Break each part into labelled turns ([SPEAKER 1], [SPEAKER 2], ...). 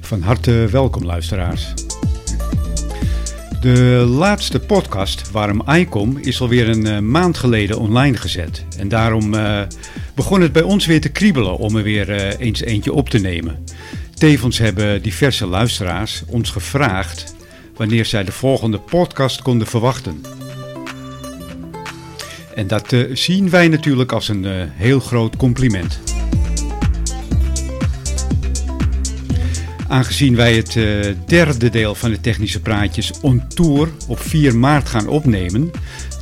[SPEAKER 1] Van harte welkom luisteraars. De laatste podcast, Waarom ICOM, is alweer een eh, maand geleden online gezet. En daarom eh, begon het bij ons weer te kriebelen om er weer eh, eens eentje op te nemen. Tevens hebben diverse luisteraars ons gevraagd wanneer zij de volgende podcast konden verwachten. En dat eh, zien wij natuurlijk als een eh, heel groot compliment. Aangezien wij het eh, derde deel van de Technische Praatjes on tour op 4 maart gaan opnemen,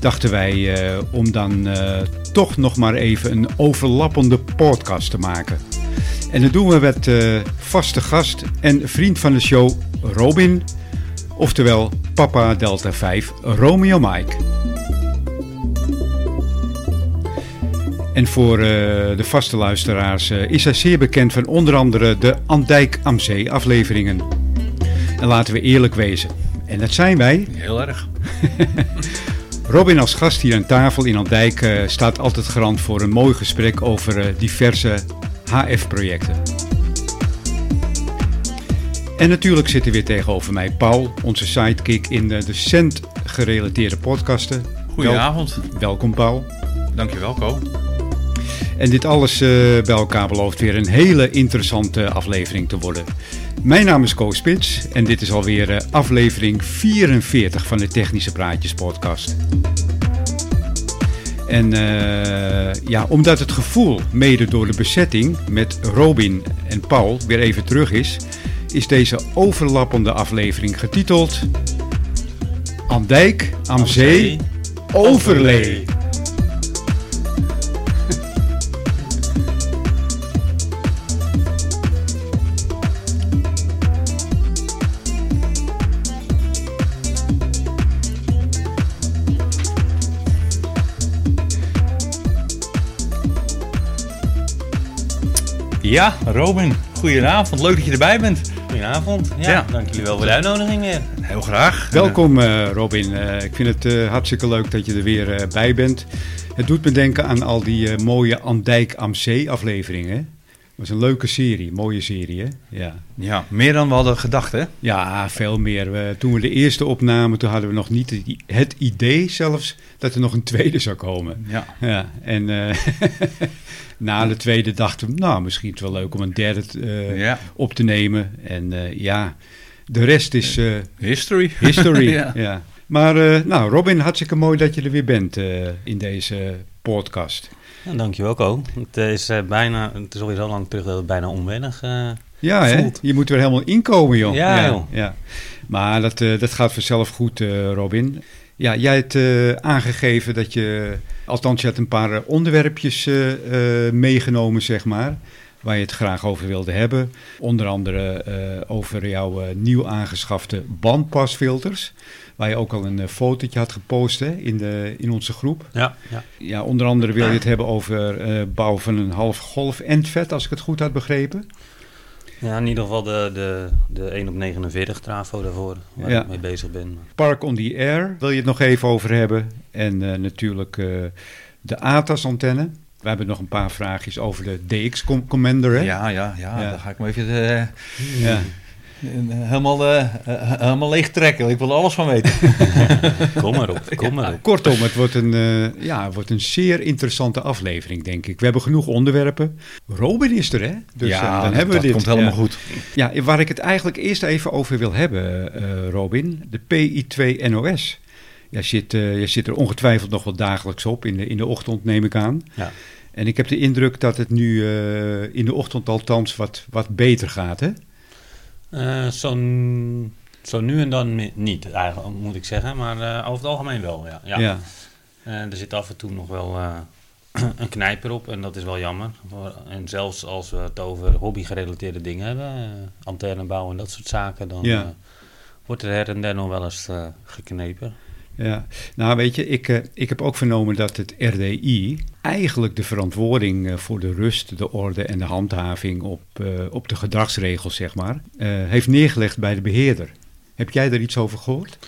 [SPEAKER 1] dachten wij eh, om dan eh, toch nog maar even een overlappende podcast te maken. En dat doen we met eh, vaste gast en vriend van de show Robin, oftewel Papa Delta 5 Romeo Mike. En voor eh, de vaste luisteraars eh, is hij zeer bekend van onder andere de Andijk Amzee afleveringen. En laten we eerlijk wezen, en dat zijn wij.
[SPEAKER 2] Heel erg.
[SPEAKER 1] Robin als gast hier aan tafel in Andijk eh, staat altijd garant voor een mooi gesprek over eh, diverse HF-projecten. En natuurlijk zit er weer tegenover mij Paul, onze sidekick in de, de cent-gerelateerde podcasten. Wel-
[SPEAKER 2] Goedenavond.
[SPEAKER 1] welkom Paul.
[SPEAKER 2] Dankjewel, Co.
[SPEAKER 1] En dit alles eh, bij elkaar belooft weer een hele interessante aflevering te worden. Mijn naam is Koos Spits en dit is alweer eh, aflevering 44 van de Technische Praatjes podcast. En eh, ja, omdat het gevoel, mede door de bezetting met Robin en Paul, weer even terug is, is deze overlappende aflevering getiteld Andijk, aan zee, overlee.
[SPEAKER 2] Ja, Robin. Goedenavond. Leuk dat je erbij bent.
[SPEAKER 3] Goedenavond. Ja,
[SPEAKER 2] Ja.
[SPEAKER 3] dank jullie wel voor de uitnodiging weer.
[SPEAKER 2] Heel graag.
[SPEAKER 1] Welkom eh, Robin. Eh, ik vind het eh, hartstikke leuk dat je er weer eh, bij bent. Het doet me denken aan al die eh, mooie Andijk am Zee afleveringen. hè? Het was een leuke serie, mooie serie hè? Ja,
[SPEAKER 2] Ja, meer dan we hadden gedacht, hè?
[SPEAKER 1] ja veel meer. We- toen we de eerste opnamen, toen hadden we nog niet het i- het idee zelfs dat er nog een tweede zou komen.
[SPEAKER 2] Ja.
[SPEAKER 1] Ja, en eh, na de tweede dachten we, nou misschien is het wel leuk om een derde eh,
[SPEAKER 2] Ja.
[SPEAKER 1] op te nemen. En eh, ja, de rest is... eh,
[SPEAKER 2] History.
[SPEAKER 1] History. ja.
[SPEAKER 2] Ja.
[SPEAKER 1] Maar eh, nou, Robin, hartstikke mooi dat je er weer bent eh, in deze podcast.
[SPEAKER 3] Ja, dankjewel, Co. Het is, eh, bijna, het is alweer zo lang terug dat het bijna onwennig eh
[SPEAKER 1] Ja, hè?
[SPEAKER 3] Voelt.
[SPEAKER 1] je moet weer helemaal inkomen, joh.
[SPEAKER 3] Ja,
[SPEAKER 1] ja,
[SPEAKER 3] joh.
[SPEAKER 1] ja. Maar dat, eh, dat gaat vanzelf goed, eh, Robin. Ja, jij hebt eh, aangegeven dat je, althans je had een paar eh, onderwerpjes eh, eh, meegenomen, zeg maar, waar je het graag over wilde hebben. Onder andere eh, over jouw eh, nieuw aangeschafte bandpasfilters, waar je ook al een eh, fotootje had gepost hè, in, de, in onze groep.
[SPEAKER 3] Ja, ja.
[SPEAKER 1] Ja, onder andere wil je het hebben over eh bouw van een half golf endvet, als ik het goed had begrepen.
[SPEAKER 3] ja, in ieder geval de, de, de 1 op 49 trafo daarvoor, waar
[SPEAKER 1] Ja.
[SPEAKER 3] ik mee bezig ben.
[SPEAKER 1] Park on the Air wil je het nog even over hebben. En eh, natuurlijk eh, de ATAS-antenne. We hebben nog een paar vraagjes over de DX Com- Commander. Hè?
[SPEAKER 2] Ja, ja, ja,
[SPEAKER 1] Ja.
[SPEAKER 2] Dan ga ik me even eh, eh,
[SPEAKER 1] Ja.
[SPEAKER 2] helemaal, eh, eh, helemaal leeg trekken. Ik wil er alles van weten.
[SPEAKER 3] Kom maar op, kom maar op.
[SPEAKER 1] Kortom, het wordt een, eh, ja, het wordt een zeer interessante aflevering, denk ik. We hebben genoeg onderwerpen. Robin is er, hè? Dus eh, dan hebben we
[SPEAKER 2] dat
[SPEAKER 1] dit.
[SPEAKER 2] komt helemaal
[SPEAKER 1] Ja.
[SPEAKER 2] goed.
[SPEAKER 1] Ja, waar ik het eigenlijk eerst even over wil hebben, eh, Robin, de PI2-NOS. Jij zit, eh, jij zit er ongetwijfeld nog wel dagelijks op, in de, in de ochtend neem ik aan.
[SPEAKER 3] Ja.
[SPEAKER 1] En ik heb de indruk dat het nu eh, in de ochtend althans wat, wat beter gaat, hè?
[SPEAKER 3] Eh, zo, n- zo nu en dan mi- niet, eigenlijk, moet ik zeggen. Maar eh, over het algemeen wel, ja. ja.
[SPEAKER 1] ja.
[SPEAKER 3] Eh, er zit af en toe nog wel eh, een knijper op en dat is wel jammer. Voor- En zelfs als we het over hobby-gerelateerde dingen hebben, eh antenne bouwen en dat soort zaken, dan
[SPEAKER 1] Ja.
[SPEAKER 3] eh, wordt er her en der nog wel eens eh, geknepen.
[SPEAKER 1] Ja, nou weet je, ik, eh, ik heb ook vernomen dat het RDI eigenlijk de verantwoording eh, voor de rust, de orde en de handhaving op, eh, op de gedragsregels, zeg maar, eh, heeft neergelegd bij de beheerder. Heb jij daar iets over gehoord?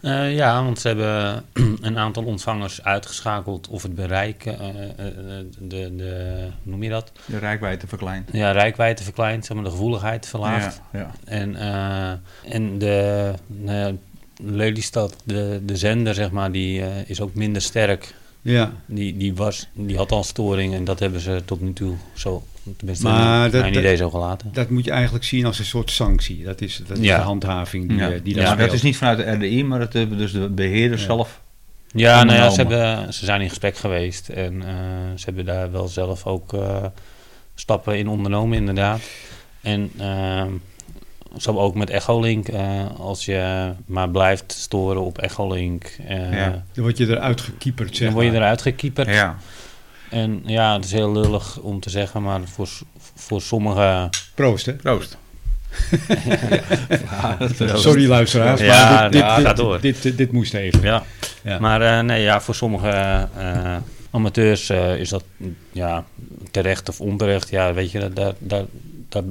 [SPEAKER 3] Eh, ja, want ze hebben een aantal ontvangers uitgeschakeld of het bereik, eh, eh, eh, de, de, hoe noem je dat?
[SPEAKER 2] De rijkwijde verkleint.
[SPEAKER 3] Ja, rijkwijde verkleind, zeg maar de gevoeligheid verlaagd.
[SPEAKER 2] Ja, ja.
[SPEAKER 3] En, eh, en de eh, Lelystad, de, de zender, zeg maar, die eh, is ook minder sterk.
[SPEAKER 1] Ja,
[SPEAKER 3] Die, die, was, die had al storing en dat hebben ze tot nu toe zo, tenminste,
[SPEAKER 1] Maar
[SPEAKER 3] mijn
[SPEAKER 1] dat- dat-
[SPEAKER 3] idee zo gelaten.
[SPEAKER 1] dat moet je eigenlijk zien als een soort sanctie. Dat is, dat is
[SPEAKER 3] Ja.
[SPEAKER 1] de handhaving die,
[SPEAKER 2] Ja.
[SPEAKER 1] eh, die
[SPEAKER 2] Ja,
[SPEAKER 1] daar
[SPEAKER 2] maar dat is
[SPEAKER 1] speelt.
[SPEAKER 2] niet vanuit de RDI, maar dat hebben dus de beheerder
[SPEAKER 1] Ja.
[SPEAKER 2] zelf.
[SPEAKER 3] Ja, nou ja, ze,
[SPEAKER 2] Ondernomen.
[SPEAKER 3] hebben, ze zijn in gesprek geweest en eh, ze hebben daar wel zelf ook eh, stappen in ondernomen, inderdaad. En ehm, ze hebben ook met Echolink, eh, als je maar blijft storen op Echolink, eh,
[SPEAKER 2] Ja.
[SPEAKER 1] Dan word je eruit gekieperd, zeg
[SPEAKER 3] dan word je
[SPEAKER 1] maar.
[SPEAKER 3] eruit gekieperd.
[SPEAKER 2] Ja.
[SPEAKER 3] En ja, het is heel lullig om te zeggen, maar voor, s- voor sommige...
[SPEAKER 1] Proost, hè?
[SPEAKER 2] Proost. ja, dat is-
[SPEAKER 1] Sorry luisteraars,
[SPEAKER 3] Ja,
[SPEAKER 1] maar dit, dit,
[SPEAKER 3] ja,
[SPEAKER 1] dit,
[SPEAKER 3] ga door.
[SPEAKER 1] dit, dit- dit moest even.
[SPEAKER 3] Ja.
[SPEAKER 1] Ja.
[SPEAKER 3] Maar eh, nee, ja, voor sommige eh, amateurs eh, is dat mm, ja, terecht of onterecht. Ja, weet je, daar, daar, daar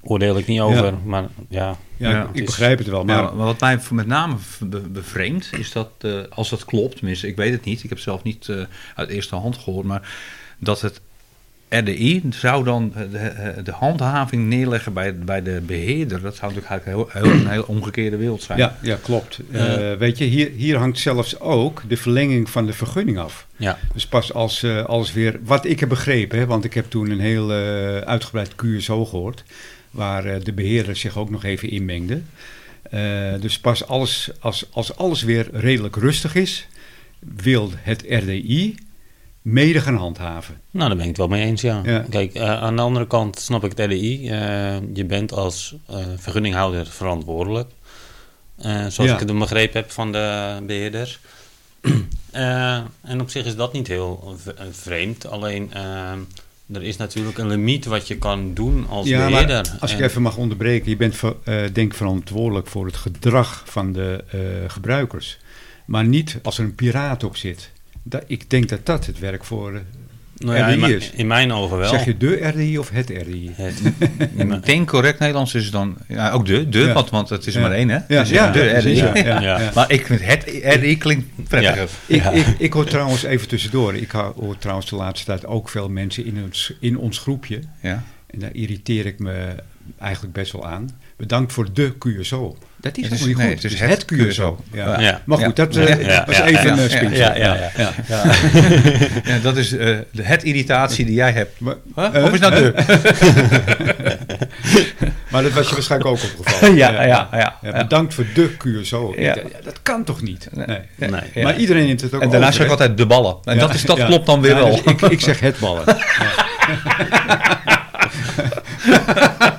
[SPEAKER 3] oordeel ik niet over. Maar ja,
[SPEAKER 1] Ja,
[SPEAKER 2] Ja,
[SPEAKER 1] ik
[SPEAKER 3] het is-
[SPEAKER 1] begrijp het wel, maar
[SPEAKER 2] Maar wat mij v- met name v- be- bevreemdt, is dat, eh, als dat klopt, tenminste, ik weet het niet, ik heb zelf niet eh, uit eerste hand gehoord, maar dat het RDI zou dan eh, de, eh, de handhaving neerleggen bij, bij de beheerder. Dat zou natuurlijk eigenlijk heel, heel, een heel omgekeerde wereld zijn.
[SPEAKER 1] ja, ja klopt. Eh, weet je, hier, hier hangt zelfs ook de verlenging van de vergunning af.
[SPEAKER 3] ja,
[SPEAKER 1] Dus pas als eh, alles weer, wat ik heb begrepen, hè, want ik heb toen een heel eh, uitgebreid QSO gehoord, waar eh, de beheerder zich ook nog even inmengde. Eh, dus pas alles, als, als alles weer redelijk rustig is, wil het RDI mede gaan handhaven.
[SPEAKER 3] nou, daar ben ik het wel mee eens, ja.
[SPEAKER 1] Ja.
[SPEAKER 3] Kijk, eh, aan de andere kant snap ik het LDI. Eh, je bent als eh, vergunninghouder verantwoordelijk. Eh, zoals
[SPEAKER 1] Ja.
[SPEAKER 3] ik het dan begrepen heb van de beheerders. Eh, en op zich is dat niet heel v- eh, vreemd. Alleen, eh, er is natuurlijk een limiet wat je kan doen als
[SPEAKER 1] Ja, maar
[SPEAKER 3] beheerder.
[SPEAKER 1] Als ik
[SPEAKER 3] En-
[SPEAKER 1] even mag onderbreken, je bent ver- eh, denk verantwoordelijk voor het gedrag van de eh, gebruikers. Maar niet als er een piraat op zit. Da- ik denk dat dat het werk voor... eh,
[SPEAKER 3] Nou ja,
[SPEAKER 1] RDI
[SPEAKER 3] in, mijn-
[SPEAKER 1] E is.
[SPEAKER 3] in mijn ogen wel.
[SPEAKER 1] zeg je de RDI of het RDI?
[SPEAKER 3] Het-
[SPEAKER 2] In denk correct Nederlands is het dan ja, ook de, de
[SPEAKER 1] Ja.
[SPEAKER 2] want, want het is
[SPEAKER 1] Ja.
[SPEAKER 2] maar één, hè?
[SPEAKER 1] Ja,
[SPEAKER 2] Dus
[SPEAKER 1] ja,
[SPEAKER 2] de
[SPEAKER 1] ja,
[SPEAKER 2] RDI.
[SPEAKER 1] precies, ja, ja,
[SPEAKER 3] Ja.
[SPEAKER 1] ja.
[SPEAKER 2] Maar ik vind het RDI klinkt prettiger.
[SPEAKER 1] Ik, ik, ik hoor trouwens even tussendoor. Ik hou- hoor trouwens de laatste tijd ook veel mensen in ons, in ons groepje.
[SPEAKER 2] Ja.
[SPEAKER 1] En daar irriteer ik me eigenlijk best wel aan. Bedankt voor de QSO. Dat is
[SPEAKER 2] Het
[SPEAKER 1] helemaal
[SPEAKER 2] is-
[SPEAKER 1] niet goed.
[SPEAKER 2] nee, het is Dus het QSO.
[SPEAKER 1] Ja.
[SPEAKER 3] Ja.
[SPEAKER 1] Maar goed, dat eh,
[SPEAKER 2] Ja,
[SPEAKER 3] ja,
[SPEAKER 1] was
[SPEAKER 3] ja,
[SPEAKER 1] even
[SPEAKER 2] ja,
[SPEAKER 1] een eh,
[SPEAKER 2] ja,
[SPEAKER 1] spinkje.
[SPEAKER 3] ja, ja, ja.
[SPEAKER 2] Ja, dat is eh, de het irritatie die jij hebt.
[SPEAKER 1] Maar,
[SPEAKER 2] Huh?
[SPEAKER 1] Eh?
[SPEAKER 2] Of is dat de?
[SPEAKER 1] maar dat was je waarschijnlijk ook opgevallen. Ja, bedankt voor de QSO.
[SPEAKER 2] Ja.
[SPEAKER 1] Ik dacht, ja, dat kan toch niet? Nee.
[SPEAKER 2] Ja.
[SPEAKER 3] Nee.
[SPEAKER 2] Ja.
[SPEAKER 1] Maar iedereen heeft het ook
[SPEAKER 2] En daarna
[SPEAKER 1] over,
[SPEAKER 2] zeg ik
[SPEAKER 1] hè?
[SPEAKER 2] altijd de ballen. En
[SPEAKER 1] Ja.
[SPEAKER 2] dat, is, dat
[SPEAKER 1] Ja.
[SPEAKER 2] klopt dan weer
[SPEAKER 1] Ja,
[SPEAKER 2] wel.
[SPEAKER 1] dus ik, ik zeg het ballen.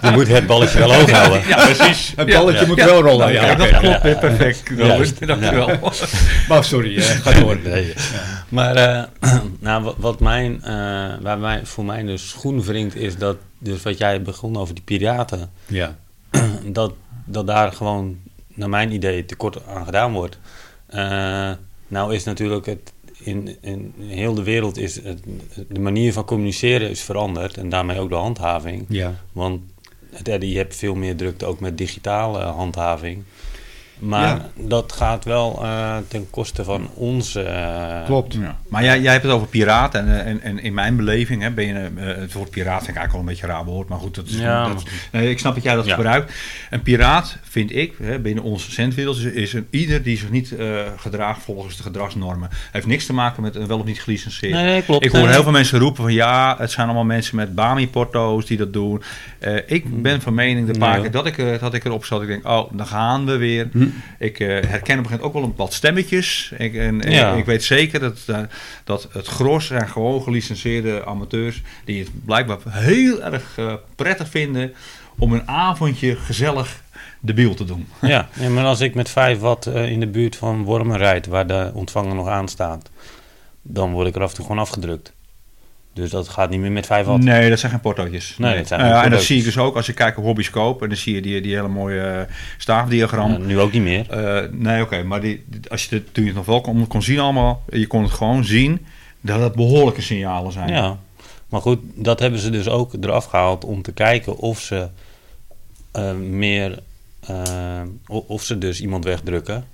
[SPEAKER 3] Je moet het balletje wel hoog houden.
[SPEAKER 2] Ja, precies.
[SPEAKER 1] Het balletje moet wel rollen. Ja,
[SPEAKER 2] dat
[SPEAKER 1] oké.
[SPEAKER 2] klopt.
[SPEAKER 3] Ja.
[SPEAKER 2] hè, Perfect. Robert.
[SPEAKER 3] Juist.
[SPEAKER 2] Dankjewel.
[SPEAKER 1] Maar sorry, eh, ga
[SPEAKER 3] Ja,
[SPEAKER 1] door.
[SPEAKER 3] nee. Maar eh, nou, wa- wat mijn, eh, waar mij, voor mij de schoen wringt is dat, dus wat jij begon over die piraten,
[SPEAKER 1] Ja.
[SPEAKER 3] dat, dat daar gewoon, naar mijn idee, tekort aan gedaan wordt. Eh, nou is natuurlijk het, in, in heel de wereld is het, de manier van communiceren is veranderd en daarmee ook de handhaving.
[SPEAKER 1] Ja.
[SPEAKER 3] Want het RDI hebt veel meer drukte ook met digitale eh, handhaving. Maar
[SPEAKER 1] Ja.
[SPEAKER 3] dat gaat wel eh, ten koste van onze. eh,
[SPEAKER 1] Klopt.
[SPEAKER 2] Ja. Maar jij, jij hebt het over piraten. En, eh, en, en in mijn beleving hè, ben je... eh, het woord piraat vind ik eigenlijk wel een beetje een raar woord. Maar goed, dat is...
[SPEAKER 3] Ja,
[SPEAKER 2] dat-
[SPEAKER 3] maar-
[SPEAKER 2] nee, ik snap dat jij dat
[SPEAKER 3] Ja.
[SPEAKER 2] gebruikt. Een piraat, vind ik, hè, binnen onze centwereld... is, is een, ieder die zich niet eh, gedraagt volgens de gedragsnormen. heeft niks te maken met eh, wel of niet gelicenseerd.
[SPEAKER 3] Nee, nee, klopt.
[SPEAKER 2] Ik hoor
[SPEAKER 3] Nee,
[SPEAKER 2] heel
[SPEAKER 3] nee.
[SPEAKER 2] veel mensen roepen van ja, het zijn allemaal mensen met Bami-porto's die dat doen. Eh, ik ben van mening de paar
[SPEAKER 3] Ja. Hm.
[SPEAKER 2] keer dat ik, er- dat ik erop zat, ik denk, oh, dan gaan we weer. Ik eh, herken op een gegeven moment ook wel een wat stemmetjes. Ik, en, en
[SPEAKER 3] Ja.
[SPEAKER 2] ik weet zeker dat, eh, dat het gros zijn gewoon gelicenseerde amateurs die het blijkbaar heel erg eh, prettig vinden om een avondje gezellig debiel te doen.
[SPEAKER 3] Ja, nee, maar als ik met 5 watt eh, in de buurt van Wormen rijd, waar de ontvanger nog aan staat, dan word ik er af en toe gewoon afgedrukt. Dus dat gaat niet meer met 5 watt.
[SPEAKER 2] Nee, dat zijn geen portootjes.
[SPEAKER 3] Nee, dat zijn
[SPEAKER 2] Eh,
[SPEAKER 3] geen
[SPEAKER 2] en dat
[SPEAKER 3] portootjes.
[SPEAKER 2] zie ik dus ook als ik kijk op Hobbyscope. En dan zie je die, die hele mooie eh, staafdiagram.
[SPEAKER 3] Eh, nu ook niet meer.
[SPEAKER 2] Eh, nee, oké, maar die, die- als je dit, toen je het nog wel kon, kon zien allemaal, je kon het gewoon zien dat het behoorlijke signalen zijn.
[SPEAKER 3] Ja, maar goed, dat hebben ze dus ook eraf gehaald om te kijken of ze eh, meer, eh, o- of ze dus iemand wegdrukken.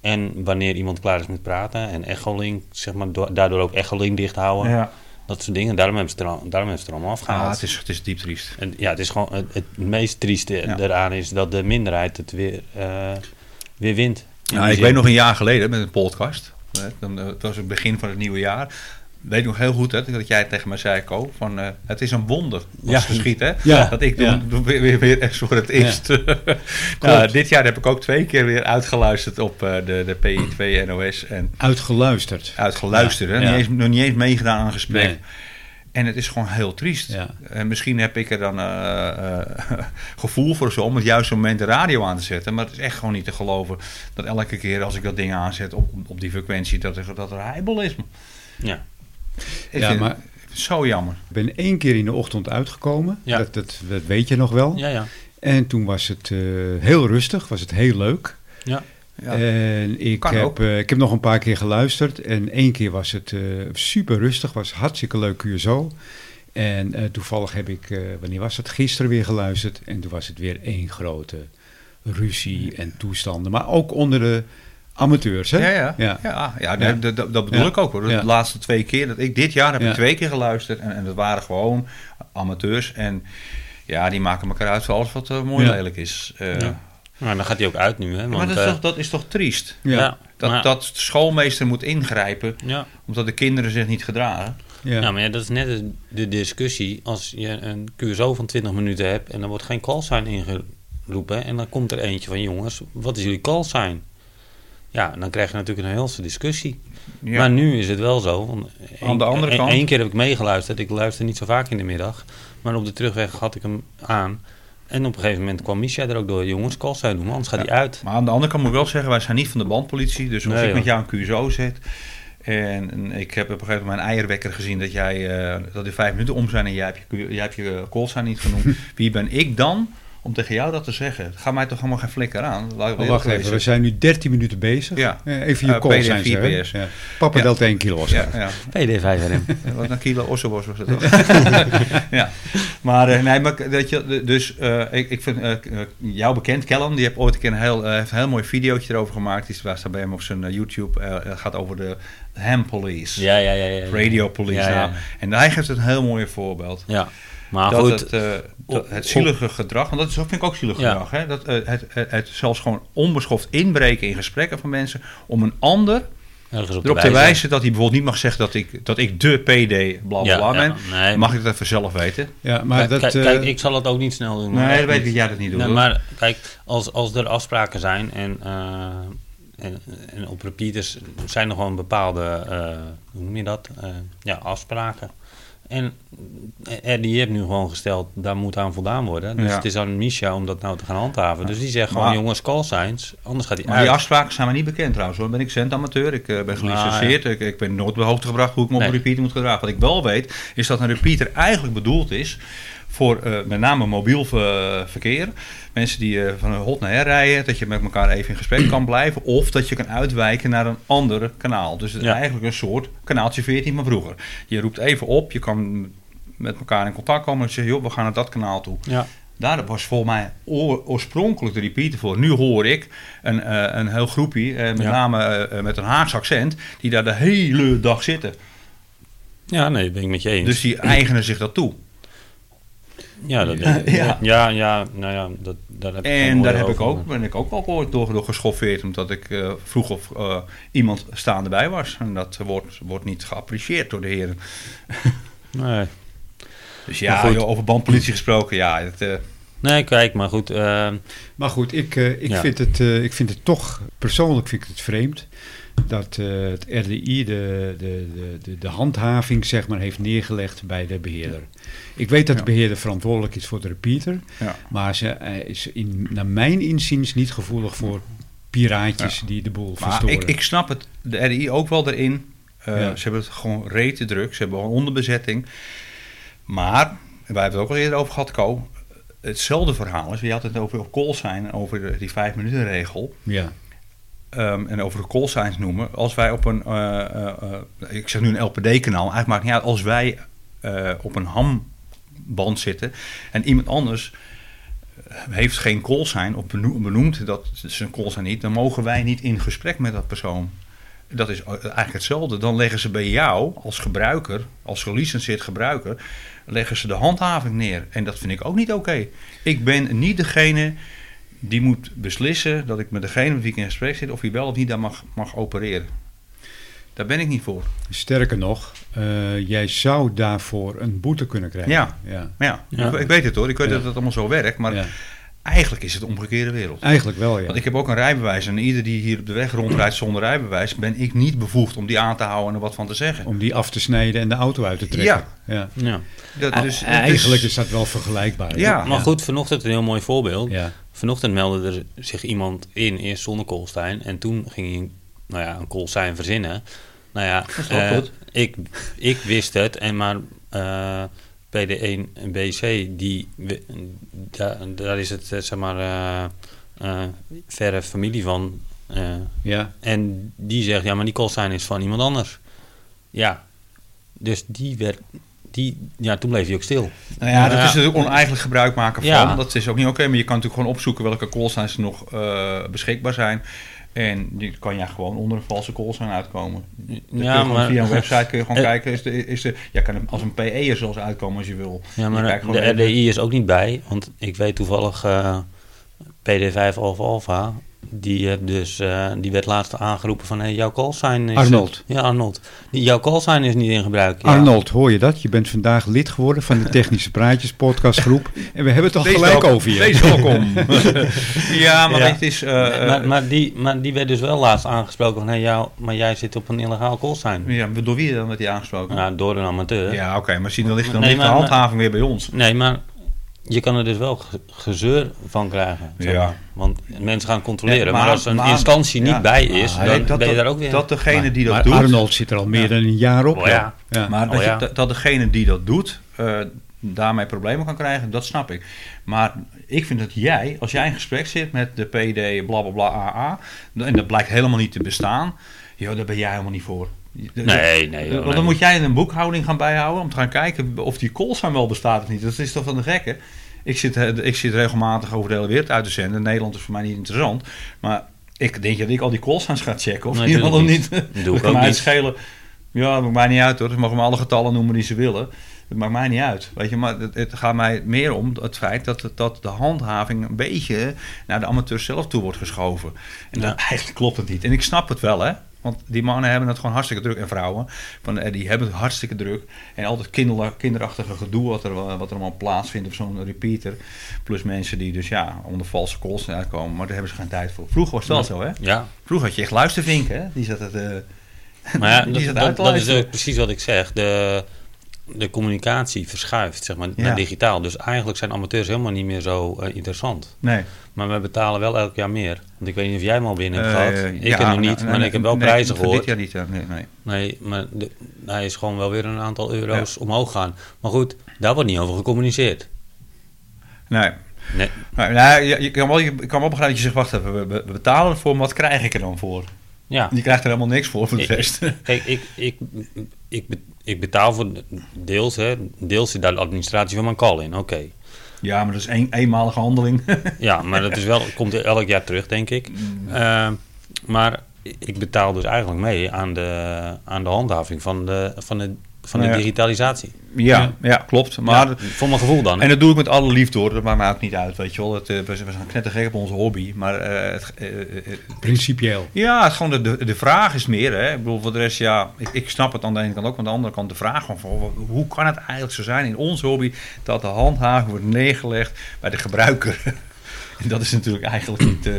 [SPEAKER 3] En wanneer iemand klaar is met praten en echolink, zeg maar, do- daardoor ook echolink dicht houden.
[SPEAKER 2] Ja.
[SPEAKER 3] Dat soort dingen. Daarom hebben ze het er, al- daarom hebben ze het er allemaal afgehaald.
[SPEAKER 2] Ah, het, is, het is diep triest.
[SPEAKER 3] En ja, het is gewoon het, het meest trieste
[SPEAKER 2] Ja.
[SPEAKER 3] eraan is dat de minderheid het weer, eh, weer wint. In
[SPEAKER 2] Nou,
[SPEAKER 3] die
[SPEAKER 2] ik
[SPEAKER 3] zin.
[SPEAKER 2] weet nog een jaar geleden met een podcast. Hè, dan, eh, het was het begin van het nieuwe jaar. Weet nog heel goed hè, dat jij tegen mij zei, Ko, van eh, het is een wonder wat
[SPEAKER 3] Ja.
[SPEAKER 2] ze schiet, hè?
[SPEAKER 1] Ja.
[SPEAKER 2] Dat ik
[SPEAKER 3] Ja.
[SPEAKER 2] toen weer, weer, weer echt voor het eerst. nou,
[SPEAKER 1] Klopt.
[SPEAKER 2] dit jaar heb ik ook twee keer weer uitgeluisterd op eh, de, de PI2 NOS en
[SPEAKER 1] Uitgeluisterd.
[SPEAKER 2] uitgeluisterd. hè,
[SPEAKER 3] Ja.
[SPEAKER 2] Niet eens, nog niet eens meegedaan aan een gesprek.
[SPEAKER 3] Nee.
[SPEAKER 2] En het is gewoon heel triest.
[SPEAKER 1] Ja.
[SPEAKER 2] En misschien heb ik er dan eh, eh, gevoel voor zo om het juiste moment de radio aan te zetten. Maar het is echt gewoon niet te geloven dat elke keer als ik dat ding aanzet op, op die frequentie, dat er, dat er heibel is.
[SPEAKER 3] Ja.
[SPEAKER 2] Ik
[SPEAKER 1] Ja,
[SPEAKER 2] vind
[SPEAKER 1] maar-
[SPEAKER 2] het zo jammer.
[SPEAKER 1] Ik ben één keer in de ochtend uitgekomen.
[SPEAKER 3] Ja.
[SPEAKER 1] Dat, dat, dat weet je nog wel.
[SPEAKER 3] Ja, ja.
[SPEAKER 1] En toen was het eh, heel rustig, was het heel leuk.
[SPEAKER 3] ja.
[SPEAKER 2] Ja.
[SPEAKER 1] Eh, En ik
[SPEAKER 2] Kan ook.
[SPEAKER 1] heb, eh, ik heb nog een paar keer geluisterd. En één keer was het eh, super rustig, was hartstikke leuk zo. En eh, toevallig heb ik, eh, wanneer was het? Gisteren weer geluisterd. En toen was het weer één grote ruzie en toestanden. Maar ook onder de amateurs, hè?
[SPEAKER 2] Ja, ja. ja. ah,
[SPEAKER 1] Ja.
[SPEAKER 2] ja,
[SPEAKER 1] Ja.
[SPEAKER 2] Dat, dat, dat bedoel
[SPEAKER 1] Ja.
[SPEAKER 2] ik ook hoor. De
[SPEAKER 1] Ja.
[SPEAKER 2] laatste twee keer, dat ik dit jaar heb ik
[SPEAKER 1] Ja.
[SPEAKER 2] twee keer geluisterd. En, en dat waren gewoon amateurs. En ja, die maken elkaar uit voor alles wat eh, mooi
[SPEAKER 1] Ja.
[SPEAKER 2] lelijk is. Eh,
[SPEAKER 3] Ja. Nou, dan gaat hij ook uit nu, hè? Want,
[SPEAKER 2] Maar dat is,
[SPEAKER 3] eh,
[SPEAKER 2] toch, dat is toch triest?
[SPEAKER 1] Ja.
[SPEAKER 3] ja,
[SPEAKER 2] Dat,
[SPEAKER 3] maar-
[SPEAKER 2] dat de schoolmeester moet ingrijpen
[SPEAKER 3] Ja.
[SPEAKER 2] omdat de kinderen zich niet gedragen.
[SPEAKER 1] Ja.
[SPEAKER 3] Ja, Nou, maar ja, dat is net de- de discussie. Als je een QSO van 20 minuten hebt en er wordt geen callsign ingeroepen... en dan komt er eentje van jongens, wat is jullie callsign? Ja, dan krijg je natuurlijk een helse discussie.
[SPEAKER 2] Ja.
[SPEAKER 3] Maar nu is het wel zo. want
[SPEAKER 2] Aan de
[SPEAKER 3] één-
[SPEAKER 2] andere
[SPEAKER 3] één-
[SPEAKER 2] kant-
[SPEAKER 3] één keer heb ik meegeluisterd. Ik luister niet zo vaak in de middag. Maar op de terugweg had ik hem aan. En op een gegeven moment kwam Misha er ook door. Jongens, callsign doen, anders gaat hij uit.
[SPEAKER 2] Maar aan de andere kant moet ik wel zeggen, wij zijn niet van de bandpolitie. Dus als
[SPEAKER 3] Nee,
[SPEAKER 2] ik
[SPEAKER 3] joh.
[SPEAKER 2] met jou een QSO zet. En, en ik heb op een gegeven moment mijn eierwekker gezien dat jij eh, dat die vijf minuten om zijn en jij hebt je, Q- jij hebt je eh, callsign niet genoemd. Wie ben ik dan om tegen jou dat te zeggen? Ga mij toch helemaal geen flikker aan. Laat ik wel
[SPEAKER 1] Oh, wacht
[SPEAKER 2] eerlijk
[SPEAKER 1] even, we
[SPEAKER 2] wezen.
[SPEAKER 1] zijn nu 13 minuten bezig.
[SPEAKER 2] Ja.
[SPEAKER 1] Eh, even je
[SPEAKER 2] Eh,
[SPEAKER 1] call
[SPEAKER 2] PD4
[SPEAKER 1] zijn ze,
[SPEAKER 2] PS.
[SPEAKER 1] hè? Ja. Papa
[SPEAKER 2] Ja.
[SPEAKER 1] deelt 1 kilo was
[SPEAKER 2] Ja, ja.
[SPEAKER 3] PD5RM.
[SPEAKER 2] Wat een kilo ossenworst was dat ook. ja. Maar eh, nee, maar k- dat je, d- dus eh, ik, ik vind eh, k- eh, jou bekend, Callum, die heeft ooit een keer een heel, eh, heeft een heel mooi videootje erover gemaakt. Die staat bij hem op zijn eh, YouTube. Eh, Het gaat over de ham police,
[SPEAKER 3] ja, ja, ja, ja. ja.
[SPEAKER 2] radio police.
[SPEAKER 3] Ja, ja.
[SPEAKER 2] nou. En hij geeft een heel mooi voorbeeld.
[SPEAKER 3] Ja, maar
[SPEAKER 2] dat
[SPEAKER 3] goed.
[SPEAKER 2] het, eh, dat het
[SPEAKER 3] op-
[SPEAKER 2] zielige gedrag, want dat is, vind ik ook zielig
[SPEAKER 3] Ja.
[SPEAKER 2] gedrag, hè? dat eh, het, het, het zelfs gewoon onbeschoft inbreken in gesprekken van mensen om een ander
[SPEAKER 3] ergens op
[SPEAKER 2] erop te wijzen dat hij bijvoorbeeld niet mag zeggen dat ik, dat ik de PD bla bla
[SPEAKER 3] Ja,
[SPEAKER 2] bla
[SPEAKER 3] ja,
[SPEAKER 2] ben.
[SPEAKER 3] nee.
[SPEAKER 2] mag ik dat even zelf weten?
[SPEAKER 1] Ja, maar
[SPEAKER 3] Kijk,
[SPEAKER 1] dat...
[SPEAKER 3] kijk,
[SPEAKER 1] eh,
[SPEAKER 3] kijk, ik zal het ook niet snel doen. hoor.
[SPEAKER 2] Nee,
[SPEAKER 3] Echt
[SPEAKER 2] dat weet ik
[SPEAKER 3] niet.
[SPEAKER 2] dat jij dat niet doet.
[SPEAKER 3] Nee,
[SPEAKER 2] hoor.
[SPEAKER 3] maar kijk, als, als er afspraken zijn en, eh, en, en op repeaters zijn er gewoon bepaalde, eh, hoe noem je dat? Eh, ja, afspraken. En eh, Eddie heeft nu gewoon gesteld, daar moet aan voldaan worden. Dus
[SPEAKER 2] Ja.
[SPEAKER 3] het is aan Misha om dat nou te gaan handhaven. Dus die zegt
[SPEAKER 2] Maar-
[SPEAKER 3] gewoon, jongens, call signs, anders
[SPEAKER 2] maar
[SPEAKER 3] gaat hij
[SPEAKER 2] die
[SPEAKER 3] uit. Nou,
[SPEAKER 2] afspraken zijn me niet bekend trouwens. Hoor. Ben ik centamateur, ik eh, ben gelicenseerd, ik, ik ben nooit op de hoogte gebracht hoe ik me op
[SPEAKER 3] Nee.
[SPEAKER 2] een repeater moet gedragen. Wat ik wel weet, is dat een repeater eigenlijk bedoeld is voor eh, met name mobiel eh, verkeer. Mensen die eh, van een hot naar her rijden, dat je met elkaar even in gesprek kan blijven. Of dat je kan uitwijken naar een ander kanaal. Dus het is
[SPEAKER 3] Ja.
[SPEAKER 2] eigenlijk een soort kanaaltje 14 van vroeger. Je roept even op, je kan met elkaar in contact komen en zeggen, joh, we gaan naar dat kanaal toe.
[SPEAKER 3] Ja,
[SPEAKER 2] Daar Nou, was volgens mij oor- oorspronkelijk de repeater voor. Nu hoor ik een, eh, een heel groepje, eh, met
[SPEAKER 3] Ja.
[SPEAKER 2] name eh, eh, met een Haagse accent, die daar de hele dag zitten.
[SPEAKER 3] ja nee, ben ik met je eens.
[SPEAKER 2] Dus die eigenen zich dat toe.
[SPEAKER 3] ja, dat denk ik.
[SPEAKER 2] Ja.
[SPEAKER 3] Ja. Ja, ja, nou ja, dat, daar heb ik geen
[SPEAKER 2] En daar
[SPEAKER 3] oordeel
[SPEAKER 2] heb ik
[SPEAKER 3] over.
[SPEAKER 2] ook, ben ik ook wel ooit door, door geschoffeerd, omdat ik eh, vroeg of eh, iemand staande bij was. En dat wordt, wordt niet geapprecieerd door de heren.
[SPEAKER 3] Nee.
[SPEAKER 2] Dus
[SPEAKER 3] Maar
[SPEAKER 2] ja,
[SPEAKER 3] goed.
[SPEAKER 2] joh, over bandpolitie gesproken, ja. Het, eh,
[SPEAKER 3] nee, kijk, maar goed. eh,
[SPEAKER 1] Maar goed, ik, eh, ik,
[SPEAKER 3] Ja.
[SPEAKER 1] vind het, eh, ik vind het toch, persoonlijk vind ik het vreemd, dat eh, het RDI de, de, de, de, de handhaving zeg maar, heeft neergelegd bij de beheerder. Ik weet dat de
[SPEAKER 2] Ja.
[SPEAKER 1] beheerder verantwoordelijk is voor de repeater,
[SPEAKER 2] ja.
[SPEAKER 1] maar ze eh, is in, naar mijn inziens niet gevoelig voor piraatjes die de boel
[SPEAKER 2] Maar
[SPEAKER 1] verstoren.
[SPEAKER 2] ik, ik snap het, de RI ook wel erin. Eh,
[SPEAKER 1] Ja.
[SPEAKER 2] Ze hebben het gewoon rete druk, ze hebben gewoon onderbezetting. Maar, en wij hebben het ook al eerder over gehad, Co. Hetzelfde verhaal is, je had het over op call zijn, over de- die vijf minuten regel.
[SPEAKER 1] ja.
[SPEAKER 2] ehm, en over de call signs noemen. Als wij op een, eh, eh, eh, ik zeg nu een LPD-kanaal, eigenlijk maakt niet uit. Als wij eh, op een hamband zitten en iemand anders eh, heeft geen callsign of beno- benoemt dat zijn callsign niet, dan mogen wij niet in gesprek met dat persoon. Dat is eh, eigenlijk hetzelfde. Dan leggen ze bij jou als gebruiker, als gelicenseerd gebruiker, leggen ze de handhaving neer. En dat vind ik ook niet oké. Ik ben niet degene die moet beslissen dat ik met degene met wie ik in gesprek zit, of hij wel of niet daar mag, mag opereren. Daar ben ik niet voor.
[SPEAKER 1] Sterker nog, eh, jij zou daarvoor een boete kunnen krijgen.
[SPEAKER 2] Ja.
[SPEAKER 1] ja.
[SPEAKER 2] Maar ja,
[SPEAKER 3] Ja.
[SPEAKER 2] Ik, ik weet het hoor. Ik weet
[SPEAKER 1] Ja.
[SPEAKER 2] dat het allemaal zo werkt. Maar
[SPEAKER 1] Ja.
[SPEAKER 2] eigenlijk is het de omgekeerde wereld.
[SPEAKER 1] Eigenlijk wel, ja.
[SPEAKER 2] Want ik heb ook een rijbewijs. En ieder die hier op de weg rondrijdt zonder rijbewijs, ben ik niet bevoegd om die aan te houden en er wat van te zeggen.
[SPEAKER 1] Om die af te snijden en de auto uit te trekken. Ja.
[SPEAKER 3] Ja.
[SPEAKER 2] Dat,
[SPEAKER 3] Ah,
[SPEAKER 2] dus,
[SPEAKER 1] Eigenlijk
[SPEAKER 2] dus-
[SPEAKER 1] is dat wel vergelijkbaar.
[SPEAKER 2] Ah, Ja.
[SPEAKER 3] Maar goed, vanochtend een heel mooi voorbeeld.
[SPEAKER 1] Ja.
[SPEAKER 3] Vanochtend meldde er zich iemand in, eerst zonder Koolstein. En toen ging hij nou ja, een Koolstein verzinnen. Nou ja,
[SPEAKER 2] wel
[SPEAKER 3] eh,
[SPEAKER 2] goed.
[SPEAKER 3] ik, ik wist het. En maar eh, PD1 en BC, die, we- daar, daar is het eh, zeg maar eh, eh, verre familie van. eh,
[SPEAKER 1] Ja.
[SPEAKER 3] en die zegt, ja, maar die Koolstein is van iemand anders. Ja, dus die werd... Die, ja, toen bleef hij ook stil.
[SPEAKER 2] nou ja, dat
[SPEAKER 3] Ja.
[SPEAKER 2] is natuurlijk oneigenlijk gebruik maken van.
[SPEAKER 3] Ja.
[SPEAKER 2] Dat is ook niet oké. maar je kan natuurlijk gewoon opzoeken welke callsigns er nog eh, beschikbaar zijn. En die kan ja gewoon onder een valse callsign uitkomen. Dat kun je
[SPEAKER 3] Ja,
[SPEAKER 2] gewoon
[SPEAKER 3] maar-
[SPEAKER 2] via een website kun je gewoon
[SPEAKER 3] Eh.
[SPEAKER 2] kijken. Is de, is de, ja, kan hem als een PE er zelfs uitkomen als je wil.
[SPEAKER 3] Ja,
[SPEAKER 2] Je
[SPEAKER 3] maar
[SPEAKER 2] kijkt
[SPEAKER 3] de
[SPEAKER 2] gewoon even-
[SPEAKER 3] RDI is ook niet bij, want ik weet toevallig eh, PD5 Alpha Alpha. Die, heb dus, eh, die werd laatst aangeroepen van hey, jouw callsign is...
[SPEAKER 1] Arnold.
[SPEAKER 3] Ja, Arnold. Die, jouw callsign is niet in gebruik. Ja.
[SPEAKER 1] Arnold, hoor je dat? Je bent vandaag lid geworden van de Technische Praatjes podcastgroep. En we hebben het al
[SPEAKER 2] Wees
[SPEAKER 1] gelijk
[SPEAKER 2] welkom.
[SPEAKER 1] over je.
[SPEAKER 2] Wees welkom. ja, maar
[SPEAKER 3] Ja.
[SPEAKER 2] het is... eh, eh,
[SPEAKER 3] Maar, maar, die, maar die werd dus wel laatst aangesproken van hey, jou, maar jij zit op een illegaal callsign.
[SPEAKER 2] eh, ja, door wie dan werd die aangesproken?
[SPEAKER 3] Nou, door een amateur.
[SPEAKER 2] Ja, oké, maar zie, dan ligt, dan
[SPEAKER 3] Nee,
[SPEAKER 2] ligt de
[SPEAKER 3] maar-
[SPEAKER 2] handhaving weer bij ons.
[SPEAKER 3] Nee, maar je kan er dus wel ge- gezeur van krijgen. zeg
[SPEAKER 2] Ja.
[SPEAKER 3] maar. Want mensen gaan controleren.
[SPEAKER 2] Nee,
[SPEAKER 3] maar,
[SPEAKER 2] maar-
[SPEAKER 3] als een
[SPEAKER 2] maar-
[SPEAKER 3] instantie niet
[SPEAKER 2] ja. Ah,
[SPEAKER 3] bij is,
[SPEAKER 1] Maar
[SPEAKER 3] dan
[SPEAKER 2] dat-
[SPEAKER 3] ben je
[SPEAKER 2] dat-
[SPEAKER 3] daar ook weer...
[SPEAKER 2] dat degene die dat
[SPEAKER 3] maar-
[SPEAKER 2] doet-
[SPEAKER 1] Arnold zit er al meer dan een jaar op.
[SPEAKER 3] Oh ja.
[SPEAKER 2] Maar
[SPEAKER 3] Oh,
[SPEAKER 2] dat, je-
[SPEAKER 3] ja.
[SPEAKER 2] dat, dat degene die dat doet, eh, daarmee problemen kan krijgen, dat snap ik. Maar ik vind dat jij, als jij in gesprek zit met de PD blablabla AA, en dat blijkt helemaal niet te bestaan, joh, daar ben jij helemaal niet voor.
[SPEAKER 3] Nee, nee, joh,
[SPEAKER 2] Want dan
[SPEAKER 3] nee.
[SPEAKER 2] moet jij een boekhouding gaan bijhouden om te gaan kijken of die callsign wel bestaat of niet. Dat is toch van de gekke. Ik zit, eh, ik zit regelmatig over de hele wereld uit te zenden. Nederland is voor mij niet interessant. Maar ik denk dat ik al die callsigns ga checken. Of
[SPEAKER 3] Nee,
[SPEAKER 2] in ieder geval
[SPEAKER 3] doe ik
[SPEAKER 2] niet.
[SPEAKER 3] niet. Doe ik
[SPEAKER 2] Dat
[SPEAKER 3] ook
[SPEAKER 2] kan mij
[SPEAKER 3] niet.
[SPEAKER 2] schelen. Ja, dat maakt mij niet uit hoor. Ze mogen me alle getallen noemen die ze willen. Dat maakt mij niet uit. Weet je, maar het, het gaat mij meer om het feit dat, het- dat de handhaving een beetje naar de amateur zelf toe wordt geschoven. En dat, eigenlijk klopt het niet. En ik snap het wel hè. Want die mannen hebben het gewoon hartstikke druk. En vrouwen, van, eh, die hebben het hartstikke druk. En altijd kinder, kinderachtige gedoe wat er, eh, wat er allemaal plaatsvindt op zo'n repeater. Plus mensen die dus ja, onder valse calls uitkomen. Maar daar hebben ze geen tijd voor. Vroeger was dat zo hè.
[SPEAKER 3] Ja,
[SPEAKER 2] Vroeger had je echt luistervinken hè. Die zat het... eh,
[SPEAKER 3] Maar ja,
[SPEAKER 2] Die
[SPEAKER 3] dat,
[SPEAKER 2] zat
[SPEAKER 3] dat-
[SPEAKER 2] uit te
[SPEAKER 3] dat is
[SPEAKER 2] luisteren.
[SPEAKER 3] ook precies wat ik zeg. De, de communicatie verschuift zeg maar,
[SPEAKER 2] Ja.
[SPEAKER 3] naar digitaal. Dus eigenlijk zijn amateurs helemaal niet meer zo eh, interessant.
[SPEAKER 2] nee.
[SPEAKER 3] Maar we betalen wel elk jaar meer. Want ik weet niet of jij hem al binnen hebt
[SPEAKER 2] Eh,
[SPEAKER 3] gehad. ik
[SPEAKER 2] ja,
[SPEAKER 3] heb hem niet,
[SPEAKER 2] nou,
[SPEAKER 3] maar
[SPEAKER 2] nee,
[SPEAKER 3] ik heb wel
[SPEAKER 2] nee,
[SPEAKER 3] prijzen
[SPEAKER 2] voor
[SPEAKER 3] gehoord.
[SPEAKER 2] Dit jaar niet, ja, nee, nee.
[SPEAKER 3] Nee, maar de- hij is gewoon wel weer een aantal euro's omhoog gaan. Maar goed, daar wordt niet over gecommuniceerd.
[SPEAKER 2] nee.
[SPEAKER 3] Nee,
[SPEAKER 2] Nou, nou, je, je kan wel, je kan wel begrijpen dat je zegt, wacht even, we, we- we betalen ervoor, maar wat krijg ik er dan voor?
[SPEAKER 3] ja.
[SPEAKER 2] Je krijgt er helemaal niks voor, voor de
[SPEAKER 3] Ik-
[SPEAKER 2] rest.
[SPEAKER 3] Kijk, ik, ik, ik, be- ik betaal voor deels, hè, deels zit daar de administratie van mijn call in. Oké.
[SPEAKER 2] Ja, maar dat is een eenmalige handeling.
[SPEAKER 3] Ja, maar dat is wel, komt elk jaar terug, denk ik.
[SPEAKER 1] Mm.
[SPEAKER 3] Ehm, maar ik betaal dus eigenlijk mee aan de, aan de handhaving van de, van de, van de
[SPEAKER 2] Ja.
[SPEAKER 3] digitalisatie.
[SPEAKER 2] ja, ja, klopt. Maar,
[SPEAKER 3] Ja, voor mijn gevoel dan. hè.
[SPEAKER 2] En dat doe ik met alle liefde hoor, dat maakt mij ook niet uit, weet je wel. Het, eh, we, we zijn knettergek op onze hobby, maar eh, het, eh, eh,
[SPEAKER 1] Principieel.
[SPEAKER 2] Ja, het is gewoon de, de, de vraag is meer. Hè. Ik bedoel, voor de rest, ja, ik, ik snap het aan de ene kant ook. Maar aan de andere kant de vraag van, van, hoe kan het eigenlijk zo zijn in ons hobby... dat de handhaving wordt neergelegd bij de gebruiker? en dat is natuurlijk eigenlijk niet, eh,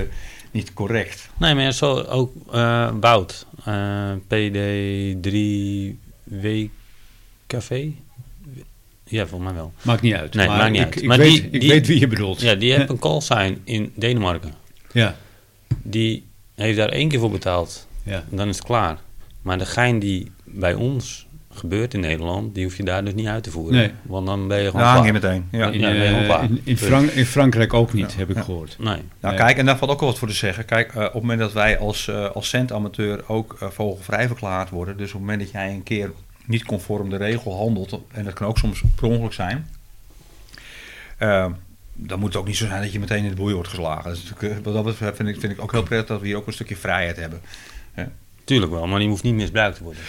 [SPEAKER 2] niet correct.
[SPEAKER 3] Nee, maar zo ook eh Wout, eh, PD3W Café. Ja, volgens mij wel.
[SPEAKER 1] Maakt niet uit.
[SPEAKER 3] Nee,
[SPEAKER 1] maar
[SPEAKER 3] maakt niet
[SPEAKER 1] ik,
[SPEAKER 3] uit.
[SPEAKER 1] Ik,
[SPEAKER 3] Maar
[SPEAKER 1] weet,
[SPEAKER 3] die-
[SPEAKER 1] ik
[SPEAKER 3] die-
[SPEAKER 1] weet wie je bedoelt.
[SPEAKER 3] Ja, die heeft een callsign in Denemarken.
[SPEAKER 1] Ja,
[SPEAKER 3] Die heeft daar één keer voor betaald.
[SPEAKER 1] ja.
[SPEAKER 3] Dan is het klaar. Maar de gein die bij ons gebeurt in Nederland, die hoef je daar dus niet uit te voeren.
[SPEAKER 1] Nee.
[SPEAKER 3] Want dan ben je gewoon.
[SPEAKER 2] Dan hang je
[SPEAKER 3] klaar.
[SPEAKER 2] meteen. Ja.
[SPEAKER 1] In,
[SPEAKER 3] Ja, nee,
[SPEAKER 1] eh,
[SPEAKER 3] heel waar.
[SPEAKER 1] in, in, Frank- in Frankrijk ook niet, heb ik gehoord.
[SPEAKER 3] Dus- Nee.
[SPEAKER 1] Nee.
[SPEAKER 2] Nou, kijk, en daar valt ook wel wat voor te zeggen. Kijk, eh, op het moment dat wij als, eh als centamateur ook eh, vogelvrij verklaard worden... dus op het moment dat jij een keer niet conform de regel handelt... en dat kan ook soms per ongeluk zijn... eh, dan moet het ook niet zo zijn dat je meteen in de boei wordt geslagen. Dat is natuurlijk, eh, wat dat betreft vind ik, vind ik ook heel prettig dat we hier ook een stukje vrijheid hebben.
[SPEAKER 3] Tuurlijk wel, maar die hoeft niet misbruikt te worden.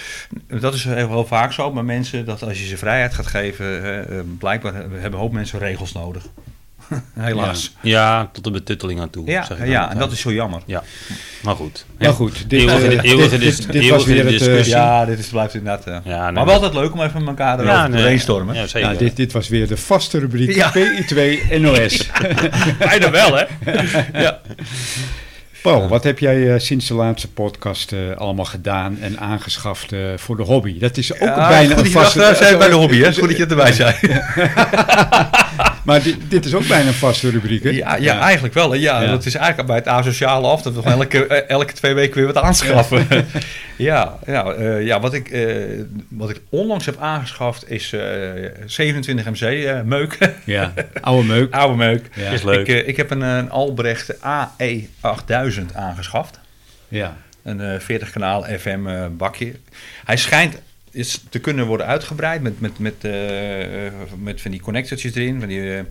[SPEAKER 2] Dat is heel, heel vaak zo bij mensen, dat als je ze vrijheid gaat geven, hè, eh, blijkbaar hebben een hoop mensen regels nodig. Helaas.
[SPEAKER 3] Ja, ja, tot de betutteling aan toe.
[SPEAKER 2] Ja,
[SPEAKER 3] zeg ik
[SPEAKER 2] ja,
[SPEAKER 3] altijd.
[SPEAKER 2] en dat is zo jammer.
[SPEAKER 3] Ja, maar goed.
[SPEAKER 1] Nou goed, dit,
[SPEAKER 3] Eeuwige-
[SPEAKER 1] eh,
[SPEAKER 3] de eeuwige
[SPEAKER 1] dit-
[SPEAKER 3] dis-
[SPEAKER 1] dit-
[SPEAKER 3] de
[SPEAKER 1] dit was
[SPEAKER 3] eeuwige
[SPEAKER 1] weer het... eh,
[SPEAKER 3] discussie.
[SPEAKER 1] ja,
[SPEAKER 2] Ja, dit is, blijft inderdaad... eh,
[SPEAKER 3] Ja,
[SPEAKER 2] maar
[SPEAKER 3] nee,
[SPEAKER 2] wel
[SPEAKER 3] dat-
[SPEAKER 2] altijd leuk om even met elkaar erover
[SPEAKER 3] Ja,
[SPEAKER 2] te
[SPEAKER 3] nee.
[SPEAKER 2] brainstormen.
[SPEAKER 3] Ja, zeker.
[SPEAKER 1] nou, dit, dit was weer de vaste rubriek
[SPEAKER 2] Ja.
[SPEAKER 1] PI2 NOS.
[SPEAKER 3] Bijna wel, hè?
[SPEAKER 1] Paul, wat heb jij eh, sinds de laatste podcast eh, allemaal gedaan en aangeschaft eh, voor de hobby? Dat is ook
[SPEAKER 2] Ja,
[SPEAKER 1] bijna een
[SPEAKER 2] goed eh, dat je vaste...
[SPEAKER 1] vaste...
[SPEAKER 2] bij de hobby, hè? Is Goed dat je erbij zei.
[SPEAKER 1] Maar dit, dit is ook bijna een vaste rubriek, hè?
[SPEAKER 2] Ja, ja, eigenlijk wel. hè. Ja,
[SPEAKER 3] Ja.
[SPEAKER 2] dat is eigenlijk bij het asociale af dat we gewoon elke, eh, elke twee weken weer wat aanschaffen. Ja, ja, eh, ja wat, ik, eh, wat ik onlangs heb aangeschaft is eh, 27 MC eh, meuk.
[SPEAKER 1] Ja, oude meuk.
[SPEAKER 2] Oude meuk.
[SPEAKER 1] Ja.
[SPEAKER 3] Is leuk.
[SPEAKER 2] Ik, eh, ik heb een, eh, Albrecht AE8000 aangeschaft.
[SPEAKER 1] Ja.
[SPEAKER 2] Een eh, 40 kanaal FM eh, bakje. Hij schijnt is te kunnen worden uitgebreid met, met, met, eh, eh, met van die connectortjes erin. Van die, eh,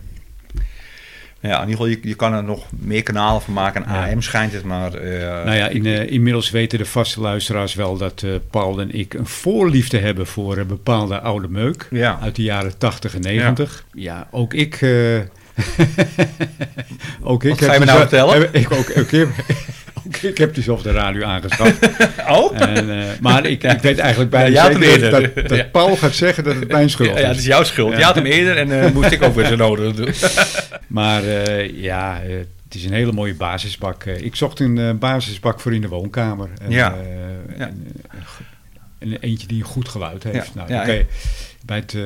[SPEAKER 2] nou ja, in ieder geval, je, je kan er nog meer kanalen van maken.
[SPEAKER 1] Ja.
[SPEAKER 2] AM schijnt het, maar... eh,
[SPEAKER 1] Nou ja, in, eh, inmiddels weten de vaste luisteraars wel dat eh, Paul en ik een voorliefde hebben voor een bepaalde oude meuk.
[SPEAKER 2] Ja.
[SPEAKER 1] Uit de jaren 80 en 90. Ja, ook ik. eh, ook ik
[SPEAKER 2] Wat ga je me nou
[SPEAKER 1] die zo-
[SPEAKER 2] vertellen?
[SPEAKER 1] heb- Ik, ook, ook, ik, ook ik heb die zo op de radio aangeschaft.
[SPEAKER 2] Oh?
[SPEAKER 1] En, eh, maar ik, ik weet eigenlijk bijna
[SPEAKER 2] Ja, jij had hem
[SPEAKER 1] zeker dat,
[SPEAKER 2] eerder.
[SPEAKER 1] dat- dat
[SPEAKER 2] Ja.
[SPEAKER 1] Paul gaat zeggen dat het mijn schuld
[SPEAKER 2] Ja, ja, dus- het
[SPEAKER 1] is.
[SPEAKER 2] is jouw schuld.
[SPEAKER 1] Ja.
[SPEAKER 2] Je had hem eerder en eh, moest ik ook weer zo nodig doen.
[SPEAKER 1] Maar eh, ja, eh, het is een hele mooie basisbak. Eh, ik zocht een eh, basisbak voor in de woonkamer. En,
[SPEAKER 2] Ja.
[SPEAKER 1] eh,
[SPEAKER 2] Ja.
[SPEAKER 1] en, eh, en eentje die een goed geluid heeft.
[SPEAKER 2] Ja.
[SPEAKER 1] Nou,
[SPEAKER 2] Ja,
[SPEAKER 1] dan kan je- bij het eh,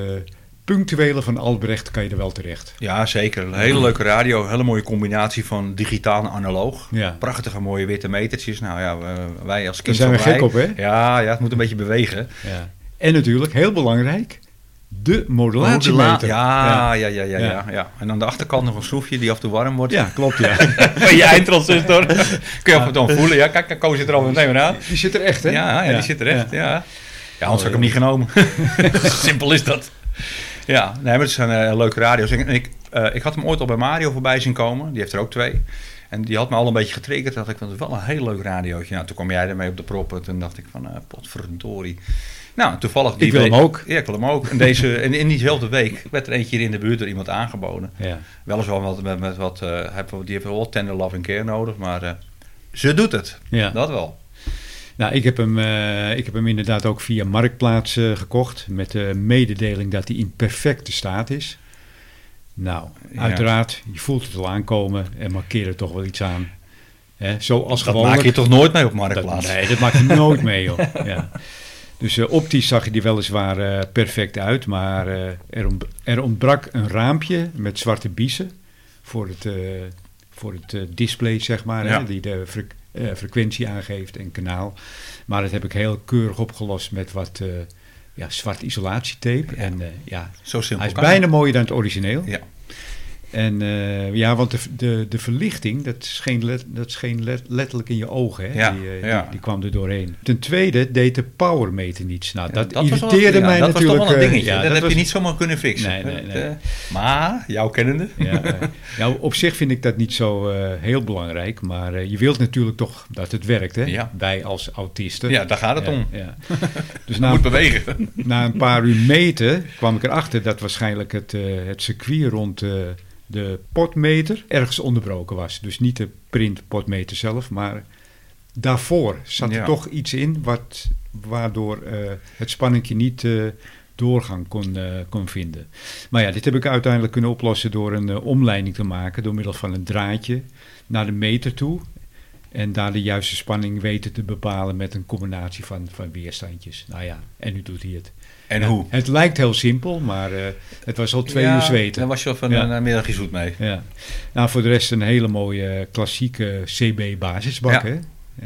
[SPEAKER 1] punctuele van Albrecht kan je er wel terecht.
[SPEAKER 2] Ja, zeker. Een hele leuke radio. Een hele mooie combinatie van digitaal en analoog.
[SPEAKER 1] Ja.
[SPEAKER 2] Prachtige mooie witte metertjes. Nou ja, we- wij als
[SPEAKER 1] Daar
[SPEAKER 2] kind
[SPEAKER 1] zijn we
[SPEAKER 2] van
[SPEAKER 1] gek
[SPEAKER 2] wij-
[SPEAKER 1] op, hè?
[SPEAKER 2] Ja, ja, het moet een beetje bewegen.
[SPEAKER 1] Ja. En natuurlijk, heel belangrijk, de
[SPEAKER 2] Ja,
[SPEAKER 1] modulatiemeter.
[SPEAKER 2] ja, ja, ja, ja,
[SPEAKER 1] Ja.
[SPEAKER 2] ja, ja. En aan de achterkant nog een schroefje die af te warm wordt.
[SPEAKER 1] Ja, klopt ja.
[SPEAKER 3] Van je eindtransistor.
[SPEAKER 2] Kun je het dan voelen. Ja, kijk, Ko zit er al meteen weer aan.
[SPEAKER 1] Die zit er echt hè?
[SPEAKER 2] Ja, ja, die zit er echt.
[SPEAKER 1] Ja.
[SPEAKER 2] Ja, ja. anders had ik hem niet genomen. Simpel is dat. Ja, nee, maar het zijn eh, leuke radio's. En ik, eh, ik had hem ooit al bij Mario voorbij zien komen. Die heeft er ook twee. En die had me al een beetje getriggerd. Dat ik vond het wel een heel leuk radiootje. Nou, toen kwam jij ermee op de proppen. Toen dacht ik van, eh potverdorie. Nou, toevallig...
[SPEAKER 1] Ik wil
[SPEAKER 2] week-
[SPEAKER 1] hem ook.
[SPEAKER 2] Ja, ik wil hem ook. En, deze, en in diezelfde week werd er eentje hier in de buurt door iemand aangeboden.
[SPEAKER 1] Ja.
[SPEAKER 2] Weliswaar wat, met, met wat, eh, hebben we- die hebben wel tender love en care nodig, maar eh, ze doet het.
[SPEAKER 1] Ja.
[SPEAKER 2] Dat wel.
[SPEAKER 1] Nou, ik heb, hem, eh, ik heb hem inderdaad ook via Marktplaats eh, gekocht. Met de mededeling dat hij in perfecte staat is. Nou,
[SPEAKER 2] Ja.
[SPEAKER 1] uiteraard, je voelt het al aankomen en markeer er toch wel iets aan. Hè, zoals
[SPEAKER 2] dat
[SPEAKER 1] gewoonlijk.
[SPEAKER 2] maak je toch nooit mee op
[SPEAKER 1] dat,
[SPEAKER 2] Marktplaats?
[SPEAKER 1] Nee, dat maak je nooit mee, joh. Ja. Dus eh, optisch zag je die weliswaar eh, perfect uit. Maar eh, er, ont- er ontbrak een raampje met zwarte biezen. Voor het, eh, voor het eh, display, zeg maar.
[SPEAKER 2] Ja.
[SPEAKER 1] Hè, die de fre- eh, frequentie aangeeft en kanaal. Maar dat heb ik heel keurig opgelost met wat eh, ja, zwart isolatietape. En eh, ja,
[SPEAKER 2] Zo simpel
[SPEAKER 1] hij is
[SPEAKER 2] kan het.
[SPEAKER 1] bijna mooier dan het origineel.
[SPEAKER 2] Ja.
[SPEAKER 1] En eh, ja, want de, de, de verlichting, dat scheen, let- dat scheen let- letterlijk in je ogen. Hè?
[SPEAKER 2] Ja,
[SPEAKER 1] die, eh,
[SPEAKER 2] ja.
[SPEAKER 1] die, die kwam er doorheen. Ten tweede deed de powermeter niets. Nou, dat,
[SPEAKER 2] was wel-
[SPEAKER 1] irriteerde
[SPEAKER 2] ja,
[SPEAKER 1] mij
[SPEAKER 2] dat
[SPEAKER 1] natuurlijk.
[SPEAKER 2] was toch wel
[SPEAKER 1] eh,
[SPEAKER 2] een dingetje.
[SPEAKER 1] ja,
[SPEAKER 2] dat, heb
[SPEAKER 1] was-
[SPEAKER 2] je niet zomaar kunnen fixen.
[SPEAKER 1] Nee, nee, nee.
[SPEAKER 2] Eh, maar, jouw kennende.
[SPEAKER 1] Ja, eh, ja, op zich vind ik dat niet zo eh, heel belangrijk. Maar eh, je wilt natuurlijk toch dat het werkt, hè?
[SPEAKER 2] Ja.
[SPEAKER 1] Wij als autisten.
[SPEAKER 2] Ja, daar gaat het
[SPEAKER 1] Ja,
[SPEAKER 2] om.
[SPEAKER 1] ja. Dus
[SPEAKER 2] Je
[SPEAKER 1] na,
[SPEAKER 2] moet bewegen.
[SPEAKER 1] na een paar uur meten kwam ik erachter dat waarschijnlijk het, eh, het circuit rond eh, de potmeter ergens onderbroken was. Dus niet de printpotmeter zelf, maar daarvoor zat er
[SPEAKER 2] Ja.
[SPEAKER 1] toch iets in wat, waardoor eh, het spanningje niet eh, doorgang kon, eh, kon vinden. Maar ja, dit heb ik uiteindelijk kunnen oplossen door een eh, omleiding te maken door middel van een draadje naar de meter toe. En daar de juiste spanning weten te bepalen met een combinatie van, van weerstandjes. Nou ja, en nu doet hij het.
[SPEAKER 2] En
[SPEAKER 1] Ja,
[SPEAKER 2] hoe?
[SPEAKER 1] Het lijkt heel simpel, maar eh, het was al twee
[SPEAKER 2] Ja,
[SPEAKER 1] uur zweten.
[SPEAKER 2] Daar was je al van
[SPEAKER 1] Ja.
[SPEAKER 2] een eh, middagje zoet mee.
[SPEAKER 1] Ja. Nou, voor de rest een hele mooie eh, klassieke CB-basisbak.
[SPEAKER 2] Ja.
[SPEAKER 1] Hè?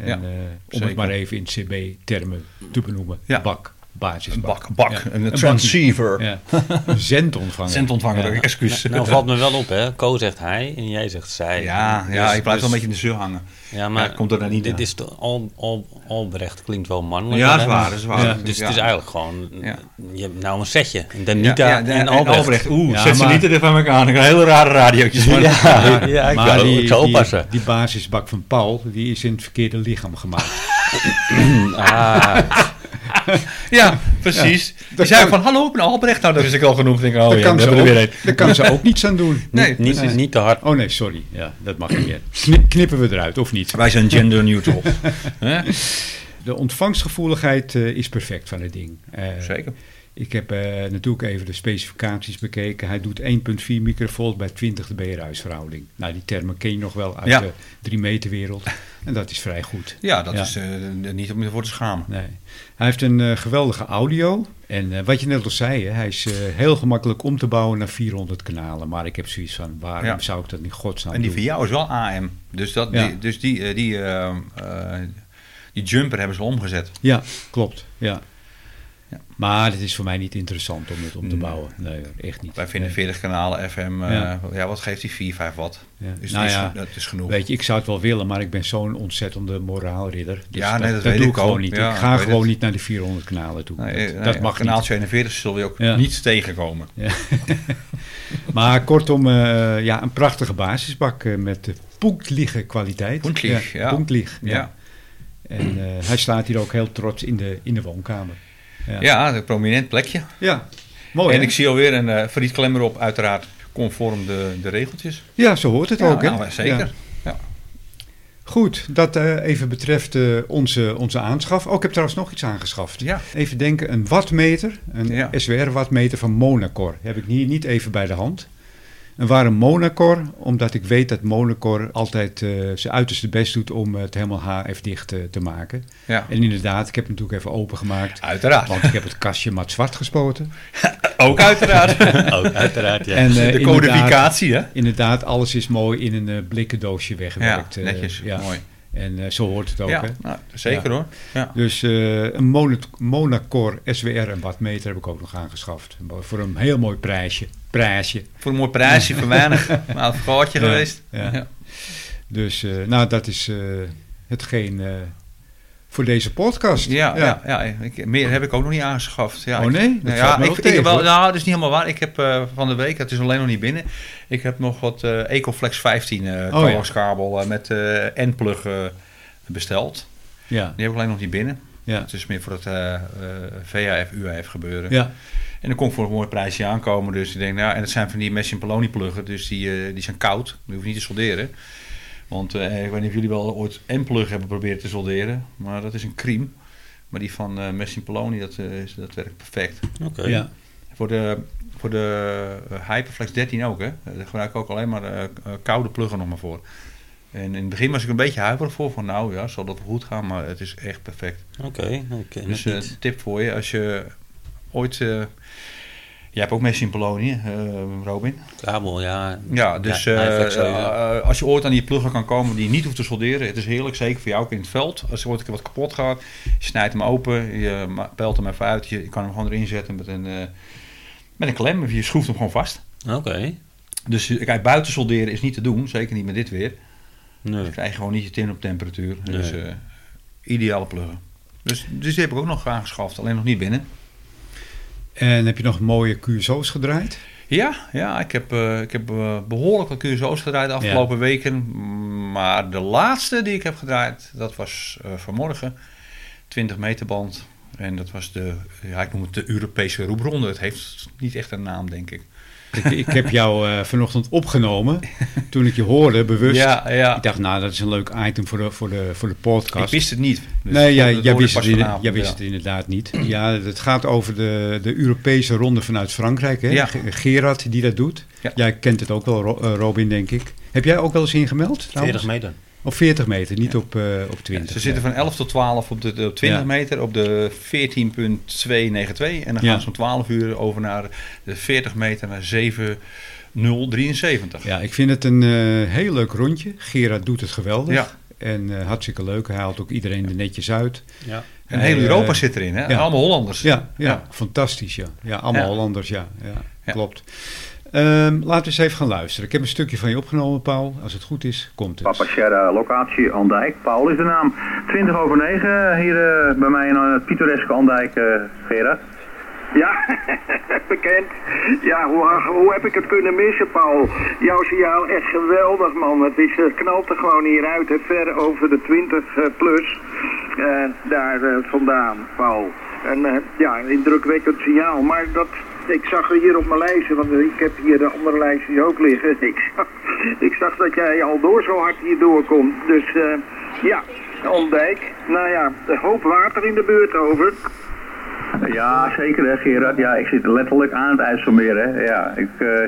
[SPEAKER 1] En,
[SPEAKER 2] Ja,
[SPEAKER 1] eh, om
[SPEAKER 2] zeker.
[SPEAKER 1] het maar even in CB-termen te benoemen.
[SPEAKER 2] Ja.
[SPEAKER 1] Bak,
[SPEAKER 2] Een
[SPEAKER 1] basisbak.
[SPEAKER 2] bak, bak
[SPEAKER 1] Ja.
[SPEAKER 2] een,
[SPEAKER 1] Een
[SPEAKER 2] transceiver.
[SPEAKER 1] Ja. Een zendontvanger.
[SPEAKER 2] Zendontvanger,
[SPEAKER 3] Ja.
[SPEAKER 2] excuus.
[SPEAKER 3] Nou, valt me wel op, hè. Ko zegt hij en jij zegt zij.
[SPEAKER 2] ja, ja,
[SPEAKER 3] Dus-
[SPEAKER 2] ik blijf
[SPEAKER 3] dus-
[SPEAKER 2] wel een beetje in de zeur hangen.
[SPEAKER 3] Ja, maar
[SPEAKER 2] Ja, komt er dan niet
[SPEAKER 3] Dit
[SPEAKER 2] aan.
[SPEAKER 3] is toch al, al, Albrecht klinkt wel mannelijk.
[SPEAKER 2] Ja, dat
[SPEAKER 3] hè?
[SPEAKER 2] is waar, dat is waar.
[SPEAKER 1] Ja,
[SPEAKER 3] Dus
[SPEAKER 2] Ja.
[SPEAKER 3] het is eigenlijk gewoon,
[SPEAKER 2] Ja.
[SPEAKER 3] je hebt nou een setje. En Danita en Albrecht.
[SPEAKER 2] Oeh,
[SPEAKER 1] Ja,
[SPEAKER 2] zet ze
[SPEAKER 1] maar-
[SPEAKER 2] niet te dicht bij elkaar. Dan krijg je hele rare radiootjes. van.
[SPEAKER 3] Ja, ja, ik
[SPEAKER 1] maar
[SPEAKER 3] zou-
[SPEAKER 1] die,
[SPEAKER 3] ik zou
[SPEAKER 1] die-
[SPEAKER 3] oppassen.
[SPEAKER 1] Die, basisbak van Paul, die is in het verkeerde lichaam
[SPEAKER 2] Oh,
[SPEAKER 1] gemaakt.
[SPEAKER 3] Ah,
[SPEAKER 2] Ja, precies. Die
[SPEAKER 1] dat
[SPEAKER 2] zei ook
[SPEAKER 1] kan-
[SPEAKER 2] van, hallo, ik ben Albrecht. Nou, dat is ik al genoeg. Denk, ik, oh,
[SPEAKER 1] daar,
[SPEAKER 2] ja,
[SPEAKER 1] kan
[SPEAKER 2] we
[SPEAKER 1] ze
[SPEAKER 2] hebben er weer
[SPEAKER 1] ook,
[SPEAKER 2] een.
[SPEAKER 1] daar kan ze ook niets aan doen.
[SPEAKER 2] Nee,
[SPEAKER 3] niet,
[SPEAKER 2] precies.
[SPEAKER 3] niet te hard.
[SPEAKER 1] Oh nee, sorry. Ja, dat mag niet meer. Knip- knippen we eruit, of niet?
[SPEAKER 2] Wij zijn gender neutral. Hè?
[SPEAKER 1] De ontvangstgevoeligheid eh, is perfect van het ding. Eh,
[SPEAKER 2] Zeker.
[SPEAKER 1] Ik heb eh, natuurlijk even de specificaties bekeken. Hij doet 1,4 microvolt bij 20 dB huisverhouding. Nou, die termen ken je nog wel uit
[SPEAKER 2] Ja.
[SPEAKER 1] de 3 meter wereld. En dat is vrij goed.
[SPEAKER 2] Ja, dat
[SPEAKER 1] Ja.
[SPEAKER 2] is eh, niet om je voor te schamen.
[SPEAKER 1] Nee. Hij heeft een eh, geweldige audio. En eh, wat je net al zei, hè, hij is eh, heel gemakkelijk om te bouwen naar 400 kanalen. Maar ik heb zoiets van, waarom
[SPEAKER 2] Ja.
[SPEAKER 1] zou ik dat in godsnaam
[SPEAKER 2] En die van
[SPEAKER 1] doen?
[SPEAKER 2] jou is wel AM. Dus, dat,
[SPEAKER 1] Ja.
[SPEAKER 2] die, dus die, eh, die, eh, eh, die jumper hebben ze omgezet.
[SPEAKER 1] Ja, klopt. Ja.
[SPEAKER 2] Ja.
[SPEAKER 1] Maar het is voor mij niet interessant om het om te
[SPEAKER 2] Nee.
[SPEAKER 1] bouwen. Nee, echt niet.
[SPEAKER 2] Wij vinden
[SPEAKER 1] Nee.
[SPEAKER 2] 40 kanalen FM. eh, ja.
[SPEAKER 1] Ja.
[SPEAKER 2] wat geeft die 4, 5 watt?
[SPEAKER 1] Ja.
[SPEAKER 2] Dus
[SPEAKER 1] Nou
[SPEAKER 2] dat,
[SPEAKER 1] ja,
[SPEAKER 2] is, dat is genoeg.
[SPEAKER 1] Weet je, ik zou het wel willen, maar ik ben zo'n ontzettende moraalridder. Dus
[SPEAKER 2] Ja, nee, dat
[SPEAKER 1] doe
[SPEAKER 2] weet ik
[SPEAKER 1] ik gewoon
[SPEAKER 2] ook.
[SPEAKER 1] niet.
[SPEAKER 2] Ja,
[SPEAKER 1] ik ga
[SPEAKER 2] ik weet
[SPEAKER 1] gewoon
[SPEAKER 2] het.
[SPEAKER 1] niet naar die 400 kanalen toe.
[SPEAKER 2] Nee,
[SPEAKER 1] dat
[SPEAKER 2] nee,
[SPEAKER 1] dat mag
[SPEAKER 2] kanaal
[SPEAKER 1] niet.
[SPEAKER 2] 42 zullen we ook
[SPEAKER 1] Ja.
[SPEAKER 2] niet tegenkomen.
[SPEAKER 1] Maar kortom, eh, ja, een prachtige basisbak eh, met de punktliege kwaliteit.
[SPEAKER 2] Punktlich, ja.
[SPEAKER 1] punktlich, ja.
[SPEAKER 2] Ja.
[SPEAKER 1] En eh, hij staat hier ook heel trots in de, in de woonkamer.
[SPEAKER 2] Ja.
[SPEAKER 1] Ja,
[SPEAKER 2] een prominent plekje.
[SPEAKER 1] Oh, Ja. mooi.
[SPEAKER 2] en
[SPEAKER 1] hè?
[SPEAKER 2] ik zie alweer een eh Fried Klemmer op, uiteraard conform de, de regeltjes.
[SPEAKER 1] Ja, zo hoort het
[SPEAKER 2] Ja,
[SPEAKER 1] ook. Hè?
[SPEAKER 2] nou, zeker.
[SPEAKER 1] Ja. Goed, dat eh, even betreft eh, onze, onze aanschaf. Ook ik heb trouwens nog iets aangeschaft.
[SPEAKER 2] Ja.
[SPEAKER 1] Even denken, een wattmeter, een
[SPEAKER 2] Ja.
[SPEAKER 1] SWR-wattmeter van Monacor. Heb ik hier niet even bij de hand. En waarom Monacor? Omdat ik weet dat Monacor altijd eh, zijn uiterste best doet om het helemaal HF-dicht eh, te maken.
[SPEAKER 2] Ja.
[SPEAKER 1] En inderdaad, ik heb hem natuurlijk even opengemaakt.
[SPEAKER 2] Uiteraard.
[SPEAKER 1] Want ik heb het kastje mat zwart gespoten.
[SPEAKER 2] Ook uiteraard.
[SPEAKER 3] Ook, uiteraard, ja.
[SPEAKER 1] En, eh,
[SPEAKER 2] de
[SPEAKER 1] inderdaad-
[SPEAKER 2] codificatie, hè?
[SPEAKER 1] Inderdaad, alles is mooi in een eh, blikken doosje
[SPEAKER 2] Ja,
[SPEAKER 1] weggewerkt. eh,
[SPEAKER 2] netjes.
[SPEAKER 1] ja.
[SPEAKER 2] Mooi.
[SPEAKER 1] En eh, zo hoort het ook.
[SPEAKER 2] ja,
[SPEAKER 1] Hè?
[SPEAKER 2] nou, zeker
[SPEAKER 1] Ja.
[SPEAKER 2] hoor. Ja.
[SPEAKER 1] Dus eh, een Monat- Monacor SWR en wattmeter heb ik ook nog aangeschaft. Voor een heel mooi prijsje. prijsje.
[SPEAKER 2] Voor een mooi prijsje, voor weinig. Maar het goudje
[SPEAKER 1] Ja,
[SPEAKER 2] geweest.
[SPEAKER 1] ja.
[SPEAKER 2] Ja.
[SPEAKER 1] Dus eh, nou, dat is eh, hetgeen eh, voor deze podcast.
[SPEAKER 2] Ja, ja. ja, ik, meer heb ik ook nog niet aangeschaft. Ja,
[SPEAKER 1] Oh,
[SPEAKER 2] ik-
[SPEAKER 1] nee? Dat
[SPEAKER 2] Nou,
[SPEAKER 1] valt
[SPEAKER 2] ja,
[SPEAKER 1] me
[SPEAKER 2] ik,
[SPEAKER 1] wel
[SPEAKER 2] ik,
[SPEAKER 1] tegen,
[SPEAKER 2] wel,
[SPEAKER 1] hoor.
[SPEAKER 2] nou, dat is niet helemaal waar. Ik heb eh, van de week, het is alleen nog niet binnen. Ik heb nog wat eh, Ecoflex 15 eh
[SPEAKER 1] Oh, ja.
[SPEAKER 2] toegankabel, eh, met eh N-plug eh, besteld.
[SPEAKER 1] Ja,
[SPEAKER 2] Die heb ik alleen nog niet binnen.
[SPEAKER 1] ja,
[SPEAKER 2] Het is meer voor het eh, eh, VHF, UHF gebeuren.
[SPEAKER 1] ja.
[SPEAKER 2] En dan kon ik voor een mooi prijsje aankomen. Dus ik denk, nou, en het zijn van die Messi en Poloni pluggen. Dus die, eh, die zijn koud. Die hoef je niet te solderen. Want eh, ik weet niet of jullie wel ooit een plug hebben proberen te solderen. Maar dat is een crime. Maar die van eh Messi en Poloni, dat, eh, is- dat werkt perfect.
[SPEAKER 3] Oké.
[SPEAKER 1] ja.
[SPEAKER 2] Voor de, voor de eh, Hyperflex 13 ook, hè. Daar gebruik ik ook alleen maar eh, eh, koude pluggen nog maar voor. En in het begin was ik een beetje huiverig voor. Van nou ja, zal dat wel goed gaan? Maar het is echt perfect.
[SPEAKER 3] Oké, ik ken
[SPEAKER 2] Dus
[SPEAKER 3] het
[SPEAKER 2] een
[SPEAKER 3] niet.
[SPEAKER 2] tip voor je, als je ooit... eh, jij hebt ook mensen in Polonië, eh, Robin.
[SPEAKER 3] Kabel, ja.
[SPEAKER 2] Ja, dus
[SPEAKER 3] Ja,
[SPEAKER 2] eh,
[SPEAKER 3] eigenlijk zo, ja.
[SPEAKER 2] eh, als je ooit aan die plugger kan komen die je niet hoeft te solderen... Het is heerlijk, zeker voor jou ook in het veld. Als er ooit een keer wat kapot gaat, je snijdt hem open, je ma- pelt hem even uit. Je, je kan hem gewoon erin zetten met een, eh, met een klem of je schroeft hem gewoon vast.
[SPEAKER 3] Oké.
[SPEAKER 2] Dus je- kijk, buiten solderen is niet te doen, zeker niet met dit weer.
[SPEAKER 3] Nee.
[SPEAKER 2] Dan krijg je gewoon niet je tin op temperatuur.
[SPEAKER 3] Nee.
[SPEAKER 2] Dus eh, ideale plugger. Dus, dus die heb ik ook nog aangeschaft, alleen nog niet binnen.
[SPEAKER 1] En heb je nog mooie QSO's gedraaid?
[SPEAKER 2] Ja, ja ik heb, eh, ik heb eh, behoorlijk wat QSO's gedraaid de afgelopen weken. Maar de laatste die ik heb gedraaid, dat was eh, vanmorgen. 20 meter band. En dat was de, ja, ik noem het de Europese roepronde. Het heeft niet echt een naam, denk ik.
[SPEAKER 1] ik, ik heb jou eh, vanochtend opgenomen toen ik je hoorde, bewust.
[SPEAKER 2] Ja, ja.
[SPEAKER 1] Ik dacht, nou, dat is een leuk item voor de, voor de, voor de
[SPEAKER 2] Ik
[SPEAKER 1] podcast.
[SPEAKER 2] wist het niet. Dus
[SPEAKER 1] nee, jij,
[SPEAKER 2] dat
[SPEAKER 1] jij
[SPEAKER 2] hoorde
[SPEAKER 1] wist,
[SPEAKER 2] ik pas
[SPEAKER 1] het, in-
[SPEAKER 2] vanavond,
[SPEAKER 1] jij wist
[SPEAKER 2] ja.
[SPEAKER 1] het inderdaad niet. Ja, het gaat over de, de Europese ronde vanuit Frankrijk. Hè?
[SPEAKER 2] Ja.
[SPEAKER 1] Ge- Gerard die dat doet.
[SPEAKER 2] Ja.
[SPEAKER 1] Jij kent het ook wel, Ro- eh, Robin, denk ik. Heb jij ook wel eens ingemeld? trouwens?
[SPEAKER 3] 40 meter.
[SPEAKER 1] Op 40 meter, niet op, eh, op 20.
[SPEAKER 2] Ze zitten van 11 tot 12 op de, de 20
[SPEAKER 1] Ja.
[SPEAKER 2] meter op de 14.292. En dan
[SPEAKER 1] Ja.
[SPEAKER 2] gaan ze om 12 uur over naar de 40 meter naar 7073.
[SPEAKER 1] Ja, ik vind het een eh, heel leuk rondje. Gerard doet het geweldig.
[SPEAKER 2] Ja.
[SPEAKER 1] En eh, hartstikke leuk. Hij haalt ook iedereen er netjes uit.
[SPEAKER 3] Ja.
[SPEAKER 2] En
[SPEAKER 1] Hij,
[SPEAKER 2] heel Europa
[SPEAKER 1] eh,
[SPEAKER 2] zit erin, hè?
[SPEAKER 1] ja.
[SPEAKER 2] Allemaal Hollanders.
[SPEAKER 1] Ja, ja,
[SPEAKER 2] Ja.
[SPEAKER 1] fantastisch. Ja, ja allemaal
[SPEAKER 2] Ja.
[SPEAKER 1] Hollanders. Ja, ja,
[SPEAKER 2] Ja.
[SPEAKER 1] klopt. Ehm, laten we eens even gaan luisteren. Ik heb een stukje van je opgenomen, Paul. Als het goed is, komt het.
[SPEAKER 4] Papa Sierra, locatie Andijk. Paul is de naam. 20 over 9 hier eh, bij mij in eh, het pittoreske Andijk, eh Gerard.
[SPEAKER 5] Ja, bekend. Ja, hoe, eh, hoe heb ik het kunnen missen, Paul? Jouw signaal echt geweldig, man. Het is, eh, knalt er gewoon hieruit, hè, ver over de 20 eh, plus. eh, daar eh, vandaan, Paul. En eh, ja, een indrukwekkend signaal. Maar dat, ik zag er hier op mijn lijstje, want ik heb hier de andere lijstjes ook liggen. Ik zag, ik zag dat jij al door zo hard hier doorkomt. Dus eh, ja, Ondijk. Nou ja, een hoop water in de buurt over.
[SPEAKER 4] Ja, zeker hè Gerard. Ja, ik zit letterlijk aan het IJsselmeer hè. Ja, ik, eh,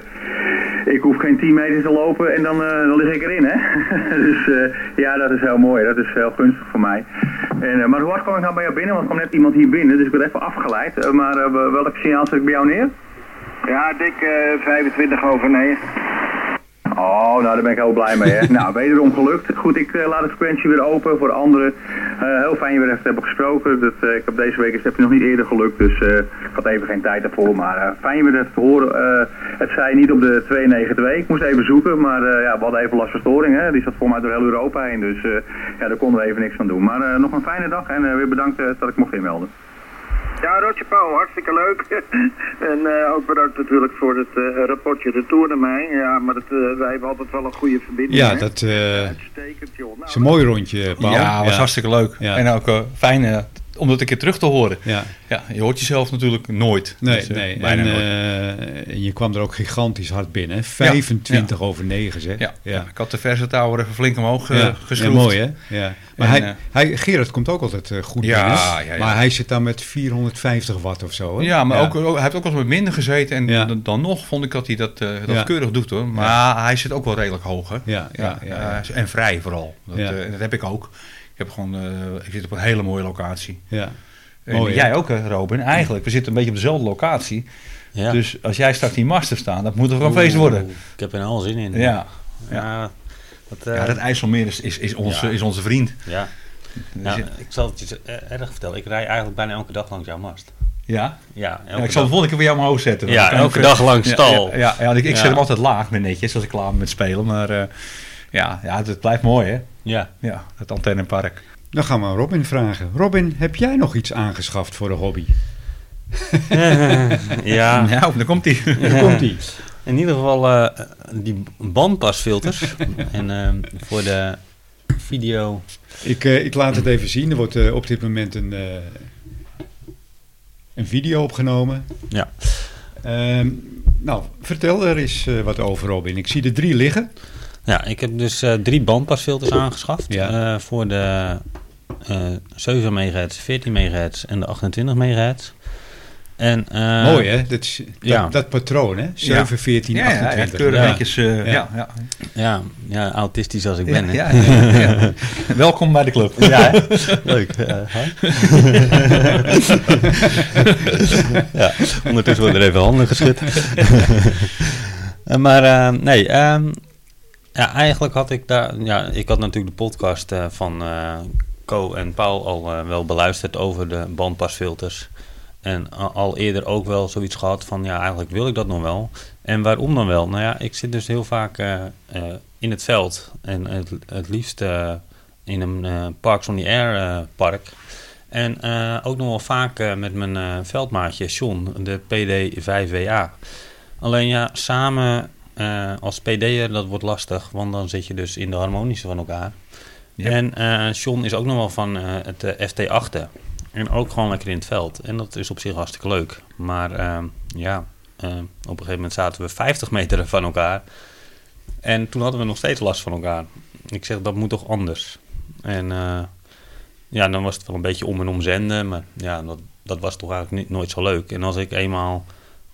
[SPEAKER 4] ik hoef geen 10 meter te lopen en dan, eh, dan lig ik erin hè. dus eh, ja, dat is heel mooi. Dat is heel gunstig voor mij. En, eh, maar hoe hard kwam ik nou bij jou binnen? Want er kwam net iemand hier binnen, dus ik ben even afgeleid. Eh, maar eh, welk signaal zet ik bij jou neer?
[SPEAKER 5] Ja, dik eh, 25 over 9.
[SPEAKER 4] Oh, nou daar ben ik heel blij mee. Hè. nou, wederom gelukt. Goed, ik eh, laat de frequentie weer open voor anderen. Eh, heel fijn je weer even te hebben gesproken. Dat, eh, ik heb deze week is heb je nog niet eerder gelukt, dus eh, ik had even geen tijd daarvoor. Maar eh, fijn je weer even te horen. Eh, het zei niet op de 292. Ik moest even zoeken, maar eh, ja, we hadden even last van storing. Hè. Die zat voor mij door heel Europa heen, dus eh, ja, daar konden we even niks aan doen. Maar eh, nog een fijne dag en eh, weer bedankt eh, dat ik mocht inmelden.
[SPEAKER 5] Ja, Rotje Paul, hartstikke leuk. en eh, ook bedankt natuurlijk voor het eh, rapportje retour naar mij. Ja, maar het, eh, wij hebben altijd wel een goede verbinding.
[SPEAKER 1] Ja,
[SPEAKER 5] hè?
[SPEAKER 1] dat eh,
[SPEAKER 5] Uitstekend, joh. Nou,
[SPEAKER 1] is een mooi rondje, Paul.
[SPEAKER 2] Ja, was hartstikke leuk.
[SPEAKER 1] Ja.
[SPEAKER 2] En ook eh, fijn eh, om dat een keer terug te horen.
[SPEAKER 1] Ja.
[SPEAKER 2] Ja, je hoort jezelf natuurlijk nooit.
[SPEAKER 1] Nee,
[SPEAKER 2] Dus, eh,
[SPEAKER 1] nee. En,
[SPEAKER 2] Bijna nooit.
[SPEAKER 1] eh, en je kwam er ook gigantisch hard binnen. hè. 25 over 9, zeg.
[SPEAKER 2] Ja. ik had de verse tower even flink omhoog eh,
[SPEAKER 1] eh, Ja,
[SPEAKER 2] geschroefd.
[SPEAKER 1] ja, mooi hè? Ja. Maar
[SPEAKER 2] En,
[SPEAKER 1] hij,
[SPEAKER 2] eh,
[SPEAKER 1] hij, Gerard komt ook altijd eh, goed
[SPEAKER 2] Ja,
[SPEAKER 1] binnen.
[SPEAKER 2] ja, ja.
[SPEAKER 1] Maar hij zit dan met 450 watt of zo. Hè?
[SPEAKER 2] Ja, maar Ook, ook- hij heeft ook wel eens met minder gezeten. En
[SPEAKER 1] Ja.
[SPEAKER 2] dan, dan nog vond ik dat hij dat, eh, dat
[SPEAKER 1] Ja.
[SPEAKER 2] keurig doet hoor. Maar hij zit ook wel redelijk hoog hè.
[SPEAKER 1] Ja, ja, ja, ja.
[SPEAKER 2] eh, en vrij vooral. Dat,
[SPEAKER 1] Ja.
[SPEAKER 2] eh, dat heb ik ook. Ik, heb gewoon, eh, ik zit op een hele mooie locatie.
[SPEAKER 1] Ja.
[SPEAKER 2] En
[SPEAKER 1] Mooi, hè?
[SPEAKER 2] jij ook hè Robin. Eigenlijk, we zitten een beetje op dezelfde locatie.
[SPEAKER 3] Ja.
[SPEAKER 2] Dus als jij straks die master staan, dat moet er gewoon
[SPEAKER 3] Oeh,
[SPEAKER 2] feest worden.
[SPEAKER 3] Ik heb er al zin in.
[SPEAKER 2] Ja.
[SPEAKER 3] Ja, dat, eh,
[SPEAKER 2] Ja, dat IJsselmeer is, is, is, onze,
[SPEAKER 3] Ja.
[SPEAKER 2] is onze vriend.
[SPEAKER 3] ja.
[SPEAKER 2] Dus,
[SPEAKER 3] Nou, ik zal het je z- eh, erg vertellen. Ik rij eigenlijk bijna elke dag langs jouw mast.
[SPEAKER 2] ja?
[SPEAKER 3] Ja, elke
[SPEAKER 2] Ja, ik zal het volgende keer bij jou omhoog zetten.
[SPEAKER 3] Ja,
[SPEAKER 2] Dan kan
[SPEAKER 3] elke
[SPEAKER 2] ik-
[SPEAKER 3] dag langs
[SPEAKER 2] Ja,
[SPEAKER 3] stal.
[SPEAKER 2] Ja, ja, ja, ik, ik zet
[SPEAKER 3] Ja.
[SPEAKER 2] hem altijd laag, ben netjes, als ik klaar ben met spelen. Maar eh, ja, ja, het blijft mooi, hè?
[SPEAKER 3] Ja.
[SPEAKER 2] Ja, het antennepark.
[SPEAKER 1] Dan gaan we aan Robin vragen. Robin, heb jij nog iets aangeschaft voor de hobby?
[SPEAKER 3] ja.
[SPEAKER 2] Nou, dan komt hij.
[SPEAKER 3] Daar komt ie. In ieder geval eh, die bandpasfilters. en eh, voor de video.
[SPEAKER 1] Ik, eh, ik laat het even zien. Er wordt eh, op dit moment een, eh, een video opgenomen.
[SPEAKER 3] Ja.
[SPEAKER 1] Ehm, nou, vertel er eens eh, wat over, Robin. Ik zie er drie liggen.
[SPEAKER 3] Ja, ik heb dus eh, drie bandpasfilters aangeschaft.
[SPEAKER 1] Ja.
[SPEAKER 3] eh, voor de eh 7 MHz, 14 MHz en de 28 MHz. En, eh,
[SPEAKER 1] Mooi, hè? Dat, is, dat,
[SPEAKER 3] ja.
[SPEAKER 1] dat patroon, hè? 7, 14,
[SPEAKER 2] Ja, ja, ja,
[SPEAKER 1] 28.
[SPEAKER 2] keurig
[SPEAKER 3] Ja.
[SPEAKER 2] netjes. eh, ja. Ja,
[SPEAKER 3] Ja, ja, autistisch als ik
[SPEAKER 2] ja,
[SPEAKER 3] ben. hè.
[SPEAKER 2] ja, ja, ja. Welkom bij de club. Ja,
[SPEAKER 3] Leuk. ja, ondertussen worden er even handen geschud. Eh, maar eh, nee, ehm, ja, eigenlijk had ik daar... Ja, ik had natuurlijk de podcast eh, van eh, Co en Paul al eh, wel beluisterd over de bandpasfilters. En a- al eerder ook wel zoiets gehad van, ja, eigenlijk wil ik dat nog wel. En waarom dan wel? Nou ja, ik zit dus heel vaak eh, eh, in het veld. En het, het liefst eh, in een eh, Parks on the Air eh, park. En eh, ook nog wel vaak eh, met mijn eh, veldmaatje John, de PD5WA. Alleen ja, samen eh, als PD'er, dat wordt lastig. Want dan zit je dus in de harmonische van elkaar.
[SPEAKER 2] Yep.
[SPEAKER 3] En eh John is ook nog wel van eh, het eh, FT8. En ook gewoon lekker in het veld. En dat is op zich hartstikke leuk. Maar ehm, ja, eh, op een gegeven moment zaten we 50 meter van elkaar. En toen hadden we nog steeds last van elkaar. Ik zeg, dat moet toch anders? En eh, ja, dan was het wel een beetje om en om zenden. Maar ja, dat, dat was toch eigenlijk niet, nooit zo leuk. En als ik eenmaal,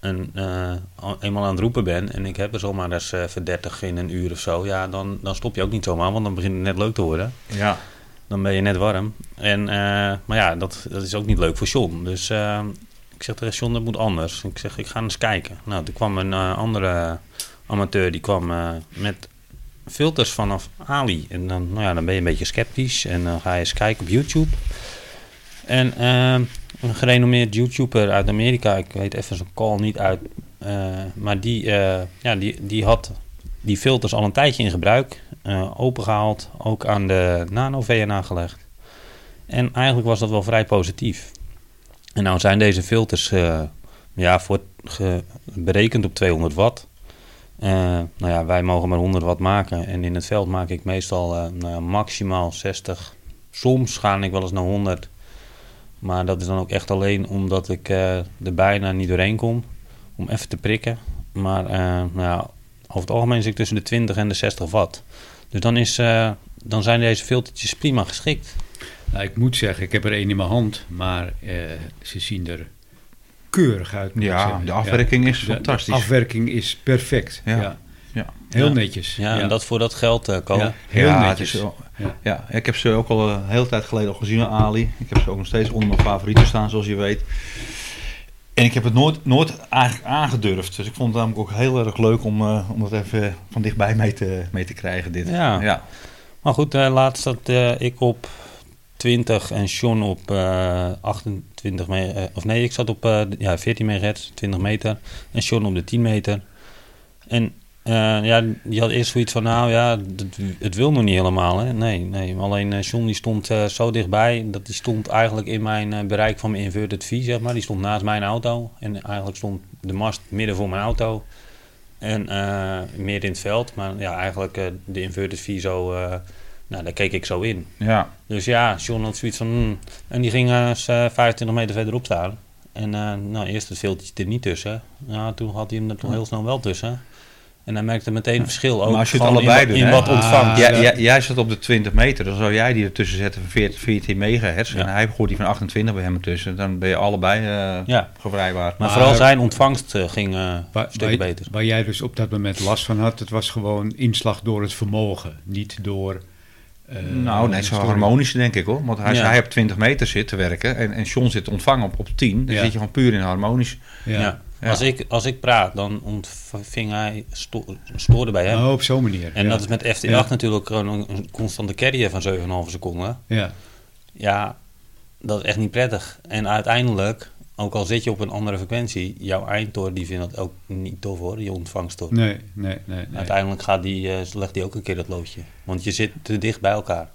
[SPEAKER 3] een, eh, al- eenmaal aan het roepen ben... en ik heb er zomaar eens eh, voor 30 in een uur of zo... ja, dan, dan stop je ook niet zomaar, want dan begint het net leuk te worden.
[SPEAKER 2] ja.
[SPEAKER 3] Dan ben je net warm. En, eh, maar ja, dat, dat is ook niet leuk voor John. Dus eh, ik zeg tegen John, dat moet anders. Ik zeg, ik ga eens kijken. Nou, toen kwam een eh, andere amateur, die kwam eh, met filters vanaf Ali. En dan, nou ja, dan ben je een beetje sceptisch. En dan ga je eens kijken op YouTube. En ehm, een gerenommeerd YouTuber uit Amerika, ik weet even zijn call niet uit. eh, maar die, eh, ja, die, die had die filters al een tijdje in gebruik. eh, opengehaald, ook aan de nano-VNA gelegd. En eigenlijk was dat wel vrij positief. En nou zijn deze filters eh, ja, voor, ge- berekend op 200 watt. Eh, nou ja, wij mogen maar 100 watt maken. En in het veld maak ik meestal eh, nou ja, maximaal 60. Soms ga ik wel eens naar 100. Maar dat is dan ook echt alleen omdat ik eh, er bijna niet doorheen kom. Om even te prikken. Maar eh, nou ja, over het algemeen zit ik tussen de 20 en de 60 watt. Dus dan, is, eh, dan zijn deze filtertjes prima geschikt.
[SPEAKER 1] Nou, ik moet zeggen, ik heb er één in mijn hand, maar eh, ze zien er keurig uit. moet ik
[SPEAKER 2] Ja,
[SPEAKER 1] zeggen.
[SPEAKER 2] de afwerking is
[SPEAKER 1] De-
[SPEAKER 2] fantastisch.
[SPEAKER 1] De afwerking is perfect. Ja.
[SPEAKER 2] Ja. Ja.
[SPEAKER 1] Heel
[SPEAKER 3] Ja.
[SPEAKER 1] netjes.
[SPEAKER 3] Ja, en dat voor dat geld, eh Ko.
[SPEAKER 1] Ja, heel
[SPEAKER 2] ja, het
[SPEAKER 1] netjes.
[SPEAKER 2] is wel-
[SPEAKER 1] Ja.
[SPEAKER 2] ja. ik heb ze ook al een hele tijd geleden al gezien aan Ali. Ik heb ze ook nog steeds onder mijn favorieten staan, zoals je weet. En ik heb het nooit, nooit eigenlijk aangedurfd. Dus ik vond het namelijk ook heel erg leuk om, eh, om dat even van dichtbij mee te, mee te krijgen. Dit.
[SPEAKER 3] Ja.
[SPEAKER 2] ja.
[SPEAKER 3] Maar goed, eh, laatst zat eh, ik op 20 en Sean op eh, 28 me- eh, of nee, ik zat op eh, ja, 14 megahertz, 20 meter. En Sean op de 10 meter. En eh, ja, die had eerst zoiets van, nou ja, het, het wil nog niet helemaal. Hè? Nee, nee. Alleen eh Sean die stond eh, zo dichtbij, dat die stond eigenlijk in mijn eh, bereik van mijn inverted V, zeg maar. Die stond naast mijn auto. En eigenlijk stond de mast midden voor mijn auto. En eh, meer in het veld, maar ja, eigenlijk eh, de inverted V zo, eh, nou, daar keek ik zo in.
[SPEAKER 2] ja.
[SPEAKER 3] Dus ja, John had zoiets van, hmm. en die ging eh, s- eh, 25 meter verderop staan. En eh, nou, eerst het filtertje er niet tussen. Nou, toen had hij hem er toch heel snel wel tussen. En hij merkte meteen een verschil ook
[SPEAKER 2] Maar als je het
[SPEAKER 3] gewoon
[SPEAKER 2] allebei
[SPEAKER 3] in,
[SPEAKER 2] doet,
[SPEAKER 3] in
[SPEAKER 2] hè?
[SPEAKER 3] wat ontvangt.
[SPEAKER 1] Ah,
[SPEAKER 2] Ja,
[SPEAKER 1] ja.
[SPEAKER 2] jij- jij zat op de 20 meter, dan zou jij die ertussen zetten van 14, 14 megahertz.
[SPEAKER 3] Ja.
[SPEAKER 2] En hij gooit die van 28 bij hem ertussen. Dan ben je allebei eh
[SPEAKER 3] Ja.
[SPEAKER 2] gevrijwaard.
[SPEAKER 3] Maar
[SPEAKER 2] Maar,
[SPEAKER 3] vooral zijn ontvangst eh, ging eh, een
[SPEAKER 1] Waar,
[SPEAKER 3] stuk
[SPEAKER 1] waar-
[SPEAKER 3] beter.
[SPEAKER 1] waar jij dus op dat moment last van had, het was gewoon inslag door het vermogen, niet door. eh,
[SPEAKER 2] nou, nee,
[SPEAKER 1] een
[SPEAKER 2] zo
[SPEAKER 1] storing.
[SPEAKER 2] harmonisch denk ik hoor. Want hij,
[SPEAKER 3] Ja.
[SPEAKER 2] hij op 20 meter zit te werken en, en John zit te ontvangen op, op 10. Dan
[SPEAKER 1] Ja.
[SPEAKER 2] zit je gewoon puur in harmonisch.
[SPEAKER 1] Ja.
[SPEAKER 3] Ja.
[SPEAKER 2] Ja.
[SPEAKER 3] Als, ik, als ik praat, dan ontving hij, sto stoorde bij hem.
[SPEAKER 1] Oh, op zo'n manier.
[SPEAKER 3] En
[SPEAKER 1] ja.
[SPEAKER 3] dat is met FT8
[SPEAKER 1] Ja.
[SPEAKER 3] natuurlijk gewoon een een constante carrier van 7,5 seconden.
[SPEAKER 1] Ja.
[SPEAKER 3] Ja, dat is echt niet prettig. En uiteindelijk, ook al zit je op een andere frequentie, jouw eindtoren die vindt dat ook niet tof hoor, je ontvangsttoren.
[SPEAKER 1] Nee, nee, nee. nee.
[SPEAKER 3] Uiteindelijk gaat die, eh, legt die ook een keer dat loodje. Want je zit te dicht bij elkaar.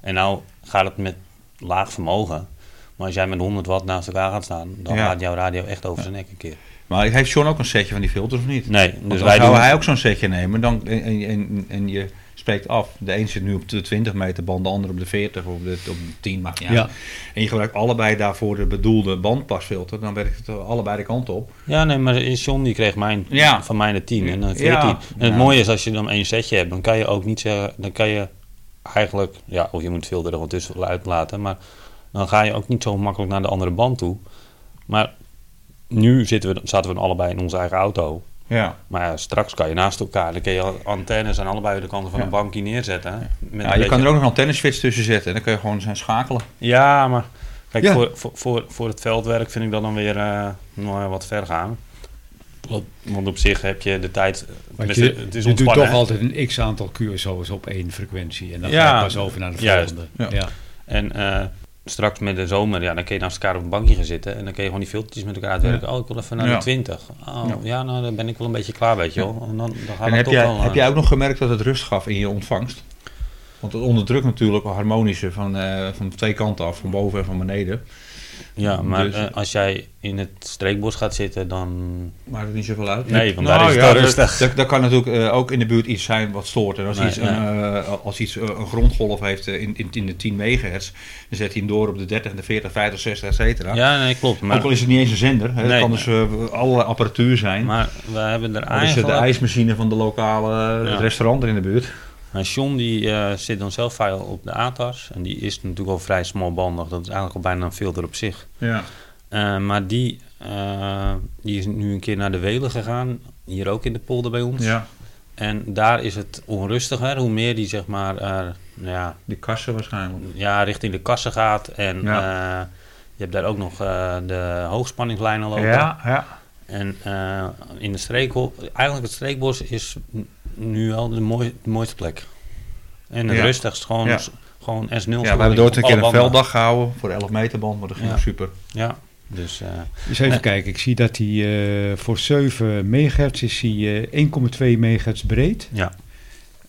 [SPEAKER 3] En nou gaat het met laag vermogen. Maar als jij met 100 watt naast elkaar gaat staan, dan
[SPEAKER 2] Ja.
[SPEAKER 3] gaat jouw radio echt over zijn nek een keer.
[SPEAKER 2] Maar heeft John ook een setje van die filters of niet?
[SPEAKER 3] Nee,
[SPEAKER 2] Want
[SPEAKER 3] dus
[SPEAKER 2] dan
[SPEAKER 3] wij
[SPEAKER 2] zou
[SPEAKER 3] doen...
[SPEAKER 2] hij ook zo'n setje nemen dan, en, en, en, en je spreekt af. De een zit nu op de 20 meter band, de ander op de 40 of op de, op de 10. Maakt niet
[SPEAKER 1] Ja.
[SPEAKER 2] uit. En je gebruikt allebei daarvoor de bedoelde bandpasfilter. Dan werkt het allebei de kant op.
[SPEAKER 3] Ja, nee, maar John die kreeg mijn,
[SPEAKER 2] Ja.
[SPEAKER 3] van mij de 10 en een 14.
[SPEAKER 2] Ja.
[SPEAKER 3] En het
[SPEAKER 2] Ja.
[SPEAKER 3] mooie is als je dan één setje hebt, dan kan je ook niet zeggen, dan kan je eigenlijk, ja, of je moet veel er gewoon tussen uitlaten, maar dan ga je ook niet zo makkelijk naar de andere band toe. Maar nu zitten we, zaten we allebei in onze eigen auto.
[SPEAKER 2] Ja.
[SPEAKER 3] Maar ja, straks kan je naast elkaar, dan kun je antennes aan allebei de kanten van
[SPEAKER 2] Ja.
[SPEAKER 3] een bankje neerzetten. hè, met
[SPEAKER 2] Ja,
[SPEAKER 3] een
[SPEAKER 2] je kan
[SPEAKER 3] beetje-
[SPEAKER 2] er ook nog een antenneswitch tussen zetten. En dan kun je gewoon zijn schakelen.
[SPEAKER 3] Ja, maar kijk,
[SPEAKER 1] Ja.
[SPEAKER 3] Voor, voor, voor, voor het veldwerk vind ik dat dan weer eh, nou ja, wat ver gaan. Want- Want op zich heb je de tijd.
[SPEAKER 1] Want
[SPEAKER 3] tenminste,
[SPEAKER 1] je,
[SPEAKER 3] het
[SPEAKER 1] je doet
[SPEAKER 3] ontspannen,
[SPEAKER 1] toch
[SPEAKER 3] hè.
[SPEAKER 1] altijd een x-aantal QSO's op één frequentie. En dan
[SPEAKER 3] Ja.
[SPEAKER 1] ga je pas over naar de
[SPEAKER 3] Juist,
[SPEAKER 1] volgende.
[SPEAKER 2] ja.
[SPEAKER 1] Ja.
[SPEAKER 3] En eh, straks met de zomer, ja, dan kun je naast elkaar op een bankje gaan zitten. En dan kun je gewoon die filtertjes met elkaar uitwerken. Oh, ik wil even naar
[SPEAKER 2] Ja.
[SPEAKER 3] de 20. Oh,
[SPEAKER 2] Ja.
[SPEAKER 3] ja. nou, dan ben ik wel een beetje klaar, weet je wel. En dan, dan gaan
[SPEAKER 2] En
[SPEAKER 3] we
[SPEAKER 2] heb
[SPEAKER 3] toch
[SPEAKER 2] jij,
[SPEAKER 3] wel.
[SPEAKER 2] heb
[SPEAKER 3] eh,
[SPEAKER 2] jij ook nog gemerkt dat het rust gaf in je ontvangst? Want het onderdrukt natuurlijk wel harmonische van, eh, van twee kanten af. Van boven en van beneden.
[SPEAKER 3] ja, maar
[SPEAKER 2] dus-
[SPEAKER 3] eh, als jij in het streekbos gaat zitten, dan.
[SPEAKER 2] Maakt het niet zoveel uit.
[SPEAKER 3] Nee, want daar is het wel rustig.
[SPEAKER 2] Nou Dat, dat kan natuurlijk eh, ook in de buurt iets zijn wat stoort. En als
[SPEAKER 3] Nee,
[SPEAKER 2] iets,
[SPEAKER 3] nee.
[SPEAKER 2] Een, eh, als iets eh, een grondgolf heeft eh, in, in, in de 10 megahertz, dan zet hij hem door op de 30, de 40, 50, 60, et cetera.
[SPEAKER 3] Ja, nee, klopt.
[SPEAKER 2] Ook al
[SPEAKER 3] Maar,
[SPEAKER 2] is het niet eens een zender. Hè.
[SPEAKER 3] Nee,
[SPEAKER 2] het kan dus eh, allerlei apparatuur zijn.
[SPEAKER 3] maar we hebben er
[SPEAKER 2] Al is het de
[SPEAKER 3] eigenlijk.
[SPEAKER 2] ijsmachine van de lokale eh,
[SPEAKER 3] Ja.
[SPEAKER 2] restaurant er in de buurt.
[SPEAKER 3] Nou, John die eh, zit dan zelf veel op de ATAS. En die is natuurlijk al vrij smalbandig. Dat is eigenlijk al bijna een filter op zich.
[SPEAKER 2] Ja.
[SPEAKER 3] Eh, maar die, eh, die is nu een keer naar de Welen gegaan. Hier ook in de polder bij ons.
[SPEAKER 2] ja.
[SPEAKER 3] En daar is het onrustiger. Hoe meer die zeg maar, eh, nou ja,
[SPEAKER 2] Die kassen waarschijnlijk.
[SPEAKER 3] ja, richting de kassen gaat. En
[SPEAKER 2] Ja.
[SPEAKER 3] eh, je hebt daar ook nog eh, de hoogspanningslijnen lopen.
[SPEAKER 2] ja.
[SPEAKER 3] En eh, in de streekhol, eigenlijk het streekbos is n- nu al de, mooi, de mooiste plek. En het
[SPEAKER 2] Ja.
[SPEAKER 3] rustigst, gewoon,
[SPEAKER 2] Ja.
[SPEAKER 3] s- gewoon S0. Ja,
[SPEAKER 2] we hebben nooit een keer een velddag gehouden voor de 11 meter band, maar dat ging
[SPEAKER 3] Ja.
[SPEAKER 2] super.
[SPEAKER 3] Ja, dus eh,
[SPEAKER 1] Dus even kijken, ik zie dat hij eh, voor 7 megahertz is hij eh, 1,2 megahertz breed.
[SPEAKER 3] ja,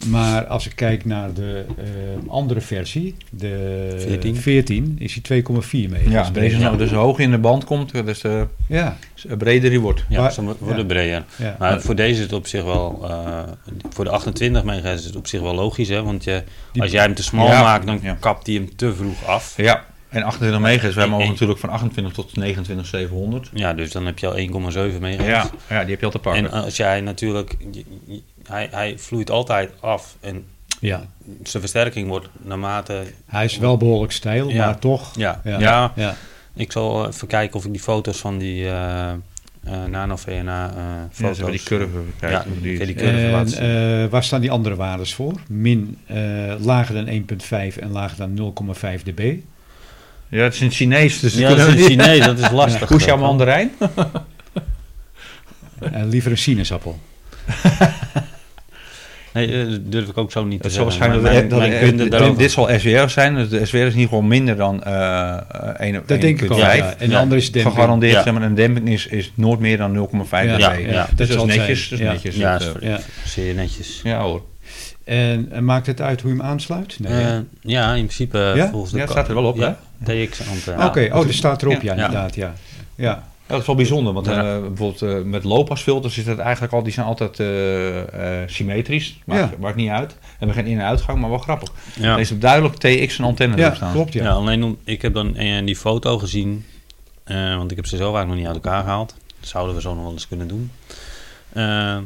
[SPEAKER 1] Maar als ik kijk naar de eh, andere versie, de
[SPEAKER 3] 14.
[SPEAKER 1] 14, is hij 2,4 megahertz
[SPEAKER 2] Ja,
[SPEAKER 1] breed.
[SPEAKER 2] deze nou dus hoog in de band komt, dus eh
[SPEAKER 1] Ja,
[SPEAKER 2] breder die wordt.
[SPEAKER 3] ja
[SPEAKER 1] Maar-
[SPEAKER 3] ze wo- worden
[SPEAKER 1] ja.
[SPEAKER 3] breder.
[SPEAKER 1] ja.
[SPEAKER 3] Maar voor deze is het op zich wel, eh, voor de 28 megahertz is het op zich wel logisch, hè? Want je,
[SPEAKER 1] Die-
[SPEAKER 3] als jij hem te smal
[SPEAKER 2] Ja.
[SPEAKER 3] maakt, dan
[SPEAKER 2] Ja.
[SPEAKER 3] kapt hij hem te vroeg af.
[SPEAKER 2] Ja, en 28 megahertz. Wij
[SPEAKER 3] Ik-
[SPEAKER 2] mogen
[SPEAKER 3] ik-
[SPEAKER 2] natuurlijk van 28 tot 29 700.
[SPEAKER 3] Ja, dus dan heb je al 1,7 megahertz.
[SPEAKER 2] Ja, ja, die heb je al te pakken.
[SPEAKER 3] En eh, als jij natuurlijk, je- je- hij, hij vloeit altijd af en
[SPEAKER 1] ja.
[SPEAKER 3] zijn versterking wordt naarmate.
[SPEAKER 1] Hij is wel behoorlijk stijl,
[SPEAKER 3] Ja.
[SPEAKER 1] maar toch.
[SPEAKER 3] Ja, ja.
[SPEAKER 1] Ja. Ja.
[SPEAKER 3] ik zal eh, even kijken of ik die foto's van die eh eh nano VNA eh
[SPEAKER 2] ja,
[SPEAKER 3] foto's.
[SPEAKER 2] ze hebben die curve bekijken.
[SPEAKER 3] Ja,
[SPEAKER 2] hoe
[SPEAKER 3] die- die curve.
[SPEAKER 1] En
[SPEAKER 3] laten zien.
[SPEAKER 1] eh, waar staan die andere waardes voor? Min eh, lager dan 1,5 en lager dan 0,5 dB.
[SPEAKER 2] Ja, het is in het Chinees, dus
[SPEAKER 3] ja, dat is een Chinees, dat is lastig. eh,
[SPEAKER 2] Kusha Mandarijn?
[SPEAKER 1] En liever een sinaasappel.
[SPEAKER 3] Nee, eh, dat durf ik ook zo niet te
[SPEAKER 2] Het zal
[SPEAKER 3] zeggen.
[SPEAKER 2] waarschijnlijk
[SPEAKER 3] Eh, Mijn-
[SPEAKER 2] dat-
[SPEAKER 3] mijn-
[SPEAKER 2] dat-
[SPEAKER 3] mijn kunde
[SPEAKER 2] dit-
[SPEAKER 3] daarover-
[SPEAKER 2] dit zal SWR zijn. Dus de SWR is niet gewoon minder dan eh eh, 1
[SPEAKER 1] Dat denk ik al. Ja.
[SPEAKER 2] 1,5.
[SPEAKER 1] En de
[SPEAKER 3] Ja.
[SPEAKER 1] andere is demping.
[SPEAKER 2] Gegarandeerd,
[SPEAKER 3] Ja.
[SPEAKER 2] zeg maar, een demping is, is nooit meer dan 0,5
[SPEAKER 1] Ja,
[SPEAKER 2] dB.
[SPEAKER 3] ja,
[SPEAKER 2] Dus
[SPEAKER 3] ja.
[SPEAKER 2] dat is
[SPEAKER 1] zal het
[SPEAKER 2] netjes.
[SPEAKER 1] zijn.
[SPEAKER 2] dat is
[SPEAKER 1] Ja.
[SPEAKER 2] netjes
[SPEAKER 3] Ja,
[SPEAKER 2] dat,
[SPEAKER 3] is
[SPEAKER 2] eh,
[SPEAKER 1] Ja.
[SPEAKER 3] Zeer netjes.
[SPEAKER 2] ja hoor.
[SPEAKER 1] En, en maakt het uit hoe je hem aansluit? Nee.
[SPEAKER 3] Eh,
[SPEAKER 1] hè?
[SPEAKER 3] ja, in principe eh,
[SPEAKER 1] Ja?
[SPEAKER 3] volgens de
[SPEAKER 2] Ja, het
[SPEAKER 3] ko-
[SPEAKER 2] staat er wel op, hè?
[SPEAKER 3] Ja, TX antenne.
[SPEAKER 1] Oké, oh, dat staat erop, ja,
[SPEAKER 3] Ja.
[SPEAKER 1] inderdaad, ja. Ja,
[SPEAKER 2] Ja, dat is wel bijzonder, want
[SPEAKER 3] Ja.
[SPEAKER 2] eh, bijvoorbeeld eh, met loopasfilters is dat eigenlijk al, die zijn altijd eh, eh, symmetrisch, maakt,
[SPEAKER 1] Ja.
[SPEAKER 2] maakt niet uit. Hebben geen in- en uitgang, maar wel grappig.
[SPEAKER 3] Ja.
[SPEAKER 2] Er is op duidelijk TX een antenne
[SPEAKER 1] ja
[SPEAKER 2] erop staan.
[SPEAKER 1] klopt, ja.
[SPEAKER 3] Ja. alleen om, ik heb dan eh, die foto gezien, eh, want ik heb ze zelf eigenlijk nog niet uit elkaar gehaald. Dat zouden we zo nog wel eens kunnen doen. Eh,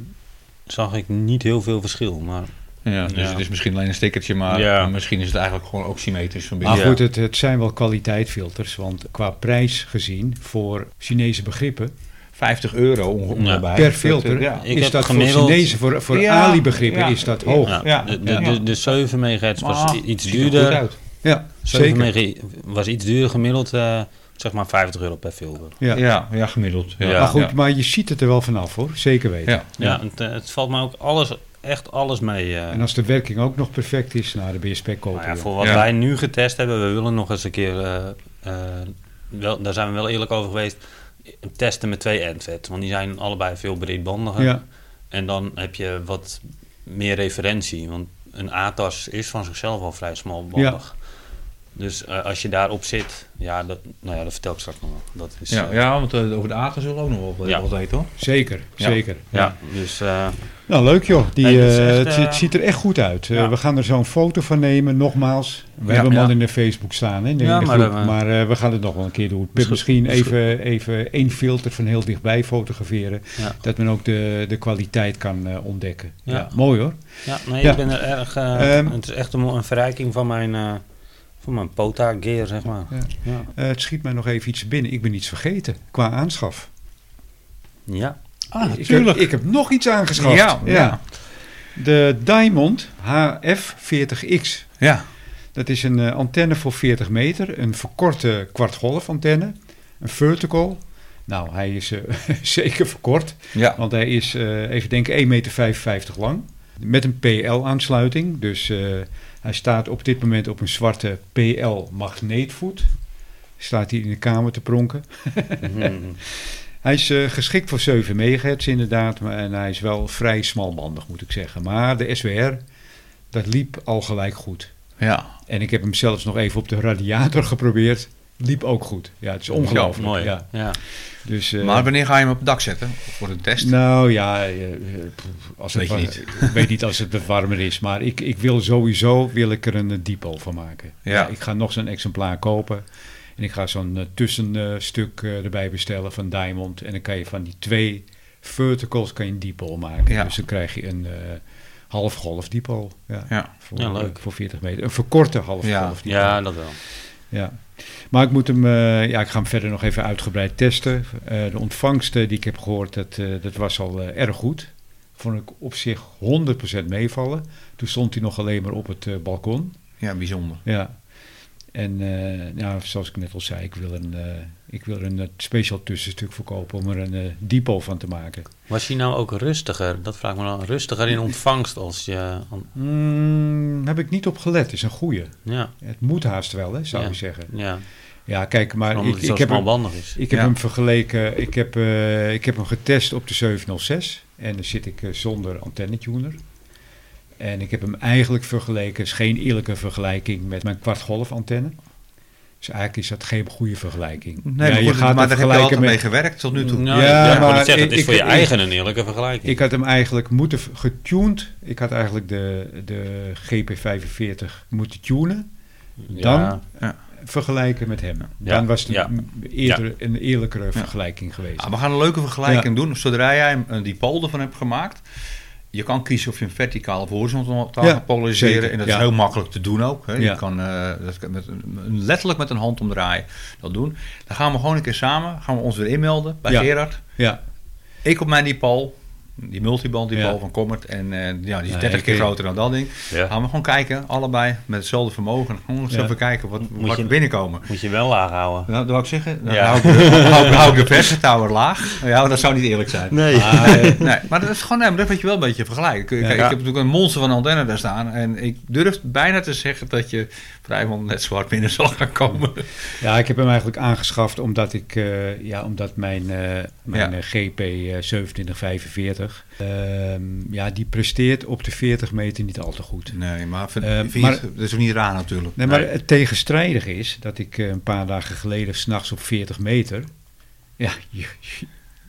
[SPEAKER 3] zag ik niet heel veel verschil, maar
[SPEAKER 2] Ja, dus
[SPEAKER 3] Ja.
[SPEAKER 2] het is misschien alleen een stickertje, maar
[SPEAKER 3] Ja.
[SPEAKER 2] misschien is het eigenlijk gewoon ook symmetrisch van binnen.
[SPEAKER 1] Maar
[SPEAKER 3] Ja.
[SPEAKER 1] goed, het, het zijn wel kwaliteitfilters, want qua prijs gezien voor Chinese begrippen,
[SPEAKER 2] 50 euro ongeveer
[SPEAKER 3] Ja.
[SPEAKER 2] bij.
[SPEAKER 1] per filter,
[SPEAKER 2] Ja.
[SPEAKER 3] Ik
[SPEAKER 1] is
[SPEAKER 3] heb
[SPEAKER 1] dat
[SPEAKER 3] gemiddeld-
[SPEAKER 1] voor Chinese, voor, voor
[SPEAKER 2] Ja,
[SPEAKER 1] Ali begrippen
[SPEAKER 2] ja.
[SPEAKER 1] is dat hoog.
[SPEAKER 3] ja,
[SPEAKER 1] Ja,
[SPEAKER 2] Ja,
[SPEAKER 3] de, de,
[SPEAKER 2] ja.
[SPEAKER 3] de, de 7 megahertz was
[SPEAKER 2] Ah,
[SPEAKER 3] i- iets
[SPEAKER 2] ziet er goed
[SPEAKER 3] duurder.
[SPEAKER 2] uit.
[SPEAKER 3] 7
[SPEAKER 1] zeker.
[SPEAKER 3] mega was iets duurder gemiddeld, eh, zeg maar 50 euro per filter.
[SPEAKER 1] Ja.
[SPEAKER 2] Ja, ja, gemiddeld. Ja.
[SPEAKER 3] Ja.
[SPEAKER 1] Maar goed,
[SPEAKER 2] Ja.
[SPEAKER 1] maar je ziet het er wel vanaf hoor, zeker weten.
[SPEAKER 2] Ja.
[SPEAKER 3] Ja, Het, eh, het valt me ook alles, echt alles mee. eh.
[SPEAKER 1] En als de werking ook nog perfect is, nou, dan ben je spek kopen.
[SPEAKER 3] Nou ja,
[SPEAKER 1] joh.
[SPEAKER 3] voor wat
[SPEAKER 2] Ja.
[SPEAKER 3] wij nu getest hebben, we willen nog eens een keer, eh, eh, wel, daar zijn we wel eerlijk over geweest, testen met twee endvet. Want die zijn allebei veel breedbandiger.
[SPEAKER 1] Ja.
[SPEAKER 3] En dan heb je wat meer referentie, want een ATAS is van zichzelf al vrij smalbandig. Dus eh, als je daarop zit, ja, dat, nou ja, dat vertel ik straks nog wel. Dat is,
[SPEAKER 2] Ja,
[SPEAKER 3] eh,
[SPEAKER 2] ja, want eh, over de aten zullen we ook nog wel wat
[SPEAKER 3] Ja.
[SPEAKER 2] wat weten hoor.
[SPEAKER 1] Zeker,
[SPEAKER 2] Ja.
[SPEAKER 1] zeker.
[SPEAKER 3] ja, dus eh,
[SPEAKER 1] Nou, leuk joh. Die,
[SPEAKER 3] Nee, dat is
[SPEAKER 1] eh,
[SPEAKER 3] echt,
[SPEAKER 1] het,
[SPEAKER 3] eh,
[SPEAKER 1] het ziet er echt goed uit. Eh,
[SPEAKER 3] ja.
[SPEAKER 1] we gaan er zo'n foto van nemen, nogmaals. We
[SPEAKER 2] Ja,
[SPEAKER 1] hebben hem
[SPEAKER 3] ja.
[SPEAKER 1] al in de Facebook staan, hè, in de,
[SPEAKER 3] Ja,
[SPEAKER 1] in de
[SPEAKER 3] maar
[SPEAKER 1] groep.
[SPEAKER 3] dan, eh,
[SPEAKER 1] maar eh, we gaan het nog wel een keer doen. Misschien, misschien even, even één filter van heel dichtbij fotograferen.
[SPEAKER 3] Ja.
[SPEAKER 1] Dat men ook de, de kwaliteit kan eh, ontdekken.
[SPEAKER 3] Ja.
[SPEAKER 1] Ja. mooi hoor.
[SPEAKER 3] ja, nee,
[SPEAKER 1] Ja.
[SPEAKER 3] ik ben er erg, eh,
[SPEAKER 1] Ehm.
[SPEAKER 3] het is echt een, een verrijking van mijn, eh, van mijn POTA-gear, zeg maar.
[SPEAKER 1] Ja.
[SPEAKER 3] Ja.
[SPEAKER 1] Eh, het schiet mij nog even iets binnen. Ik ben iets vergeten qua aanschaf.
[SPEAKER 3] ja.
[SPEAKER 2] Ah,
[SPEAKER 1] ik, heb, ik heb nog iets aangeschaft.
[SPEAKER 2] Ja, ja.
[SPEAKER 1] De Diamond HF40X.
[SPEAKER 2] Ja.
[SPEAKER 1] Dat is een eh, antenne voor 40 meter, een verkorte kwartgolfantenne, een vertical. Nou, hij is eh, zeker verkort,
[SPEAKER 2] Ja.
[SPEAKER 1] want hij is, eh, even denken, 1,55 meter lang. Met een PL-aansluiting, dus eh, hij staat op dit moment op een zwarte PL-magneetvoet. Staat hij in de kamer te pronken.
[SPEAKER 3] Mhm.
[SPEAKER 1] Hij is eh, geschikt voor 7 megahertz inderdaad, maar, en hij is wel vrij smalbandig moet ik zeggen. Maar de SWR, dat liep al gelijk goed.
[SPEAKER 2] Ja.
[SPEAKER 1] En ik heb hem zelfs nog even op de radiator geprobeerd. Liep ook goed. Ja, het is ongelooflijk.
[SPEAKER 2] Ja,
[SPEAKER 3] Mooi.
[SPEAKER 1] Ja.
[SPEAKER 3] Ja. Ja.
[SPEAKER 1] Dus, eh,
[SPEAKER 2] Maar wanneer ga je hem op het dak zetten voor de test?
[SPEAKER 1] Nou ja, eh, eh, pff, als het
[SPEAKER 2] Weet je
[SPEAKER 1] wa- ik weet niet als het wat warmer is. Maar ik, ik wil sowieso wil ik er een eh, diepo van maken.
[SPEAKER 2] Ja.
[SPEAKER 1] ik ga nog zo'n exemplaar kopen. En ik ga zo'n eh, tussenstuk eh, erbij bestellen van Diamond. En dan kan je van die twee verticals kan je een diepo maken.
[SPEAKER 2] Ja.
[SPEAKER 1] Dus dan krijg je een eh halfgolf diepo. Ja,
[SPEAKER 2] Ja.
[SPEAKER 1] Voor,
[SPEAKER 3] Ja, leuk.
[SPEAKER 1] voor 40 meter. Een verkorte halfgolf
[SPEAKER 2] Ja.
[SPEAKER 1] diepo.
[SPEAKER 3] dat wel.
[SPEAKER 1] Ja. Maar ik moet hem, eh, ja, ik ga hem verder nog even uitgebreid testen. Eh, de ontvangst eh, die ik heb gehoord, dat, eh, dat was al eh, erg goed. Vond ik op zich 100% meevallen. Toen stond hij nog alleen maar op het eh, balkon.
[SPEAKER 2] Ja, bijzonder.
[SPEAKER 1] Ja. En eh, nou, zoals ik net al zei, ik wil, een, eh, ik wil er een eh, speciaal tussenstuk verkopen om er een eh, depot van te maken.
[SPEAKER 3] Was hij nou ook rustiger? Dat vraag ik me dan. Rustiger in ontvangst als je... an-
[SPEAKER 1] Mm, heb ik niet op gelet, is een goeie.
[SPEAKER 3] Ja,
[SPEAKER 1] Het moet haast wel, hè, zou
[SPEAKER 3] Ja.
[SPEAKER 1] je zeggen.
[SPEAKER 3] ja.
[SPEAKER 1] Ja, kijk, maar
[SPEAKER 3] Omdat
[SPEAKER 1] ik,
[SPEAKER 3] het zo
[SPEAKER 1] ik heb, hem,
[SPEAKER 3] smalbandig is.
[SPEAKER 1] ik heb
[SPEAKER 2] Ja.
[SPEAKER 1] hem vergeleken, ik heb, eh, ik heb hem getest op de 706 en dan zit ik eh, zonder antennetuner. En ik heb hem eigenlijk vergeleken, is geen eerlijke vergelijking met mijn kwartgolf antenne. Dus eigenlijk is dat geen goede vergelijking.
[SPEAKER 2] Nee,
[SPEAKER 1] Ja,
[SPEAKER 2] maar, goed, maar
[SPEAKER 1] het
[SPEAKER 2] daar heb je altijd mee gewerkt tot nu toe.
[SPEAKER 3] Nou,
[SPEAKER 1] Ja,
[SPEAKER 3] ja, maar
[SPEAKER 1] maar
[SPEAKER 3] het, zeggen,
[SPEAKER 1] ik-
[SPEAKER 3] het is voor
[SPEAKER 1] ik-
[SPEAKER 3] je
[SPEAKER 1] ik-
[SPEAKER 3] eigen een eerlijke vergelijking.
[SPEAKER 1] Ik had hem eigenlijk moeten v- getuned. Ik had eigenlijk de, de GP45 moeten tunen. Dan
[SPEAKER 3] Ja.
[SPEAKER 1] vergelijken met hem.
[SPEAKER 3] Ja,
[SPEAKER 1] Dan was het
[SPEAKER 3] ja.
[SPEAKER 1] een, eerder een eerlijkere vergelijking geweest.
[SPEAKER 2] Ah, we gaan een leuke vergelijking doen. Zodra jij hem, eh, die pool ervan hebt gemaakt. Je kan kiezen of je hem verticaal of horizontaal
[SPEAKER 1] Ja,
[SPEAKER 2] gaat polariseren.
[SPEAKER 1] zeker,
[SPEAKER 2] en dat
[SPEAKER 1] ja.
[SPEAKER 2] is heel makkelijk te doen ook. Hè.
[SPEAKER 1] Ja.
[SPEAKER 2] Je kan eh, dat kan met, een- letterlijk met een hand omdraaien dat doen. Dan gaan we gewoon een keer samen. Gaan we ons weer inmelden bij
[SPEAKER 1] Ja.
[SPEAKER 2] Gerard.
[SPEAKER 1] Ja,
[SPEAKER 2] Ik op mijn diepaal. Die multiband, die
[SPEAKER 1] Ja.
[SPEAKER 2] van Kommert. En eh, ja, die is
[SPEAKER 1] Nee,
[SPEAKER 2] 30 keer
[SPEAKER 1] oké.
[SPEAKER 2] groter dan dat ding.
[SPEAKER 3] Ja.
[SPEAKER 2] Gaan we gewoon kijken, allebei met hetzelfde vermogen. Gewoon eens
[SPEAKER 1] Ja.
[SPEAKER 2] even kijken wat,
[SPEAKER 3] Moet
[SPEAKER 2] wat
[SPEAKER 3] je-
[SPEAKER 2] binnenkomen.
[SPEAKER 3] Moet je wel laag houden.
[SPEAKER 2] Nou, dat wou ik zeggen. Dan
[SPEAKER 3] Ja.
[SPEAKER 2] hou ik de, hou, ik- hou ik de percentaal laag. Ja, dat zou niet eerlijk zijn.
[SPEAKER 3] Nee.
[SPEAKER 2] Maar, eh, nee, maar dat is gewoon, nee, maar dat weet je wel een beetje vergelijken. Kijk, Ik
[SPEAKER 3] Ja.
[SPEAKER 2] heb natuurlijk een monster van antenne daar staan. En ik durf bijna te zeggen dat je vrijwel net zwart binnen zal gaan komen.
[SPEAKER 1] ja, ik heb hem eigenlijk aangeschaft omdat ik, eh, ja, omdat mijn, eh, mijn
[SPEAKER 2] Ja.
[SPEAKER 1] eh, GP eh, 2745, ehm, ja, die presteert op de 40 meter niet al te goed.
[SPEAKER 2] Nee, maar, vind,
[SPEAKER 1] Eh,
[SPEAKER 2] vind je
[SPEAKER 1] maar-
[SPEAKER 2] het- dat is ook niet raar natuurlijk.
[SPEAKER 1] Nee, maar
[SPEAKER 3] Nee.
[SPEAKER 1] het tegenstrijdige is dat ik eh, een paar dagen geleden s'nachts op 40 meter, ja, je- je-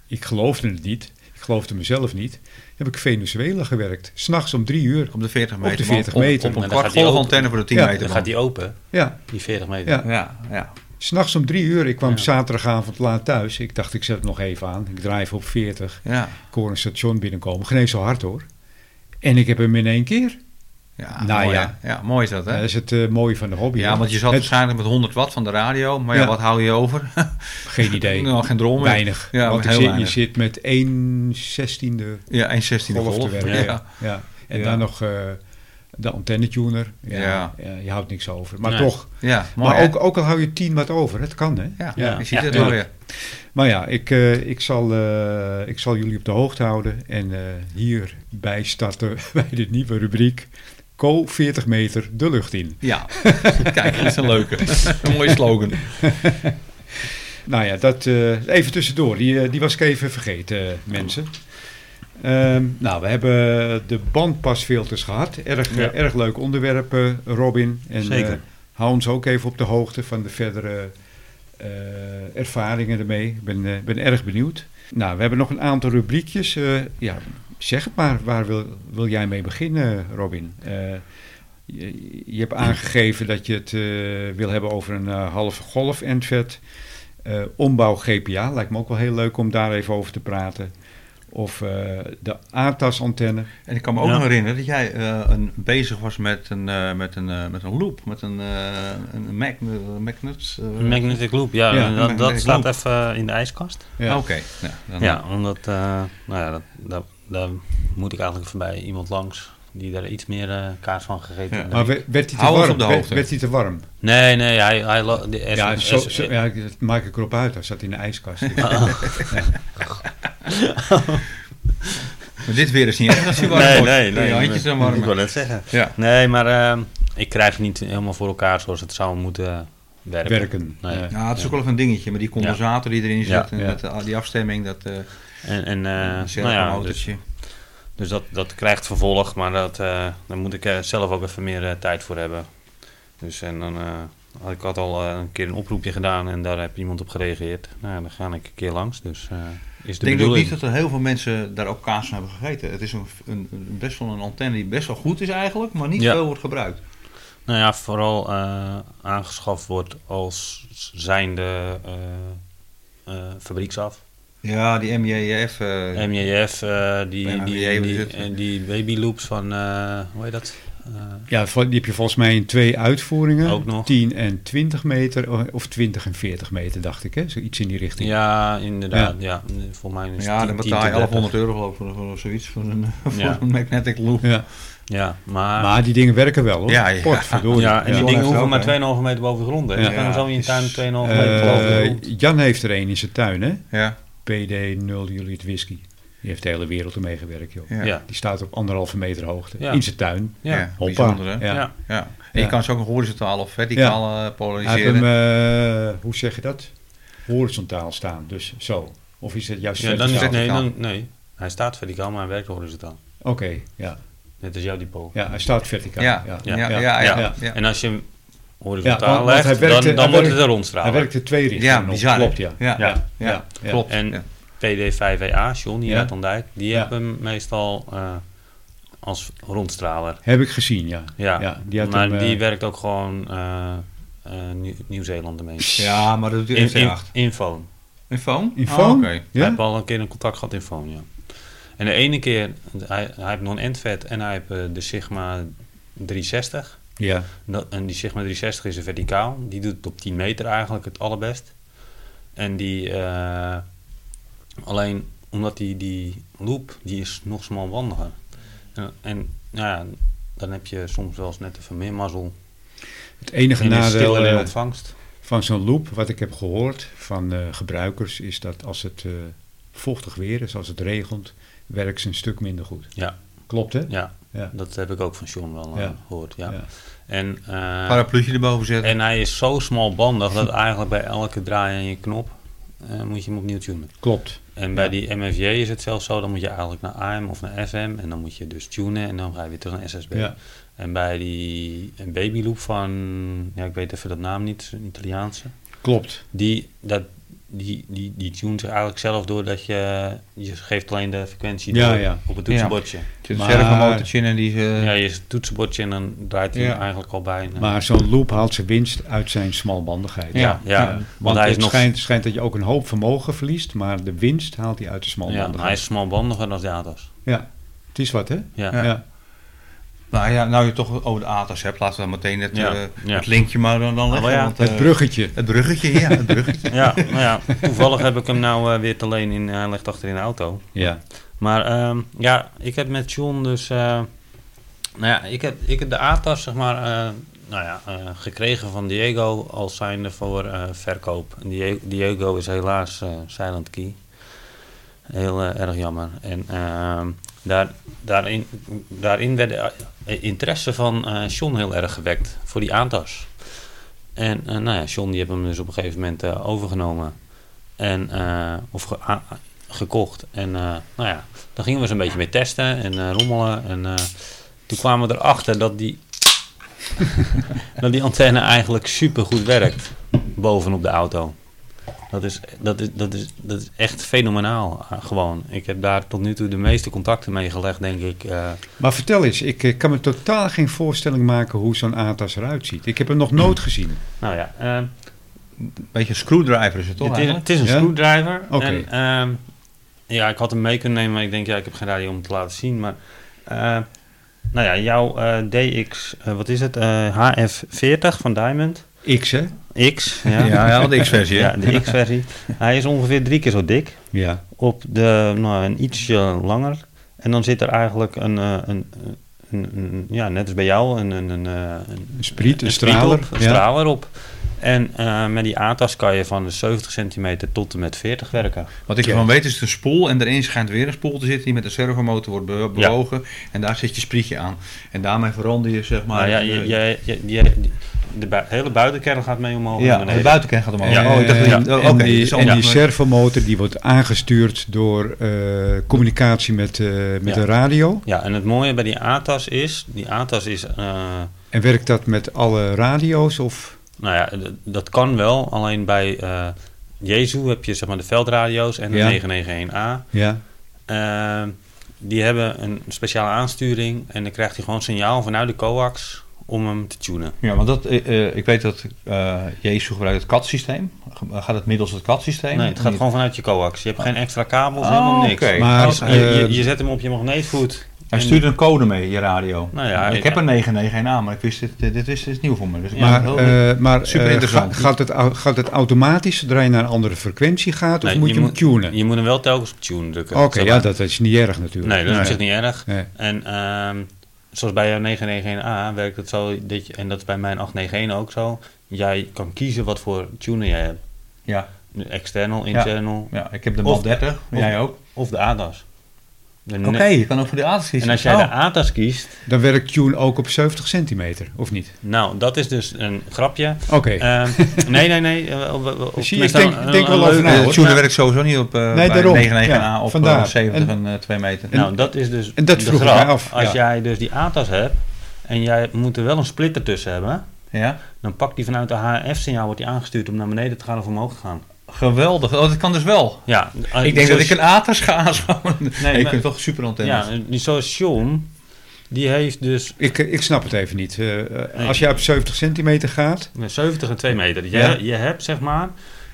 [SPEAKER 1] ik geloofde het niet, ik geloofde mezelf niet, heb ik Venezuela gewerkt, s'nachts om drie uur.
[SPEAKER 2] Op de 40
[SPEAKER 1] Op
[SPEAKER 2] meter.
[SPEAKER 1] de 40
[SPEAKER 2] man. Op-
[SPEAKER 1] meter.
[SPEAKER 2] Op,
[SPEAKER 3] En
[SPEAKER 2] een
[SPEAKER 3] dan
[SPEAKER 2] kwart
[SPEAKER 3] gaat die
[SPEAKER 2] golf
[SPEAKER 3] ook-
[SPEAKER 2] antenne voor de 10
[SPEAKER 1] Ja,
[SPEAKER 2] meter.
[SPEAKER 3] Dan
[SPEAKER 2] man.
[SPEAKER 3] gaat die open,
[SPEAKER 1] Ja,
[SPEAKER 3] die 40 meter.
[SPEAKER 1] ja.
[SPEAKER 2] Ja, ja.
[SPEAKER 1] S'nachts om drie uur. Ik kwam
[SPEAKER 3] Ja.
[SPEAKER 1] zaterdagavond laat thuis. Ik dacht, ik zet het nog even aan. Ik draai even op 40.
[SPEAKER 2] ja.
[SPEAKER 1] Ik hoor een station binnenkomen. Geen eens zo hard hoor. En ik heb hem in één keer.
[SPEAKER 2] Ja,
[SPEAKER 1] Nou
[SPEAKER 2] mooi,
[SPEAKER 1] ja.
[SPEAKER 2] hè? ja, mooi is dat, hè?
[SPEAKER 1] dat is het eh, mooie van de hobby.
[SPEAKER 2] Ja,
[SPEAKER 1] hoor.
[SPEAKER 2] want je zat
[SPEAKER 1] Het-
[SPEAKER 2] waarschijnlijk met 100 watt van de radio, maar ja,
[SPEAKER 1] Ja.
[SPEAKER 2] wat hou je over?
[SPEAKER 1] Geen idee.
[SPEAKER 2] nou, geen droom meer.
[SPEAKER 1] weinig.
[SPEAKER 2] Ja,
[SPEAKER 1] want
[SPEAKER 2] heel
[SPEAKER 1] ik zit-
[SPEAKER 2] weinig.
[SPEAKER 1] je zit met 1 zestiende
[SPEAKER 2] Ja, 1 16
[SPEAKER 1] golf
[SPEAKER 2] golf.
[SPEAKER 1] te werken.
[SPEAKER 2] ja.
[SPEAKER 1] Ja. Ja. En
[SPEAKER 2] Ja.
[SPEAKER 1] dan nog eh, de antennetuner. Ja,
[SPEAKER 2] Ja.
[SPEAKER 1] ja, je houdt niks over. Maar
[SPEAKER 3] Nee.
[SPEAKER 1] toch.
[SPEAKER 2] Ja, mooi,
[SPEAKER 1] maar
[SPEAKER 2] hè?
[SPEAKER 1] ook, ook al hou je 10 wat over. Het kan hè.
[SPEAKER 2] Ja,
[SPEAKER 1] Ja.
[SPEAKER 2] je ziet het
[SPEAKER 3] Ja.
[SPEAKER 2] wel weer.
[SPEAKER 1] Maar ja, ik, eh, ik, zal, eh, ik zal jullie op de hoogte houden. En eh hierbij starten bij de nieuwe rubriek. Co 40 meter de lucht in.
[SPEAKER 2] Ja, kijk, dat is een leuke. een mooie slogan.
[SPEAKER 1] Nou ja, dat eh, even tussendoor. Die, eh, die was ik even vergeten, eh, mensen. Ehm, nou, we hebben de bandpasfilters gehad. Erg, eh,
[SPEAKER 3] Ja.
[SPEAKER 1] erg leuk onderwerp, eh, Robin. En,
[SPEAKER 3] Zeker.
[SPEAKER 1] eh, hou ons ook even op de hoogte van de verdere eh, ervaringen ermee. Ik ben, eh, ben erg benieuwd. Nou, we hebben nog een aantal rubriekjes. eh, ja, zeg het maar, waar wil, wil jij mee beginnen, Robin? Eh, je, je hebt aangegeven dat je het eh, wil hebben over een eh, halve golf endvet. Eh, ombouw GPA lijkt me ook wel heel leuk om daar even over te praten. Of eh, de ATAS-antenne.
[SPEAKER 2] En ik kan me ook
[SPEAKER 3] Ja.
[SPEAKER 2] nog herinneren dat jij eh, een, bezig was met een, eh, met, een, eh, met een loop, met een, eh een magnet. magnet eh,
[SPEAKER 3] Magnetic loop, ja.
[SPEAKER 1] Ja,
[SPEAKER 3] dat dat
[SPEAKER 2] magnetic
[SPEAKER 3] staat
[SPEAKER 2] loop.
[SPEAKER 3] even eh, in de ijskast.
[SPEAKER 1] Ja.
[SPEAKER 2] Oké, ja, dan-
[SPEAKER 3] Ja, omdat, eh, nou ja, dat, dat, daar moet ik eigenlijk voorbij iemand langs die daar iets meer eh, kaas van gegeten
[SPEAKER 2] Ja.
[SPEAKER 3] heeft.
[SPEAKER 1] Maar we- werd die te
[SPEAKER 2] Hou ons
[SPEAKER 1] warm?
[SPEAKER 2] op de
[SPEAKER 1] Werd-
[SPEAKER 2] hoogte.
[SPEAKER 1] werd die te warm?
[SPEAKER 3] Nee, nee, hij, hij lo- de S-
[SPEAKER 1] ja, zo,
[SPEAKER 3] S-
[SPEAKER 1] zo, ja, ik- dat maak ik erop uit. Hij zat in de ijskast.
[SPEAKER 2] Maar dit weer is niet erg als je warm
[SPEAKER 3] nee,
[SPEAKER 2] wordt.
[SPEAKER 3] nee, nee.
[SPEAKER 2] Je handjes dan warm.
[SPEAKER 3] Ik wil net zeggen.
[SPEAKER 2] Ja.
[SPEAKER 3] Nee, maar eh, ik krijg het niet helemaal voor elkaar zoals het zou moeten eh, werken.
[SPEAKER 1] Werken,
[SPEAKER 3] Nee.
[SPEAKER 1] ja.
[SPEAKER 2] Ja, het is ook wel even een dingetje, maar die condensator die erin
[SPEAKER 3] Ja.
[SPEAKER 2] zit, en
[SPEAKER 1] Ja.
[SPEAKER 2] dat, eh, die afstemming, dat eh
[SPEAKER 3] En, en eh,
[SPEAKER 2] uh,
[SPEAKER 3] nou ja, dus, dus dat, dat krijgt vervolg, maar dat, eh, daar moet ik eh, zelf ook even meer eh, tijd voor hebben. Dus en dan eh, had ik had al eh, een keer een oproepje gedaan en daar heb iemand op gereageerd. Nou, ja, dan ga ik een keer langs. Dus eh, is de
[SPEAKER 2] Ik denk ook
[SPEAKER 3] bedoeling.
[SPEAKER 2] niet dat er heel veel mensen daar ook kaas van hebben gegeten. Het is een, een, een- best wel een antenne die best wel goed is eigenlijk, maar niet
[SPEAKER 3] Ja.
[SPEAKER 2] veel wordt gebruikt.
[SPEAKER 3] Nou ja, vooral eh, aangeschaft wordt als zijnde eh, eh, fabrieksaf.
[SPEAKER 2] Ja, die MJF. eh,
[SPEAKER 3] MJF, eh, die,
[SPEAKER 2] Ja,
[SPEAKER 3] die,
[SPEAKER 2] MJF
[SPEAKER 3] die,
[SPEAKER 2] zit-
[SPEAKER 3] en die baby loops van, eh, hoe heet dat? Eh,
[SPEAKER 1] ja, vol- die heb je volgens mij in twee uitvoeringen.
[SPEAKER 3] Ook nog.
[SPEAKER 1] 10 en 20 meter. Of 20 en 40 meter, dacht ik. Hè? Zoiets in die richting.
[SPEAKER 3] ja, inderdaad. Ja. Voor mij is het
[SPEAKER 2] ja,
[SPEAKER 3] 10,
[SPEAKER 2] dan
[SPEAKER 3] 10
[SPEAKER 2] betaal je
[SPEAKER 3] tot 30.
[SPEAKER 2] 1100 euro geloof ik voor, voor zoiets, voor een, voor
[SPEAKER 3] Ja.
[SPEAKER 2] een magnetic loop.
[SPEAKER 1] Ja.
[SPEAKER 3] Ja, maar...
[SPEAKER 1] Maar die dingen werken wel hoor.
[SPEAKER 2] Ja, ja.
[SPEAKER 1] Potverdorie.
[SPEAKER 3] ja, en die dingen hoeven
[SPEAKER 1] ook,
[SPEAKER 3] maar
[SPEAKER 1] hè?
[SPEAKER 3] 2,5 meter boven de grond. hè.
[SPEAKER 1] Ja.
[SPEAKER 3] Dus je kan
[SPEAKER 2] Ja,
[SPEAKER 3] zo in je tuin 2,5
[SPEAKER 2] is-
[SPEAKER 3] meter boven de grond.
[SPEAKER 1] Eh, Jan heeft er een in zijn tuin, hè?
[SPEAKER 2] Ja,
[SPEAKER 1] PD 0 Juliet Whisky. Die heeft de hele wereld ermee gewerkt, joh.
[SPEAKER 2] ja.
[SPEAKER 3] Ja.
[SPEAKER 1] Die staat op anderhalve meter hoogte
[SPEAKER 3] Ja.
[SPEAKER 1] in zijn tuin.
[SPEAKER 3] Ja.
[SPEAKER 2] Ja,
[SPEAKER 1] Hoppa.
[SPEAKER 2] bijzonder, hè?
[SPEAKER 1] Ja.
[SPEAKER 3] Ja.
[SPEAKER 2] Ja. En
[SPEAKER 1] Ja.
[SPEAKER 2] je kan ze ook nog horizontaal of verticaal eh,
[SPEAKER 1] Hij heeft
[SPEAKER 2] polariseren.
[SPEAKER 1] hem, eh, hoe zeg je dat? Horizontaal staan, dus zo. Of is het juist
[SPEAKER 3] Ja, dan is
[SPEAKER 1] verticaal?
[SPEAKER 3] het, nee,
[SPEAKER 2] verticaal.
[SPEAKER 3] dan, nee, hij staat verticaal, maar hij werkt horizontaal.
[SPEAKER 1] Oké, ja.
[SPEAKER 3] Net als jouw depot.
[SPEAKER 1] ja. Hij staat verticaal.
[SPEAKER 2] Ja,
[SPEAKER 1] ja.
[SPEAKER 2] ja, ja, ja, ja.
[SPEAKER 1] Ja.
[SPEAKER 2] ja.
[SPEAKER 3] En als je hem
[SPEAKER 1] Ja, want-
[SPEAKER 3] horizontaal
[SPEAKER 1] want
[SPEAKER 3] legt,
[SPEAKER 1] hij werkte-
[SPEAKER 3] dan,
[SPEAKER 1] hij
[SPEAKER 3] dan wordt
[SPEAKER 1] werkte-
[SPEAKER 3] het een rondstraal.
[SPEAKER 1] Hij werkt de twee richtingen
[SPEAKER 2] Ja,
[SPEAKER 1] op,
[SPEAKER 2] bizar, hè?
[SPEAKER 1] Klopt, ja.
[SPEAKER 2] Ja.
[SPEAKER 1] ja.
[SPEAKER 2] Ja.
[SPEAKER 1] ja.
[SPEAKER 2] Klopt.
[SPEAKER 3] En
[SPEAKER 2] Ja.
[SPEAKER 3] PD5EA, John hier
[SPEAKER 1] Ja.
[SPEAKER 3] uit Dijk, die
[SPEAKER 1] Ja.
[SPEAKER 3] hebben hem meestal eh, als rondstraler.
[SPEAKER 1] Heb ik gezien, ja.
[SPEAKER 3] Ja,
[SPEAKER 1] die had
[SPEAKER 3] maar
[SPEAKER 1] hem, eh,
[SPEAKER 3] die werkt ook gewoon eh, eh, Nieu- Nieuw-Zeeland ermee.
[SPEAKER 2] Ja, maar dat doet
[SPEAKER 3] In,
[SPEAKER 2] hij
[SPEAKER 3] in,
[SPEAKER 2] FC8.
[SPEAKER 3] in phone.
[SPEAKER 2] Een phone?
[SPEAKER 1] In
[SPEAKER 2] Oh,
[SPEAKER 1] phone?
[SPEAKER 2] oké.
[SPEAKER 3] Hij
[SPEAKER 1] Ja?
[SPEAKER 3] heeft al een keer een contact gehad in phone, ja. En de ene keer, hij, hij heeft non-endvet en hij heeft eh, de Sigma 360.
[SPEAKER 1] ja.
[SPEAKER 3] Dat, en die Sigma 360 is een verticaal. Die doet het op 10 meter eigenlijk het allerbest. En die... eh, alleen omdat die, die loop, die is nog smalbandiger. En, en nou ja, dan heb je soms wel eens net even meer mazzel.
[SPEAKER 1] Het enige
[SPEAKER 3] En is
[SPEAKER 1] nadeel
[SPEAKER 3] stiller in
[SPEAKER 1] eh,
[SPEAKER 3] ontvangst.
[SPEAKER 1] van zo'n loop, wat ik heb gehoord van eh, gebruikers, is dat als het eh, vochtig weer is, als het regent, werkt ze een stuk minder goed.
[SPEAKER 3] Ja,
[SPEAKER 1] Klopt, hè?
[SPEAKER 3] ja,
[SPEAKER 1] Ja.
[SPEAKER 3] dat heb ik ook van John wel eh,
[SPEAKER 1] Ja.
[SPEAKER 3] gehoord. Ja.
[SPEAKER 1] Ja.
[SPEAKER 3] En, eh,
[SPEAKER 2] Parapluutje erboven zetten.
[SPEAKER 3] en hij is zo smalbandig dat eigenlijk bij elke draai aan je knop eh, moet je hem opnieuw tunen.
[SPEAKER 1] Klopt.
[SPEAKER 3] En bij die MFJ is het zelfs zo, dan moet je eigenlijk naar AM of naar FM en dan moet je dus tunen en dan ga je weer terug naar SSB.
[SPEAKER 1] Ja.
[SPEAKER 3] En bij die babyloop van, ja ik weet even dat naam niet, een Italiaanse,
[SPEAKER 1] Klopt.
[SPEAKER 3] die, dat, die, die, die tunt zich eigenlijk zelf doordat je, je geeft alleen de frequentie
[SPEAKER 1] Ja,
[SPEAKER 3] door
[SPEAKER 1] ja.
[SPEAKER 3] op het toetsenbordje.
[SPEAKER 2] Er zit een
[SPEAKER 1] maar-
[SPEAKER 2] servomotortje in en die... eh,
[SPEAKER 3] Ja, je toetsenbordje en dan draait hij
[SPEAKER 2] Ja.
[SPEAKER 3] eigenlijk al bijna.
[SPEAKER 1] Maar zo'n loop haalt zijn winst uit zijn smalbandigheid.
[SPEAKER 2] Ja.
[SPEAKER 3] ja, ja,
[SPEAKER 1] Want,
[SPEAKER 3] want, hij is
[SPEAKER 1] het
[SPEAKER 3] nog...
[SPEAKER 1] schijnt, schijnt dat je ook een hoop vermogen verliest, maar de winst haalt hij uit de
[SPEAKER 3] eh, Ja, maar hij
[SPEAKER 1] smalbandigheid.
[SPEAKER 3] is smalbandiger dan de ATAS.
[SPEAKER 1] Ja, het is wat, hè?
[SPEAKER 3] Ja.
[SPEAKER 1] Ja.
[SPEAKER 3] Ja.
[SPEAKER 2] Nou ja, nou je het toch over de ATAS hebt, laten we dan meteen het,
[SPEAKER 3] Ja,
[SPEAKER 2] eh,
[SPEAKER 3] ja.
[SPEAKER 2] het linkje maar dan, dan leggen.
[SPEAKER 3] Oh, ja.
[SPEAKER 2] want, eh,
[SPEAKER 1] Het bruggetje.
[SPEAKER 2] het bruggetje, ja, het bruggetje.
[SPEAKER 3] nou ja, toevallig heb ik hem nou eh, weer te leen in, hij ligt achter in de auto.
[SPEAKER 1] Ja.
[SPEAKER 3] Maar ehm, ja, ik heb met John dus. eh, nou ja, ik heb, ik heb de ATAS zeg maar. eh, nou ja, eh, gekregen van Diego als zijnde voor eh, verkoop. En Die- Diego is helaas eh, Silent Key. Heel eh, erg jammer. En ehm, daar, daarin, daarin werd de eh, interesse van eh John heel erg gewekt voor die ATAS. En eh, nou ja, John die heeft hem dus op een gegeven moment eh, overgenomen. En, eh, of ge- a- gekocht. En eh, nou ja, daar gingen we eens een beetje mee testen en eh, rommelen. En eh, toen kwamen we erachter dat die, dat die antenne eigenlijk super goed werkt bovenop de auto. Dat is, dat, is, dat, is, dat is echt fenomenaal eh, gewoon. Ik heb daar tot nu toe de meeste contacten mee gelegd, denk ik. eh.
[SPEAKER 1] Maar vertel eens, ik eh, kan me totaal geen voorstelling maken hoe zo'n ATAS eruit ziet. Ik heb hem nog nooit gezien.
[SPEAKER 3] nou ja, eh,
[SPEAKER 2] Beetje screwdriver is het toch
[SPEAKER 3] Het is,
[SPEAKER 2] eigenlijk?
[SPEAKER 3] het is een
[SPEAKER 1] Ja?
[SPEAKER 3] screwdriver.
[SPEAKER 1] Oké.
[SPEAKER 3] En, ehm, ja, ik had hem mee kunnen nemen, maar ik denk, ja, ik heb geen radio om het te laten zien. Maar, eh, nou ja, jouw eh, DX, eh, wat is het? Eh, HF40 van Diamond.
[SPEAKER 1] X, hè?
[SPEAKER 3] X.
[SPEAKER 2] Ja,
[SPEAKER 3] Ja,
[SPEAKER 2] ja, de X-versie. hè?
[SPEAKER 3] Ja, de X-versie. Hij is ongeveer drie keer zo dik.
[SPEAKER 1] Ja.
[SPEAKER 3] Op de, nou, een ietsje langer. En dan zit er eigenlijk een, eh, een, een, een- ja, net als bij jou, een, een, een, eh, een
[SPEAKER 1] Een spriet, een,
[SPEAKER 3] spriet
[SPEAKER 1] straler.
[SPEAKER 3] op, een
[SPEAKER 1] ja.
[SPEAKER 3] straler op. En eh, met die ATAS kan je van de 70 centimeter tot en met 40 werken.
[SPEAKER 2] Wat ik
[SPEAKER 1] Ja.
[SPEAKER 2] ervan weet is de spoel en erin schijnt weer een spoel te zitten die met een servomotor wordt be- bewogen. En daar zit je sprietje aan. En daarmee verander je zeg maar...
[SPEAKER 3] Maar Nou ja,
[SPEAKER 1] eh,
[SPEAKER 2] de-
[SPEAKER 3] je, je, je, je- de bui- hele buitenkern gaat mee omhoog.
[SPEAKER 2] ja, de
[SPEAKER 3] en beneden.
[SPEAKER 2] buitenkant gaat omhoog.
[SPEAKER 3] Ja.
[SPEAKER 2] oh, ik dacht,
[SPEAKER 1] En-
[SPEAKER 2] dat je- oh,
[SPEAKER 1] Eh, en
[SPEAKER 2] oké,
[SPEAKER 1] die,
[SPEAKER 2] het is
[SPEAKER 1] en
[SPEAKER 2] allemaal-
[SPEAKER 1] die servomotor die wordt aangestuurd door eh, communicatie met, eh, met
[SPEAKER 3] Ja.
[SPEAKER 1] de radio.
[SPEAKER 3] ja, en het mooie bij die ATAS is, die ATAS is, eh,
[SPEAKER 1] En werkt dat met alle radio's? Of?
[SPEAKER 3] nou ja, d- dat kan wel, alleen bij eh Jezu heb je zeg maar de veldradio's en de
[SPEAKER 1] Ja.
[SPEAKER 3] 991A.
[SPEAKER 1] Ja,
[SPEAKER 3] Eh, die hebben een speciale aansturing en dan krijgt hij gewoon signaal vanuit de coax om hem te tunen.
[SPEAKER 2] Ja, want dat, eh, eh, ik weet dat eh Jezus gebruikt het katsysteem. Gaat het middels het katsysteem?
[SPEAKER 3] Nee, het gaat gewoon vanuit je coax. Je hebt geen extra kabels,
[SPEAKER 2] Oh,
[SPEAKER 3] helemaal niks.
[SPEAKER 2] oké.
[SPEAKER 1] Maar,
[SPEAKER 3] Als- je, je,
[SPEAKER 1] eh,
[SPEAKER 3] je zet hem op je magneetvoet.
[SPEAKER 2] Hij
[SPEAKER 3] En-
[SPEAKER 2] stuurt een code mee, je radio.
[SPEAKER 3] Nou ja,
[SPEAKER 2] ik
[SPEAKER 3] ik-
[SPEAKER 2] heb een 991A, maar ik wist dit, eh, dit, dit is, dit is nieuw voor me. Dus ik ben
[SPEAKER 1] maar,
[SPEAKER 2] heel-
[SPEAKER 1] eh, maar
[SPEAKER 2] Super
[SPEAKER 1] eh,
[SPEAKER 2] interessant.
[SPEAKER 1] ga- gaat, het, au- gaat het automatisch zodra je naar een andere frequentie gaat? Of
[SPEAKER 3] Nee,
[SPEAKER 1] moet je, hem tunen?
[SPEAKER 3] Je moet hem wel telkens op tune drukken.
[SPEAKER 1] Oké,
[SPEAKER 3] zeg
[SPEAKER 1] ja,
[SPEAKER 3] maar.
[SPEAKER 1] dat is niet erg natuurlijk.
[SPEAKER 3] Nee, dat is op
[SPEAKER 1] Nee.
[SPEAKER 3] zich niet erg.
[SPEAKER 1] Nee.
[SPEAKER 3] En ehm, zoals bij jouw 991A werkt het zo, dat je, en dat is bij mijn 891 ook zo, jij kan kiezen wat voor tuner jij hebt.
[SPEAKER 2] Ja,
[SPEAKER 3] External, internal
[SPEAKER 2] ja ik heb de
[SPEAKER 3] Of-
[SPEAKER 2] MAP 30,
[SPEAKER 3] of-
[SPEAKER 2] jij ook.
[SPEAKER 3] of de ADAS. De ne-
[SPEAKER 2] Oké, je kan ook voor de aardappels kiezen.
[SPEAKER 3] En als jij
[SPEAKER 2] Oh.
[SPEAKER 3] de ADAS kiest,
[SPEAKER 1] Dan werkt Tune ook op 70 centimeter, of niet?
[SPEAKER 3] nou, dat is dus een grapje.
[SPEAKER 1] Oké.
[SPEAKER 3] Ehm, nee, nee, nee. eh, op- op- op-
[SPEAKER 1] Zie je,
[SPEAKER 3] met
[SPEAKER 1] ik denk-
[SPEAKER 3] zo'n- eh,
[SPEAKER 1] ik denk
[SPEAKER 3] een-
[SPEAKER 1] wel
[SPEAKER 3] een
[SPEAKER 1] over
[SPEAKER 3] leuke-
[SPEAKER 1] na,
[SPEAKER 2] de
[SPEAKER 1] hoor.
[SPEAKER 2] tuner
[SPEAKER 1] Ja.
[SPEAKER 2] werkt sowieso niet op eh
[SPEAKER 1] Nee,
[SPEAKER 2] bij
[SPEAKER 1] daarom.
[SPEAKER 2] 99
[SPEAKER 1] Ja,
[SPEAKER 2] A op eh,
[SPEAKER 1] vandaar.
[SPEAKER 2] 70 en,
[SPEAKER 1] En-
[SPEAKER 2] eh, 2 meter.
[SPEAKER 3] Nou, dat is dus
[SPEAKER 1] en dat
[SPEAKER 3] de
[SPEAKER 1] vroeg ik
[SPEAKER 3] grap.
[SPEAKER 1] mij af,
[SPEAKER 3] Als
[SPEAKER 1] ja.
[SPEAKER 3] jij dus die ATAS hebt en jij moet er wel een splitter tussen hebben,
[SPEAKER 2] ja.
[SPEAKER 3] dan pakt die vanuit de HF-signaal wordt die aangestuurd om naar beneden te gaan of omhoog te gaan.
[SPEAKER 2] Geweldig. Oh, dat kan dus wel.
[SPEAKER 3] Ja, eh,
[SPEAKER 2] Ik denk dat
[SPEAKER 3] zo'n-
[SPEAKER 2] ik een Aters ga aanschouwen. Nee, ik
[SPEAKER 3] maar-
[SPEAKER 2] vind toch super antennes.
[SPEAKER 3] Ja, die station, die heeft dus
[SPEAKER 1] Ik, ik snap het even niet. Eh, eh,
[SPEAKER 3] Nee.
[SPEAKER 1] Als jij op 70 centimeter gaat...
[SPEAKER 3] met 70 en 2 meter. Je,
[SPEAKER 2] Ja.
[SPEAKER 3] je hebt zeg maar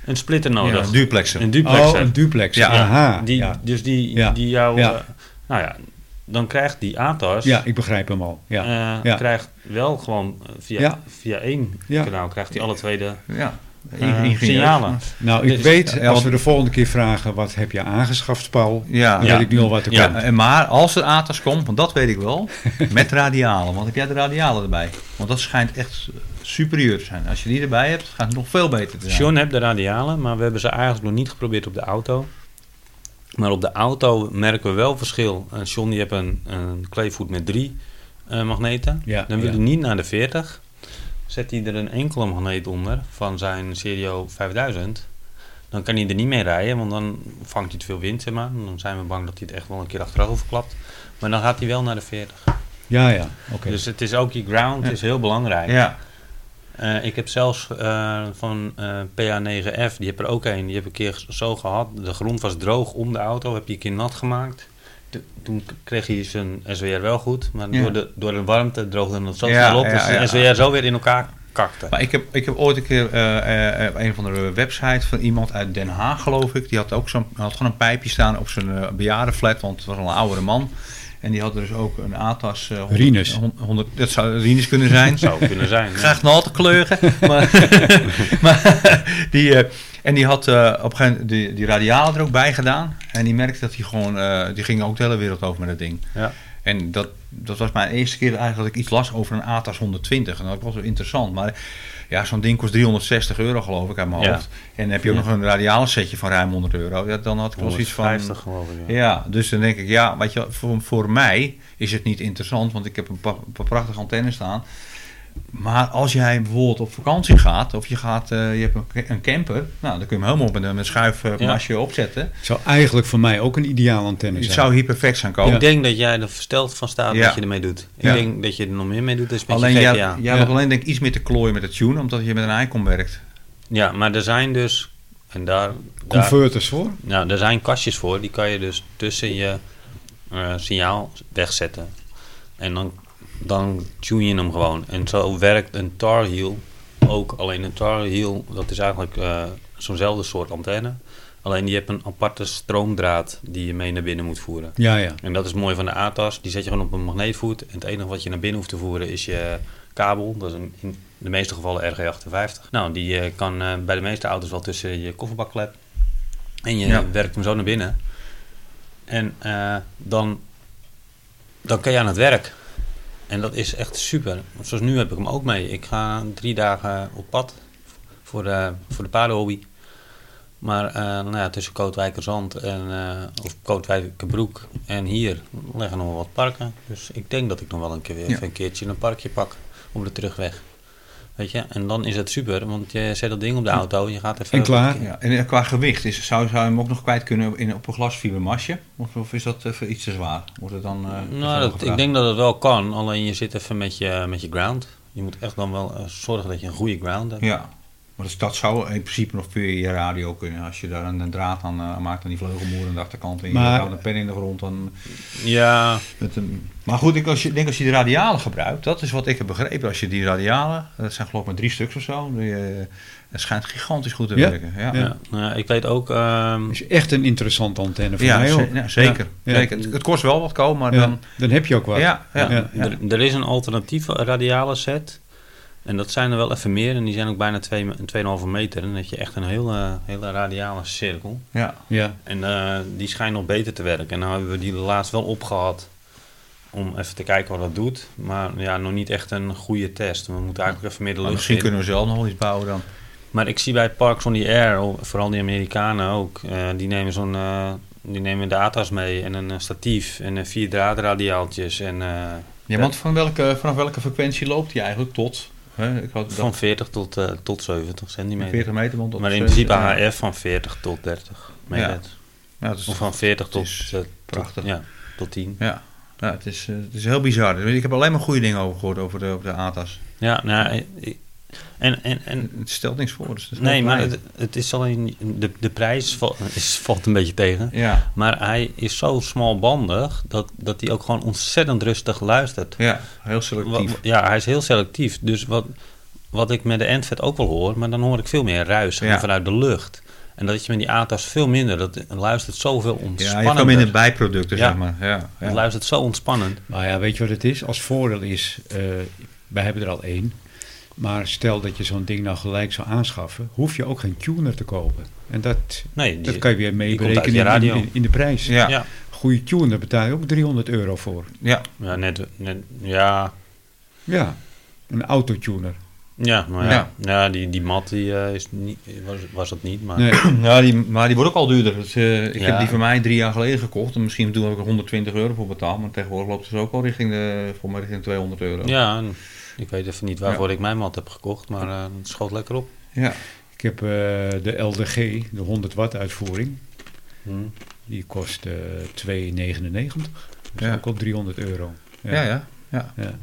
[SPEAKER 3] een splitter
[SPEAKER 2] Ja,
[SPEAKER 3] nodig.
[SPEAKER 2] duplexen.
[SPEAKER 3] een duplexer.
[SPEAKER 1] Oh, een duplex.
[SPEAKER 2] Ja.
[SPEAKER 1] Aha.
[SPEAKER 3] die,
[SPEAKER 1] ja.
[SPEAKER 3] Dus die,
[SPEAKER 1] Ja.
[SPEAKER 3] die jou...
[SPEAKER 1] Ja.
[SPEAKER 3] eh, nou ja, dan krijgt die ATAS...
[SPEAKER 1] ja, ik begrijp hem al. Ja.
[SPEAKER 3] eh,
[SPEAKER 1] Ja.
[SPEAKER 3] krijgt wel gewoon eh, via,
[SPEAKER 1] Ja.
[SPEAKER 3] via één
[SPEAKER 1] Ja.
[SPEAKER 3] kanaal krijgt hij alle twee de
[SPEAKER 2] Ja.
[SPEAKER 3] eh,
[SPEAKER 2] Ingenieur.
[SPEAKER 3] signalen.
[SPEAKER 1] nou, ik
[SPEAKER 3] dus-
[SPEAKER 1] weet,
[SPEAKER 2] ja,
[SPEAKER 1] als
[SPEAKER 2] want-
[SPEAKER 1] we de volgende keer vragen... wat heb je aangeschaft, Paul?
[SPEAKER 2] Ja.
[SPEAKER 1] Dan
[SPEAKER 2] ja.
[SPEAKER 1] weet ik nu al wat er
[SPEAKER 3] Ja.
[SPEAKER 1] komt.
[SPEAKER 2] En maar als er Aters komt, want dat weet ik wel, met radialen. Want heb jij de radialen erbij? Want dat schijnt echt superieur te zijn. Als je die erbij hebt, gaat het nog veel beter te zijn.
[SPEAKER 3] John hebt de radialen, maar we hebben ze eigenlijk nog niet geprobeerd op de auto. Maar op de auto merken we wel verschil. Eh, John die heeft een, een kleefvoet met drie eh, magneten.
[SPEAKER 1] Ja,
[SPEAKER 3] Dan wil
[SPEAKER 1] ja.
[SPEAKER 3] hij niet naar de 40. Zet hij er een enkele magneet onder van zijn Serio 5000. Dan kan hij er niet mee rijden, want dan vangt hij te veel wind. Zeg maar. Dan zijn we bang dat hij het echt wel een keer achterover klapt. Maar dan gaat hij wel naar de 40.
[SPEAKER 1] Ja, ja. Oké.
[SPEAKER 3] Dus het is ook die ground is heel belangrijk.
[SPEAKER 2] Ja.
[SPEAKER 3] Eh, ik heb zelfs eh, van eh, PA9F, die heb er ook een, die heb ik een keer zo gehad. De grond was droog om de auto, heb je een keer nat gemaakt. T- toen k- kreeg hij zijn SWR wel goed, maar
[SPEAKER 2] Ja.
[SPEAKER 3] door, de, door de warmte droogde het zo
[SPEAKER 2] Ja,
[SPEAKER 3] snel op Dus
[SPEAKER 2] ja,
[SPEAKER 3] dat ze
[SPEAKER 2] ja.
[SPEAKER 3] de SWR zo weer in elkaar kakte.
[SPEAKER 2] Maar ik heb, ik heb ooit een keer eh, eh, op een van de websites van iemand uit Den Haag, geloof ik. Die had ook zo'n, had gewoon een pijpje staan op zijn eh, bejaardenflat, want het was al een oudere man. En die had dus ook een ATAS. eh, 100
[SPEAKER 1] Rinus.
[SPEAKER 2] 100, dat zou Rinus kunnen zijn.
[SPEAKER 3] zou kunnen zijn. ja.
[SPEAKER 2] Graag naald te kleuren. maar, maar die, eh, en die had eh, op een gegeven moment die, die radiaal er ook bij gedaan. En die merkte dat hij gewoon, eh, die ging ook de hele wereld over met dat ding.
[SPEAKER 3] Ja.
[SPEAKER 2] En dat, dat was mijn eerste keer eigenlijk dat ik iets las over een ATAS 120. En dat was wel interessant. Maar ja, zo'n ding kost 360 euro geloof ik uit mijn
[SPEAKER 3] Ja.
[SPEAKER 2] hoofd. En dan heb je ook
[SPEAKER 3] Ja.
[SPEAKER 2] nog een radiaal setje van ruim 100 euro. Ja, dan had ik wel zoiets van...
[SPEAKER 3] 150 geloof ik. ja.
[SPEAKER 2] Ja, dus dan denk ik, ja, weet je, voor, voor mij is het niet interessant, want ik heb een pa- paar prachtige antennes staan. Maar als jij bijvoorbeeld op vakantie gaat, of je, gaat, eh, je hebt een, ca- een camper, nou, dan kun je hem helemaal met een met schuifmasje opzetten.
[SPEAKER 1] Het zou eigenlijk voor mij ook een ideaal antenne
[SPEAKER 2] Het
[SPEAKER 1] zijn.
[SPEAKER 2] zou hier perfect zijn
[SPEAKER 3] Ik
[SPEAKER 2] komen.
[SPEAKER 3] denk dat jij er versteld van staat
[SPEAKER 2] Ja.
[SPEAKER 3] dat je ermee doet. Ik
[SPEAKER 2] Ja.
[SPEAKER 3] denk dat je er nog meer mee doet dan met
[SPEAKER 2] Alleen
[SPEAKER 3] je
[SPEAKER 2] jij,
[SPEAKER 3] GPA.
[SPEAKER 2] jij
[SPEAKER 1] Ja.
[SPEAKER 2] hebt alleen denk ik iets meer te klooien met het tune, omdat je met een icon werkt.
[SPEAKER 3] Ja, maar er zijn dus, en daar, daar
[SPEAKER 1] Converters voor?
[SPEAKER 3] Nou, er zijn kastjes voor, die kan je dus tussen je eh, signaal wegzetten. En dan, dan tune je hem gewoon. En zo werkt een tar heel ook. Alleen een tar heel, dat is eigenlijk eh, zo'nzelfde soort antenne. Alleen die hebt een aparte stroomdraad die je mee naar binnen moet voeren.
[SPEAKER 1] Ja, ja.
[SPEAKER 3] En dat is mooi van de ATAS. Die zet je gewoon op een magneetvoet. En het enige wat je naar binnen hoeft te voeren is je kabel. Dat is een, in de meeste gevallen RG58. Nou, die eh, kan eh, bij de meeste auto's wel tussen je kofferbakklep. En je
[SPEAKER 2] Ja.
[SPEAKER 3] werkt hem zo naar binnen. En eh, dan, dan kan je aan het werk. En dat is echt super. Zoals nu heb ik hem ook mee. Ik ga drie dagen op pad voor de, voor de paardenhobby. Maar eh, nou ja, tussen Kootwijkerzand en eh, of Kootwijkerbroek en hier liggen nog wel wat parken. Dus ik denk dat ik nog wel een keer weer
[SPEAKER 2] Ja.
[SPEAKER 3] even een keertje een parkje pak op de terugweg. Weet je, en dan is het super, want je zet dat ding op de auto en je gaat even...
[SPEAKER 1] En klaar.
[SPEAKER 2] Ja. En eh, qua gewicht, is, zou, zou je hem ook nog kwijt kunnen in, op een glasfibermasje? Of, of is dat even iets te zwaar? Wordt het dan... eh,
[SPEAKER 3] Nou, dat,
[SPEAKER 2] gevraagd?
[SPEAKER 3] ik denk dat het wel kan, alleen je zit even met je, met je ground. Je moet echt dan wel eh, zorgen dat je een goede ground hebt.
[SPEAKER 2] Ja, maar dus dat zou in principe nog puur je radio kunnen. Als je daar een, een draad aan eh, maakt aan die vleugelmoer aan de achterkant en je
[SPEAKER 1] Maar-
[SPEAKER 2] houdt een pen in de grond. Dan
[SPEAKER 3] ja
[SPEAKER 2] met een... Maar goed, ik als je, denk als je de radialen gebruikt, dat is wat ik heb begrepen. Als je die radialen, dat zijn geloof ik maar drie stuks of zo, die, eh, dat schijnt gigantisch goed te
[SPEAKER 1] Ja?
[SPEAKER 2] werken. Ja,
[SPEAKER 1] Ja.
[SPEAKER 2] ja.
[SPEAKER 3] Ja, nou ja, ik weet ook. ehm,
[SPEAKER 1] is echt een interessante antenne voor mij
[SPEAKER 2] ze-
[SPEAKER 1] ook.
[SPEAKER 2] ja, zeker.
[SPEAKER 1] Ja.
[SPEAKER 2] zeker. Het, het kost wel wat komen, maar
[SPEAKER 1] Ja,
[SPEAKER 2] dan...
[SPEAKER 1] dan heb je ook wat.
[SPEAKER 2] Ja, ja,
[SPEAKER 3] ja,
[SPEAKER 2] ja.
[SPEAKER 3] Er, er is een alternatieve radiale set. En dat zijn er wel even meer. En die zijn ook bijna twee me- 2,5 meter. En dan heb je echt een hele, hele radiale cirkel.
[SPEAKER 2] Ja.
[SPEAKER 1] Ja.
[SPEAKER 3] En eh, die schijnt nog beter te werken. En nou hebben we die laatst wel opgehad. Om even te kijken wat dat doet. Maar ja, nog niet echt een goede test. We moeten eigenlijk even midden
[SPEAKER 2] Maar
[SPEAKER 3] lucht
[SPEAKER 2] misschien
[SPEAKER 3] in.
[SPEAKER 2] kunnen we zelf nog wel iets bouwen dan.
[SPEAKER 3] Maar ik zie bij Parks on the Air, of vooral die Amerikanen ook, eh, die nemen zo'n. eh, die nemen data's mee en een eh, statief en eh, vier draadradiaaltjes en eh,
[SPEAKER 2] Ja, want van welke, vanaf welke frequentie loopt die eigenlijk tot? Hè, ik had
[SPEAKER 3] van 40 tot, eh, tot 70 centimeter.
[SPEAKER 2] 40 meter. Want dat
[SPEAKER 3] maar
[SPEAKER 2] is,
[SPEAKER 3] in
[SPEAKER 2] eh,
[SPEAKER 3] principe
[SPEAKER 2] ja.
[SPEAKER 3] HF van 40 tot 30 megahertz.
[SPEAKER 2] Ja, dat is
[SPEAKER 3] Of van 40 tot,
[SPEAKER 2] is
[SPEAKER 3] eh,
[SPEAKER 2] prachtig.
[SPEAKER 3] Tot, ja, tot 10.
[SPEAKER 2] Ja, ja het, is, eh, het is heel bizar. Ik heb alleen maar goede dingen over gehoord over de, over de ATAS.
[SPEAKER 3] Ja, nou, eh, en, en, en
[SPEAKER 2] Het stelt niks voor. Dus dat is
[SPEAKER 3] nee,
[SPEAKER 2] wel
[SPEAKER 3] maar
[SPEAKER 2] fijn.
[SPEAKER 3] het, het is alleen de, de prijs val- is, valt een beetje tegen.
[SPEAKER 2] Ja,
[SPEAKER 3] Maar hij is zo smalbandig dat, dat hij ook gewoon ontzettend rustig luistert.
[SPEAKER 2] ja, heel selectief.
[SPEAKER 3] Wa- wa- Ja, hij is heel selectief. Dus wat, wat ik met de Endvet ook wel hoor, maar dan hoor ik veel meer ruis en
[SPEAKER 2] Ja.
[SPEAKER 3] vanuit de lucht. En dat is met die ATAS veel minder. Dat luistert zoveel
[SPEAKER 2] ja,
[SPEAKER 3] ontspannender.
[SPEAKER 2] je kwam in het bijproducten,
[SPEAKER 3] Ja.
[SPEAKER 2] zeg maar. Ja, ja.
[SPEAKER 3] Het luistert zo ontspannend.
[SPEAKER 1] Maar Nou ja, weet je wat het is? Als voordeel is, eh, wij hebben er al één. Maar stel dat je zo'n ding nou gelijk zou aanschaffen, hoef je ook geen tuner te kopen. En dat,
[SPEAKER 3] Nee, die-
[SPEAKER 1] dat kan je weer
[SPEAKER 3] die komt uit je
[SPEAKER 1] meeberekenen in,
[SPEAKER 3] radio.
[SPEAKER 1] in, in de prijs.
[SPEAKER 2] Ja.
[SPEAKER 3] ja.
[SPEAKER 1] Goede tuner betaal je ook 300 euro voor.
[SPEAKER 2] Ja.
[SPEAKER 3] Ja, net, net, ja,
[SPEAKER 1] Ja, een autotuner.
[SPEAKER 3] ja, maar ja.
[SPEAKER 2] Ja.
[SPEAKER 3] ja. die, die mat die, eh, is niet, was, was het niet,
[SPEAKER 2] Ah.
[SPEAKER 3] maar
[SPEAKER 1] Nee,
[SPEAKER 2] Ja, die, maar die wordt ook al duurder. Dus, eh, ik
[SPEAKER 3] Ja.
[SPEAKER 2] heb die van mij drie jaar geleden gekocht. En misschien toen heb ik er 120 euro voor betaald. Maar tegenwoordig loopt het dus ook al richting, de, voor mij richting 200 euro.
[SPEAKER 3] ja, en ik weet even niet waarvoor ik mijn mat heb gekocht, maar eh, het schoot lekker op.
[SPEAKER 2] ja.
[SPEAKER 1] Ik heb eh, de LDG, de 100 watt uitvoering.
[SPEAKER 3] Hm.
[SPEAKER 1] Die kost eh 2,99. Dat is
[SPEAKER 2] Ja.
[SPEAKER 1] ook al 300 euro.
[SPEAKER 2] ja, ja. ja.
[SPEAKER 1] Ja.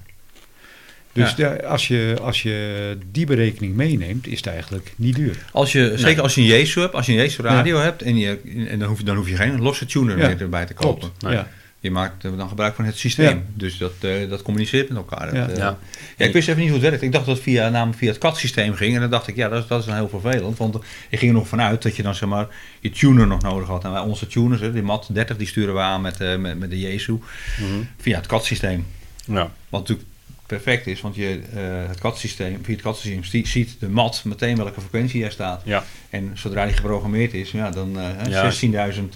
[SPEAKER 1] Dus ja, als, je, als je die berekening meeneemt, is het eigenlijk niet duur.
[SPEAKER 2] Als je, Zeker als je een Jesu hebt, als je een Jesu radio hebt, en, je, en dan, hoef je, dan hoef je geen losse tuner
[SPEAKER 1] Ja,
[SPEAKER 2] meer erbij te kopen.
[SPEAKER 3] Nee.
[SPEAKER 1] Ja.
[SPEAKER 2] Je maakt eh, dan gebruik van het systeem.
[SPEAKER 1] Ja.
[SPEAKER 2] Dus dat, eh, dat communiceert met elkaar. Dat,
[SPEAKER 1] Ja.
[SPEAKER 2] eh,
[SPEAKER 3] Ja.
[SPEAKER 2] ja, ik wist even niet hoe het werkt. Ik dacht dat het via, namelijk via het CAD-systeem ging. En dan dacht ik, ja, dat, is- dat is dan heel vervelend. Want ik ging er nog vanuit dat je dan zeg maar je tuner nog nodig had. En wij, onze tuners, hè, die MAT 30, die sturen we aan met, eh, met, met de Jesu. Via het CAD-systeem.
[SPEAKER 3] Ja.
[SPEAKER 2] Wat natuurlijk perfect is, want je, eh, het CAD-systeem, via het CAD-systeem zie- ziet de mat meteen welke frequentie jij staat.
[SPEAKER 3] Ja.
[SPEAKER 2] En zodra die geprogrammeerd is, ja, dan eh, hè,
[SPEAKER 3] Ja.
[SPEAKER 2] 16.000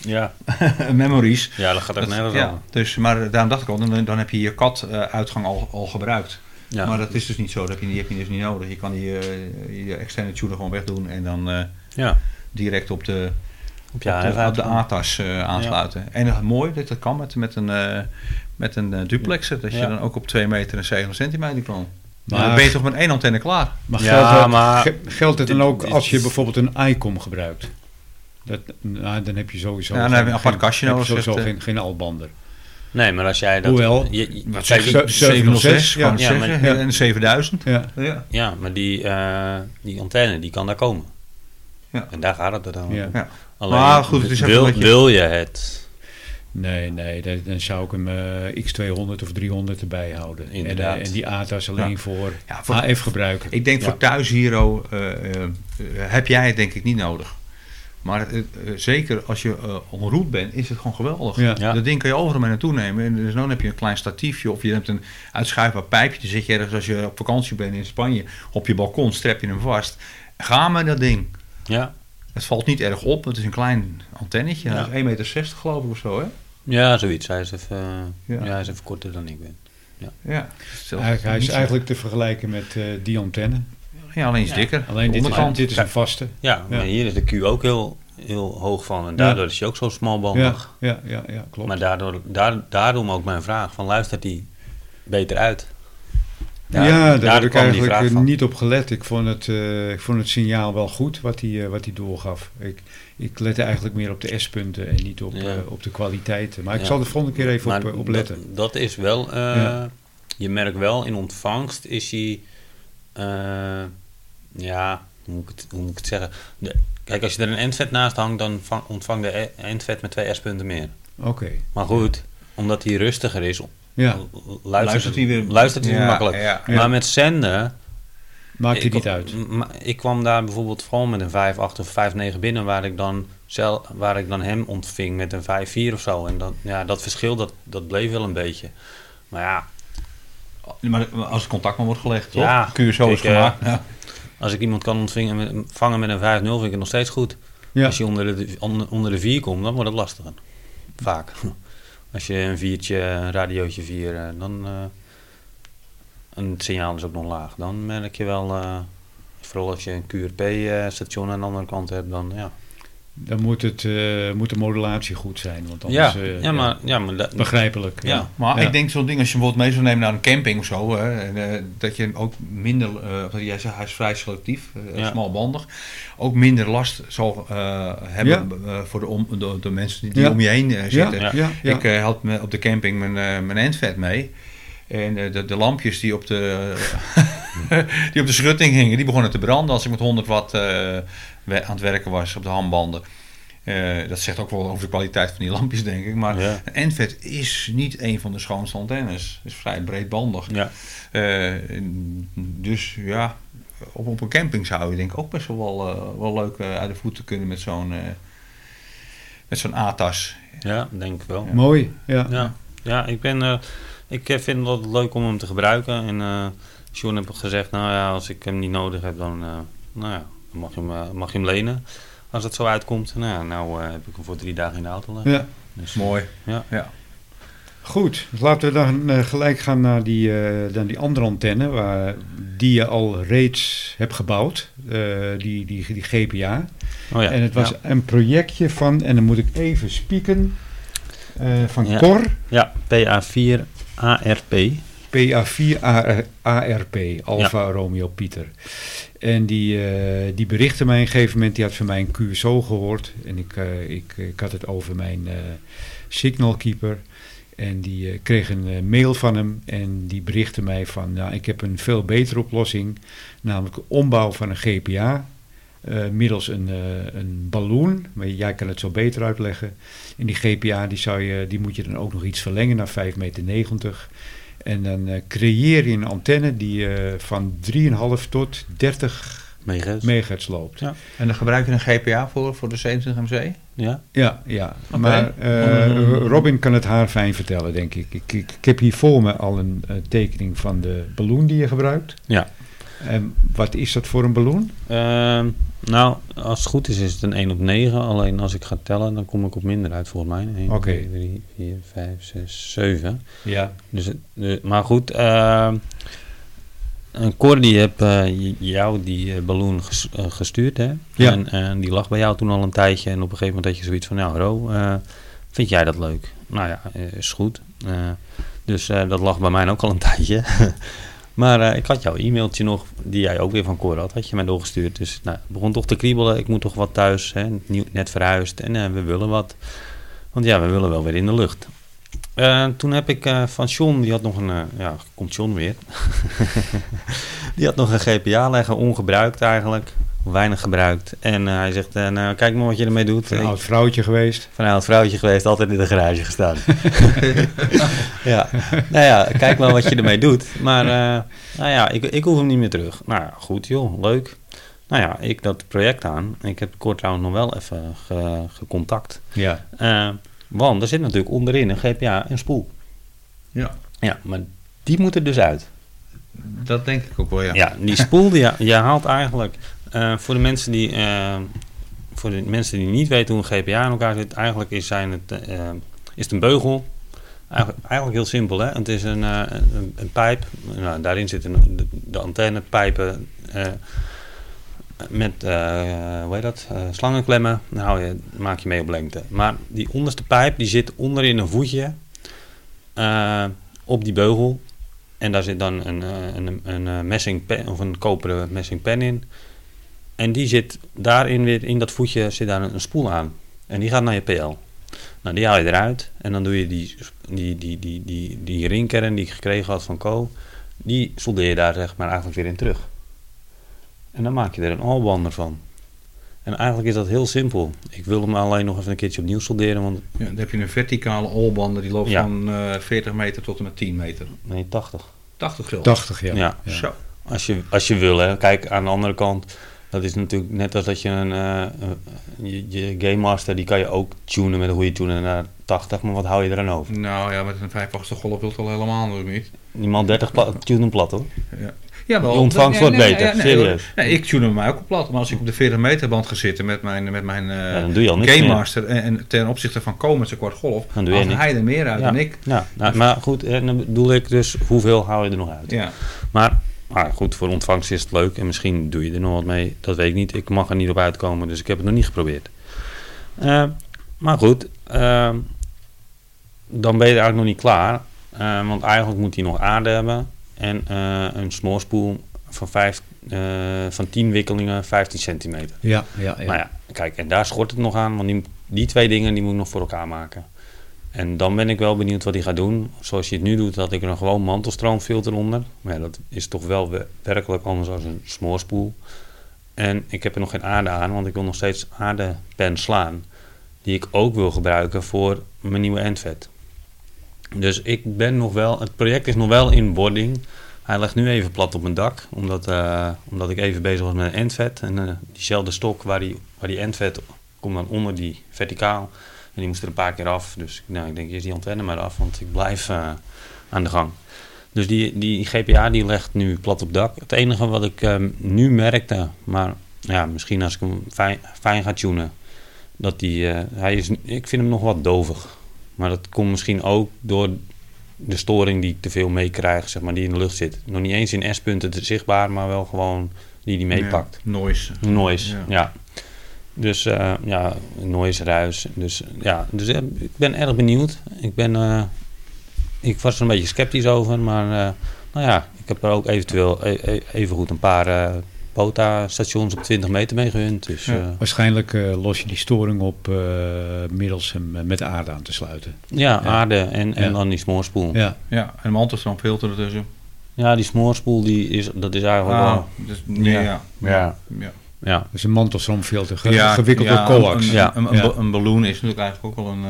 [SPEAKER 3] Ja,
[SPEAKER 2] eh, memories.
[SPEAKER 3] ja, dat gaat ook nergens
[SPEAKER 2] ja,
[SPEAKER 3] over.
[SPEAKER 2] dus, maar daarom dacht ik al, dan, dan heb je je CAD-uitgang al, al gebruikt.
[SPEAKER 3] Ja.
[SPEAKER 2] Maar dat is dus niet zo, dat heb je, die heb je dus niet nodig. Je kan die, eh, je externe tuner gewoon wegdoen en dan eh,
[SPEAKER 3] ja.
[SPEAKER 2] direct op de,
[SPEAKER 3] Op je
[SPEAKER 2] ja, op de,
[SPEAKER 3] huid-
[SPEAKER 2] op de ATAS eh, aansluiten. En het mooi dat dat kan met, met een, eh, met een eh, duplexer. Dat je
[SPEAKER 3] Ja.
[SPEAKER 2] dan ook op 2 meter en 7 centimeter kan. Maar
[SPEAKER 1] Maar-
[SPEAKER 2] dan ben je toch met één antenne klaar.
[SPEAKER 1] Maar,
[SPEAKER 3] Ja,
[SPEAKER 1] geldt, dat,
[SPEAKER 3] maar-
[SPEAKER 1] ge- geldt het dan
[SPEAKER 3] dit-
[SPEAKER 1] ook
[SPEAKER 3] dit-
[SPEAKER 1] als je bijvoorbeeld een ICOM gebruikt? Dat, nou, dan heb je sowieso
[SPEAKER 2] Ja, dan
[SPEAKER 1] geen-
[SPEAKER 2] heb je een apart
[SPEAKER 1] geen-
[SPEAKER 2] kastje
[SPEAKER 1] heb je
[SPEAKER 2] nodig,
[SPEAKER 1] sowieso
[SPEAKER 2] zegt, eh.
[SPEAKER 1] geen, geen albander.
[SPEAKER 3] Nee, maar als jij dat...
[SPEAKER 1] Hoewel,
[SPEAKER 3] je- je-
[SPEAKER 2] Wat
[SPEAKER 3] kijk,
[SPEAKER 2] zeg je?
[SPEAKER 1] ze- 706,
[SPEAKER 2] kan ik
[SPEAKER 3] ja. Ja, maar-
[SPEAKER 2] zeggen. En 7000.
[SPEAKER 1] Ja.
[SPEAKER 2] Ja.
[SPEAKER 3] Ja, maar die, eh, die antenne, die kan daar komen.
[SPEAKER 2] Ja.
[SPEAKER 3] En daar gaat het er dan om.
[SPEAKER 1] Ja.
[SPEAKER 2] Ja.
[SPEAKER 3] Alleen,
[SPEAKER 2] Maar goed, het is even
[SPEAKER 3] wil,
[SPEAKER 2] dat je-
[SPEAKER 3] wil je het?
[SPEAKER 1] Nee, nee, dan- dan zou ik hem eh, X200 of 300 erbij houden. En, eh,
[SPEAKER 3] Inderdaad.
[SPEAKER 1] en die ATAS alleen
[SPEAKER 2] Ja.
[SPEAKER 1] voor,
[SPEAKER 2] Ja, voor-
[SPEAKER 1] AF gebruiken.
[SPEAKER 2] Ik denk
[SPEAKER 1] Ja.
[SPEAKER 2] voor thuis Hero eh, eh, heb jij het denk ik niet nodig. Maar eh, eh, zeker als je eh on route bent, is het gewoon geweldig.
[SPEAKER 1] Ja.
[SPEAKER 3] Ja.
[SPEAKER 2] Dat ding kan je overal mee naartoe nemen. En dus dan heb je een klein statiefje of je hebt een uitschuifbaar pijpje. Dan zit je ergens als je op vakantie bent in Spanje op je balkon, strep je hem vast. Ga maar dat ding.
[SPEAKER 3] Ja.
[SPEAKER 2] Het valt niet erg op. Het is een klein antennetje.
[SPEAKER 3] Ja.
[SPEAKER 2] Dat is 1,60 meter geloof ik of zo. Hè?
[SPEAKER 3] ja, zoiets. Hij is, even, eh,
[SPEAKER 2] Ja.
[SPEAKER 3] ja. hij is even korter dan ik ben.
[SPEAKER 2] Ja, Zelfs
[SPEAKER 1] Eigenlijk- hij
[SPEAKER 2] niet
[SPEAKER 1] is
[SPEAKER 2] zo-
[SPEAKER 1] eigenlijk te vergelijken met eh, die antenne.
[SPEAKER 2] ja, alleen is dikker.
[SPEAKER 1] Alleen dit is,
[SPEAKER 2] Onderkant.
[SPEAKER 1] dit is een vaste.
[SPEAKER 3] Ja, maar
[SPEAKER 1] Ja.
[SPEAKER 3] hier is de Q ook heel, heel hoog van. En daardoor is hij ook zo smalbandig.
[SPEAKER 1] Ja, ja, ja, ja klopt.
[SPEAKER 3] maar daardoor, daar, daarom ook mijn vraag. Van, luistert hij beter uit?
[SPEAKER 1] Ja, daar heb ik
[SPEAKER 3] kwam die
[SPEAKER 1] eigenlijk
[SPEAKER 3] vraag
[SPEAKER 1] eh,
[SPEAKER 3] van.
[SPEAKER 1] niet op gelet. Ik vond het, eh, ik vond het signaal wel goed wat hij eh, wat hij doorgaf. Ik, ik lette eigenlijk meer op de S-punten en niet op,
[SPEAKER 3] Ja.
[SPEAKER 1] eh, op de kwaliteiten. Maar ik
[SPEAKER 3] Ja.
[SPEAKER 1] zal de volgende keer even op,
[SPEAKER 3] Maar
[SPEAKER 1] eh, op letten.
[SPEAKER 3] Dat, dat is wel, eh,
[SPEAKER 1] Ja.
[SPEAKER 3] je merkt wel in ontvangst is hij, eh, ja, hoe moet, ik het, hoe moet ik het zeggen? De, kijk, als je er een endvet naast hangt, dan vang- ontvangt de e- endvet met twee S-punten meer.
[SPEAKER 1] Oké.
[SPEAKER 3] Maar goed, omdat hij rustiger is,
[SPEAKER 1] Ja,
[SPEAKER 3] luistert,
[SPEAKER 2] Luistert hij weer-
[SPEAKER 3] luistert hij weer
[SPEAKER 2] Ja,
[SPEAKER 3] makkelijk.
[SPEAKER 2] ja,
[SPEAKER 1] ja.
[SPEAKER 3] Maar met zenden,
[SPEAKER 1] maakt het
[SPEAKER 3] ik-
[SPEAKER 1] niet uit.
[SPEAKER 3] m- maar Ik kwam daar bijvoorbeeld gewoon met een 5-8 of 5-9 binnen, waar ik, dan zel, waar ik dan hem ontving met een 5-4 of zo. En dat, ja, dat verschil dat, dat bleef wel een beetje. Maar ja,
[SPEAKER 2] Maar als het contact maar wordt gelegd, toch?
[SPEAKER 3] Ja.
[SPEAKER 2] QSO is
[SPEAKER 3] Kijk, eh,
[SPEAKER 2] gemaakt. Ja.
[SPEAKER 3] als ik iemand kan ontvingen met, vangen met een 5-0, vind ik het nog steeds goed.
[SPEAKER 1] Ja.
[SPEAKER 3] Als je onder de, onder, onder de 4 komt, dan wordt het lastiger. Vaak. Als je een viertje, een radiootje vier, eh, dan. eh, en het signaal is ook nog laag. Dan merk je wel. eh, vooral als je een QRP-station eh, aan de andere kant hebt, dan ja.
[SPEAKER 1] Dan moet, het, eh, moet de modulatie goed zijn, want anders...
[SPEAKER 3] Ja,
[SPEAKER 1] eh,
[SPEAKER 3] ja, maar, ja, maar dat-
[SPEAKER 1] Begrijpelijk.
[SPEAKER 3] Ja.
[SPEAKER 2] Maar
[SPEAKER 1] Ja.
[SPEAKER 2] ik denk zo'n ding als je bijvoorbeeld mee zou nemen naar een camping of zo, hè, en, eh, dat je hem ook minder, eh, want jij zegt hij is vrij selectief, eh,
[SPEAKER 3] Ja.
[SPEAKER 2] smalbandig, ook minder last zal eh, hebben eh, voor de, om, de, de mensen die, die
[SPEAKER 1] Ja.
[SPEAKER 2] om je heen
[SPEAKER 1] Ja,
[SPEAKER 2] eh, zitten.
[SPEAKER 1] ja, ja.
[SPEAKER 2] Ik eh, had me op de camping mijn, eh, mijn endvet mee. En eh, de, de lampjes die op de, die op de schutting hingen, die begonnen te branden als ik met 100 watt eh, we- aan het werken was op de handbanden. Eh, dat zegt ook wel over de kwaliteit van die lampjes, denk ik. Maar
[SPEAKER 3] Ja.
[SPEAKER 2] een NVET is niet een van de schoonste antennes. is vrij breedbandig.
[SPEAKER 3] Ja.
[SPEAKER 2] Eh, en dus ja, op, op een camping zou je denk ik ook best wel, eh, wel leuk eh, uit de voeten kunnen met zo'n eh, met zo'n ATAS.
[SPEAKER 3] ja, denk ik wel.
[SPEAKER 1] Mooi, ja.
[SPEAKER 3] Ja, ja ik, ben, eh, ik eh, vind het altijd leuk om hem te gebruiken. En eh Sean heeft gezegd, nou ja, als ik hem niet nodig heb, dan, eh, nou ja, dan mag, je hem, eh, mag je hem lenen. Als dat zo uitkomt, nou, ja, nou eh, heb ik hem voor drie dagen in de auto liggen.
[SPEAKER 1] Ja.
[SPEAKER 3] Dus,
[SPEAKER 2] Mooi.
[SPEAKER 3] Ja.
[SPEAKER 2] ja.
[SPEAKER 1] Goed, laten we dan eh, gelijk gaan naar die, eh, naar die andere antenne waar, die je al reeds hebt gebouwd, eh, die, die, die GPA.
[SPEAKER 3] Oh ja,
[SPEAKER 1] en het was
[SPEAKER 3] ja.
[SPEAKER 1] een projectje van, en dan moet ik even spieken, eh, van
[SPEAKER 3] Ja.
[SPEAKER 1] Cor,
[SPEAKER 3] Ja, PA4ARP.
[SPEAKER 1] PA4 ARP, Alfa Romeo Pieter. En die, eh, die berichtte mij op een gegeven moment, die had van mij een QSO gehoord. En ik, eh, ik, ik had het over mijn eh, signalkeeper. En die eh, kreeg een eh, mail van hem en die berichtte mij van, nou, ik heb een veel betere oplossing. Namelijk ombouw van een GPA. eh, middels een, eh, een balloon, maar jij kan het zo beter uitleggen. En die GPA die zou je, die moet je dan ook nog iets verlengen naar 5,90 meter. En dan eh, creëer je een antenne die eh, van 3,5 tot 30
[SPEAKER 3] Mega's.
[SPEAKER 1] megahertz loopt.
[SPEAKER 3] Ja.
[SPEAKER 2] En dan gebruik je een GPA voor, voor de 27 MC?
[SPEAKER 3] ja,
[SPEAKER 1] Ja, ja.
[SPEAKER 2] Oké.
[SPEAKER 1] maar eh, Robin kan het haar fijn vertellen, denk ik. Ik, ik. ik heb hier voor me al een eh, tekening van de ballon die je gebruikt.
[SPEAKER 3] ja.
[SPEAKER 1] En wat is dat voor een ballon?
[SPEAKER 3] Ehm, nou, als het goed is, is het een 1 op 9. Alleen als ik ga tellen, dan kom ik op minder uit, volgens mij. 1,
[SPEAKER 1] Oké.
[SPEAKER 3] 2, 3, 4, 5, 6, 7.
[SPEAKER 1] Ja.
[SPEAKER 3] Dus, het- de- maar goed, ehm en Cor die heb eh, j- jou die eh, ballon ges- eh, gestuurd, hè?
[SPEAKER 1] Ja.
[SPEAKER 3] En, en die lag bij jou toen al een tijdje. En op een gegeven moment had je zoiets van, nou Ro, eh, vind jij dat leuk? Nou ja, eh, is goed. Eh, dus eh, dat lag bij mij ook al een tijdje. maar eh, ik had jouw e-mailtje nog, die jij ook weer van Cor had, had je mij doorgestuurd. Dus nou, het begon toch te kriebelen, ik moet toch wat thuis, hè? Nieuw, net verhuisd en eh, we willen wat. Want ja, we willen wel weer in de lucht. Eh, toen heb ik eh, van John, die had nog een. eh, ja, komt John weer. die had nog een GPA leggen, ongebruikt eigenlijk. Weinig gebruikt. En eh, hij zegt: eh, Nou, kijk maar wat je ermee doet.
[SPEAKER 1] Een
[SPEAKER 3] Ik-
[SPEAKER 1] oud vrouwtje geweest.
[SPEAKER 3] van een oud vrouwtje geweest, altijd in de garage gestaan. ja, nou ja, kijk maar wat je ermee doet. Maar eh, nou ja, ik, ik hoef hem niet meer terug. Nou ja, goed joh, leuk. Nou ja, ik dat project aan. Ik heb kort trouwens nog wel even ge- gecontact.
[SPEAKER 1] Ja.
[SPEAKER 3] Eh, want er zit natuurlijk onderin een GPA en spoel.
[SPEAKER 2] Ja.
[SPEAKER 3] Ja, maar die moet er dus uit.
[SPEAKER 2] Dat denk ik ook wel, ja.
[SPEAKER 3] Ja, die spoel, die, je haalt eigenlijk... eh, voor, de mensen die, eh, voor de mensen die niet weten hoe een GPA in elkaar zit... eigenlijk is, zijn het, eh, is het een beugel. Eigenlijk, eigenlijk heel simpel, hè. Het is een, eh, een, een pijp. Nou, daarin zitten de, de antennepijpen... eh, met, eh, hoe heet dat, Eh, slangenklemmen. Dan hou je, maak je mee op lengte. Maar die onderste pijp, die zit onderin een voetje... eh, op die beugel. En daar zit dan een, eh, een, een, eh, messing pen, of een koperen messing pen in. En die zit daarin weer, in dat voetje zit daar een, een spoel aan. En die gaat naar je PL. Nou, die haal je eruit. En dan doe je die, die, die, die, die, die ringkern die ik gekregen had van Co. Die soldeer je daar zeg maar eigenlijk weer in terug. En dan maak je er een allbander van. En eigenlijk is dat heel simpel. Ik wil hem alleen nog even een keertje opnieuw solderen, want
[SPEAKER 2] Ja, dan heb je een verticale olbander die loopt
[SPEAKER 3] Ja.
[SPEAKER 2] van eh, 40 meter tot en met 10 meter.
[SPEAKER 3] nee, 80.
[SPEAKER 2] 80 gulden.
[SPEAKER 1] 80, ja.
[SPEAKER 3] ja.
[SPEAKER 2] Zo.
[SPEAKER 3] Als je, als je wil, hè. Kijk, aan de andere kant, dat is natuurlijk net als dat je een... eh, eh, je, je Game Master, die kan je ook tunen met een goede tuner naar 80, maar wat hou je er aan over?
[SPEAKER 2] Nou ja, met een vijfachtige golf wil het al helemaal natuurlijk niet.
[SPEAKER 3] Niemand 30 pla tunen plat, hoor.
[SPEAKER 2] Ja. Jawel,
[SPEAKER 3] Je ontvangst
[SPEAKER 2] dat-
[SPEAKER 3] wordt beter, serieus.
[SPEAKER 2] Nee, ik tune hem mij ook op plat. Maar als ik op de 40 meter band ga zitten met mijn, met mijn eh,
[SPEAKER 3] Ja, dan doe je al niks
[SPEAKER 2] Game
[SPEAKER 3] meer.
[SPEAKER 2] Master en, en ten opzichte van Komen zijn kwart golf,
[SPEAKER 3] Dan doe je
[SPEAKER 2] haalt
[SPEAKER 3] niks.
[SPEAKER 2] hij er meer uit
[SPEAKER 3] Ja.
[SPEAKER 2] dan ik.
[SPEAKER 3] Ja, nou, maar goed, en dan bedoel ik dus hoeveel haal je er nog uit?
[SPEAKER 2] Ja.
[SPEAKER 3] Maar, maar goed, voor ontvangst is het leuk en misschien doe je er nog wat mee. Dat weet ik niet. Ik mag er niet op uitkomen, dus ik heb het nog niet geprobeerd. Eh, maar goed, eh, dan ben je er eigenlijk nog niet klaar. Eh, want eigenlijk moet hij nog aarde hebben en eh, een snoorspoel van, vijf, eh, van 10 wikkelingen 15 centimeter.
[SPEAKER 1] Ja, ja, ja.
[SPEAKER 3] Nou ja, kijk, en daar schort het nog aan, want die, die twee dingen die moet ik nog voor elkaar maken. En dan ben ik wel benieuwd wat hij gaat doen. Zoals je het nu doet, had ik er een gewoon mantelstroomfilter onder. Maar ja, dat is toch wel we- werkelijk anders dan een smoorspoel. En ik heb er nog geen aarde aan, want ik wil nog steeds aardepen slaan. Die ik ook wil gebruiken voor mijn nieuwe endvet. Dus ik ben nog wel, het project is nog wel in wording. Hij ligt nu even plat op mijn dak, omdat, eh, omdat ik even bezig was met een endvet. En eh, diezelfde stok waar die, waar die endvet komt dan onder die verticaal. En die moest er een paar keer af. Dus nou, ik denk eerst die antenne maar af, want ik blijf eh, aan de gang. Dus die, die GPA die legt nu plat op dak. Het enige wat ik eh, nu merkte, maar ja, misschien als ik hem fijn, fijn ga tunen, dat die, eh, hij is, ik vind hem nog wat dovig. Maar dat komt misschien ook door de storing die ik te veel meekrijg, zeg maar, die in de lucht zit. Nog niet eens in S-punten te zichtbaar, maar wel gewoon die die meepakt.
[SPEAKER 2] Ja, Noise.
[SPEAKER 3] Noise,
[SPEAKER 2] Ja.
[SPEAKER 3] ja. Dus eh, ja, noise, ruis. Dus ja, dus eh, ik ben erg benieuwd. Ik ben, eh, ik was er een beetje sceptisch over, maar eh, nou ja, ik heb er ook eventueel e- e- evengoed een paar eh POTA-stations op 20 meter mee gehunt. Dus
[SPEAKER 2] Ja.
[SPEAKER 3] ja,
[SPEAKER 1] Waarschijnlijk eh, los je die storing op eh, middels hem eh, met de aarde aan te sluiten.
[SPEAKER 3] ja aarde en, en
[SPEAKER 1] Ja.
[SPEAKER 3] dan die smoorspoel. Ja,
[SPEAKER 1] Ja,
[SPEAKER 2] Ja, en een mantelstroomfilter ertussen.
[SPEAKER 3] die smoorspoel, die is, dat is eigenlijk
[SPEAKER 2] Ah,
[SPEAKER 3] wel...
[SPEAKER 2] dus meer, ja.
[SPEAKER 3] Oh, Ja.
[SPEAKER 2] ja.
[SPEAKER 3] Ja,
[SPEAKER 1] dat is een mantelstroomfilter, ge-
[SPEAKER 2] Ja,
[SPEAKER 1] gewikkeld
[SPEAKER 2] ja,
[SPEAKER 1] door coax.
[SPEAKER 2] Een,
[SPEAKER 3] Ja.
[SPEAKER 2] een, een,
[SPEAKER 1] Ja.
[SPEAKER 2] een balloon is natuurlijk eigenlijk ook wel een...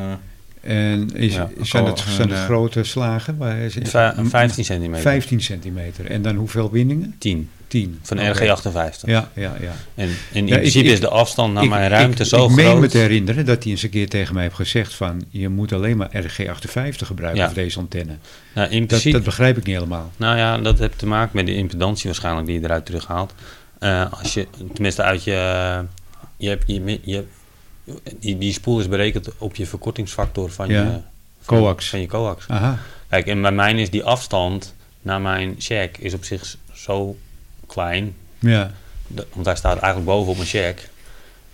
[SPEAKER 2] eh,
[SPEAKER 1] En is,
[SPEAKER 3] Ja,
[SPEAKER 1] zijn
[SPEAKER 2] ook
[SPEAKER 1] het,
[SPEAKER 2] al
[SPEAKER 1] zijn
[SPEAKER 2] een,
[SPEAKER 1] het
[SPEAKER 2] eh,
[SPEAKER 1] grote slagen? Waar is het?
[SPEAKER 3] Vij- 15 centimeter.
[SPEAKER 1] 15 centimeter. En dan hoeveel winningen?
[SPEAKER 3] 10
[SPEAKER 1] 10.
[SPEAKER 3] van
[SPEAKER 1] Oké.
[SPEAKER 3] RG58.
[SPEAKER 1] Ja, ja, ja.
[SPEAKER 3] En, en in
[SPEAKER 1] Ja, ik-
[SPEAKER 3] principe
[SPEAKER 1] ik-
[SPEAKER 3] is de afstand naar
[SPEAKER 1] Ik-
[SPEAKER 3] Nou, mijn ruimte
[SPEAKER 1] ik,
[SPEAKER 3] zo
[SPEAKER 1] ik
[SPEAKER 3] groot.
[SPEAKER 1] meen me te herinneren dat hij eens een keer tegen mij heeft gezegd van... je moet alleen maar RG58 gebruiken
[SPEAKER 3] Ja.
[SPEAKER 1] voor deze antenne.
[SPEAKER 3] Nou, in
[SPEAKER 1] Dat,
[SPEAKER 3] principe,
[SPEAKER 1] dat begrijp ik niet helemaal.
[SPEAKER 3] nou ja, dat heeft te maken met de impedantie waarschijnlijk die je eruit terughaalt. Eh, als je, tenminste uit je, je, hebt, je, mi- je hebt- die, die spoel is berekend op je verkortingsfactor van
[SPEAKER 1] Ja.
[SPEAKER 3] je van-
[SPEAKER 1] Coax.
[SPEAKER 3] Van je coax.
[SPEAKER 1] Aha,
[SPEAKER 3] Kijk, en bij mij is die afstand naar mijn check is op zich zo klein,
[SPEAKER 1] ja.
[SPEAKER 3] de- want hij staat eigenlijk boven op mijn check.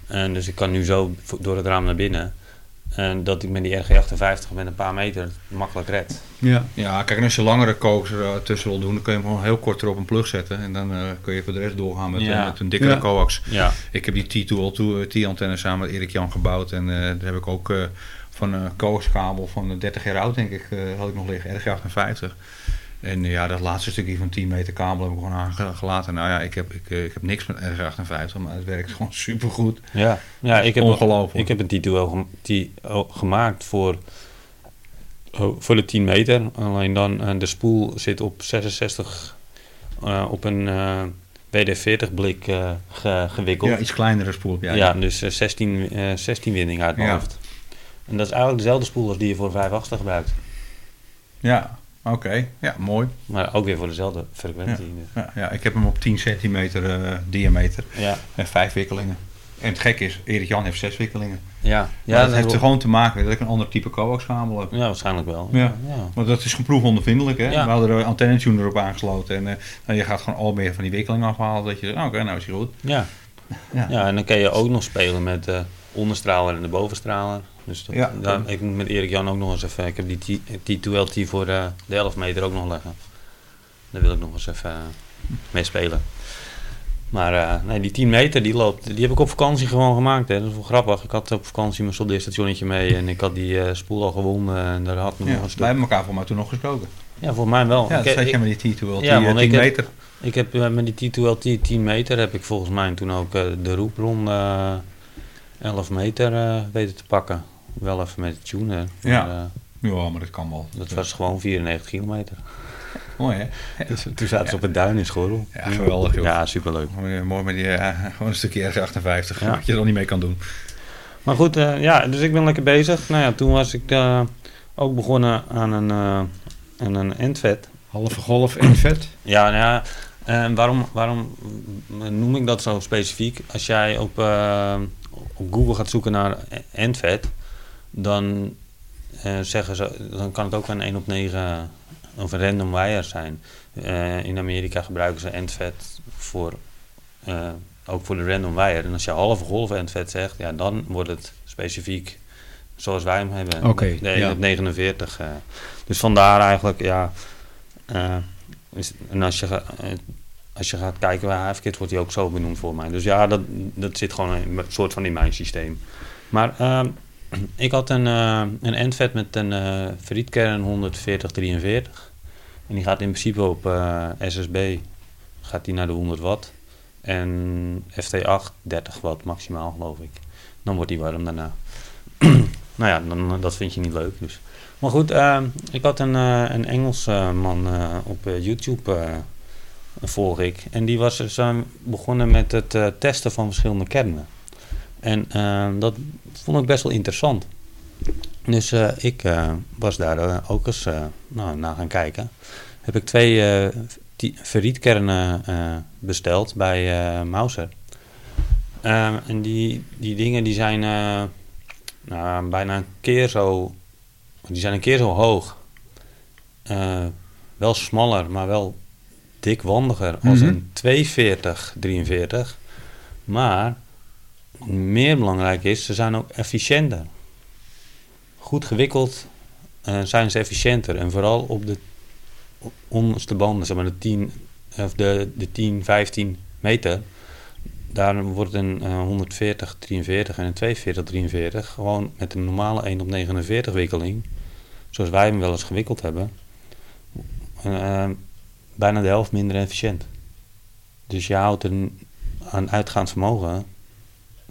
[SPEAKER 3] En dus ik kan nu zo vo- door het raam naar binnen. En dat ik met die RG58 met een paar meter makkelijk red.
[SPEAKER 1] ja.
[SPEAKER 2] Ja, kijk, en als je langere coax er eh, tussen wil doen, dan kun je hem gewoon heel kort erop een plug zetten. En dan eh, kun je voor de rest doorgaan met,
[SPEAKER 3] Ja.
[SPEAKER 2] eh, met een dikkere
[SPEAKER 1] Ja.
[SPEAKER 2] coax.
[SPEAKER 3] Ja,
[SPEAKER 2] Ik heb die T2L2 T-antenne samen met Erik Jan gebouwd. En eh, daar heb ik ook eh, van een coaxkabel van eh, 30 jaar oud, denk ik, eh, had ik nog liggen, RG58. En eh, ja, dat laatste stukje van 10 meter kabel heb ik gewoon aangelaten. Nou ja, ik heb, ik, eh, ik heb niks met RG58, maar het werkt gewoon supergoed.
[SPEAKER 3] ja. ja ik, heb,
[SPEAKER 2] Ongelooflijk.
[SPEAKER 3] ik heb een T2L gem- T- oh, gemaakt voor, oh, voor de 10 meter. Alleen dan eh, de spoel zit op 66 eh, op een eh, WD-40 blik eh, ge- gewikkeld.
[SPEAKER 2] Ja, iets kleinere spoel heb
[SPEAKER 3] Ja,
[SPEAKER 2] jij.
[SPEAKER 3] dus eh, 16, eh 16 winding uit mijn
[SPEAKER 2] Ja.
[SPEAKER 3] hoofd. En dat is eigenlijk dezelfde spoel als die je voor 580 gebruikt.
[SPEAKER 2] Ja, oké. Ja, mooi.
[SPEAKER 3] Maar ook weer voor dezelfde frequentie. dus.
[SPEAKER 2] Ja, ja, ik heb hem op 10 centimeter eh, diameter
[SPEAKER 3] Ja,
[SPEAKER 2] en 5 wikkelingen. En het gekke is, Erik Jan heeft 6 wikkelingen.
[SPEAKER 3] ja.
[SPEAKER 2] Ja, dat, heeft
[SPEAKER 3] wel-
[SPEAKER 2] er gewoon te maken met dat ik een ander type coaxkabel heb.
[SPEAKER 3] Ja, waarschijnlijk wel.
[SPEAKER 2] Ja.
[SPEAKER 3] ja.
[SPEAKER 2] Want dat is geproef ondervindelijk, hè?
[SPEAKER 3] Ja.
[SPEAKER 2] We hadden er een antennetune erop aangesloten. En eh, nou, je gaat gewoon al meer van die wikkeling afhalen. Dat je zegt, nou, oké, nou is hij goed.
[SPEAKER 3] Ja.
[SPEAKER 2] Ja.
[SPEAKER 3] Ja. en dan kan je ook nog spelen met de onderstraler en de bovenstraler. Dus dat,
[SPEAKER 2] Ja.
[SPEAKER 3] daar- ik moet met Erik Jan ook nog eens even. Ik heb die T, T2LT voor eh, de 11 meter ook nog leggen. Daar wil ik nog eens even eh, mee spelen. Maar eh, nee, die 10 meter die loopt, die heb ik op vakantie gewoon gemaakt. Hè. Dat is wel grappig. Ik had op vakantie mijn soldeerstationnetje mee en ik had die eh, spoel al gewonnen. En daar had
[SPEAKER 2] Ja,
[SPEAKER 3] me nog een
[SPEAKER 2] wij
[SPEAKER 3] stuk.
[SPEAKER 2] hebben elkaar voor mij toen nog gesproken.
[SPEAKER 3] Ja, voor mij wel.
[SPEAKER 2] ja,
[SPEAKER 3] Ik-
[SPEAKER 2] dat zat
[SPEAKER 3] ik-
[SPEAKER 2] je met die T2L,
[SPEAKER 3] Ja,
[SPEAKER 2] die, eh,
[SPEAKER 3] want
[SPEAKER 2] 10
[SPEAKER 3] ik heb-
[SPEAKER 2] meter.
[SPEAKER 3] ik heb eh, met die T2LT 10 meter heb ik volgens mij toen ook eh, de roepron eh 11 meter eh, weten te pakken. Wel even met de tuner.
[SPEAKER 2] Ja.
[SPEAKER 3] maar, eh,
[SPEAKER 2] Ja, maar dat kan wel.
[SPEAKER 3] dat was gewoon 94 kilometer.
[SPEAKER 2] Mooi, hè?
[SPEAKER 3] toen zaten ze op het duin in Schorrel.
[SPEAKER 2] Ja, geweldig, joh.
[SPEAKER 3] Ja, superleuk.
[SPEAKER 2] Mooi, eh, Mooi met die, eh, gewoon een stukje RG58,
[SPEAKER 3] Ja.
[SPEAKER 2] wat je er al niet mee kan doen.
[SPEAKER 3] Maar goed, eh, ja, dus ik ben lekker bezig. Nou ja, toen was ik eh, ook begonnen aan een, eh aan een endvet.
[SPEAKER 1] Halve golf en vet.
[SPEAKER 3] Ja, nou ja, Eh, waarom, waarom noem ik dat zo specifiek? Als jij op, eh, op Google gaat zoeken naar NVET, dan, eh, zeggen ze, dan kan het ook een 1 op 9 of een random wire zijn. Eh, in Amerika gebruiken ze NVET voor, eh, ook voor de random wire. En als je halve golf NVET zegt, ja, dan wordt het specifiek zoals wij hem hebben.
[SPEAKER 1] Oké,
[SPEAKER 3] de 1
[SPEAKER 1] ja.
[SPEAKER 3] op 49. eh. dus vandaar eigenlijk, ja... eh, is- en als je, ga- eh, als je gaat kijken bij HFKit, wordt hij ook zo benoemd voor mij. Dus ja, dat, dat zit gewoon een soort van in mijn systeem. Maar ehm, ik had een, eh een endvet met een eh frietkern 14043. En die gaat in principe op eh, SSB gaat die naar de 100 watt. En FT8 30 watt maximaal, geloof ik. Dan wordt die warm daarna. nou ja, dan, dat vind je niet leuk. Dus. Maar goed, ehm, ik had een, eh, een Engels eh, man eh, op eh, YouTube, eh, volg ik. En die was dus, eh, begonnen met het eh, testen van verschillende kernen. En eh, dat vond ik best wel interessant. Dus eh, ik eh, was daar eh, ook eens eh, nou, naar gaan kijken. Heb ik twee eh die- ferrietkernen eh, besteld bij eh Mauser. Ehm, en die, die dingen die zijn eh, nou, bijna een keer zo die zijn een keer zo hoog. Eh, wel smaller, maar wel dikwandiger als
[SPEAKER 1] Mhm.
[SPEAKER 3] een 240, 43. Maar meer belangrijk is, ze zijn ook efficiënter. Goed gewikkeld eh, zijn ze efficiënter. En vooral op de onderste banden, zeg maar de 10, of de, de 10 15 meter. Daar wordt een eh, 140, 43 en een 42, 43 gewoon met een normale 1 op 49 wikkeling, zoals wij hem wel eens gewikkeld hebben, eh, bijna de helft minder efficiënt. Dus je houdt er aan uitgaand vermogen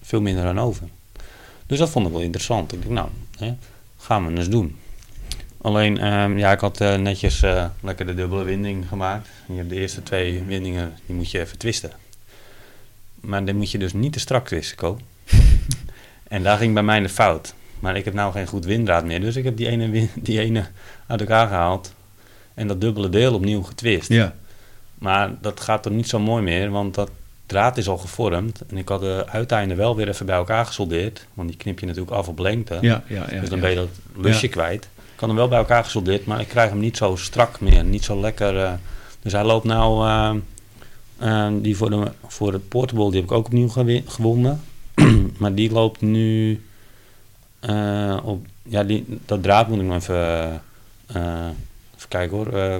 [SPEAKER 3] veel minder aan over. Dus dat vond ik wel interessant. Ik dacht, nou, hè, gaan we eens doen. Alleen, ehm, ja, ik had eh, netjes eh, lekker de dubbele winding gemaakt. Je hebt de eerste twee windingen, die moet je even twisten. Maar dan moet je dus niet te strak twisten, Ko. en daar ging bij mij de fout. Maar ik heb nou geen goed windraad meer, dus ik heb die ene, win- die ene uit elkaar gehaald. En dat dubbele deel opnieuw getwist.
[SPEAKER 1] Ja,
[SPEAKER 3] Maar dat gaat er niet zo mooi meer, want dat draad is al gevormd. En ik had de uiteinden wel weer even bij elkaar gesoldeerd. Want die knip je natuurlijk af op lengte.
[SPEAKER 1] ja, ja. ja,
[SPEAKER 3] dus dan
[SPEAKER 1] ja.
[SPEAKER 3] ben je dat lusje kwijt. Ik kan hem wel bij elkaar gesoldeerd, maar ik krijg hem niet zo strak meer. Niet zo lekker. eh. dus hij loopt nou... eh, eh, die voor, de, voor het portable, die heb ik ook opnieuw gewi- gewonnen. maar die loopt nu... eh, op, ja, die, dat draad moet ik nog even... eh, even kijken hoor. eh,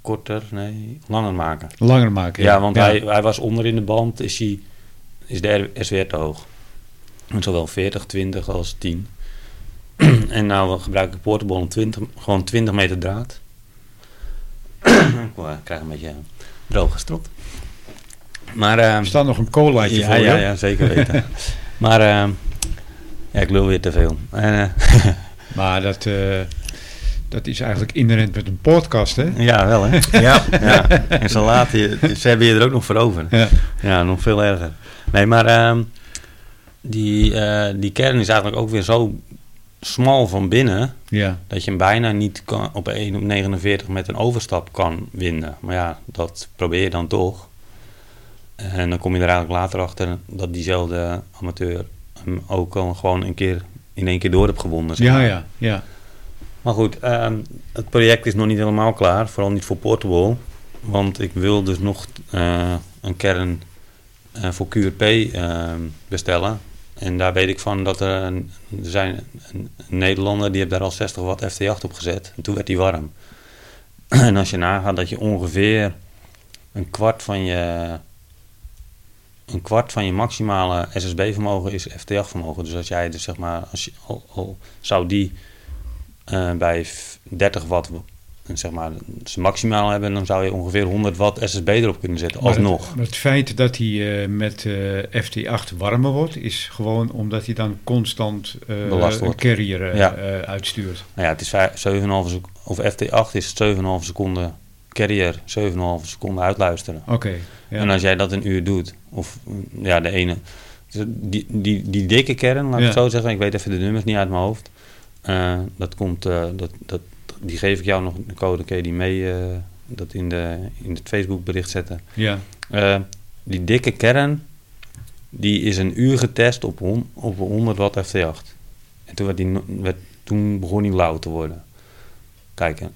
[SPEAKER 3] korter, nee, langer maken.
[SPEAKER 1] Langer maken.
[SPEAKER 3] Ja, want Hij, hij was onder in de band, is, hij, is de R- SWR te hoog. Met zowel 40, 20 als 10. en nou gebruik ik portable om 20, gewoon 20 meter draad. ik word- ik krijg een beetje eh, droog gestrot. Maar, ehm,
[SPEAKER 1] Er staat nog een colaatje
[SPEAKER 3] ja,
[SPEAKER 1] voor
[SPEAKER 3] ja,
[SPEAKER 1] je.
[SPEAKER 3] ja, zeker weten. maar ehm, ja, ik lul weer te veel. En, eh,
[SPEAKER 1] Maar dat, eh, dat is eigenlijk inherent met een podcast, hè?
[SPEAKER 3] Ja, wel hè? Ja. En ze, laten je, ze hebben je er ook nog voor over.
[SPEAKER 1] Ja.
[SPEAKER 3] Ja, nog veel erger. Nee, maar ehm, die, eh, die kern is eigenlijk ook weer zo smal van binnen...
[SPEAKER 1] Ja,
[SPEAKER 3] dat je hem bijna niet kan, op 1 op 49 met een overstap kan winnen. Maar ja, dat probeer je dan toch. En dan kom je er eigenlijk later achter dat diezelfde amateur... hem ook al gewoon een keer in één keer door hebt gewonnen. zeg
[SPEAKER 1] ja,
[SPEAKER 3] maar.
[SPEAKER 1] ja. ja.
[SPEAKER 3] Maar goed, ehm, het project is nog niet helemaal klaar. Vooral niet voor Portable. Want ik wil dus nog eh, een kern eh, voor QRP ehm, bestellen. En daar weet ik van dat er, een, er zijn een, een Nederlander die heeft daar al 60 watt FT8 op gezet. En toen werd hij warm. en als je nagaat dat je ongeveer een kwart van je, een kwart van je maximale SSB-vermogen is FT8-vermogen. Dus als jij dus zeg maar, als je, al, al zou die eh, bij v- 30 watt eh, zeg maar, ze maximaal hebben, dan zou je ongeveer 100 watt SSB erop kunnen zetten.
[SPEAKER 1] Maar
[SPEAKER 3] Alsnog.
[SPEAKER 1] Het, maar het feit dat hij eh, met eh, FT8 warmer wordt, is gewoon omdat hij dan constant eh,
[SPEAKER 3] Belast
[SPEAKER 1] een
[SPEAKER 3] wordt.
[SPEAKER 1] carrier eh,
[SPEAKER 3] Ja.
[SPEAKER 1] eh, uitstuurt.
[SPEAKER 3] Nou ja, het is vij- 7,5 sec- of FT8 is 7,5 seconden carrier, 7,5 seconden uitluisteren.
[SPEAKER 1] Oké. ja.
[SPEAKER 3] En als jij dat een uur doet, of mm, ja, de ene. dus Die, die, die dikke kern, laat ik
[SPEAKER 1] Ja.
[SPEAKER 3] het zo zeggen, ik weet even de nummers niet uit mijn hoofd. eh, dat komt, eh, dat, dat, die geef ik jou nog een code, kun je die mee, eh, dat in, de, in het Facebookbericht zetten.
[SPEAKER 1] Ja.
[SPEAKER 3] Eh, die dikke kern, die is een uur getest op, hon- op 100 watt FT8. En toen, werd die, no- werd, toen begon die lauw te worden. Kijk, hè,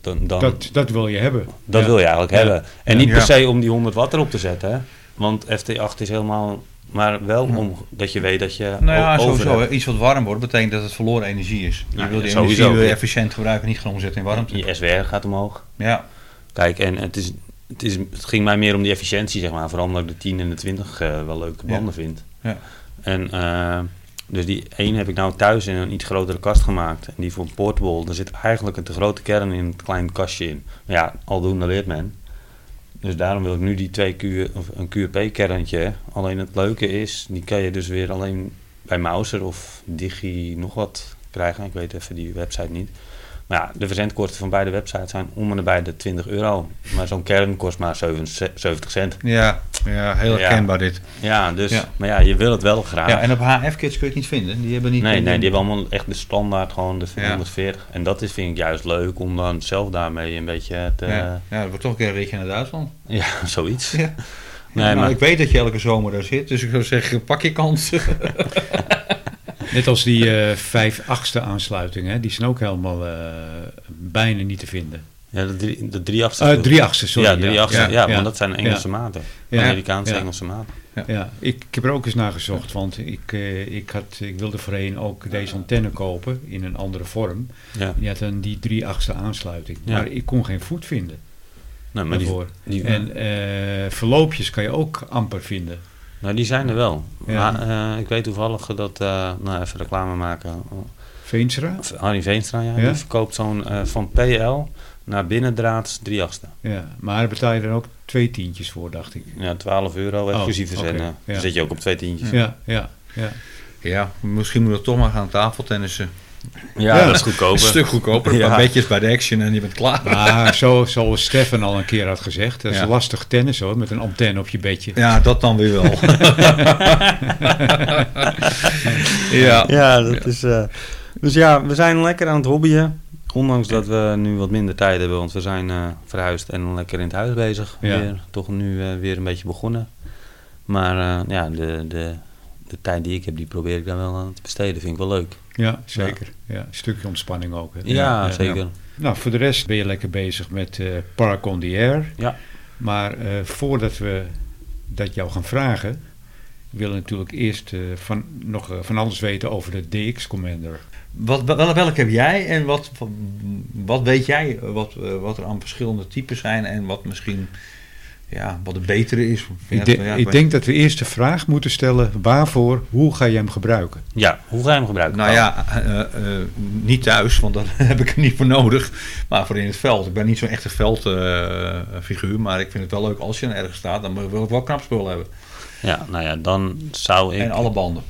[SPEAKER 3] dan, dan, dat,
[SPEAKER 1] Dat, dat wil je hebben. Ja.
[SPEAKER 3] wil je eigenlijk
[SPEAKER 1] Ja.
[SPEAKER 3] hebben. En niet
[SPEAKER 2] Ja.
[SPEAKER 3] per se om die 100 watt erop te zetten. Hè? Want FT8 is helemaal... Maar wel om dat je weet dat je
[SPEAKER 2] Nou ja,
[SPEAKER 3] o- over
[SPEAKER 2] sowieso.
[SPEAKER 3] hebt.
[SPEAKER 2] hè. Iets wat warm wordt, betekent dat het verloren energie is. Je
[SPEAKER 3] Nou,
[SPEAKER 2] wil
[SPEAKER 3] ja,
[SPEAKER 2] die
[SPEAKER 3] sowieso,
[SPEAKER 2] energie wil je
[SPEAKER 3] ja.
[SPEAKER 2] efficiënt gebruiken, niet gewoon omzetten in warmte.
[SPEAKER 3] Je SWR gaat omhoog.
[SPEAKER 2] Ja.
[SPEAKER 3] Kijk, en het, is, het, is, het ging mij meer om die efficiëntie, zeg maar. Vooral omdat ik de 10 en de 20 eh, wel leuke
[SPEAKER 2] Ja.
[SPEAKER 3] banden vind.
[SPEAKER 2] Ja.
[SPEAKER 3] En eh, dus die één heb ik nou thuis in een iets grotere kast gemaakt. En die voor een portable, daar zit eigenlijk een te grote kern in een klein kastje in. Maar ja, aldoende leert men. Dus daarom wil ik nu die twee Q, of een QRP-kerntje. Alleen het leuke is, die kan je dus weer alleen bij Mouser of Digi nog wat krijgen. Ik weet even die website niet. Maar ja, de verzendkosten van beide websites zijn om en nabij de 20 euro. Maar zo'n kern kost maar 70 cent.
[SPEAKER 2] Ja, ja heel
[SPEAKER 3] Ja.
[SPEAKER 2] herkenbaar dit.
[SPEAKER 3] Ja, dus,
[SPEAKER 2] Ja.
[SPEAKER 3] maar ja, je wil het wel graag.
[SPEAKER 2] Ja, en op HF-kits kun je het niet vinden. Die hebben niet...
[SPEAKER 3] Nee, nee, die hebben allemaal echt de standaard, gewoon de
[SPEAKER 2] Ja.
[SPEAKER 3] 140. En dat is, vind ik juist leuk om dan zelf daarmee een beetje te.
[SPEAKER 2] Ja,
[SPEAKER 3] Ja,
[SPEAKER 2] ja, dat wordt toch een keer een ritje naar Duitsland.
[SPEAKER 3] zoiets.
[SPEAKER 2] Ja.
[SPEAKER 3] Nee,
[SPEAKER 2] nou,
[SPEAKER 3] maar
[SPEAKER 2] Ik weet dat je elke zomer daar zit, dus ik zou zeggen, pak je kans.
[SPEAKER 1] Net als die eh, vijf achtste aansluitingen, hè, die zijn ook helemaal eh, bijna niet te vinden.
[SPEAKER 3] ja, de drie, de drie achtste.
[SPEAKER 1] Eh drie achtste, sorry.
[SPEAKER 3] ja, drie achtste. Ja,
[SPEAKER 1] ja,
[SPEAKER 3] maar
[SPEAKER 1] ja.
[SPEAKER 3] dat zijn Engelse maten.
[SPEAKER 1] Ja.
[SPEAKER 3] Amerikaanse
[SPEAKER 1] Ja.
[SPEAKER 3] Engelse maten.
[SPEAKER 1] Ja, ik, ik heb er ook eens naar gezocht, want ik, eh, ik, had, ik wilde voorheen ook deze antenne kopen in een andere vorm.
[SPEAKER 3] Ja.
[SPEAKER 1] Die had dan die drie achtste aansluiting,
[SPEAKER 3] Ja.
[SPEAKER 1] maar ik kon geen voet vinden
[SPEAKER 3] Nou, maar die,
[SPEAKER 1] daarvoor.
[SPEAKER 3] die,
[SPEAKER 1] En eh, verloopjes kan je ook amper vinden.
[SPEAKER 3] nou, die zijn er wel.
[SPEAKER 1] Ja.
[SPEAKER 3] Maar eh, ik weet toevallig dat, eh, nou even reclame maken.
[SPEAKER 1] Veenstra?
[SPEAKER 3] Harry Veenstra, ja,
[SPEAKER 1] Ja?
[SPEAKER 3] die verkoopt zo'n eh, van PL naar binnendraads drie achtste.
[SPEAKER 1] Ja, maar daar betaal je er ook twee tientjes voor, dacht ik.
[SPEAKER 3] Ja, 12 euro exclusief
[SPEAKER 1] oké,
[SPEAKER 3] verzenden.
[SPEAKER 1] ja.
[SPEAKER 3] Dan zit je ook op twee tientjes.
[SPEAKER 1] Ja, ja, ja.
[SPEAKER 2] ja, misschien moeten we toch maar gaan tafeltennissen.
[SPEAKER 3] Ja,
[SPEAKER 1] Ja.
[SPEAKER 3] dat is goedkoper.
[SPEAKER 2] Een stuk goedkoper, een
[SPEAKER 3] Ja.
[SPEAKER 2] paar bedjes bij de action en je bent klaar.
[SPEAKER 1] Maar zo, zoals Stefan al een keer had gezegd, dat is
[SPEAKER 2] Ja.
[SPEAKER 1] lastig tennis hoor, met een antenne op je bedje.
[SPEAKER 2] Ja, dat dan weer wel. ja.
[SPEAKER 3] Ja, dat is. eh, dus ja, we zijn lekker aan het hobbyen. Ondanks dat we nu wat minder tijd hebben, want we zijn eh, verhuisd en lekker in het huis bezig.
[SPEAKER 1] Ja.
[SPEAKER 3] Weer, toch nu eh, weer een beetje begonnen. Maar eh, ja, de, de, de tijd die ik heb, die probeer ik dan wel aan te besteden. Vind ik wel leuk.
[SPEAKER 1] Ja, zeker. Ja. een stukje ontspanning ook. hè.
[SPEAKER 3] Ja, zeker. Ja.
[SPEAKER 1] Nou, voor de rest ben je lekker bezig met eh, Park on the Air.
[SPEAKER 3] Ja.
[SPEAKER 1] Maar eh, voordat we dat jou gaan vragen, willen we natuurlijk eerst eh, van, nog eh, van alles weten over de DX Commander.
[SPEAKER 2] Wat, wel, welk heb jij en wat, wat, wat weet jij eh, wat, eh, wat er aan verschillende types zijn en wat misschien ja, wat het betere is? Ja,
[SPEAKER 1] ik, de-
[SPEAKER 2] ja,
[SPEAKER 1] ik denk dat we eerst de vraag moeten stellen, waarvoor, hoe ga je hem gebruiken?
[SPEAKER 3] hoe ga je hem gebruiken?
[SPEAKER 2] Nou ja, eh, eh, niet thuis, want dan heb ik er niet voor nodig. Maar voor in het veld. Ik ben niet zo'n echte veldfiguur, maar ik vind het wel leuk als je ergens staat. Dan wil ik wel knap spul hebben.
[SPEAKER 3] Ja, nou ja, dan zou ik.
[SPEAKER 2] En alle banden,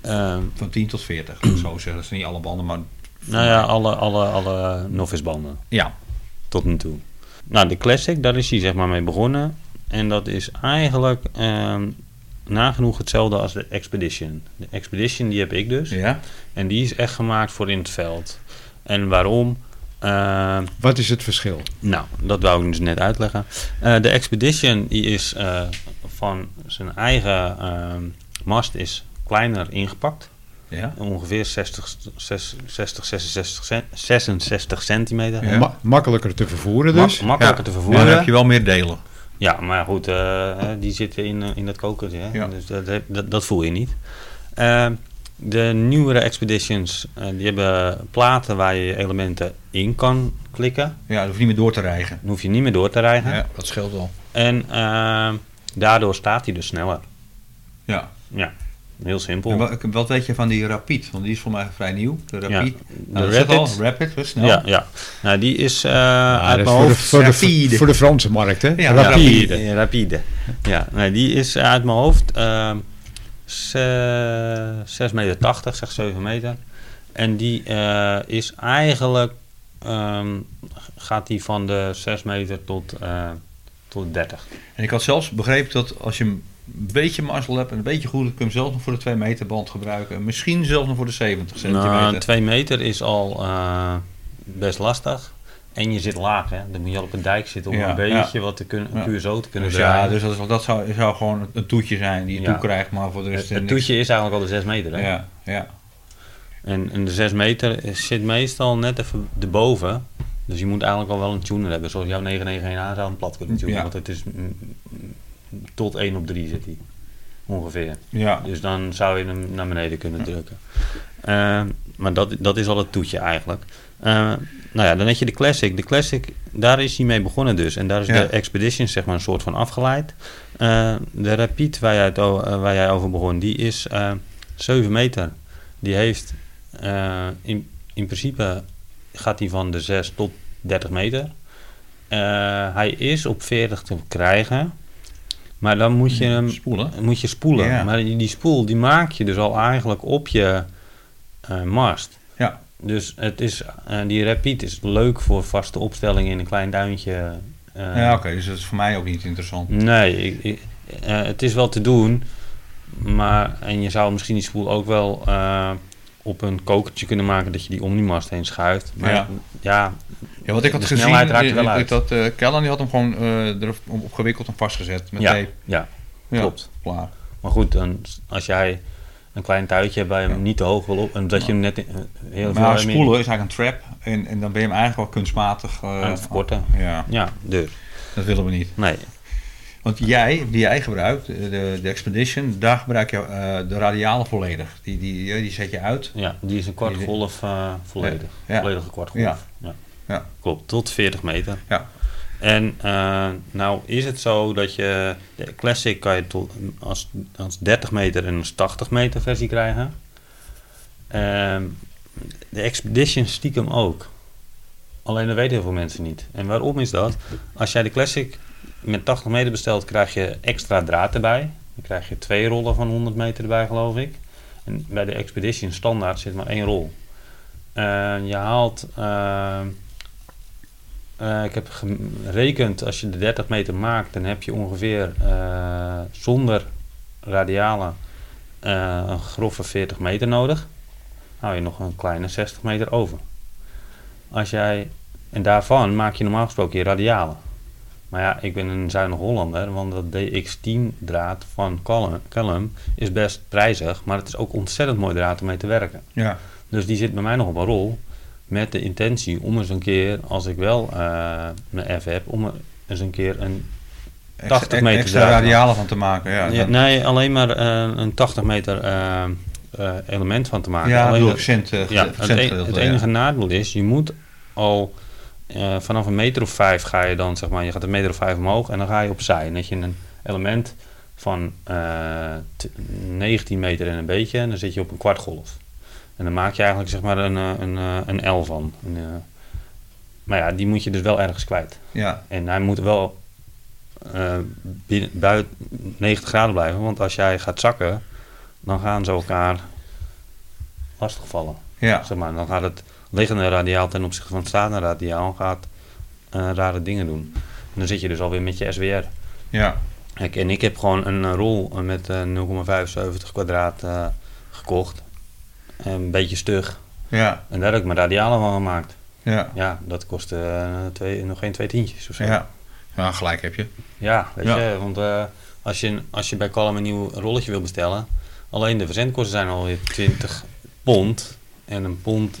[SPEAKER 3] eh,
[SPEAKER 2] van 10 tot 40. zou ik zo zeggen, dat zijn niet alle banden, maar
[SPEAKER 3] nou ja, alle, alle, alle novice banden.
[SPEAKER 2] ja.
[SPEAKER 3] tot nu toe. Nou, de Classic, daar is hij zeg maar mee begonnen. En dat is eigenlijk ehm, nagenoeg hetzelfde als de Expedition. De Expedition die heb ik dus.
[SPEAKER 2] ja.
[SPEAKER 3] En die is echt gemaakt voor in het veld. En waarom? Ehm,
[SPEAKER 1] Wat is het verschil?
[SPEAKER 3] nou, dat wou ik dus net uitleggen. Eh, de Expedition die is eh, van zijn eigen ehm, mast is kleiner ingepakt.
[SPEAKER 2] ja.
[SPEAKER 3] Ongeveer 60, 60 66, cent- 66 centimeter.
[SPEAKER 2] Ja.
[SPEAKER 1] Ma- makkelijker te vervoeren
[SPEAKER 3] Ma-
[SPEAKER 1] dus?
[SPEAKER 3] makkelijker te
[SPEAKER 2] Maar
[SPEAKER 3] vervoeren.
[SPEAKER 2] dan heb je wel meer delen.
[SPEAKER 3] Ja, maar goed, eh, die zitten in, eh, in dat kokertje. hè.
[SPEAKER 2] Ja.
[SPEAKER 3] Dus dat, heb- dat, dat voel je niet. Eh, de nieuwere expeditions, eh, die hebben platen waar je je elementen in kan klikken.
[SPEAKER 2] Ja, dat hoef je niet meer door te rijgen.
[SPEAKER 3] Dan hoef je niet meer door te rijden.
[SPEAKER 2] Ja, dat scheelt al.
[SPEAKER 3] En eh, daardoor staat hij dus sneller.
[SPEAKER 2] Ja.
[SPEAKER 3] Ja, heel simpel.
[SPEAKER 2] En wa- wat weet je van die Rapid? Want die is voor mij vrij nieuw. De Rapid.
[SPEAKER 3] de
[SPEAKER 2] Nou, dat zegt al,
[SPEAKER 3] Rapid.
[SPEAKER 2] Rapid, hè, snel.
[SPEAKER 3] ja, ja. Nou, die is eh
[SPEAKER 1] Ja,
[SPEAKER 3] uit
[SPEAKER 1] Ah, dat is
[SPEAKER 3] mijn
[SPEAKER 1] voor, de,
[SPEAKER 3] hoofd...
[SPEAKER 1] voor, de,
[SPEAKER 2] rapide.
[SPEAKER 1] voor de Franse markt, hè?
[SPEAKER 2] Ja,
[SPEAKER 1] Rapide.
[SPEAKER 2] Rapide.
[SPEAKER 3] Ja, rapide. Ja, nee, die is uit mijn hoofd ehm, ze- 6 meter 80, zeg 7 meter. En die eh, is eigenlijk, ehm, gaat die van de 6 meter tot, eh, tot 30.
[SPEAKER 2] En ik had zelfs begrepen dat als je hem een beetje mazzel hebt en een beetje goed, kun je hem zelfs nog voor de 2 meter band gebruiken. En misschien Nou, zelfs nog voor de 70 centimeter.
[SPEAKER 3] Nou, 2 meter is al eh, best lastig. En je zit laag, hè? Dan moet je al op een dijk zitten om
[SPEAKER 2] Ja,
[SPEAKER 3] een
[SPEAKER 2] ja.
[SPEAKER 3] beetje wat te kunnen, een
[SPEAKER 2] Ja.
[SPEAKER 3] QSO te kunnen
[SPEAKER 2] Dus ja,
[SPEAKER 3] draaien.
[SPEAKER 2] dus dat, is wel- dat zou, zou gewoon een toetje zijn die je
[SPEAKER 3] Ja.
[SPEAKER 2] toekrijgt, maar voor de rest...
[SPEAKER 3] het, het
[SPEAKER 2] dus niks.
[SPEAKER 3] toetje is eigenlijk al de 6 meter, hè?
[SPEAKER 2] Ja, ja.
[SPEAKER 3] En, en de 6 meter zit meestal net even erboven. Dus je moet eigenlijk al wel een tuner hebben. Zoals jouw 991A zou hem plat kunnen tunen.
[SPEAKER 2] Ja.
[SPEAKER 3] Want het is mm, mm, tot 1 op 3 zit hij. Ongeveer.
[SPEAKER 2] ja.
[SPEAKER 3] Dus dan zou je hem naar beneden kunnen drukken. Eh, maar dat, dat is al het toetje eigenlijk. Eh, nou ja, dan heb je de Classic. De Classic, daar is hij mee begonnen dus. En daar is
[SPEAKER 2] Ja.
[SPEAKER 3] de Expedition zeg maar een soort van afgeleid. Eh, de Rapid waar jij, het o- eh, waar jij over begon, die is eh 7 meter. Die heeft eh, in, in principe gaat hij van de 6 tot 30 meter. Eh, hij is op 40 te krijgen. Maar dan moet je hem
[SPEAKER 2] Spoelen.
[SPEAKER 3] moet je spoelen.
[SPEAKER 2] Ja.
[SPEAKER 3] Maar die, die spoel die maak je dus al eigenlijk op je eh, mast.
[SPEAKER 2] Ja.
[SPEAKER 3] Dus het is, eh, die repeat is leuk voor vaste opstellingen in een klein duintje. eh,
[SPEAKER 2] Ja, oké, dus dat is voor mij ook niet interessant.
[SPEAKER 3] Nee, ik, ik- eh, het is wel te doen. Maar, en je zou misschien die spoel ook wel eh, op een kokertje kunnen maken dat je die om die mast heen schuift. Maar
[SPEAKER 2] Ja.
[SPEAKER 3] ja,
[SPEAKER 2] Ja, wat ik had
[SPEAKER 3] De
[SPEAKER 2] gezien,
[SPEAKER 3] snelheid raakt er wel
[SPEAKER 2] eh,
[SPEAKER 3] uit.
[SPEAKER 2] dat eh Callan die had hem gewoon eh, erop op gewikkeld en vastgezet met
[SPEAKER 3] ja,
[SPEAKER 2] tape.
[SPEAKER 3] ja,
[SPEAKER 2] Ja,
[SPEAKER 3] klopt.
[SPEAKER 2] Klaar.
[SPEAKER 3] Maar goed, dan, als jij een klein tuitje hebt waar je hem
[SPEAKER 2] Ja. niet
[SPEAKER 3] niet te hoog wil op... en dat je hem net eh, heel
[SPEAKER 2] Maar spoelen is eigenlijk een trap en, en dan ben je hem eigenlijk wel kunstmatig... eh,
[SPEAKER 3] Aan het verkorten.
[SPEAKER 2] Ja,
[SPEAKER 3] Ja, dus.
[SPEAKER 2] dat willen we niet.
[SPEAKER 3] Nee.
[SPEAKER 2] Want jij, die jij gebruikt, eh, de, de Expedition, daar gebruik je eh, de radialen volledig. Die, die, eh, die zet je uit.
[SPEAKER 3] Ja, die is een kwart golf eh, volledig.
[SPEAKER 2] Ja. Ja.
[SPEAKER 3] Volledige kwart golf.
[SPEAKER 2] Ja.
[SPEAKER 3] Ja.
[SPEAKER 2] Ja.
[SPEAKER 3] Klopt, tot 40 meter.
[SPEAKER 2] Ja.
[SPEAKER 3] En eh, nou is het zo dat je de Classic kan je tot, als, als 30 meter en als 80 meter versie krijgen. Ehm, de Expedition stiekem ook. Alleen dat weten heel veel mensen niet. En waarom is dat? Als jij de Classic met 80 meter bestelt, krijg je extra draad erbij. Dan krijg je twee rollen van 100 meter erbij, geloof ik. En bij de Expedition standaard zit maar één rol. Eh, je haalt. eh, eh, ik heb gerekend, als je de 30 meter maakt, dan heb je ongeveer eh, zonder radialen eh, een grove 40 meter nodig. Hou je nog een kleine 60 meter over. Als jij, en daarvan maak je normaal gesproken je radialen. Maar ja, ik ben een zuinig Hollander, want dat DX10 draad van Callum, Callum is best prijzig, maar het is ook ontzettend mooi draad om mee te werken.
[SPEAKER 2] Ja.
[SPEAKER 3] Dus die zit bij mij nog op een rol. Met de intentie om eens een keer, als ik wel eh, mijn F heb, om er eens een keer een.
[SPEAKER 2] Ex-
[SPEAKER 3] 80
[SPEAKER 2] ex-
[SPEAKER 3] meter
[SPEAKER 2] Extra
[SPEAKER 3] draad.
[SPEAKER 2] radialen van te maken, ja.
[SPEAKER 3] Ja, nou.
[SPEAKER 2] Ja,
[SPEAKER 3] nee, alleen maar eh, een 80 meter eh, eh, element van te maken.
[SPEAKER 2] ja,
[SPEAKER 3] alleen
[SPEAKER 2] bedoel ik,
[SPEAKER 3] dat-
[SPEAKER 2] cent, eh,
[SPEAKER 3] ja,
[SPEAKER 2] cent
[SPEAKER 3] het, e-
[SPEAKER 2] gedeelte,
[SPEAKER 3] het
[SPEAKER 2] ja.
[SPEAKER 3] enige nadeel is, je moet al eh, vanaf een meter of vijf ga je dan, zeg maar, je gaat een meter of vijf omhoog en dan ga je opzij. En dat je een element van eh, t- 19 meter en een beetje en dan zit je op een kwartgolf. En dan maak je eigenlijk zeg maar een, eh, een, eh, een L van. Een, eh, maar ja, die moet je dus wel ergens kwijt.
[SPEAKER 2] Ja,
[SPEAKER 3] En hij moet wel eh, binnen, buiten 90 graden blijven, want als jij gaat zakken, dan gaan ze elkaar lastigvallen
[SPEAKER 2] ja.
[SPEAKER 3] zeg maar, dan gaat het liggende radiaal ten opzichte van het staande radiaal gaat, eh, rare dingen doen. En dan zit je dus alweer met je SWR.
[SPEAKER 2] ja.
[SPEAKER 3] Kijk, en ik heb gewoon een eh, rol met eh, 0,75 kwadraat eh, gekocht. Eh, Een beetje stug.
[SPEAKER 2] Ja,
[SPEAKER 3] En daar heb ik mijn radialen van gemaakt.
[SPEAKER 2] ja,
[SPEAKER 3] Ja, dat kostte eh, twee, nog geen twee tientjes of zo.
[SPEAKER 2] ja. Ja, gelijk heb je.
[SPEAKER 3] Ja, weet
[SPEAKER 2] Ja.
[SPEAKER 3] je, want eh, als, je, als je bij Calm een nieuw rolletje wil bestellen, alleen de verzendkosten zijn alweer 20 pond. En een pond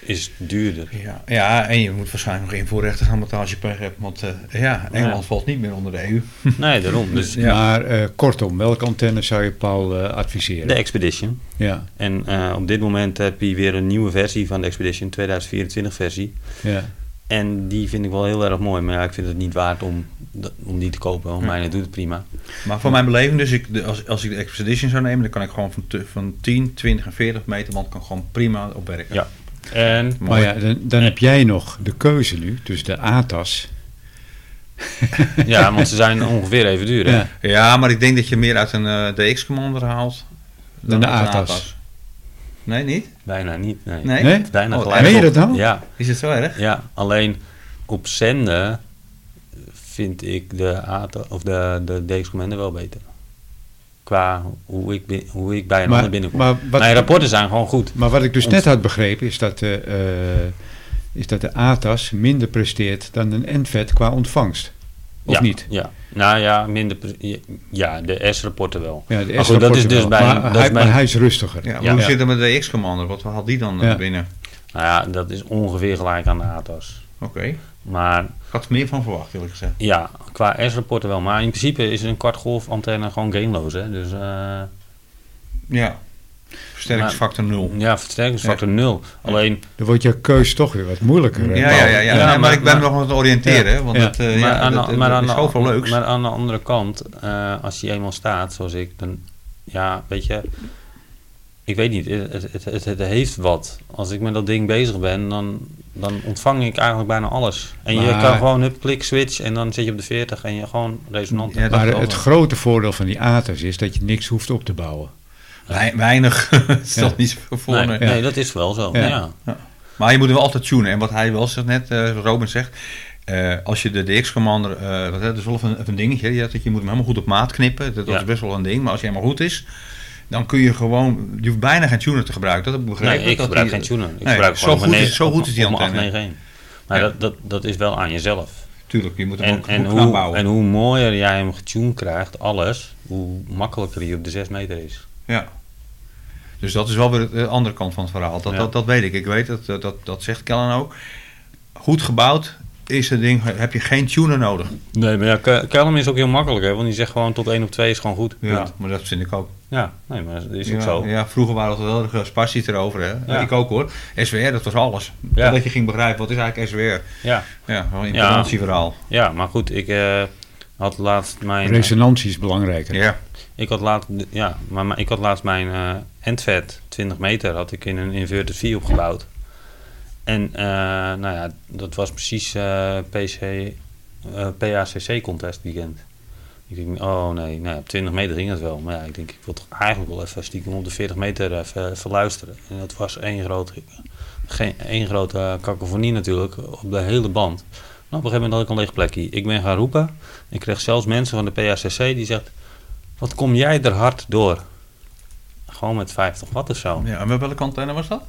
[SPEAKER 3] is duurder.
[SPEAKER 2] Ja. ja, en je moet waarschijnlijk nog invoerrechten gaan betalen als je pech hebt. Want eh, ja, Engeland valt niet meer onder de E EU.
[SPEAKER 3] Nee, daarom. Dus
[SPEAKER 2] Ja.
[SPEAKER 1] Maar eh, kortom, welke antenne zou je Paul eh, adviseren?
[SPEAKER 3] De Expedition.
[SPEAKER 1] Ja,
[SPEAKER 3] En eh, op dit moment heb je weer een nieuwe versie van de Expedition, 2024 versie.
[SPEAKER 1] ja.
[SPEAKER 3] En die vind ik wel heel erg mooi, maar ja, ik vind het niet waard om, d- om die te kopen. Want mijne doet het prima.
[SPEAKER 2] Maar voor mijn beleving, dus ik, de- als, als ik de Expedition zou nemen, dan kan ik gewoon van, te- van 10, 20 en 40 meter, want ik kan gewoon prima op werken.
[SPEAKER 3] Ja. En
[SPEAKER 1] Maar ja, dan, dan heb jij nog de keuze nu tussen de ATAS.
[SPEAKER 3] ja, want ze zijn ongeveer even duur. Hè?
[SPEAKER 1] Ja.
[SPEAKER 2] Ja, maar ik denk dat je meer uit een eh, DX-commander haalt
[SPEAKER 1] Dan de
[SPEAKER 2] uit een
[SPEAKER 1] ATAS.
[SPEAKER 2] Nee, niet?
[SPEAKER 3] Bijna niet. Nee.
[SPEAKER 2] Nee?
[SPEAKER 1] Nee?
[SPEAKER 3] Bijna
[SPEAKER 2] Oh,
[SPEAKER 3] gelijk.
[SPEAKER 1] meen je
[SPEAKER 3] op.
[SPEAKER 1] dat nou?
[SPEAKER 3] Ja,
[SPEAKER 2] Is het zo erg?
[SPEAKER 3] ja, alleen op zenden vind ik de, ATA, of de, de DX Commander wel beter. Qua hoe ik, bin- hoe ik bij een ander
[SPEAKER 1] Maar,
[SPEAKER 3] binnenkom.
[SPEAKER 1] maar, wat,
[SPEAKER 3] Mijn rapporten zijn gewoon goed.
[SPEAKER 1] maar wat ik dus
[SPEAKER 3] Ons-
[SPEAKER 1] net had begrepen is dat eh, eh, is dat de ATAS minder presteert dan een NVET qua ontvangst. Of
[SPEAKER 3] ja,
[SPEAKER 1] niet?
[SPEAKER 3] Ja. Nou ja, minder, pre- ja de S-rapporten wel.
[SPEAKER 1] Ja, de
[SPEAKER 3] maar goed, dat is
[SPEAKER 1] S-rapporten
[SPEAKER 3] dus
[SPEAKER 1] wel.
[SPEAKER 3] bij...
[SPEAKER 1] maar,
[SPEAKER 3] dat
[SPEAKER 1] hij,
[SPEAKER 3] is bij
[SPEAKER 1] maar hij is rustiger.
[SPEAKER 2] Ja, maar
[SPEAKER 3] Ja.
[SPEAKER 2] hoe
[SPEAKER 1] Ja.
[SPEAKER 2] zit het met de X-commander? Wat haalt die dan eh,
[SPEAKER 1] Ja.
[SPEAKER 2] binnen?
[SPEAKER 3] nou ja, dat is ongeveer gelijk aan de ATAS.
[SPEAKER 2] Oké.
[SPEAKER 3] Maar
[SPEAKER 2] Ik had er meer van verwacht, eerlijk gezegd.
[SPEAKER 3] ja, qua S-rapporten wel. Maar in principe is een kwartgolfantenne gewoon gameloos. Hè? Dus eh,
[SPEAKER 2] Ja. Versterkingsfactor 0.
[SPEAKER 3] ja, versterkingsfactor nul. Alleen,
[SPEAKER 1] Dan wordt je keus toch weer wat moeilijker.
[SPEAKER 2] Ja,
[SPEAKER 1] hè?
[SPEAKER 2] ja, ja, ja.
[SPEAKER 3] Ja,
[SPEAKER 2] Nee, maar,
[SPEAKER 3] maar-
[SPEAKER 2] ik ben
[SPEAKER 3] maar-
[SPEAKER 2] nog aan het oriënteren. Want
[SPEAKER 1] Ja.
[SPEAKER 2] dat, eh,
[SPEAKER 3] maar,
[SPEAKER 2] ja,
[SPEAKER 3] aan, de-
[SPEAKER 2] dat- dat-
[SPEAKER 3] maar,
[SPEAKER 2] dat
[SPEAKER 3] aan
[SPEAKER 2] is
[SPEAKER 3] de-
[SPEAKER 2] zoveel leuks.
[SPEAKER 3] maar aan de andere kant, eh, als je eenmaal staat, zoals ik, dan, ja, weet je, ik weet niet, het, het, het, het heeft wat. Als ik met dat ding bezig ben, dan, dan ontvang ik eigenlijk bijna alles. En je
[SPEAKER 1] Maar-
[SPEAKER 3] kan gewoon hup, klik, switch en dan zit je op de 40 en je gewoon resonant.
[SPEAKER 2] Ja, dat-
[SPEAKER 1] Maar
[SPEAKER 2] wel
[SPEAKER 1] het
[SPEAKER 2] wel.
[SPEAKER 1] grote voordeel van die ATAS is dat je niks hoeft op te bouwen.
[SPEAKER 2] Wei- Weinig. Het stelt niet zoveel voor.
[SPEAKER 3] nee,
[SPEAKER 2] nee.
[SPEAKER 3] nee, dat is wel zo,
[SPEAKER 1] Ja.
[SPEAKER 3] ja.
[SPEAKER 2] Maar je moet hem wel altijd tunen. En wat hij wel zegt net, eh, zoals Robin zegt. eh, als je de DX-commander, eh, dat dat is wel even een, een dingetje. Ja, dat je moet hem helemaal goed op maat knippen. Dat, dat
[SPEAKER 3] Ja.
[SPEAKER 2] is best wel een ding. Maar als hij helemaal goed is, dan kun je gewoon... Je hoeft bijna geen tuner te gebruiken. Dat heb ik begrepen.
[SPEAKER 3] Nee, ik
[SPEAKER 2] Dat
[SPEAKER 3] gebruik
[SPEAKER 2] die-
[SPEAKER 3] geen tuner. Ik
[SPEAKER 2] Nee,
[SPEAKER 3] gebruik
[SPEAKER 2] zo
[SPEAKER 3] gewoon
[SPEAKER 2] goed
[SPEAKER 3] mijn
[SPEAKER 2] is-
[SPEAKER 3] ne-
[SPEAKER 2] zo goed
[SPEAKER 3] op-
[SPEAKER 2] is die
[SPEAKER 3] op mijn
[SPEAKER 2] antenne.
[SPEAKER 3] 891. Maar
[SPEAKER 2] Ja.
[SPEAKER 3] dat, dat, dat is wel aan jezelf.
[SPEAKER 2] Tuurlijk, je moet hem
[SPEAKER 3] En,
[SPEAKER 2] ook
[SPEAKER 3] en,
[SPEAKER 2] goed gaan
[SPEAKER 3] hoe,
[SPEAKER 2] bouwen.
[SPEAKER 3] en hoe mooier jij hem getuned krijgt, alles, hoe makkelijker hij op de 6 meter is.
[SPEAKER 2] Ja. Dus dat is wel weer de andere kant van het verhaal. Dat,
[SPEAKER 3] Ja.
[SPEAKER 2] dat, dat weet ik. Ik weet dat, dat, dat, dat zegt Kellen ook. Goed gebouwd is het ding, heb je geen tuner nodig.
[SPEAKER 3] Nee, maar ja, Ke- Kellum is ook heel makkelijk, hè, want die zegt gewoon tot 1 op 2 is gewoon goed.
[SPEAKER 2] Ja,
[SPEAKER 3] Punt.
[SPEAKER 2] maar dat vind ik ook.
[SPEAKER 3] ja nee, maar dat is ook
[SPEAKER 2] ja,
[SPEAKER 3] zo.
[SPEAKER 2] ja, vroeger waren we wel heel erg spassies erover. Hè?
[SPEAKER 3] Ja.
[SPEAKER 2] Ik ook hoor. SWR, dat was alles.
[SPEAKER 3] Ja.
[SPEAKER 2] Dat je ging begrijpen, wat is eigenlijk SWR?
[SPEAKER 3] Ja,
[SPEAKER 2] Ja, gewoon een impedantie-verhaal.
[SPEAKER 3] ja maar goed, ik eh, had laatst mijn... eh,
[SPEAKER 1] Resonantie is belangrijker.
[SPEAKER 2] Ja.
[SPEAKER 3] Ik had laatst, ja, maar, maar ik had laatst mijn eh endvet, 20 meter, had ik in een inverter 4 opgebouwd. En eh, nou ja, dat was precies eh, PC, eh, PACC contest weekend. Ik denk, oh nee, nou, ja, op 20 meter ging het wel. Maar ja, ik denk, ik wil toch eigenlijk wel even stiekem op de 40 meter even, even luisteren. En dat was één grote, geen, één grote cacophonie natuurlijk, op de hele band. Maar op een gegeven moment had ik een leeg plekje. Ik ben gaan roepen. Ik kreeg zelfs mensen van de PACC die zegt, wat kom jij er hard door? Gewoon met 50 watt of zo.
[SPEAKER 2] ja, en met welke antenne was dat?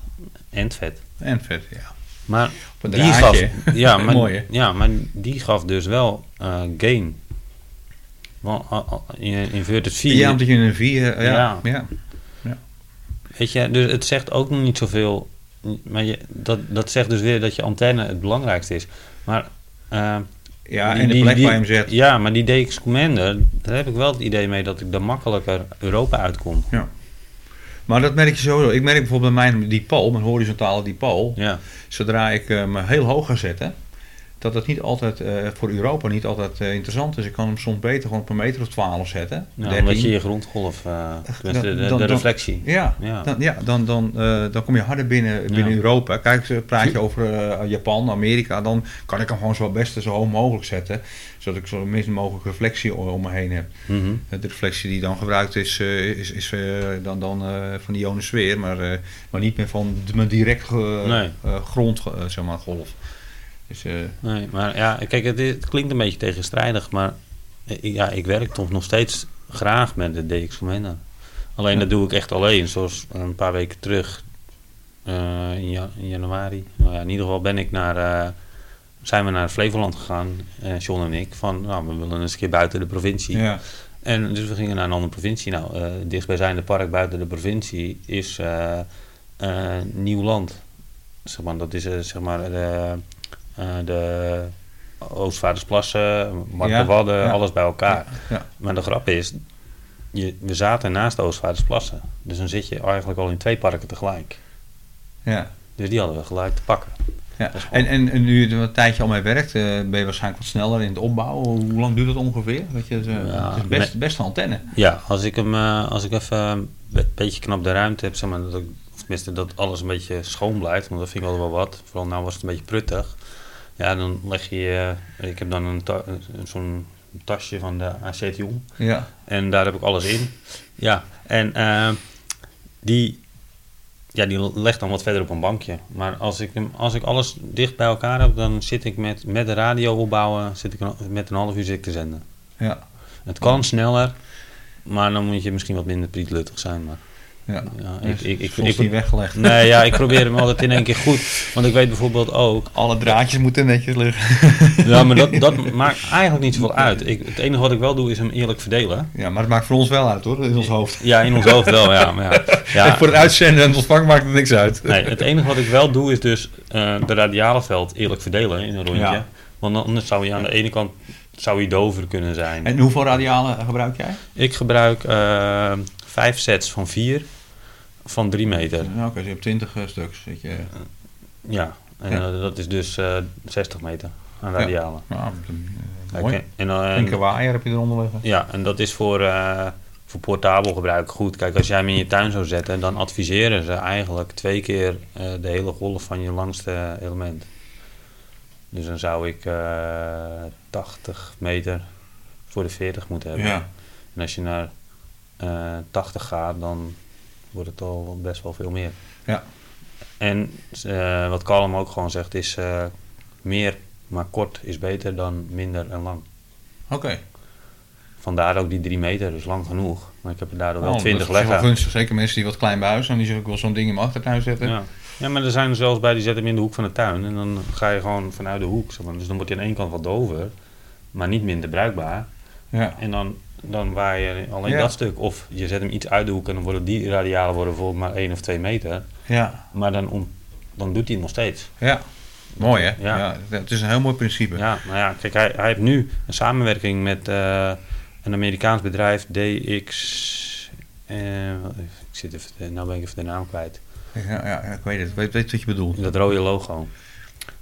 [SPEAKER 3] En vet.
[SPEAKER 2] En vet, ja.
[SPEAKER 3] Maar
[SPEAKER 2] Op een
[SPEAKER 3] die gaf,
[SPEAKER 2] draadje.
[SPEAKER 3] ja, maar,
[SPEAKER 2] Mooi, hè?
[SPEAKER 3] ja, maar die gaf dus wel eh, gain. Want, a- a- in inverted 4.
[SPEAKER 2] Ja, omdat je een 4... Ja,
[SPEAKER 3] Ja.
[SPEAKER 2] ja.
[SPEAKER 3] Weet je, dus het zegt ook nog niet zoveel. Maar je, dat, dat zegt dus weer dat je antenne het belangrijkste is. Maar, eh,
[SPEAKER 2] ja
[SPEAKER 3] die-
[SPEAKER 2] en de
[SPEAKER 3] die-
[SPEAKER 2] plek
[SPEAKER 3] die-
[SPEAKER 2] waar je hem zet.
[SPEAKER 3] Ja, maar die DX Commander, daar heb ik wel het idee mee dat ik daar makkelijker Europa uitkom.
[SPEAKER 2] Maar dat merk je sowieso. Ik merk bijvoorbeeld bij mijn dipool, mijn horizontale dipool,
[SPEAKER 3] Ja,
[SPEAKER 2] zodra ik eh, me heel hoog ga zetten, dat dat niet altijd eh, voor Europa niet altijd eh, interessant is. Ik kan hem soms beter gewoon op een meter of 12 zetten. 13.
[SPEAKER 3] ja nou, omdat je je grondgolf, eh, tenminste, de, de,
[SPEAKER 2] dan- dan-
[SPEAKER 3] reflectie.
[SPEAKER 2] Ja,
[SPEAKER 3] Ja.
[SPEAKER 2] dan, ja, dan, dan, eh, dan kom je harder binnen, binnen
[SPEAKER 3] Ja.
[SPEAKER 2] Europa. Kijk, eh, praat je over eh, Japan, Amerika, dan kan ik hem gewoon zo best zo hoog mogelijk zetten. Zodat ik zo minst mogelijk reflectie o- om me heen heb.
[SPEAKER 3] Mhm.
[SPEAKER 2] Eh, De reflectie die dan gebruikt is, eh, is, is eh, dan, dan eh, van de ionosfeer, maar, eh, maar niet meer van de, mijn direct ge-
[SPEAKER 3] Nee.
[SPEAKER 2] eh, grond, eh, zeg maar, golf. Dus, eh,
[SPEAKER 3] Nee, maar ja, kijk, het, is- het klinkt een beetje tegenstrijdig, maar ik- ja, ik werk toch nog steeds graag met de DX Commander. Alleen dat doe ik echt alleen, zoals een paar weken terug eh, in, ja- in januari. Nou ja, in ieder geval ben ik naar, eh, zijn we naar Flevoland gegaan, eh John en ik, van nou, we willen eens een keer buiten de provincie.
[SPEAKER 2] ja.
[SPEAKER 3] En dus we gingen naar een andere provincie. Nou, eh het dichtstbijzijnde park buiten de provincie is eh, eh, Nieuwland. Zeg maar, dat is eh, zeg maar de, eh, de Oostvaardersplassen, Mark
[SPEAKER 2] Ja,
[SPEAKER 3] de Wadden,
[SPEAKER 2] ja.
[SPEAKER 3] alles bij elkaar.
[SPEAKER 2] ja.
[SPEAKER 3] Maar de grap is, je, we zaten naast de Oostvaardersplassen. Dus dan zit je eigenlijk al in twee parken tegelijk.
[SPEAKER 2] ja.
[SPEAKER 3] Dus die hadden we gelijk te pakken.
[SPEAKER 2] Ja.
[SPEAKER 3] is gewoon-
[SPEAKER 2] En, en, en nu je er een tijdje al mee werkt, eh, ben je waarschijnlijk wat sneller in het opbouwen. Hoe hoe lang duurt dat ongeveer? Weet je, het, eh,
[SPEAKER 3] Ja,
[SPEAKER 2] het is best,
[SPEAKER 3] me-
[SPEAKER 2] best een antenne.
[SPEAKER 3] Ja, als ik hem eh, als ik even een be- beetje knap de ruimte heb, zeg maar, dat ik, of tenminste dat alles een beetje schoon blijft, want dat vind ik altijd wel wat. Vooral nou was het een beetje pruttig. Ja, dan leg je, eh, ik heb dan een ta- een- zo'n tasje van de ACT Jong
[SPEAKER 2] Ja.
[SPEAKER 3] en daar heb ik alles in. Ja, en eh, die, ja, die legt dan wat verder op een bankje. Maar als ik, hem, als ik alles dicht bij elkaar heb, dan zit ik met, met de radio opbouwen, zit ik een- met een half uur zit ik te zenden.
[SPEAKER 2] ja.
[SPEAKER 3] Het kan sneller, maar dan moet je misschien wat minder prietluttig zijn. Maar.
[SPEAKER 2] Ja.
[SPEAKER 3] Ja,
[SPEAKER 2] Dus
[SPEAKER 3] ik, ik, ik,
[SPEAKER 2] soms
[SPEAKER 3] ik-
[SPEAKER 2] niet weggelegd.
[SPEAKER 3] nee, ja, ik probeer hem altijd in één keer goed. Want ik weet bijvoorbeeld ook.
[SPEAKER 2] Alle draadjes moeten netjes liggen.
[SPEAKER 3] Ja, maar dat, dat maakt eigenlijk niet zoveel uit. Ik, het enige wat ik wel doe is hem eerlijk verdelen.
[SPEAKER 2] Ja, maar het maakt voor ons wel uit hoor, in ons hoofd.
[SPEAKER 3] Ja, in ons hoofd wel, ja. Maar ja, ja.
[SPEAKER 2] En voor het uitzenden en het ontvangen maakt het niks uit.
[SPEAKER 3] Nee, het enige wat ik wel doe is dus eh, de radiale veld eerlijk verdelen in een rondje.
[SPEAKER 2] Ja.
[SPEAKER 3] Want anders zou je aan de ene kant zou je dover kunnen zijn.
[SPEAKER 2] En hoeveel
[SPEAKER 3] eh,
[SPEAKER 2] radialen gebruik jij?
[SPEAKER 3] Ik gebruik eh, vijf sets van vier van drie meter.
[SPEAKER 2] Nou, oké, dus je hebt 20 eh, stuks. Weet je.
[SPEAKER 3] Ja, en
[SPEAKER 2] Ja.
[SPEAKER 3] eh, dat is dus eh 60 meter aan
[SPEAKER 2] Ja.
[SPEAKER 3] radialen.
[SPEAKER 2] Nou, dat is een, eh,
[SPEAKER 3] Ja.
[SPEAKER 2] mooi.
[SPEAKER 3] En, dan-
[SPEAKER 2] Flinke waaier heb je eronder liggen.
[SPEAKER 3] ja, en dat is voor, eh, voor portabel gebruik goed. Kijk, als jij hem in je tuin zou zetten, dan adviseren ze eigenlijk twee keer eh, de hele golf van je langste element. Dus dan zou ik eh 80 meter voor de 40 moeten hebben.
[SPEAKER 2] Ja.
[SPEAKER 3] En als je naar eh, 80 gaat, dan wordt het al best wel veel meer.
[SPEAKER 2] Ja.
[SPEAKER 3] En eh, wat Kalm ook gewoon zegt, is eh, meer maar kort is beter dan minder en lang.
[SPEAKER 2] Oké.
[SPEAKER 3] Vandaar ook die 3 meter, dus lang genoeg. Maar ik heb er daardoor
[SPEAKER 2] Oh,
[SPEAKER 3] wel
[SPEAKER 2] dat
[SPEAKER 3] 20
[SPEAKER 2] is wel
[SPEAKER 3] leggen.
[SPEAKER 2] gunstig. Zeker mensen die wat klein bij huis zijn, die zullen ook wel zo'n ding in mijn achtertuin zetten.
[SPEAKER 3] Ja. ja, maar er zijn er zelfs bij die zetten hem in de hoek van de tuin. En dan ga je gewoon vanuit de hoek. Zeg maar. Dus dan wordt hij aan één kant wat dover, maar niet minder bruikbaar.
[SPEAKER 2] Ja.
[SPEAKER 3] En dan, dan waar je alleen
[SPEAKER 2] Ja.
[SPEAKER 3] dat stuk. Of je zet hem iets uit de hoek en dan worden die radialen worden bijvoorbeeld maar 1 of 2 meter.
[SPEAKER 2] ja.
[SPEAKER 3] Maar dan, om, dan doet hij het nog steeds.
[SPEAKER 2] Ja. Mooi hè?
[SPEAKER 3] Ja.
[SPEAKER 2] Het is een heel mooi principe.
[SPEAKER 3] Ja, nou ja, kijk, hij, hij heeft nu een samenwerking met eh, een Amerikaans bedrijf, DX. eh, ik zit even, de- nou ben ik even de naam kwijt.
[SPEAKER 2] Ja, ja, ik weet het. Ik weet, weet wat je bedoelt.
[SPEAKER 3] Dat rode logo.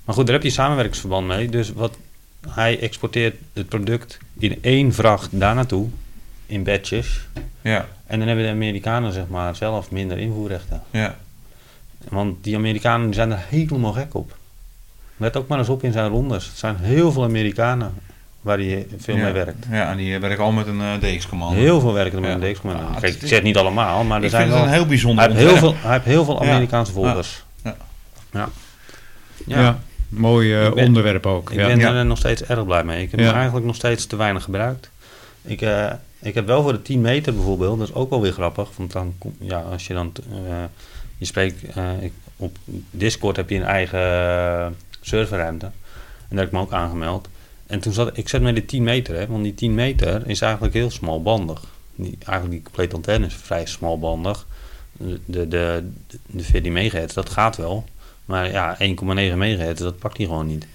[SPEAKER 3] Maar goed, daar heb je een samenwerkingsverband mee. Dus wat hij exporteert het product in één vracht daar naartoe, in batches.
[SPEAKER 2] Ja,
[SPEAKER 3] En dan hebben de Amerikanen zeg maar zelf minder invoerrechten.
[SPEAKER 2] ja.
[SPEAKER 3] Want die Amerikanen die zijn er helemaal gek op. Let ook maar eens op in zijn rondes. Het zijn heel veel Amerikanen waar hij veel
[SPEAKER 2] ja.
[SPEAKER 3] mee werkt.
[SPEAKER 2] Ja, en die eh, werken al met een eh, DX-commando.
[SPEAKER 3] Heel veel werken er met
[SPEAKER 2] Ja.
[SPEAKER 3] een DX-commando.
[SPEAKER 2] Ah, het
[SPEAKER 3] Kijk,
[SPEAKER 2] is-
[SPEAKER 3] ik zeg niet allemaal, maar er
[SPEAKER 2] Ik
[SPEAKER 3] zijn
[SPEAKER 2] vind het
[SPEAKER 3] wel...
[SPEAKER 2] een heel bijzonder
[SPEAKER 3] hij, heeft heel
[SPEAKER 2] ontwerp.
[SPEAKER 3] veel, hij heeft heel veel
[SPEAKER 2] Ja.
[SPEAKER 3] Amerikaanse
[SPEAKER 2] Ja.
[SPEAKER 3] volgers.
[SPEAKER 2] Ja.
[SPEAKER 3] Ja.
[SPEAKER 1] Ja. Mooi eh,
[SPEAKER 3] Ik ben-
[SPEAKER 1] onderwerp ook.
[SPEAKER 3] Ik
[SPEAKER 1] ja.
[SPEAKER 3] ben eh,
[SPEAKER 2] Ja.
[SPEAKER 3] er nog steeds erg blij mee. Ik heb
[SPEAKER 1] Ja.
[SPEAKER 3] hem eigenlijk nog steeds te weinig gebruikt. Ik, eh, ik heb wel voor de 10 meter bijvoorbeeld, dat is ook wel weer grappig. Want dan, kom- ja, als je dan, t- eh, je spreekt, eh, ik- op Discord heb je een eigen eh, serverruimte. En daar heb ik me ook aangemeld. En toen zat ik, zet met de 10 meter, hè, want die 10 meter is eigenlijk heel smalbandig. Die, eigenlijk die complete antenne is vrij smalbandig. De, de, de, de 14 megahertz, dat gaat wel. Maar ja, 1,9 megahertz, dat pakt hij gewoon niet.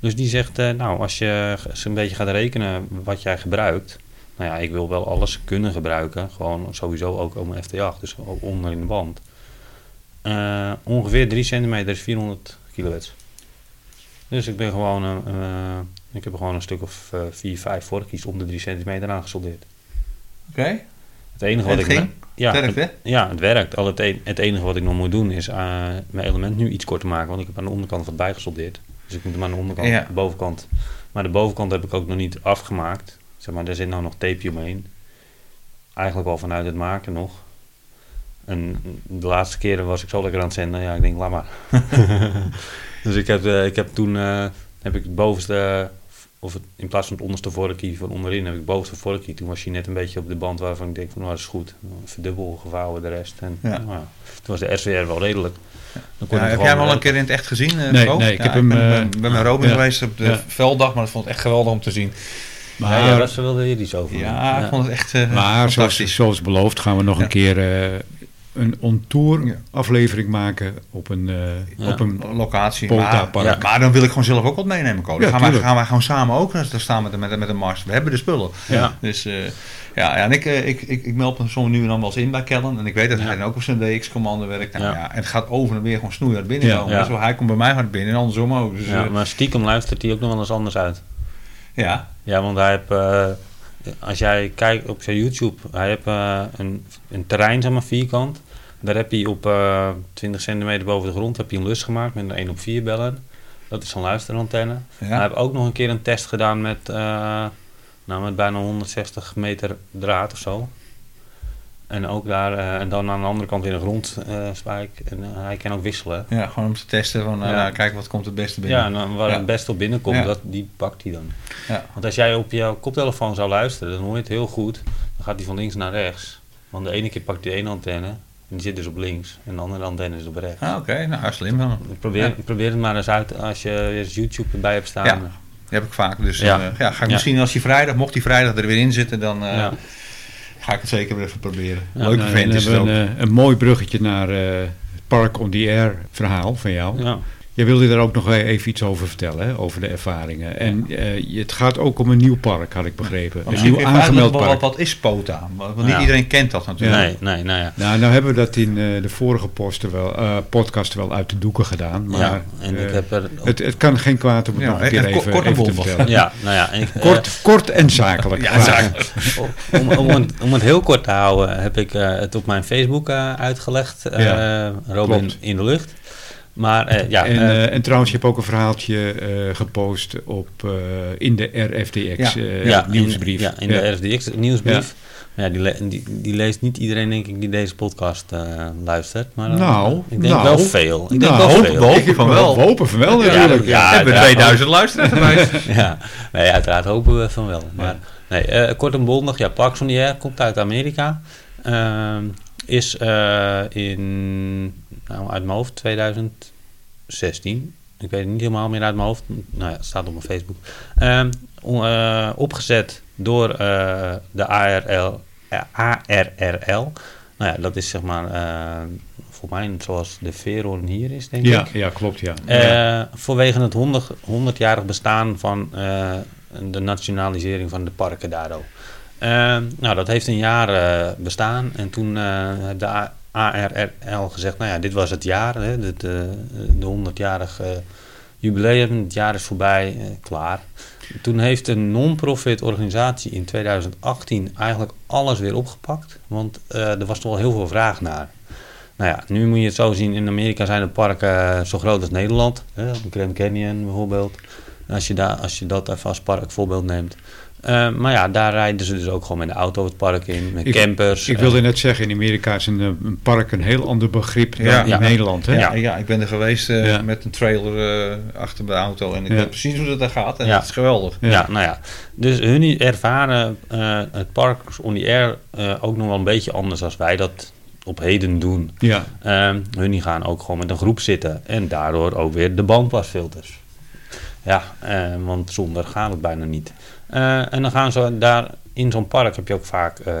[SPEAKER 3] Dus die zegt, eh, nou, als je eens een beetje gaat rekenen wat jij gebruikt. Nou ja, ik wil wel alles kunnen gebruiken. Gewoon sowieso ook om FT8, dus ook onder in de band. Eh, ongeveer 3 centimeter is 400 kilowatts. Dus ik ben gewoon, eh, eh, ik heb er gewoon een stuk of eh, vier, vijf vorkjes om de 3 centimeter aangesoldeerd.
[SPEAKER 2] Oké.
[SPEAKER 3] Het enige
[SPEAKER 2] En
[SPEAKER 3] wat
[SPEAKER 2] het
[SPEAKER 3] ik...
[SPEAKER 2] ging?
[SPEAKER 3] Ja,
[SPEAKER 2] Werkt,
[SPEAKER 3] het, ja, het werkt. Al het, e- het enige wat ik nog moet doen is eh, mijn element nu iets korter maken. Want ik heb aan de onderkant wat bijgesoldeerd. Dus ik moet hem aan de onderkant,
[SPEAKER 2] Ja.
[SPEAKER 3] de bovenkant. Maar de bovenkant heb ik ook nog niet afgemaakt. Zeg maar, daar zit nou nog tapeje omheen. Eigenlijk al vanuit het maken nog. En de laatste keren was ik zo lekker aan het zenden. Ja, ik denk, laat maar. dus ik heb, eh, ik heb toen eh, heb ik het bovenste, of het, in plaats van het onderste vorkje van onderin, heb ik het bovenste vorkje. Toen was hij net een beetje op de band waarvan ik denk van, nou, dat is goed. Verdubbel gevouwen de rest. En,
[SPEAKER 2] Ja.
[SPEAKER 3] nou ja, toen was de SWR wel redelijk. Dan kon
[SPEAKER 2] Ja, heb
[SPEAKER 3] ik gewoon-
[SPEAKER 2] jij hem al een keer in het echt gezien? eh,
[SPEAKER 1] Nee,
[SPEAKER 2] Ko?
[SPEAKER 1] nee, ik
[SPEAKER 2] Ja,
[SPEAKER 1] heb hem,
[SPEAKER 2] ben,
[SPEAKER 1] eh,
[SPEAKER 2] ben- ben met Robin
[SPEAKER 1] ja.
[SPEAKER 2] geweest op de
[SPEAKER 1] Ja.
[SPEAKER 2] velddag, maar dat vond ik echt geweldig om te zien.
[SPEAKER 1] Maar,
[SPEAKER 3] ja, daar Ah, wilde hier iets over.
[SPEAKER 2] Ja, ik vond het echt eh,
[SPEAKER 1] maar zoals,
[SPEAKER 2] fantastisch.
[SPEAKER 1] zoals beloofd gaan we nog
[SPEAKER 2] Ja.
[SPEAKER 1] een keer eh, een on-tour
[SPEAKER 2] Ja.
[SPEAKER 1] aflevering maken op een, eh,
[SPEAKER 3] Ja.
[SPEAKER 1] op een
[SPEAKER 2] Locatie. Maar,
[SPEAKER 1] Poltappark.
[SPEAKER 2] ja, maar dan wil ik gewoon zelf ook wat meenemen, Ko. Dan
[SPEAKER 1] Ja,
[SPEAKER 2] gaan, wij,
[SPEAKER 1] tuurlijk.
[SPEAKER 2] gaan wij gewoon samen ook eh, daar staan met, de- met, de- met de mars. We hebben de spullen.
[SPEAKER 3] Ja.
[SPEAKER 2] Dus eh, ja, ja, en ik, eh, ik, ik, ik meld me soms nu en dan wel eens in bij Kellen. En ik weet dat
[SPEAKER 3] Ja.
[SPEAKER 2] hij dan ook op zijn DX-commando werkt. Nou,
[SPEAKER 3] Ja.
[SPEAKER 2] ja. en het gaat over en weer gewoon snoeihard binnenkomen.
[SPEAKER 3] Ja, ja.
[SPEAKER 2] Dus hij komt bij mij hard binnen en andersom ook. Dus, eh,
[SPEAKER 3] Ja, maar stiekem luistert hij ook nog wel eens anders uit.
[SPEAKER 2] ja.
[SPEAKER 3] Ja, want hij heeft, eh, als jij kijkt op zijn YouTube, hij heeft eh, een, een terrein, zeg maar vierkant. Daar heb hij op eh 20 centimeter boven de grond heb hij een lus gemaakt met een 1 op 4 bellen. Dat is een luisterantenne.
[SPEAKER 2] Ja.
[SPEAKER 3] Hij heeft ook nog een keer een test gedaan met, eh, nou, met bijna 160 meter draad of zo. En ook daar, eh, en dan aan de andere kant weer een grondspijk. en eh, hij kan ook wisselen.
[SPEAKER 2] Ja, gewoon om te testen van nou,
[SPEAKER 3] Ja.
[SPEAKER 2] nou, kijk wat komt het beste binnen.
[SPEAKER 3] Ja, en dan waar
[SPEAKER 2] Ja.
[SPEAKER 3] het best op binnenkomt,
[SPEAKER 2] Ja.
[SPEAKER 3] dat, die pakt hij dan.
[SPEAKER 2] Ja.
[SPEAKER 3] Want als jij op jouw koptelefoon zou luisteren, dan hoor je het heel goed. Dan gaat hij van links naar rechts. Want de ene keer pakt hij de ene antenne, En die zit dus op links. En de andere antenne is op rechts.
[SPEAKER 2] Ah, oké. Nou, slim dan.
[SPEAKER 3] Probeer, probeer het maar eens uit als je weer eens YouTube erbij hebt staan.
[SPEAKER 2] Ja, Dat heb ik vaak. Dus dan,
[SPEAKER 3] Ja.
[SPEAKER 2] eh, ja, ga ik
[SPEAKER 3] Ja.
[SPEAKER 2] misschien als die vrijdag, mocht die vrijdag er weer in zitten, dan eh,
[SPEAKER 3] Ja.
[SPEAKER 2] ga ik het zeker weer even proberen.
[SPEAKER 3] Ja,
[SPEAKER 2] Leuk
[SPEAKER 1] Nou,
[SPEAKER 2] event
[SPEAKER 1] dan
[SPEAKER 2] is het ook.
[SPEAKER 1] hebben we een, eh, een mooi bruggetje naar eh, het Park on the Air verhaal van jou.
[SPEAKER 3] Ja.
[SPEAKER 1] Jij wilde daar ook nog e- even iets over vertellen, hè, over de ervaringen. En eh, je- het gaat ook om een nieuw park, had ik begrepen.
[SPEAKER 2] Maar
[SPEAKER 1] Een
[SPEAKER 2] misschien
[SPEAKER 1] nieuw
[SPEAKER 2] kun je vragen
[SPEAKER 1] aangemeld
[SPEAKER 2] wat-
[SPEAKER 1] park.
[SPEAKER 2] Wat, wat is POTA? Want niet
[SPEAKER 3] Ja.
[SPEAKER 2] iedereen kent dat natuurlijk.
[SPEAKER 3] Nee, nee, nou ja.
[SPEAKER 1] Nou, nou hebben we dat in eh, de vorige posten wel, eh, podcast wel uit de doeken gedaan. Maar
[SPEAKER 3] ja, en ik
[SPEAKER 1] eh,
[SPEAKER 3] heb er...
[SPEAKER 1] het, het kan geen kwaad om het
[SPEAKER 2] Ja,
[SPEAKER 1] nog een keer
[SPEAKER 2] en ko-
[SPEAKER 1] even,
[SPEAKER 2] kort en
[SPEAKER 1] even te
[SPEAKER 2] bondig.
[SPEAKER 1] vertellen.
[SPEAKER 3] ja, nou ja. En ik,
[SPEAKER 1] Kort, kort en zakelijk.
[SPEAKER 2] Ja,
[SPEAKER 1] graag.
[SPEAKER 2] zaak.
[SPEAKER 3] eh, om, om, het, om het heel kort te houden, heb ik eh, het op mijn Facebook eh, uitgelegd. eh,
[SPEAKER 1] Ja,
[SPEAKER 3] Robin
[SPEAKER 1] klopt.
[SPEAKER 3] in de lucht. Maar eh, ja,
[SPEAKER 1] En,
[SPEAKER 3] eh,
[SPEAKER 1] eh, en trouwens, je hebt ook een verhaaltje eh, gepost op, eh, in de RFDX
[SPEAKER 2] Ja.
[SPEAKER 1] eh,
[SPEAKER 3] ja,
[SPEAKER 1] nieuwsbrief.
[SPEAKER 3] In, ja, in de RFDX nieuwsbrief. Ja, die, le- die, die leest niet iedereen, denk ik, die deze podcast eh, luistert. Maar eh,
[SPEAKER 1] Nou,
[SPEAKER 3] ik denk
[SPEAKER 1] nou,
[SPEAKER 3] wel veel. Ik denk
[SPEAKER 1] nou,
[SPEAKER 3] wel
[SPEAKER 2] hoop-
[SPEAKER 3] veel.
[SPEAKER 2] hoop-
[SPEAKER 1] Ik-
[SPEAKER 2] van wel.
[SPEAKER 1] We hopen van wel,
[SPEAKER 3] Ja,
[SPEAKER 1] natuurlijk.
[SPEAKER 3] ja,
[SPEAKER 2] hebben we
[SPEAKER 3] ja.
[SPEAKER 2] 2000 luisteraars erbij.
[SPEAKER 3] Ja, nee, uiteraard hopen we van wel. Maar nee, eh, kort en bondig, ja, Parkinson die Air komt uit Amerika. Ehm, is eh, in, nou uit mijn hoofd, 2016. Ik weet het niet helemaal meer uit mijn hoofd. Nou ja, het staat op mijn Facebook. Ehm, o- eh, opgezet door eh, de ARL, eh, ARRL. Nou ja, dat is zeg maar, eh, voor mij zoals de Veron hier is, denk
[SPEAKER 1] Ja,
[SPEAKER 3] ik.
[SPEAKER 1] ja, klopt, ja.
[SPEAKER 3] Eh, Vanwege het 100 100-jarig bestaan van eh, de nationalisering van de parken daardoor. Eh, nou, dat heeft een jaar eh, bestaan. En toen eh, heeft de A- ARRL gezegd, nou ja, dit was het jaar. Hè, dit, eh, de 100-jarig eh, jubileum, het jaar is voorbij, eh, klaar. Toen heeft een non-profit organisatie in 2018 eigenlijk alles weer opgepakt. Want eh, er was toch wel heel veel vraag naar. Nou ja, nu moet je het zo zien. In Amerika zijn de parken eh, zo groot als Nederland. Hè, op de Grand Canyon bijvoorbeeld. Als je, daar, als je dat even als park voorbeeld neemt. Eh, maar ja, daar rijden ze dus ook gewoon met de auto het park in. Met
[SPEAKER 1] Ik-
[SPEAKER 3] campers. eh.
[SPEAKER 1] Ik wilde net zeggen, in Amerika is een, eh, een park een heel ander begrip dan
[SPEAKER 2] Ja.
[SPEAKER 1] in
[SPEAKER 3] Ja.
[SPEAKER 1] Nederland. Hè?
[SPEAKER 2] Ja, ja, ik ben er geweest eh,
[SPEAKER 1] Ja.
[SPEAKER 2] met een trailer eh, achter de auto en ik
[SPEAKER 1] Ja.
[SPEAKER 2] weet precies hoe dat daar gaat en
[SPEAKER 3] Ja.
[SPEAKER 2] dat is geweldig.
[SPEAKER 1] Ja.
[SPEAKER 3] Ja. nou ja. Dus hun ervaren eh, het park on the air eh, ook nog wel een beetje anders als wij dat op heden doen.
[SPEAKER 1] Ja.
[SPEAKER 3] Ehm, hun die gaan ook gewoon met een groep zitten. En daardoor ook weer de bandpasfilters. Ja, eh, want zonder gaat het bijna niet. Eh, en dan gaan ze daar in zo'n park heb je ook vaak eh,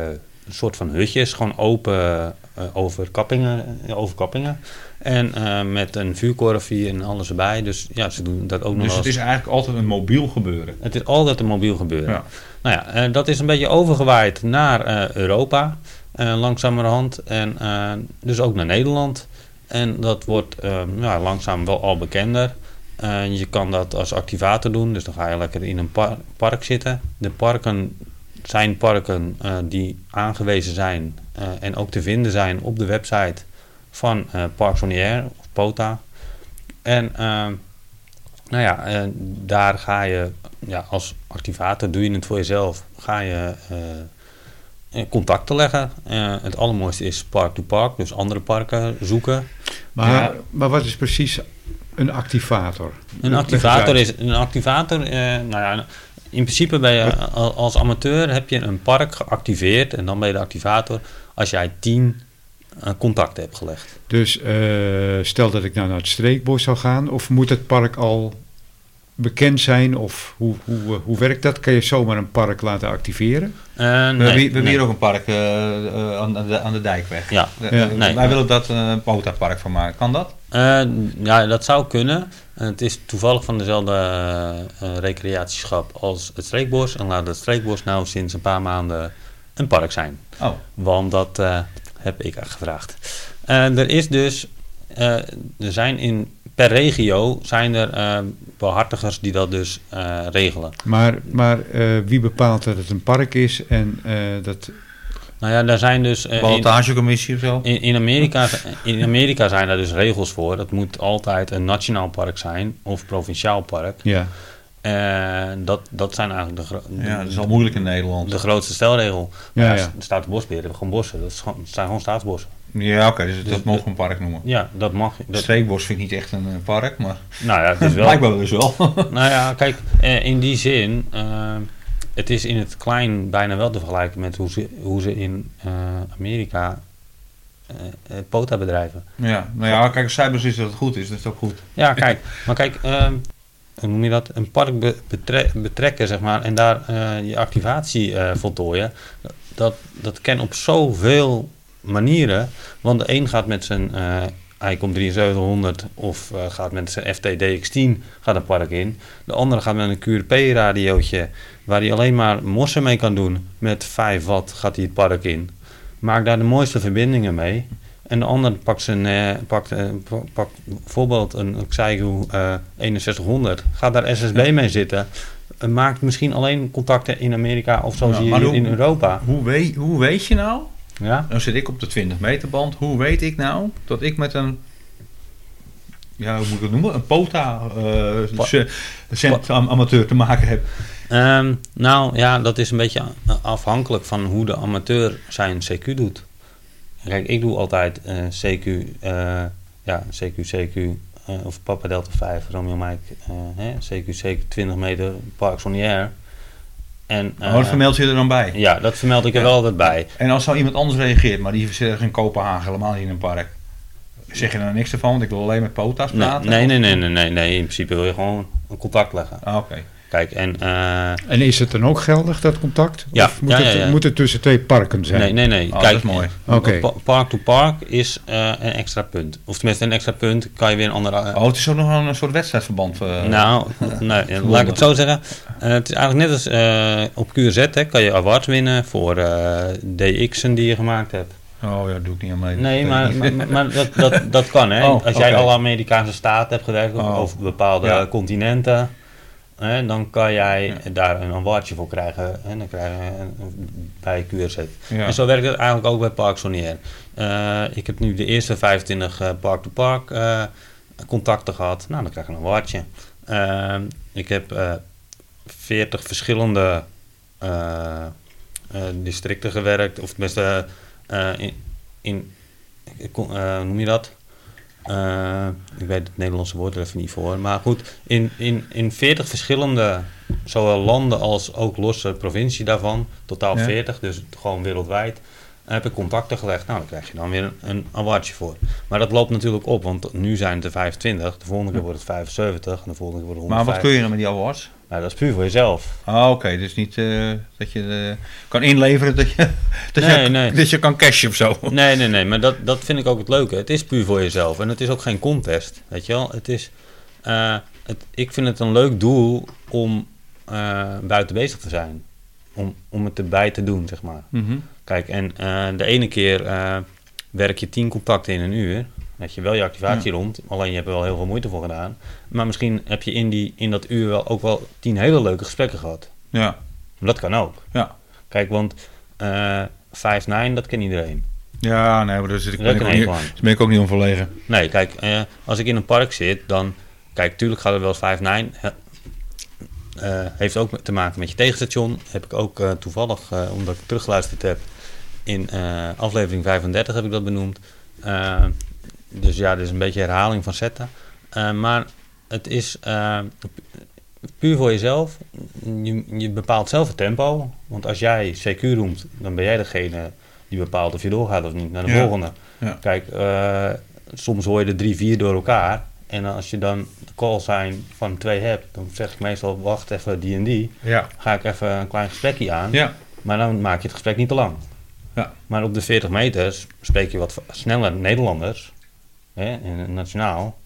[SPEAKER 3] een soort van hutjes, gewoon open eh, overkappingen, eh, overkappingen. En eh, met een vuurkorfie en alles erbij. Dus ja, ze doen dat ook nog
[SPEAKER 2] Dus
[SPEAKER 3] wel
[SPEAKER 2] het
[SPEAKER 3] eens.
[SPEAKER 2] is eigenlijk altijd een mobiel gebeuren.
[SPEAKER 3] Het is altijd een mobiel gebeuren.
[SPEAKER 2] Ja.
[SPEAKER 3] Nou ja, eh, dat is een beetje overgewaaid naar eh, Europa, eh, langzamerhand. En eh, dus ook naar Nederland. En dat wordt eh, ja, langzaam wel al bekender. Eh, je kan dat als activator doen, dus dan ga je lekker in een par- park zitten. De parken zijn parken eh, die aangewezen zijn eh, en ook te vinden zijn op de website van eh, Parks on the Air of POTA. En eh, nou ja, eh, daar ga je ja, als activator, doe je het voor jezelf, ga je eh, eh, contacten leggen. Eh, het allermooiste is park to park, dus andere parken zoeken.
[SPEAKER 1] Maar,
[SPEAKER 2] Ja.
[SPEAKER 1] maar wat is precies een activator?
[SPEAKER 3] Een activator is een activator. eh, nou ja, in principe ben je al- als amateur heb je een park geactiveerd en dan ben je de activator als jij tien eh, contacten hebt gelegd.
[SPEAKER 1] Dus eh, stel dat ik nou naar het streekbos zou gaan, of moet het park al bekend zijn? Of hoe, hoe, eh, hoe werkt dat? Kan je zomaar een park laten activeren?
[SPEAKER 2] We
[SPEAKER 3] Eh, nee,
[SPEAKER 2] hebben hier- we hebben
[SPEAKER 3] nee.
[SPEAKER 2] hier ook een park eh, eh, aan, aan de, aan de dijkweg.
[SPEAKER 3] Ja,
[SPEAKER 2] Eh,
[SPEAKER 1] Ja.
[SPEAKER 2] eh,
[SPEAKER 3] Nee.
[SPEAKER 2] Wij willen dat eh, een POTA-park van maken. Kan dat?
[SPEAKER 3] Eh, ja, dat zou kunnen. Het is toevallig van dezelfde eh, recreatieschap als het streekbos. En laat het streekbos nou sinds een paar maanden een park zijn.
[SPEAKER 2] Oh,
[SPEAKER 3] Want dat eh, heb ik gevraagd. Eh, er is dus, eh, er zijn in, per regio zijn er eh, behartigers die dat dus eh, regelen.
[SPEAKER 1] Maar, maar eh, wie bepaalt dat het een park is? En eh, dat,
[SPEAKER 3] Nou ja, daar zijn dus... eh, in-
[SPEAKER 2] Ballotagecommissie of zo?
[SPEAKER 3] In, in, Amerika, in Amerika zijn daar dus regels voor. Dat moet altijd een nationaal park zijn of provinciaal park.
[SPEAKER 1] ja.
[SPEAKER 3] Eh, dat, dat zijn eigenlijk de, gro-
[SPEAKER 2] Ja, dat is al moeilijk in Nederland.
[SPEAKER 3] de grootste stelregel.
[SPEAKER 1] Ja,
[SPEAKER 3] Maar
[SPEAKER 1] ja.
[SPEAKER 3] st- Staatsbosbeheer hebben gewoon bossen. Dat, is gewoon, het zijn gewoon staatsbossen.
[SPEAKER 2] Ja, oké, dus dat mogen we een park noemen.
[SPEAKER 3] Ja, dat mag. je-
[SPEAKER 2] Het
[SPEAKER 3] Dat,
[SPEAKER 2] Streekbos vind ik niet echt een eh, park, maar
[SPEAKER 3] nou ja, het is wel.
[SPEAKER 2] blijkbaar dus wel.
[SPEAKER 3] nou ja, kijk, eh, in die zin, eh, het is in het klein bijna wel te vergelijken met hoe ze, hoe ze in eh, Amerika eh, eh, POTA-bedrijven.
[SPEAKER 2] Ja, nou ja, kijk, als Cybers is dat het goed is, dat is ook goed.
[SPEAKER 3] Ja, kijk. Maar kijk, ehm, hoe noem je dat? Een park be- betre- betrekken, zeg maar, en daar eh, je activatie eh, voltooien. Dat, dat kan op zoveel manieren. Want de een gaat met zijn eh ICOM 7300 of eh, gaat met zijn FTDX10 gaat een park in. De andere gaat met een QRP-radiootje waar hij alleen maar mossen mee kan doen. Met 5 watt gaat hij het park in. Maak daar de mooiste verbindingen mee. En de ander pakt, zijn, eh, pakt, eh, pa- pakt bijvoorbeeld een een Xigo eh 6100. Gaat daar SSB mee zitten. En Maakt misschien alleen contacten in Amerika of zoals
[SPEAKER 2] Ja,
[SPEAKER 3] hier
[SPEAKER 2] maar hoe-
[SPEAKER 3] in Europa.
[SPEAKER 2] Hoe weet, hoe weet je nou,
[SPEAKER 3] Ja?
[SPEAKER 2] dan zit ik op de 20 meter band, hoe weet ik nou dat ik met een, ja, hoe moet ik het noemen, een pota eh,
[SPEAKER 3] Pa-
[SPEAKER 2] se- cent am- amateur te maken heb?
[SPEAKER 3] Ehm, nou ja, dat is een beetje a- afhankelijk van hoe de amateur zijn CQ doet. Kijk, ik doe altijd eh, CQ, eh, ja, CQ, CQ, eh, of Papa Delta 5, Romeo Mike, eh, hè, CQ, CQ 20 meter, Parks on the Air. En,
[SPEAKER 2] Maar wat
[SPEAKER 3] eh,
[SPEAKER 2] Oh, vermeld je er dan bij?
[SPEAKER 3] Ja, dat vermeld ik er
[SPEAKER 2] Ja.
[SPEAKER 3] wel altijd bij.
[SPEAKER 2] En als nou iemand anders reageert, maar die is ergens in Kopenhagen, helemaal niet in een park. Zeg je daar niks ervan, want ik wil alleen met pota's
[SPEAKER 3] Nee,
[SPEAKER 2] praten?
[SPEAKER 3] nee, nee, nee, nee, nee, nee, in principe wil je gewoon een contact leggen.
[SPEAKER 2] Ah, Oké.
[SPEAKER 3] Kijk, en... eh,
[SPEAKER 1] En is het dan ook geldig, dat contact?
[SPEAKER 3] Ja.
[SPEAKER 1] Of moet,
[SPEAKER 3] Ja,
[SPEAKER 1] het,
[SPEAKER 3] ja, ja.
[SPEAKER 1] moet het tussen twee parken zijn?
[SPEAKER 3] Nee, nee, nee.
[SPEAKER 2] Oh,
[SPEAKER 3] Kijk, eh,
[SPEAKER 2] dat is mooi.
[SPEAKER 1] Oké.
[SPEAKER 3] pa- Park to park is eh, een extra punt. Of tenminste, een extra punt kan je weer een andere...
[SPEAKER 2] Oh, het is ook nog wel een soort wedstrijdverband. eh,
[SPEAKER 3] nou, nee, laat ik het zo zeggen. Eh, het is eigenlijk net als eh, op QRZ hè, kan je awards winnen voor eh, DX'en die je gemaakt hebt.
[SPEAKER 2] Oh ja, doe ik niet aan mee.
[SPEAKER 3] Nee, maar, maar, maar dat, dat, dat kan hè.
[SPEAKER 2] Oh,
[SPEAKER 3] als jij
[SPEAKER 2] oké.
[SPEAKER 3] alle Amerikaanse staten hebt gewerkt of
[SPEAKER 2] Oh.
[SPEAKER 3] over bepaalde
[SPEAKER 2] Ja.
[SPEAKER 3] continenten, hè, dan kan jij daar een awardje voor krijgen. Hè, dan krijg je een- bij QRZ.
[SPEAKER 2] Ja.
[SPEAKER 3] En zo werkt het eigenlijk ook bij Park Sonier. Eh, ik heb nu de eerste 25 eh, park-to-park eh, contacten gehad. Nou, dan krijg ik een watje. ik heb eh 40 verschillende eh, eh, districten gewerkt. Of tenminste, eh, eh, in, in eh, kon- eh, hoe noem je dat? Eh, ik weet het Nederlandse woord er even niet voor. Maar goed, in, in, in 40 verschillende, zowel landen als ook losse provincie daarvan, totaal
[SPEAKER 2] Ja.
[SPEAKER 3] 40, dus gewoon wereldwijd, heb ik contacten gelegd. Nou, daar krijg je dan weer een, een awardje voor. Maar dat loopt natuurlijk op, want nu zijn het er 25, de volgende keer wordt het 75 en de volgende keer wordt het
[SPEAKER 2] Maar
[SPEAKER 3] 150.
[SPEAKER 2] wat kun je dan met die awards?
[SPEAKER 3] Nou, dat is puur voor jezelf.
[SPEAKER 2] Ah, oké, dus niet eh, dat je eh, kan inleveren dat je, dat,
[SPEAKER 3] Nee,
[SPEAKER 2] je,
[SPEAKER 3] nee.
[SPEAKER 2] dat je kan cashen of zo.
[SPEAKER 3] Nee, nee, nee, maar dat, dat vind ik ook het leuke. Het is puur voor jezelf en het is ook geen contest, weet je wel. Het is, eh, het, ik vind het een leuk doel om eh, buiten bezig te zijn. Om, om het erbij te doen, zeg maar.
[SPEAKER 2] Mhm.
[SPEAKER 3] Kijk, en eh, de ene keer eh, werk je tien contacten in een uur. Dat je wel je activatie rond, alleen je hebt er wel heel veel moeite voor gedaan. Maar misschien heb je in, die, in dat uur wel ook wel tien hele leuke gesprekken gehad.
[SPEAKER 2] Ja,
[SPEAKER 3] Dat kan ook.
[SPEAKER 2] ja.
[SPEAKER 3] Kijk, want eh 5-9, dat kan iedereen.
[SPEAKER 2] Ja, nee, maar daar zit ik,
[SPEAKER 3] Dat
[SPEAKER 2] ben, ik
[SPEAKER 3] kan
[SPEAKER 2] ook
[SPEAKER 3] ik
[SPEAKER 2] niet,
[SPEAKER 3] gewoon.
[SPEAKER 2] daar ben ik ook niet om verlegen.
[SPEAKER 3] Nee, kijk, eh, als ik in een park zit, dan... Kijk, tuurlijk gaat er wel eens 5 9 eh, heeft ook te maken met je tegenstation. Heb ik ook eh, toevallig, eh, omdat ik teruggeluisterd heb... in eh, aflevering 35 heb ik dat benoemd. Eh, dus ja, dit is een beetje herhaling van zetten. Eh, maar het is eh, pu- puur voor jezelf. Je, je bepaalt zelf het tempo. Want als jij CQ roemt, dan ben jij degene die bepaalt of je doorgaat of niet naar de
[SPEAKER 2] Ja.
[SPEAKER 3] volgende.
[SPEAKER 2] Ja.
[SPEAKER 3] Kijk, eh, soms hoor je er drie, vier door elkaar. En als je dan de call zijn van twee hebt, dan zeg ik meestal: wacht even die en die.
[SPEAKER 2] Ja.
[SPEAKER 3] Ga ik even een klein gesprekje aan.
[SPEAKER 2] Ja.
[SPEAKER 3] Maar dan maak je het gesprek niet te lang.
[SPEAKER 2] Ja.
[SPEAKER 3] Maar op de 40 meters spreek je wat v- sneller Nederlanders, hè, in het nationaal.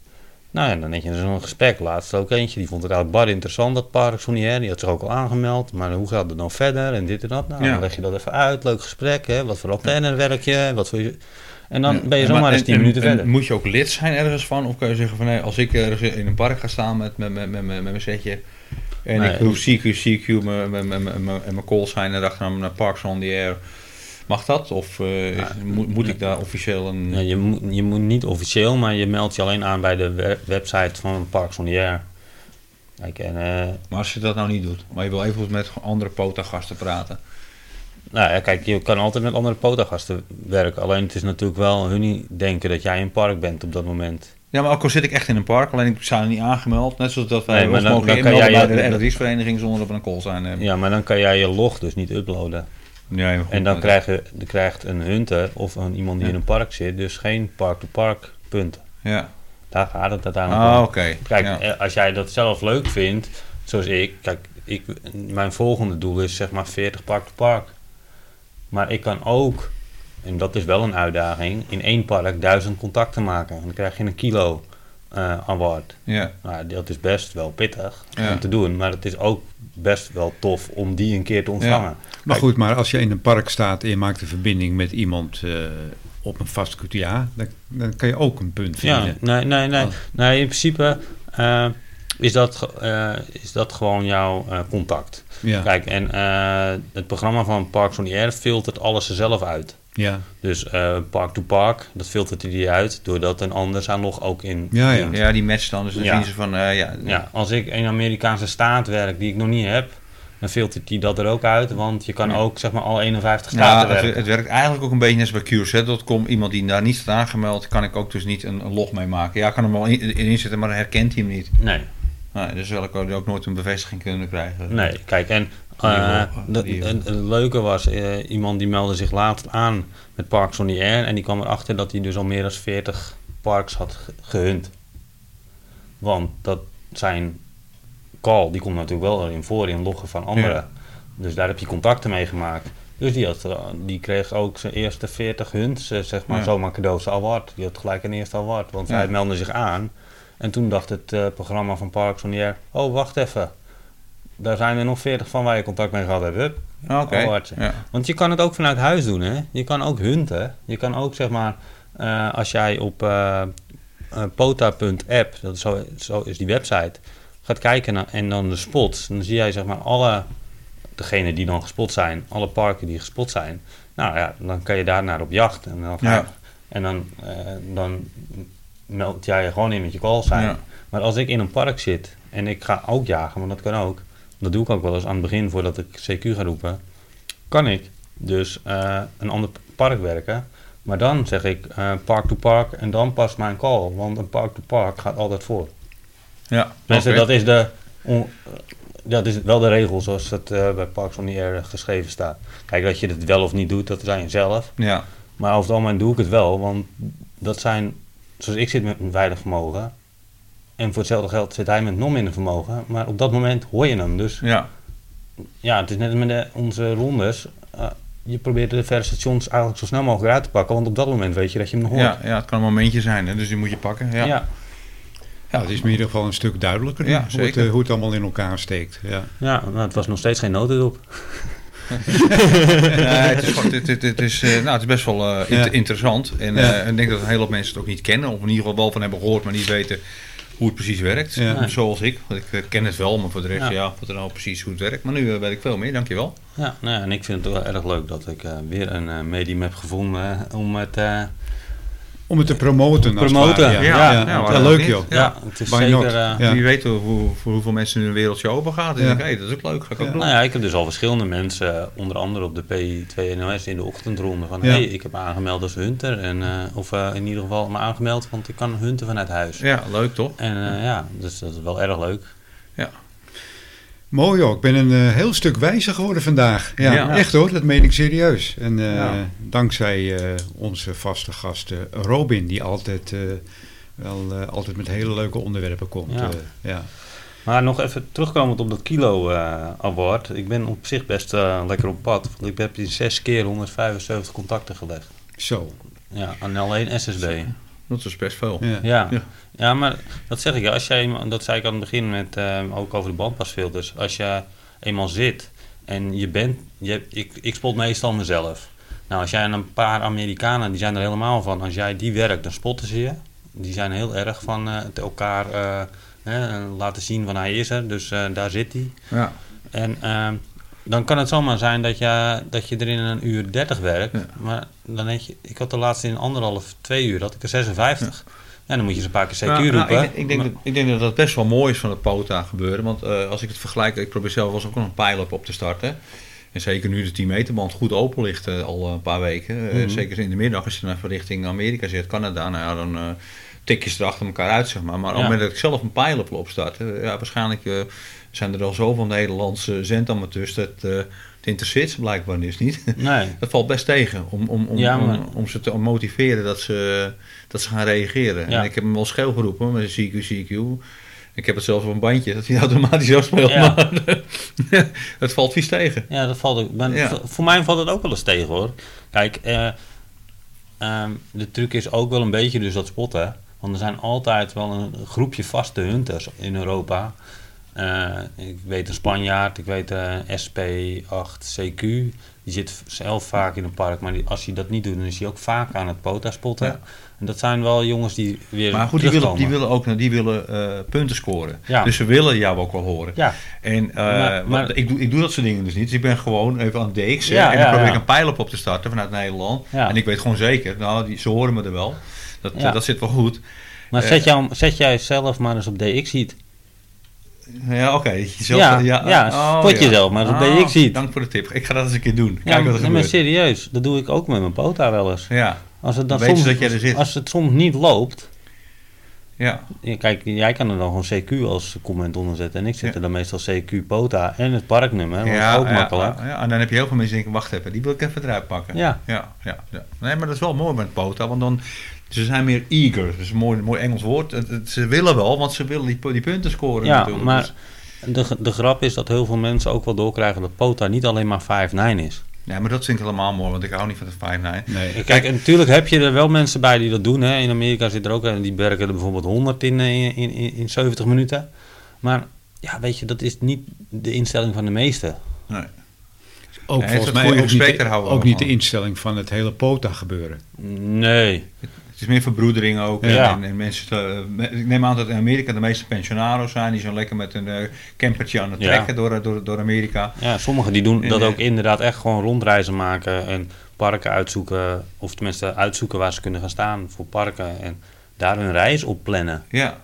[SPEAKER 3] Nou ja, dan denk je, dat is een gesprek. Laatst ook eentje, die vond het eigenlijk bar interessant, dat park Sonier. Die had zich ook al aangemeld, maar hoe gaat het dan verder en dit en dat. Nou,
[SPEAKER 2] Ja.
[SPEAKER 3] dan leg je dat even uit, leuk gesprek, hè. wat voor antenne werk je, wat voor... je- En dan
[SPEAKER 2] Ja.
[SPEAKER 3] ben je
[SPEAKER 2] En maar-
[SPEAKER 3] zomaar eens
[SPEAKER 2] en-
[SPEAKER 3] 10
[SPEAKER 2] en-
[SPEAKER 3] minuten
[SPEAKER 2] en
[SPEAKER 3] verder.
[SPEAKER 2] Moet je ook lid zijn ergens van? Of kan je zeggen van nee, als ik ergens in een park ga staan met, met, met, met, met mijn setje. En
[SPEAKER 3] Nee.
[SPEAKER 2] ik doe CQ, CQ mijn- mijn- mijn- mijn- mijn- en mijn call zijn en dacht naar Parks on the Air. Mag dat? Of eh, is- moet, moet ik daar officieel een.
[SPEAKER 3] Ja, je, moet, je moet niet officieel, maar je meldt je alleen aan bij de we- website van Park Sonier. Kijk, en... eh,
[SPEAKER 2] Maar als je dat nou niet doet, maar je wil even met andere potagasten praten.
[SPEAKER 3] Nou ja, kijk, je kan altijd met andere potagasten werken. Alleen het is natuurlijk wel hun niet denken dat jij in park bent op dat moment.
[SPEAKER 2] Ja, maar ook al zit ik echt in een park, alleen ik sta er niet aangemeld. Net zoals dat eh, wij
[SPEAKER 3] Nee,
[SPEAKER 2] ons
[SPEAKER 3] maar dan-
[SPEAKER 2] mogen
[SPEAKER 3] dan kan
[SPEAKER 2] inmelden
[SPEAKER 3] jij-
[SPEAKER 2] bij de
[SPEAKER 3] dan-
[SPEAKER 2] RDI's-vereniging zonder dat we een call zijn hebben.
[SPEAKER 3] Ja, maar dan kan jij je log dus niet uploaden.
[SPEAKER 2] eh, Ja, ja, goed,
[SPEAKER 3] En
[SPEAKER 2] maar
[SPEAKER 3] dan krijg je, dan krijgt een hunter of een, iemand die
[SPEAKER 2] Ja.
[SPEAKER 3] in een park zit, dus geen park-to-park punten.
[SPEAKER 2] Ja.
[SPEAKER 3] Daar gaat het uiteindelijk
[SPEAKER 2] Ah,
[SPEAKER 3] om.
[SPEAKER 2] oké.
[SPEAKER 3] Kijk,
[SPEAKER 2] ja.
[SPEAKER 3] eh, als jij dat zelf leuk vindt, zoals ik, kijk, ik, mijn volgende doel is zeg maar 40 park to park. Maar ik kan ook, en dat is wel een uitdaging, in één park duizend contacten maken. En dan krijg je een kilo eh award.
[SPEAKER 2] ja.
[SPEAKER 3] Nou, dat is best wel pittig
[SPEAKER 2] Ja.
[SPEAKER 3] om te doen, maar het is ook best wel tof om die een keer te ontvangen.
[SPEAKER 1] Maar goed, maar als je in een park staat en je maakt een verbinding met iemand eh, op een vast QTA, dan, dan kan je ook een punt
[SPEAKER 3] Ja,
[SPEAKER 1] vinden.
[SPEAKER 3] nee, nee, nee.
[SPEAKER 1] Oh.
[SPEAKER 3] nee in principe eh, is, dat, ge- eh, is dat gewoon jouw eh, contact.
[SPEAKER 1] Ja, ja.
[SPEAKER 3] Kijk, en eh, het programma van Parks on the Air filtert alles er zelf uit.
[SPEAKER 1] ja.
[SPEAKER 3] Dus eh, park to park, dat filtert hij uit, doordat een ander daar nog ook in.
[SPEAKER 1] ja,
[SPEAKER 3] in-
[SPEAKER 2] Ja, die match dan. Dus dan
[SPEAKER 3] Ja.
[SPEAKER 2] zien ze van, eh, ja,
[SPEAKER 3] Ja, als ik in een Amerikaanse staat werk die ik nog niet heb, dan filtert hij dat er ook uit, want je kan
[SPEAKER 2] Ja.
[SPEAKER 3] ook zeg maar al 51
[SPEAKER 2] Ja,
[SPEAKER 3] staten
[SPEAKER 2] het,
[SPEAKER 3] werken.
[SPEAKER 2] het werkt eigenlijk ook een beetje net als bij QZ.com. Iemand die daar niet staat aangemeld, kan ik ook dus niet een, een log mee maken. Ja, ik kan hem wel in, in- in zetten, maar dan herkent hij hem niet.
[SPEAKER 3] Nee,
[SPEAKER 2] Nou, dus zal ik ook ook nooit een bevestiging kunnen krijgen.
[SPEAKER 3] nee, kijk, en eh,
[SPEAKER 2] Niveau,
[SPEAKER 3] dat-
[SPEAKER 2] niveau.
[SPEAKER 3] en het leuke was, eh, iemand die meldde zich later aan met Parks on the Air en die kwam erachter dat hij dus al meer dan 40 parks had ge- gehunt. Want dat zijn call, die komt natuurlijk wel erin voor in loggen van anderen.
[SPEAKER 2] Ja.
[SPEAKER 3] Dus daar heb je contacten mee gemaakt. Dus die, had, eh, die kreeg ook zijn eerste 40 hunts, eh, zeg maar,
[SPEAKER 2] Ja.
[SPEAKER 3] zomaar cadeau, zijn award. Die had gelijk een eerste award, want
[SPEAKER 2] Ja.
[SPEAKER 3] hij meldde zich aan. En toen dacht het eh, programma van Parks on the Air, oh wacht even. Daar zijn er nog 40 van waar je contact mee gehad hebt. Hup,
[SPEAKER 2] Ah, Oké.
[SPEAKER 3] Award.
[SPEAKER 2] Ja.
[SPEAKER 3] want je kan het ook vanuit huis doen, hè? Je kan ook hunten. Je kan ook, zeg maar, eh, als jij op eh, eh, pota.app, dat is zo, zo is die website, gaat kijken naar, en dan de spots, dan zie jij, zeg maar, alle, degene die dan gespot zijn, alle parken die gespot zijn. Nou ja, dan kan je daarnaar op jacht. En dan, ga je-
[SPEAKER 2] Ja.
[SPEAKER 3] en dan, eh, dan meld jij je gewoon in met je call zijn.
[SPEAKER 2] Ja.
[SPEAKER 3] Maar als ik in een park zit en ik ga ook jagen, want dat kan ook. Dat doe ik ook wel eens aan het begin voordat ik CQ ga roepen. Kan ik dus eh, een ander park werken. Maar dan zeg ik eh, park to park en dan pas mijn call. Want een park to park gaat altijd voor.
[SPEAKER 2] Ja.
[SPEAKER 3] Mensen,
[SPEAKER 2] Oké.
[SPEAKER 3] dat, is de, on- dat is wel de regel zoals het eh, bij Parks on the Air geschreven staat. Kijk, dat je het wel of niet doet, dat is aan jezelf.
[SPEAKER 2] Ja.
[SPEAKER 3] Maar over het algemeen doe ik het wel, want dat zijn, zoals ik zit met weinig vermogen. En voor hetzelfde geld zit hij met nog minder vermogen. Maar op dat moment hoor je hem. Dus
[SPEAKER 2] Ja.
[SPEAKER 3] ja, het is net als met de- onze rondes. Eh, je probeert de verre stations eigenlijk zo snel mogelijk uit te pakken. Want op dat moment weet je dat je hem nog hoort.
[SPEAKER 2] Ja, ja, het kan een momentje zijn, hè, dus die moet je pakken. Ja.
[SPEAKER 3] ja.
[SPEAKER 1] het is me in ieder geval een stuk duidelijker nu,
[SPEAKER 2] Ja,
[SPEAKER 1] hoe, het,
[SPEAKER 2] zeker.
[SPEAKER 1] eh, hoe het allemaal in elkaar steekt. Ja.
[SPEAKER 3] Ja, maar het was nog steeds geen notendop.
[SPEAKER 2] Nee, het, is, gewoon- dit- dit- dit is, eh, nou, het is best wel eh, int-
[SPEAKER 1] Ja.
[SPEAKER 2] interessant. En eh,
[SPEAKER 1] Ja.
[SPEAKER 2] ik denk dat een hele hoop mensen het ook niet kennen. Of in ieder geval wel van hebben gehoord, maar niet weten hoe het precies werkt.
[SPEAKER 1] Ja.
[SPEAKER 2] Zoals ik. Want ik eh, ken het wel, maar voor de rest,
[SPEAKER 3] Ja.
[SPEAKER 2] ja, wat er nou precies hoe het werkt. Maar nu eh, weet ik veel meer, dankjewel.
[SPEAKER 3] Ja, nou ja, en ik vind het wel erg leuk dat ik eh, weer een eh, medium heb gevonden eh, om het... eh, ja.
[SPEAKER 1] Om het te promoten. als het
[SPEAKER 3] Promoten,
[SPEAKER 1] ware,
[SPEAKER 3] ja.
[SPEAKER 1] Ja,
[SPEAKER 2] Ja,
[SPEAKER 1] ja,
[SPEAKER 2] waarom
[SPEAKER 1] leuk
[SPEAKER 2] niet?
[SPEAKER 1] joh.
[SPEAKER 3] het is
[SPEAKER 1] why
[SPEAKER 3] zeker...
[SPEAKER 1] not?
[SPEAKER 3] eh,
[SPEAKER 1] Ja.
[SPEAKER 2] Wie weet hoe, voor hoeveel mensen nu een wereldje open gaat. En
[SPEAKER 1] Ja.
[SPEAKER 2] ik denk, hé, dat is ook leuk, ga ik ook
[SPEAKER 1] Ja.
[SPEAKER 2] doen.
[SPEAKER 3] Nou ja, ik heb dus al verschillende mensen, eh, onder andere op de P2NOS in de ochtendronde, van
[SPEAKER 1] Ja.
[SPEAKER 3] hey, ik heb me aangemeld als hunter. En, eh, of eh, in ieder geval me aangemeld, want ik kan hunten vanuit huis.
[SPEAKER 2] Ja, leuk toch?
[SPEAKER 3] En eh, ja, dus dat is wel erg leuk.
[SPEAKER 2] Ja.
[SPEAKER 1] Mooi hoor, ik ben een eh, heel stuk wijzer geworden vandaag. Ja,
[SPEAKER 2] Ja.
[SPEAKER 1] echt hoor, dat meen ik serieus. En eh,
[SPEAKER 2] Ja.
[SPEAKER 1] dankzij eh, onze vaste gast eh, Robin, die altijd, eh, wel, eh, altijd met hele leuke onderwerpen komt.
[SPEAKER 3] Ja.
[SPEAKER 1] eh, ja.
[SPEAKER 3] Maar nog even terugkomend op dat kilo eh, award. Ik ben op zich best eh, lekker op pad, want ik heb hier zes keer 175 contacten gelegd.
[SPEAKER 1] Zo.
[SPEAKER 3] Ja, en alleen SSB.
[SPEAKER 2] Dat is best veel.
[SPEAKER 1] Ja.
[SPEAKER 3] Ja.
[SPEAKER 2] Ja.
[SPEAKER 3] Ja. maar dat zeg ik. ja. Als jij, dat zei ik aan het begin met, eh, ook over de bandpasfilters. Als je eenmaal zit en je bent... Je, hebt- ik, ik spot meestal mezelf. Nou, als jij en een paar Amerikanen, die zijn er helemaal van. Als jij die werkt, dan spotten ze je. Die zijn heel erg van eh, het elkaar eh, hè, laten zien van hij is er. Dus eh, daar zit hij.
[SPEAKER 2] Ja.
[SPEAKER 3] En ehm, dan kan het zomaar zijn dat je, dat je er in een uur 30 werkt.
[SPEAKER 2] Ja.
[SPEAKER 3] Maar dan denk je, ik had de laatste in anderhalf, twee uur, had ik er 56. Ja. dan moet je ze een paar keer CQ
[SPEAKER 2] Nou, nou,
[SPEAKER 3] roepen.
[SPEAKER 2] ik, ik, denk dat, ik denk dat dat best wel mooi is van het POTA gebeuren. Want eh, als ik het vergelijk, ik probeer zelf wel eens ook nog een pile-up op te starten. En zeker nu de 10 meter band goed open ligt eh, al een paar weken. Eh,
[SPEAKER 3] Mhm.
[SPEAKER 2] Zeker in de middag als je dan even richting Amerika zit, Canada. Nou ja, dan eh, tik je ze erachter elkaar uit, zeg maar. Maar op
[SPEAKER 3] Ja.
[SPEAKER 2] het moment dat ik zelf een pile-up opstart, eh, ja, waarschijnlijk eh, zijn er al zoveel Nederlandse zendamateurs dat... eh, Het interesseert ze blijkbaar dus niet.
[SPEAKER 3] Nee.
[SPEAKER 2] Dat valt best tegen om, om, om,
[SPEAKER 3] Ja, maar-
[SPEAKER 2] om, om ze te motiveren dat ze, dat ze gaan reageren.
[SPEAKER 3] Ja.
[SPEAKER 2] En ik heb hem wel scheel geroepen met een CQ, CQ. Ik heb het zelfs op een bandje dat hij automatisch afspeelt.
[SPEAKER 3] Ja.
[SPEAKER 2] Maar het valt vies tegen.
[SPEAKER 3] Ja, dat valt ook. Maar
[SPEAKER 2] Ja.
[SPEAKER 3] v- Voor mij valt het ook wel eens tegen hoor. Kijk, eh, ehm, de truc is ook wel een beetje dus dat spotten. Want er zijn altijd wel een groepje vaste hunters in Europa. Eh, ik weet een Spanjaard, ik weet eh, een SP8CQ. Die zit v- zelf vaak in een park, maar die, als hij dat niet doet, dan is hij ook vaak aan het pota spotten.
[SPEAKER 2] Ja.
[SPEAKER 3] En dat zijn wel jongens die weer
[SPEAKER 2] Maar goed, die
[SPEAKER 3] terugkomen.
[SPEAKER 2] willen, die willen ook die willen, eh, punten scoren.
[SPEAKER 3] Ja.
[SPEAKER 2] Dus ze willen jou ook wel horen.
[SPEAKER 3] Ja,
[SPEAKER 2] En eh,
[SPEAKER 3] Maar-
[SPEAKER 2] wat-
[SPEAKER 3] maar-
[SPEAKER 2] ik, doe, ik doe dat soort dingen dus niet. Dus ik ben gewoon even aan het DX'en.
[SPEAKER 3] Ja,
[SPEAKER 2] en dan
[SPEAKER 3] ja,
[SPEAKER 2] probeer
[SPEAKER 3] ja.
[SPEAKER 2] ik een pijl op op te starten vanuit Nederland.
[SPEAKER 3] Ja.
[SPEAKER 2] En ik weet gewoon zeker, nou, die, ze horen me er wel. Dat,
[SPEAKER 3] Ja.
[SPEAKER 2] dat zit wel goed.
[SPEAKER 3] maar
[SPEAKER 2] eh,
[SPEAKER 3] zet, jou, zet jij zelf maar eens op DX ziet.
[SPEAKER 2] Ja, oké. dat je zelf-
[SPEAKER 3] Ja, ja, spot jezelf, maar dat ben ik ziet.
[SPEAKER 2] Oh, Dank voor de tip. Ik ga dat eens een keer doen. Kijk
[SPEAKER 3] Ja,
[SPEAKER 2] wat er
[SPEAKER 3] maar, maar
[SPEAKER 2] gebeurt.
[SPEAKER 3] serieus, dat doe ik ook met mijn pota wel eens.
[SPEAKER 2] Ja,
[SPEAKER 3] Als het, dan
[SPEAKER 2] Dan weten
[SPEAKER 3] soms,
[SPEAKER 2] ze dat jij er zit.
[SPEAKER 3] als het soms niet loopt.
[SPEAKER 2] ja.
[SPEAKER 3] ja, Kijk, jij kan er dan gewoon CQ als comment onder zetten. En ik zit
[SPEAKER 2] Ja.
[SPEAKER 3] er dan meestal CQ Pota en het parknummer. Want
[SPEAKER 2] ja,
[SPEAKER 3] dat is ook
[SPEAKER 2] ja,
[SPEAKER 3] makkelijk.
[SPEAKER 2] ja, ja. En dan heb je heel veel mensen die denken, wacht even, die wil ik even eruit pakken.
[SPEAKER 3] Ja.
[SPEAKER 2] Ja, ja, ja. Nee, maar dat is wel mooi met POTA, want dan, ze zijn meer eager. Dat is een mooi, mooi Engels woord. Het- het- Ze willen wel, want ze willen die, pu- die punten scoren
[SPEAKER 3] Ja,
[SPEAKER 2] natuurlijk.
[SPEAKER 3] maar
[SPEAKER 2] Dus-
[SPEAKER 3] de, g- de grap is dat heel veel mensen ook wel doorkrijgen dat Pota niet alleen maar 5-9 is.
[SPEAKER 2] nee, maar dat vind ik helemaal mooi, want ik hou niet van de 5-9.
[SPEAKER 1] Nee.
[SPEAKER 3] Kijk, en natuurlijk heb je er wel mensen bij die dat doen. Hè. In Amerika zit er ook, en die werken er bijvoorbeeld 100 in, eh, in, in, in 70 minuten. Maar ja, weet je, dat is niet de instelling van de meesten.
[SPEAKER 2] Nee.
[SPEAKER 1] Ook
[SPEAKER 2] Nee,
[SPEAKER 1] volgens
[SPEAKER 2] volgens
[SPEAKER 1] mij
[SPEAKER 2] mij
[SPEAKER 1] ook,
[SPEAKER 2] ook
[SPEAKER 1] niet,
[SPEAKER 2] respect
[SPEAKER 1] de-
[SPEAKER 2] houden
[SPEAKER 1] ook
[SPEAKER 2] we
[SPEAKER 1] niet de
[SPEAKER 2] van.
[SPEAKER 1] instelling van het hele POTA gebeuren.
[SPEAKER 3] Nee.
[SPEAKER 2] Het is meer verbroedering ook. en-
[SPEAKER 3] Ja.
[SPEAKER 2] En, en mensen, te- me- ik neem aan dat in Amerika de meeste pensionaro's zijn. Die zijn lekker met een eh, campertje aan het
[SPEAKER 3] Ja.
[SPEAKER 2] trekken door, eh, door, door Amerika.
[SPEAKER 3] Ja, sommigen die doen
[SPEAKER 2] En,
[SPEAKER 3] dat
[SPEAKER 2] eh,
[SPEAKER 3] ook inderdaad echt gewoon rondreizen maken en parken uitzoeken. Of tenminste uitzoeken waar ze kunnen gaan staan voor parken. En daar hun reis op plannen.
[SPEAKER 2] Ja,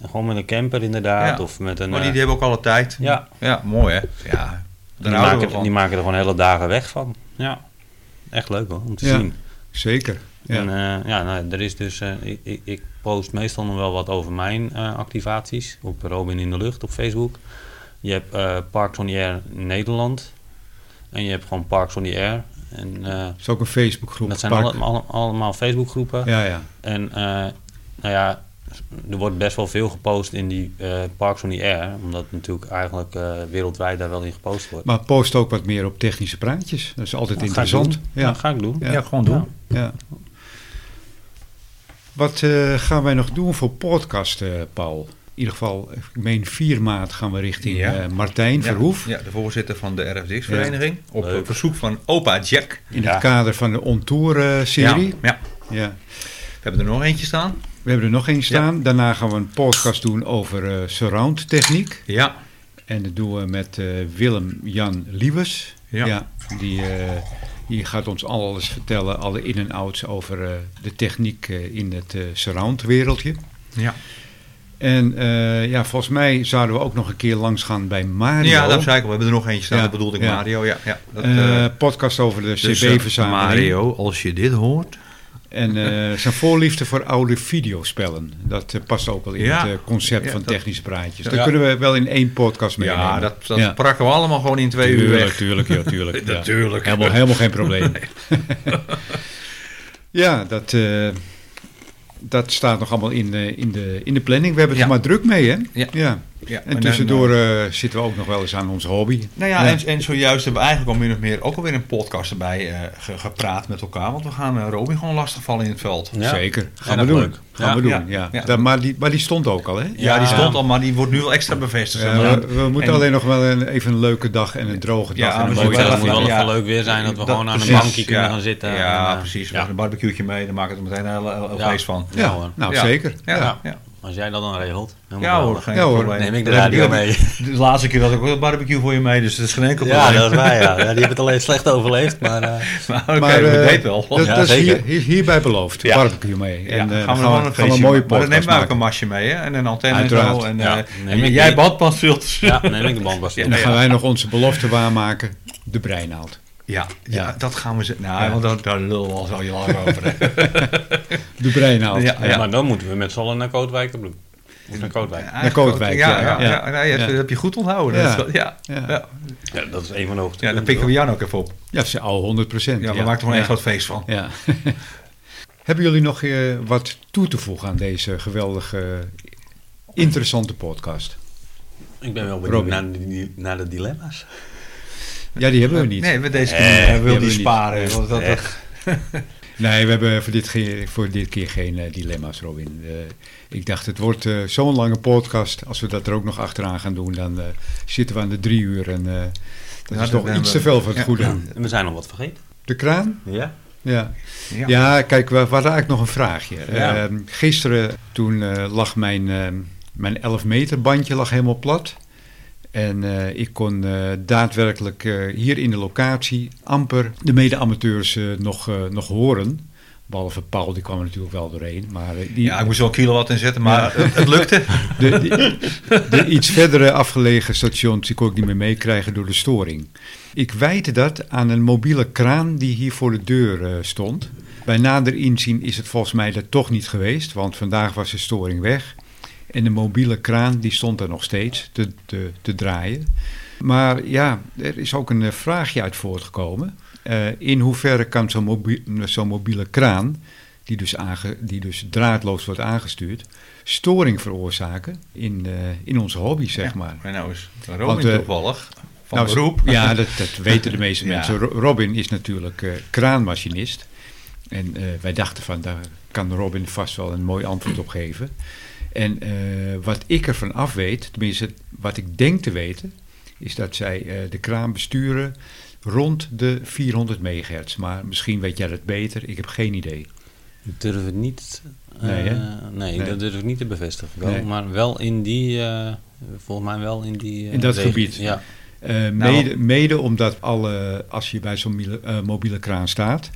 [SPEAKER 3] En gewoon met een camper inderdaad.
[SPEAKER 2] Ja.
[SPEAKER 3] Of met een...
[SPEAKER 2] maar die,
[SPEAKER 3] eh,
[SPEAKER 2] die hebben ook alle tijd.
[SPEAKER 3] Ja.
[SPEAKER 2] Ja, mooi hè. Ja,
[SPEAKER 3] die,
[SPEAKER 2] daar houden we
[SPEAKER 3] maken,
[SPEAKER 2] van.
[SPEAKER 3] die maken er gewoon hele dagen weg van. Ja, echt leuk hoor, om te
[SPEAKER 1] Ja.
[SPEAKER 3] zien.
[SPEAKER 1] Zeker. Ja.
[SPEAKER 3] En eh, ja, nou, er is dus... eh, ik, ik, ik post meestal nog wel wat over mijn eh, activaties. Op Robin in de Lucht op Facebook. Je hebt eh Parks on the Air Nederland. En je hebt gewoon Parks on the Air. En... eh,
[SPEAKER 1] Het is ook een Facebookgroep.
[SPEAKER 3] Dat zijn
[SPEAKER 1] Park-
[SPEAKER 3] alle, alle- allemaal Facebookgroepen.
[SPEAKER 1] Ja, ja.
[SPEAKER 3] En eh, nou ja, er wordt best wel veel gepost in die eh, Parks on the Air. Omdat het natuurlijk eigenlijk eh, wereldwijd daar wel in gepost wordt.
[SPEAKER 1] Maar post ook wat meer op technische praatjes. Dat is altijd
[SPEAKER 3] Dat ga ik
[SPEAKER 1] interessant.
[SPEAKER 3] doen.
[SPEAKER 1] Ja.
[SPEAKER 3] Dat ga ik doen.
[SPEAKER 1] Ja.
[SPEAKER 2] Ja, gewoon doen. Dus
[SPEAKER 1] Ja. Wat eh, gaan wij nog doen voor podcast, eh, Paul? In ieder geval, ik meen 4 maart gaan we richting
[SPEAKER 2] Ja.
[SPEAKER 1] eh, Martijn Verhoef.
[SPEAKER 2] Ja, de voorzitter van de RFDX-vereniging. Op eh,
[SPEAKER 3] Leuk.
[SPEAKER 2] verzoek van opa Jack.
[SPEAKER 1] In
[SPEAKER 3] Ja.
[SPEAKER 1] het kader van de
[SPEAKER 2] Ja,
[SPEAKER 1] Ontour-serie.
[SPEAKER 2] ja,
[SPEAKER 1] Ja.
[SPEAKER 2] we hebben er nog eentje staan.
[SPEAKER 1] We hebben er nog één staan. Daarna gaan we een podcast doen over eh, surround techniek.
[SPEAKER 2] Ja,
[SPEAKER 1] En dat doen we met eh, Willem-Jan Liebes.
[SPEAKER 2] Ja.
[SPEAKER 1] die, eh, die gaat ons alles vertellen, alle in- en outs over eh, de techniek eh, in het eh, surround-wereldje.
[SPEAKER 2] ja.
[SPEAKER 1] En eh, ja, volgens mij zouden we ook nog een keer langs gaan bij Mario.
[SPEAKER 2] ja dat zei ik al. We hebben er nog eentje staan.
[SPEAKER 1] Ja,
[SPEAKER 2] Dat bedoelde ik
[SPEAKER 1] ja.
[SPEAKER 2] Mario. Ja, ja. Dat, eh,
[SPEAKER 1] Eh, podcast over de
[SPEAKER 2] dus, eh,
[SPEAKER 1] CB-verzameling.
[SPEAKER 2] Mario, als je dit hoort.
[SPEAKER 1] En eh, zijn voorliefde voor oude videospellen. Dat eh, past ook wel in
[SPEAKER 2] Ja.
[SPEAKER 1] het eh, concept
[SPEAKER 2] Ja,
[SPEAKER 1] van
[SPEAKER 2] dat-
[SPEAKER 1] technische praatjes.
[SPEAKER 2] Ja.
[SPEAKER 1] Dat kunnen we wel in één podcast meenemen.
[SPEAKER 2] Ja, dat, dat
[SPEAKER 1] Ja.
[SPEAKER 2] prakken we allemaal gewoon in twee uur
[SPEAKER 1] Tuurlijk,
[SPEAKER 2] weg.
[SPEAKER 1] tuurlijk, ja, tuurlijk. ja.
[SPEAKER 2] Natuurlijk.
[SPEAKER 1] Helemaal, helemaal geen probleem. ja, dat, eh, dat staat nog allemaal in, eh, in, de, in de planning. We hebben het
[SPEAKER 2] Ja.
[SPEAKER 1] maar druk mee, hè?
[SPEAKER 2] Ja. Ja,
[SPEAKER 1] En
[SPEAKER 2] dan,
[SPEAKER 1] tussendoor
[SPEAKER 2] eh,
[SPEAKER 1] eh, zitten we ook nog wel eens aan onze hobby.
[SPEAKER 2] nou ja,
[SPEAKER 1] Ja.
[SPEAKER 2] En, en zojuist hebben we eigenlijk al min of meer ook alweer een podcast erbij eh, ge- gepraat met elkaar. Want we gaan eh, Robin gewoon lastigvallen in het veld.
[SPEAKER 3] Ja.
[SPEAKER 1] Zeker. Gaan
[SPEAKER 3] Ja,
[SPEAKER 1] we
[SPEAKER 3] dat
[SPEAKER 1] doen.
[SPEAKER 3] leuk.
[SPEAKER 1] Gaan
[SPEAKER 3] Ja,
[SPEAKER 1] we doen, ja.
[SPEAKER 2] ja, ja.
[SPEAKER 1] Dat- maar, die, maar die stond ook al, hè?
[SPEAKER 2] Ja, die stond al, maar die wordt nu wel extra bevestigd.
[SPEAKER 1] Ja,
[SPEAKER 2] Ja,
[SPEAKER 1] we, we moeten
[SPEAKER 2] en-
[SPEAKER 1] alleen nog wel een, even een leuke dag en een droge dag.
[SPEAKER 2] Ja,
[SPEAKER 1] en een
[SPEAKER 2] we
[SPEAKER 3] Maar
[SPEAKER 1] mooie
[SPEAKER 2] zullen
[SPEAKER 3] het
[SPEAKER 1] dag.
[SPEAKER 3] moet wel
[SPEAKER 2] Ja.
[SPEAKER 3] even leuk weer zijn dat we gewoon aan een
[SPEAKER 2] precies,
[SPEAKER 3] bankje kunnen
[SPEAKER 2] ja.
[SPEAKER 3] gaan zitten.
[SPEAKER 2] Ja,
[SPEAKER 3] En, eh,
[SPEAKER 2] precies. We
[SPEAKER 3] ja.
[SPEAKER 2] maken een barbecueetje mee, dan maken we er meteen een heel, heel
[SPEAKER 3] Ja.
[SPEAKER 2] feest van.
[SPEAKER 1] Ja,
[SPEAKER 3] hoor.
[SPEAKER 1] nou
[SPEAKER 2] Ja.
[SPEAKER 1] zeker.
[SPEAKER 2] Ja,
[SPEAKER 1] Ja.
[SPEAKER 2] ja. ja.
[SPEAKER 3] Als jij dat dan regelt. helemaal
[SPEAKER 2] ja hoor,
[SPEAKER 3] geweldig.
[SPEAKER 2] geen
[SPEAKER 1] Ja, hoor.
[SPEAKER 2] probleem.
[SPEAKER 3] Neem ik de
[SPEAKER 2] Dat heb
[SPEAKER 3] radio
[SPEAKER 2] ik-
[SPEAKER 3] mee.
[SPEAKER 2] De laatste keer had ik ook een barbecue voor je mee, dus dat is geen enkel
[SPEAKER 3] Ja,
[SPEAKER 2] probleem.
[SPEAKER 3] dat is waar. Ja. Ja, die hebben het alleen slecht overleefd. Maar eh,
[SPEAKER 2] Maar oké,
[SPEAKER 1] Maar
[SPEAKER 2] we
[SPEAKER 1] eh,
[SPEAKER 2] deed wel.
[SPEAKER 1] dat,
[SPEAKER 3] Ja,
[SPEAKER 1] dat is
[SPEAKER 3] zeker.
[SPEAKER 1] hier, is hierbij beloofd.
[SPEAKER 2] Ja.
[SPEAKER 1] Barbecue mee.
[SPEAKER 2] Ja,
[SPEAKER 1] en eh, dan gaan we,
[SPEAKER 2] gewoon
[SPEAKER 1] gaan we
[SPEAKER 2] feestje
[SPEAKER 1] een mooie
[SPEAKER 2] maken. Maar dan
[SPEAKER 1] podcast
[SPEAKER 2] nemen we ook
[SPEAKER 1] maken.
[SPEAKER 2] een masje mee, hè? En een antenne en
[SPEAKER 1] Uiteraard.
[SPEAKER 2] zo. En,
[SPEAKER 3] Ja,
[SPEAKER 2] eh,
[SPEAKER 3] neem ik
[SPEAKER 2] jij
[SPEAKER 3] die.
[SPEAKER 2] badpasfilters.
[SPEAKER 3] ja, neem ik de band was
[SPEAKER 1] En dan
[SPEAKER 2] Ja,
[SPEAKER 1] gaan
[SPEAKER 2] ja.
[SPEAKER 1] wij nog onze belofte waarmaken. De breinaald.
[SPEAKER 2] Ja, ja, dat gaan we... ze- Nou,
[SPEAKER 1] Ja.
[SPEAKER 2] want daar, daar lullen we al zo heel lang over. hè.
[SPEAKER 1] De breinaald.
[SPEAKER 2] Ja.
[SPEAKER 3] Maar dan moeten we met z'n allen naar Kootwijk de Broek. Of naar Kootwijk.
[SPEAKER 2] Eigenlijk
[SPEAKER 1] Kootwijk,
[SPEAKER 2] ook,
[SPEAKER 1] ja,
[SPEAKER 2] Ja, ja,
[SPEAKER 1] ja.
[SPEAKER 2] ja. Nou, je hebt-
[SPEAKER 1] Ja.
[SPEAKER 2] dat heb je goed onthouden. Dat
[SPEAKER 1] Ja.
[SPEAKER 2] is wel- Ja.
[SPEAKER 1] Ja.
[SPEAKER 2] Ja. Ja.
[SPEAKER 3] Ja, dat is een van de hoogtepunten.
[SPEAKER 2] dan pikken we Jan ook even op.
[SPEAKER 1] Ja, ze al 100 procent.
[SPEAKER 2] Ja, we maken er gewoon een groot feest van.
[SPEAKER 1] Ja. Hebben jullie nog eh, wat toe te voegen aan deze geweldige, eh, interessante podcast?
[SPEAKER 3] Ik ben wel benieuwd
[SPEAKER 1] Robin.
[SPEAKER 3] naar, die- naar de dilemma's.
[SPEAKER 1] Ja, die hebben we niet.
[SPEAKER 2] Nee,
[SPEAKER 1] Nee,
[SPEAKER 2] met deze
[SPEAKER 3] Eh,
[SPEAKER 2] kunnen we-
[SPEAKER 1] die
[SPEAKER 2] wil
[SPEAKER 1] hebben
[SPEAKER 2] die
[SPEAKER 1] we niet.
[SPEAKER 2] sparen. want dat, dat,
[SPEAKER 1] we hebben voor dit, ge- voor dit keer geen eh, dilemma's, Robin. Eh, ik dacht, het wordt eh, zo'n lange podcast. Als we dat er ook nog achteraan gaan doen, dan eh, zitten we aan de drie uur. En eh, dat
[SPEAKER 2] Ja,
[SPEAKER 1] is
[SPEAKER 2] dat
[SPEAKER 1] toch iets
[SPEAKER 2] hebben
[SPEAKER 1] te
[SPEAKER 2] we.
[SPEAKER 1] veel voor het
[SPEAKER 2] Ja.
[SPEAKER 1] goede.
[SPEAKER 3] En we zijn nog wat vergeten.
[SPEAKER 1] De kraan?
[SPEAKER 3] Ja?
[SPEAKER 1] Ja.
[SPEAKER 2] ja.
[SPEAKER 1] Ja, kijk, we, we hadden eigenlijk nog een vraagje.
[SPEAKER 2] Ja.
[SPEAKER 1] Ehm, gisteren toen eh, lag mijn, ehm, mijn 11 meter bandje lag helemaal plat. En eh, ik kon eh, daadwerkelijk eh, hier in de locatie amper de mede-amateurs eh, nog, eh, nog horen. Behalve Paul, die kwam er natuurlijk wel doorheen. Maar eh, die,
[SPEAKER 2] Ja, ik moest wel een kilowatt inzetten, maar het, het lukte.
[SPEAKER 1] de, de- de iets verdere afgelegen stations die kon ik niet meer meekrijgen door de storing. Ik wijte dat aan een mobiele kraan die hier voor de deur eh, stond. Bij nader inzien is het volgens mij dat toch niet geweest, want vandaag was de storing weg. En de mobiele kraan die stond er nog steeds te, te, te draaien. Maar ja, er is ook een eh, vraagje uit voortgekomen. Eh, in hoeverre kan zo'n mobi- zo'n mobiele kraan, die dus, aange, die dus draadloos wordt aangestuurd, storing veroorzaken in, eh, in onze hobby, zeg maar?
[SPEAKER 2] Maar nou is Robin
[SPEAKER 1] Want, eh,
[SPEAKER 2] toevallig van
[SPEAKER 1] Nou,
[SPEAKER 2] beroep.
[SPEAKER 1] Ja, dat, dat weten de meeste
[SPEAKER 2] Ja.
[SPEAKER 1] mensen. Ro- Robin is natuurlijk eh, kraanmachinist. En eh, wij dachten van, daar kan Robin vast wel een mooi antwoord op geven. En eh, wat ik ervan af weet, tenminste wat ik denk te weten, is dat zij eh, de kraan besturen rond de 400 megahertz. Maar misschien weet jij dat beter, ik heb geen idee.
[SPEAKER 3] Ik durf het niet... eh,
[SPEAKER 1] Nee, hè?
[SPEAKER 3] nee,
[SPEAKER 1] Nee.
[SPEAKER 3] dat durf ik niet te bevestigen. Wel,
[SPEAKER 1] Nee.
[SPEAKER 3] Maar wel in die... eh, volgens mij wel in die... eh,
[SPEAKER 1] In dat
[SPEAKER 3] regio.
[SPEAKER 1] gebied.
[SPEAKER 3] Ja.
[SPEAKER 1] Eh,
[SPEAKER 3] Nou.
[SPEAKER 1] mede, mede omdat alle, als je bij zo'n miele- eh, mobiele kraan staat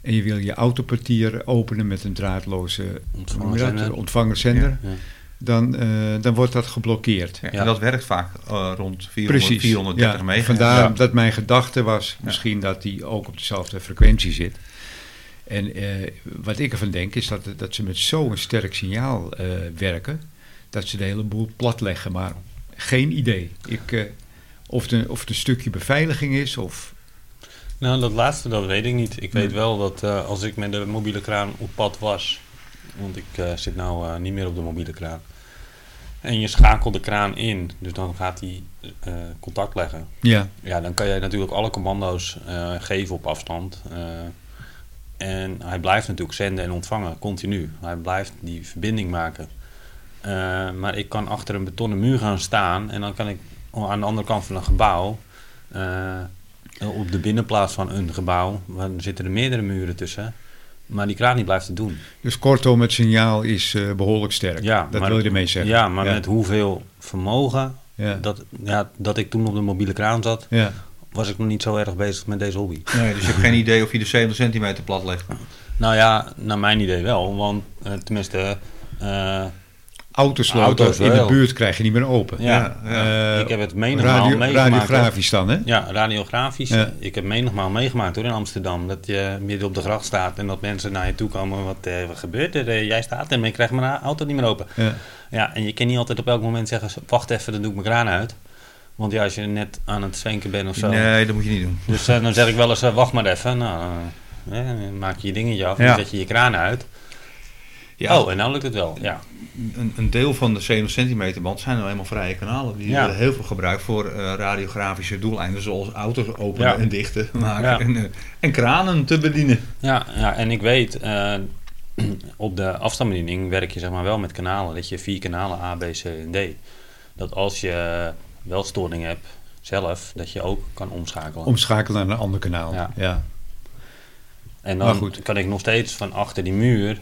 [SPEAKER 1] en je wil je autopartier openen met een draadloze
[SPEAKER 3] Ontvangerzender.
[SPEAKER 1] noem je dat? Een ontvangerzender,
[SPEAKER 3] Ja.
[SPEAKER 1] Dan, eh, dan wordt dat geblokkeerd.
[SPEAKER 2] Ja,
[SPEAKER 3] Ja.
[SPEAKER 2] en dat werkt vaak eh, rond 400,
[SPEAKER 1] Precies.
[SPEAKER 2] 430
[SPEAKER 1] ja,
[SPEAKER 2] megahertz.
[SPEAKER 1] Vandaar
[SPEAKER 2] Ja.
[SPEAKER 1] dat mijn gedachte was
[SPEAKER 2] Ja.
[SPEAKER 1] misschien dat die ook op dezelfde frequentie zit. En eh, wat ik ervan denk is dat, dat ze met zo'n sterk signaal eh, werken, dat ze de hele boel plat leggen. Maar geen idee. Ik, eh, of, de, of het een stukje beveiliging is of
[SPEAKER 3] Nou, dat laatste, dat weet ik niet. Ik weet wel dat eh, als ik met de mobiele kraan op pad was, want ik eh, zit nou eh, niet meer op de mobiele kraan, en je schakelt de kraan in, dus dan gaat die eh, contact leggen.
[SPEAKER 1] Ja,
[SPEAKER 3] Ja, dan kan jij natuurlijk alle commando's eh, geven op afstand. eh, en hij blijft natuurlijk zenden en ontvangen, continu. Hij blijft die verbinding maken. Eh, maar ik kan achter een betonnen muur gaan staan en dan kan ik aan de andere kant van een gebouw, eh, op de binnenplaats van een gebouw, waar zitten er meerdere muren tussen. Maar die kraan die blijft het doen.
[SPEAKER 1] dus kortom, het signaal is eh, behoorlijk sterk.
[SPEAKER 3] Ja,
[SPEAKER 1] dat
[SPEAKER 3] maar-
[SPEAKER 1] wil je ermee zeggen.
[SPEAKER 3] Ja, maar
[SPEAKER 1] ja.
[SPEAKER 3] met hoeveel vermogen
[SPEAKER 1] Ja.
[SPEAKER 3] Dat, ja, dat ik toen op de mobiele kraan zat,
[SPEAKER 1] Ja.
[SPEAKER 3] was ik nog niet zo erg bezig met deze hobby.
[SPEAKER 2] Nee, dus je hebt geen idee of je de 70 centimeter plat legt.
[SPEAKER 3] Nou ja, naar mijn idee wel. Want eh, tenminste, eh,
[SPEAKER 1] Autosloten
[SPEAKER 3] Auto's
[SPEAKER 1] in de
[SPEAKER 3] wel.
[SPEAKER 1] buurt krijg je niet meer open.
[SPEAKER 3] ja,
[SPEAKER 1] Eh,
[SPEAKER 3] ik heb het menigmaal meegemaakt.
[SPEAKER 1] Radiografisch dan, hè?
[SPEAKER 3] hoor. Ja, radiografisch.
[SPEAKER 1] Ja.
[SPEAKER 3] Ik heb menigmaal meegemaakt hoor in Amsterdam. Dat je midden op de gracht staat en dat mensen naar je toe komen. Wat, eh, wat gebeurt er? Eh, jij staat en ik krijg mijn auto niet meer open.
[SPEAKER 1] Ja.
[SPEAKER 3] Ja, en je kan niet altijd op elk moment zeggen, wacht even, dan doe ik mijn kraan uit. Want ja, als je net aan het zwenken bent of zo.
[SPEAKER 2] Nee, dat moet je niet doen.
[SPEAKER 3] Dus eh, dan zeg ik wel eens, eh, wacht maar even. Nou, eh, hè, dan maak je je dingetje af en
[SPEAKER 2] Ja.
[SPEAKER 3] dan zet je je kraan uit.
[SPEAKER 2] Ja,
[SPEAKER 3] Oh, en nou lukt het wel. Ja.
[SPEAKER 2] een, een deel van de 70 centimeter band zijn nou eenmaal vrije kanalen. Die
[SPEAKER 3] Ja.
[SPEAKER 2] worden heel veel gebruikt voor eh, radiografische doeleinden. Zoals auto's openen
[SPEAKER 3] Ja.
[SPEAKER 2] en dichten maken.
[SPEAKER 3] Ja.
[SPEAKER 2] En, eh, en kranen te bedienen.
[SPEAKER 3] Ja, ja, en ik weet, eh, op de afstandsbediening werk je zeg maar wel met kanalen. Dat je vier kanalen A, B, C en D. Dat als je wel storing hebt zelf, dat je ook kan omschakelen.
[SPEAKER 1] Omschakelen naar een ander kanaal. Ja.
[SPEAKER 3] Ja.
[SPEAKER 1] Ja.
[SPEAKER 3] en
[SPEAKER 1] maar
[SPEAKER 3] dan
[SPEAKER 1] goed.
[SPEAKER 3] kan ik nog steeds van achter die muur,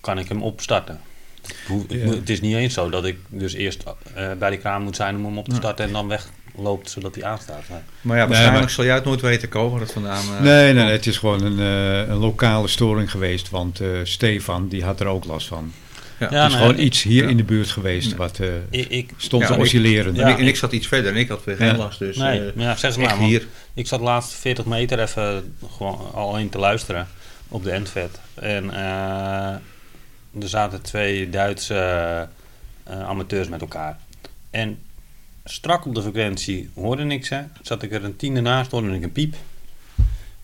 [SPEAKER 3] kan ik hem opstarten. Het hoeft-
[SPEAKER 1] Ja.
[SPEAKER 3] Het is niet eens zo dat ik dus eerst eh, bij die kraan moet zijn om hem op te starten en dan wegloopt zodat hij aanstaat. Nee.
[SPEAKER 2] Maar ja, waarschijnlijk
[SPEAKER 1] waarschijnlijk maar-
[SPEAKER 2] zal jij het nooit weten komen waar dat vandaan... eh,
[SPEAKER 1] Nee, nee, nee, het is gewoon een, eh, een lokale storing geweest. Want eh, Stefan, die had er ook last van.
[SPEAKER 2] Ja,
[SPEAKER 1] het is
[SPEAKER 3] nee,
[SPEAKER 1] gewoon
[SPEAKER 3] ik-
[SPEAKER 1] iets hier
[SPEAKER 2] Ja.
[SPEAKER 1] in de buurt geweest wat eh,
[SPEAKER 3] Ik, ik,
[SPEAKER 1] stond
[SPEAKER 2] Ja,
[SPEAKER 1] te
[SPEAKER 2] ik-
[SPEAKER 1] oscilleren.
[SPEAKER 3] Ja.
[SPEAKER 2] En, ik, en ik zat iets verder en ik had weer geen
[SPEAKER 1] Ja.
[SPEAKER 2] last. Dus
[SPEAKER 3] nee,
[SPEAKER 2] eh,
[SPEAKER 3] maar ja, zeg het
[SPEAKER 2] echt
[SPEAKER 3] maar. want-
[SPEAKER 2] hier.
[SPEAKER 3] Ik zat de laatste 40 meter even gewoon alleen te luisteren op de endvet. En eh, er zaten twee Duitse eh, amateurs met elkaar. En strak op de frequentie hoorde ik ze. Zat ik er een tiende naast, hoorde ik een piep.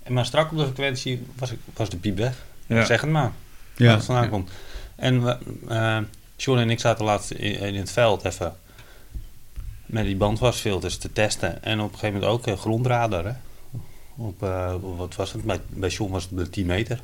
[SPEAKER 3] En maar strak op de frequentie was, ik, was de piep weg.
[SPEAKER 2] Ja.
[SPEAKER 3] Zeg het maar, waar
[SPEAKER 1] Ja.
[SPEAKER 3] het vandaan komt. En we, eh John en ik zaten laatst in, in het veld even met die bandwasfilters te testen. En op een gegeven moment ook eh, grondradar. Hè? Op, eh, wat was het? Bij, bij John was het de 10 meter.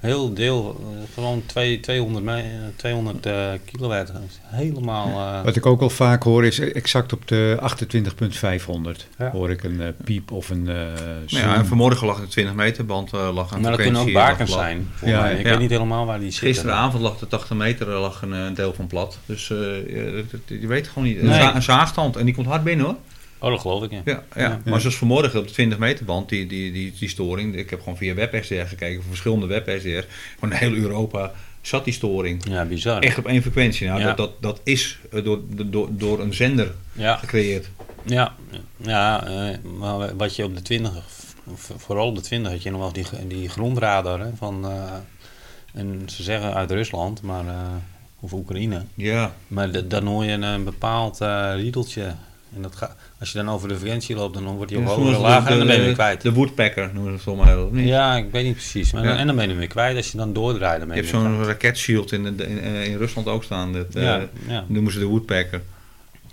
[SPEAKER 3] Heel deel, eh, gewoon twee, 200, me- eh, 200 eh, kilowatt. Helemaal. eh,
[SPEAKER 1] Wat ik ook al vaak hoor is exact op de 28.500
[SPEAKER 3] Ja.
[SPEAKER 1] hoor ik een eh, piep of een eh
[SPEAKER 2] Nou ja,
[SPEAKER 1] zoom.
[SPEAKER 2] en vanmorgen lag de 20 meter band eh, lag aan
[SPEAKER 3] maar dat kunnen ook bakens zijn. voor
[SPEAKER 1] Ja,
[SPEAKER 3] mij. Ik
[SPEAKER 2] ja.
[SPEAKER 3] weet niet helemaal waar die zitten.
[SPEAKER 2] Gisteravond lag de 80 meter eh, lag een, eh, een deel van plat. Dus eh, je- je weet gewoon niet. Een
[SPEAKER 3] Nee.
[SPEAKER 2] za- Een zaagstand en die komt hard binnen hoor.
[SPEAKER 3] Oh, dat geloof ik, ja.
[SPEAKER 2] Ja, ja.
[SPEAKER 3] Ja.
[SPEAKER 2] maar zoals vanmorgen op de 20 meter band, die, die, die, die storing. Ik heb gewoon via WebSDR gekeken, voor verschillende WebSDR's. Van heel Europa zat die storing.
[SPEAKER 3] Ja, bizar.
[SPEAKER 2] Echt op één frequentie. Nou,
[SPEAKER 3] Ja.
[SPEAKER 2] dat, dat, dat is eh, door, door, door een zender
[SPEAKER 3] Ja.
[SPEAKER 2] gecreëerd.
[SPEAKER 3] Ja, ja eh, maar wat je op de 20, v- vooral op de 20 had je nog wel die, die grondradar. Hè, van, eh, en ze zeggen uit Rusland, maar, eh, of Oekraïne.
[SPEAKER 2] Ja,
[SPEAKER 3] Maar d- dan hoor je een, een bepaald eh, riedeltje. En dat ga, als je dan over de frequentie loopt, dan wordt die op
[SPEAKER 2] Dus
[SPEAKER 3] hogere
[SPEAKER 2] noemen ze
[SPEAKER 3] lager en dan ben je
[SPEAKER 2] de-
[SPEAKER 3] weer kwijt.
[SPEAKER 2] De woodpecker noemen ze het volgens mij wel, of niet?
[SPEAKER 3] Ja, ik weet niet precies. Maar
[SPEAKER 2] Ja.
[SPEAKER 3] dan, en dan ben je hem weer kwijt. Als je dan doordraait, dan
[SPEAKER 2] Je
[SPEAKER 3] ben je,
[SPEAKER 2] hebt
[SPEAKER 3] weer kwijt.
[SPEAKER 2] zo'n raketshield in, de- in, eh, in Rusland ook staan. Dat, eh,
[SPEAKER 3] Ja, ja.
[SPEAKER 2] Noemen ze de woodpecker.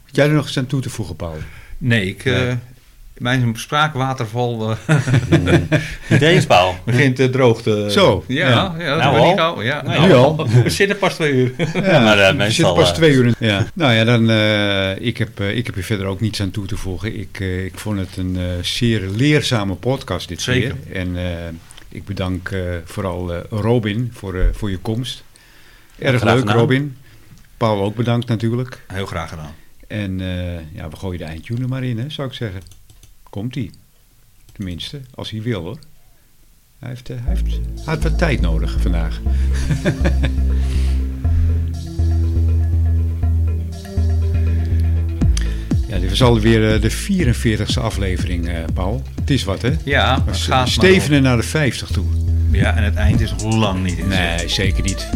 [SPEAKER 1] Had jij er nog eens aan toe te voegen, Paul?
[SPEAKER 2] Nee, ik, eh, mijn spraakwaterval eh,
[SPEAKER 3] Niet eens, Paul.
[SPEAKER 2] begint te droog te...
[SPEAKER 1] Zo.
[SPEAKER 2] Ja,
[SPEAKER 1] Ja.
[SPEAKER 2] ja. dat
[SPEAKER 3] Nou
[SPEAKER 2] ben
[SPEAKER 3] al.
[SPEAKER 2] ik al. Ja, Nou,
[SPEAKER 3] Nee,
[SPEAKER 1] nu al.
[SPEAKER 2] We zitten pas twee uur.
[SPEAKER 1] Ja,
[SPEAKER 3] maar, eh,
[SPEAKER 1] we
[SPEAKER 3] meestal,
[SPEAKER 1] zitten pas
[SPEAKER 3] eh,
[SPEAKER 1] twee uur in. Ja. Nou ja, dan, eh, ik, heb, eh, ik heb hier verder ook niets aan toe te voegen. Ik, eh, ik vond het een eh, zeer leerzame podcast dit
[SPEAKER 2] Zeker.
[SPEAKER 1] keer. En eh, ik bedank eh, vooral eh, Robin voor, eh, voor je komst. Erg
[SPEAKER 3] Graag
[SPEAKER 1] leuk,
[SPEAKER 3] gedaan.
[SPEAKER 1] Robin. Paul ook bedankt natuurlijk.
[SPEAKER 2] Heel graag gedaan.
[SPEAKER 1] En eh, ja, we gooien de eindtune er maar in, hè, zou ik zeggen. Komt-ie. Tenminste, als hij wil, hoor. Hij heeft, eh, hij heeft, hij had wat tijd nodig vandaag. Ja, dit was alweer eh, de 44ste aflevering, eh, Paul. Het is wat, hè?
[SPEAKER 2] Ja,
[SPEAKER 1] We
[SPEAKER 2] maar gaat maar
[SPEAKER 1] stevenen naar de 50 toe.
[SPEAKER 2] op. Ja, en het eind is nog lang niet. in zicht.
[SPEAKER 1] Nee, zeker niet.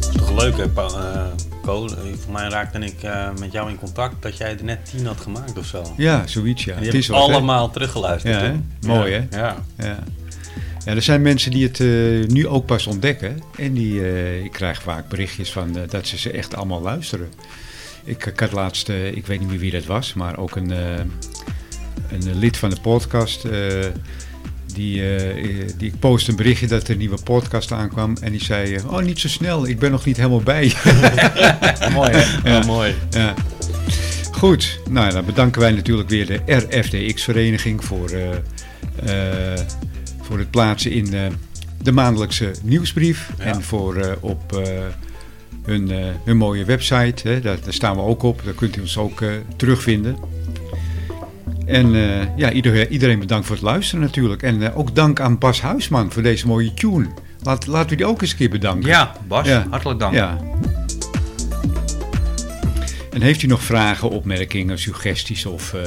[SPEAKER 3] is toch leuk, hè, Pa- eh, Ko? Eh, Voor mij raakte ik eh, met jou in contact dat jij er net 10 had gemaakt of zo.
[SPEAKER 1] Ja, zoiets, ja.
[SPEAKER 3] Die
[SPEAKER 1] Het
[SPEAKER 3] heb
[SPEAKER 1] is
[SPEAKER 3] ik
[SPEAKER 1] wat, hè?
[SPEAKER 3] allemaal teruggeluisterd.
[SPEAKER 1] Ja, hè?
[SPEAKER 3] toen.
[SPEAKER 1] Mooi,
[SPEAKER 3] Ja.
[SPEAKER 1] hè?
[SPEAKER 3] Ja.
[SPEAKER 1] Ja. ja, er zijn mensen die het eh, nu ook pas ontdekken. En die, eh, ik krijg vaak berichtjes van eh, dat ze ze echt allemaal luisteren. Ik, ik had laatst, eh, ik weet niet meer wie dat was, maar ook een, eh, een lid van de podcast. eh, die, eh, eh, die ik post een berichtje dat er een nieuwe podcast aankwam. En die zei, eh, oh niet zo snel, ik ben nog niet helemaal bij.
[SPEAKER 3] mooi, hè?
[SPEAKER 1] Ja.
[SPEAKER 3] Oh, mooi.
[SPEAKER 1] Ja. Goed, nou dan bedanken wij natuurlijk weer de RFDX-vereniging voor, eh, eh, voor het plaatsen in eh, de maandelijkse nieuwsbrief.
[SPEAKER 3] Ja.
[SPEAKER 1] En voor eh, op eh, hun, eh, hun mooie website. Hè, daar, daar staan we ook op. Daar kunt u ons ook eh, terugvinden. En eh, ja, ieder- iedereen bedankt voor het luisteren natuurlijk. En eh, ook dank aan Bas Huisman voor deze mooie tune. Laat, laten we die ook eens een keer bedanken.
[SPEAKER 2] Ja, Bas,
[SPEAKER 1] Ja.
[SPEAKER 2] hartelijk dank.
[SPEAKER 1] Ja. En heeft u nog vragen, opmerkingen, suggesties of... eh,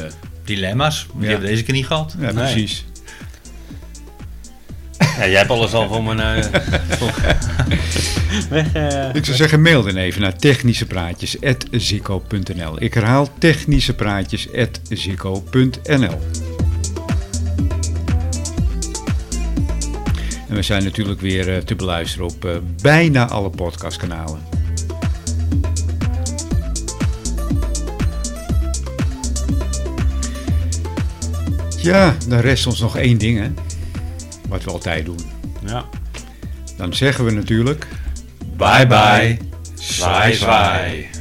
[SPEAKER 2] Dilemma's, die
[SPEAKER 1] Ja.
[SPEAKER 2] hebben we deze keer niet gehad.
[SPEAKER 1] ja,
[SPEAKER 3] Nee.
[SPEAKER 1] precies.
[SPEAKER 3] Ja, jij hebt alles al voor mijn... eh, voor- Weg, eh.
[SPEAKER 1] Ik zou zeggen, mail dan even naar technischepraatjes.zico.nl Ik herhaal technischepraatjes.zico.nl En we zijn natuurlijk weer eh, te beluisteren op eh, bijna alle podcastkanalen. Ja, dan rest ons nog één ding, hè. Wat we altijd doen.
[SPEAKER 3] Ja.
[SPEAKER 1] Dan zeggen we natuurlijk...
[SPEAKER 2] Bye bye.
[SPEAKER 1] Zwaai, zwaai.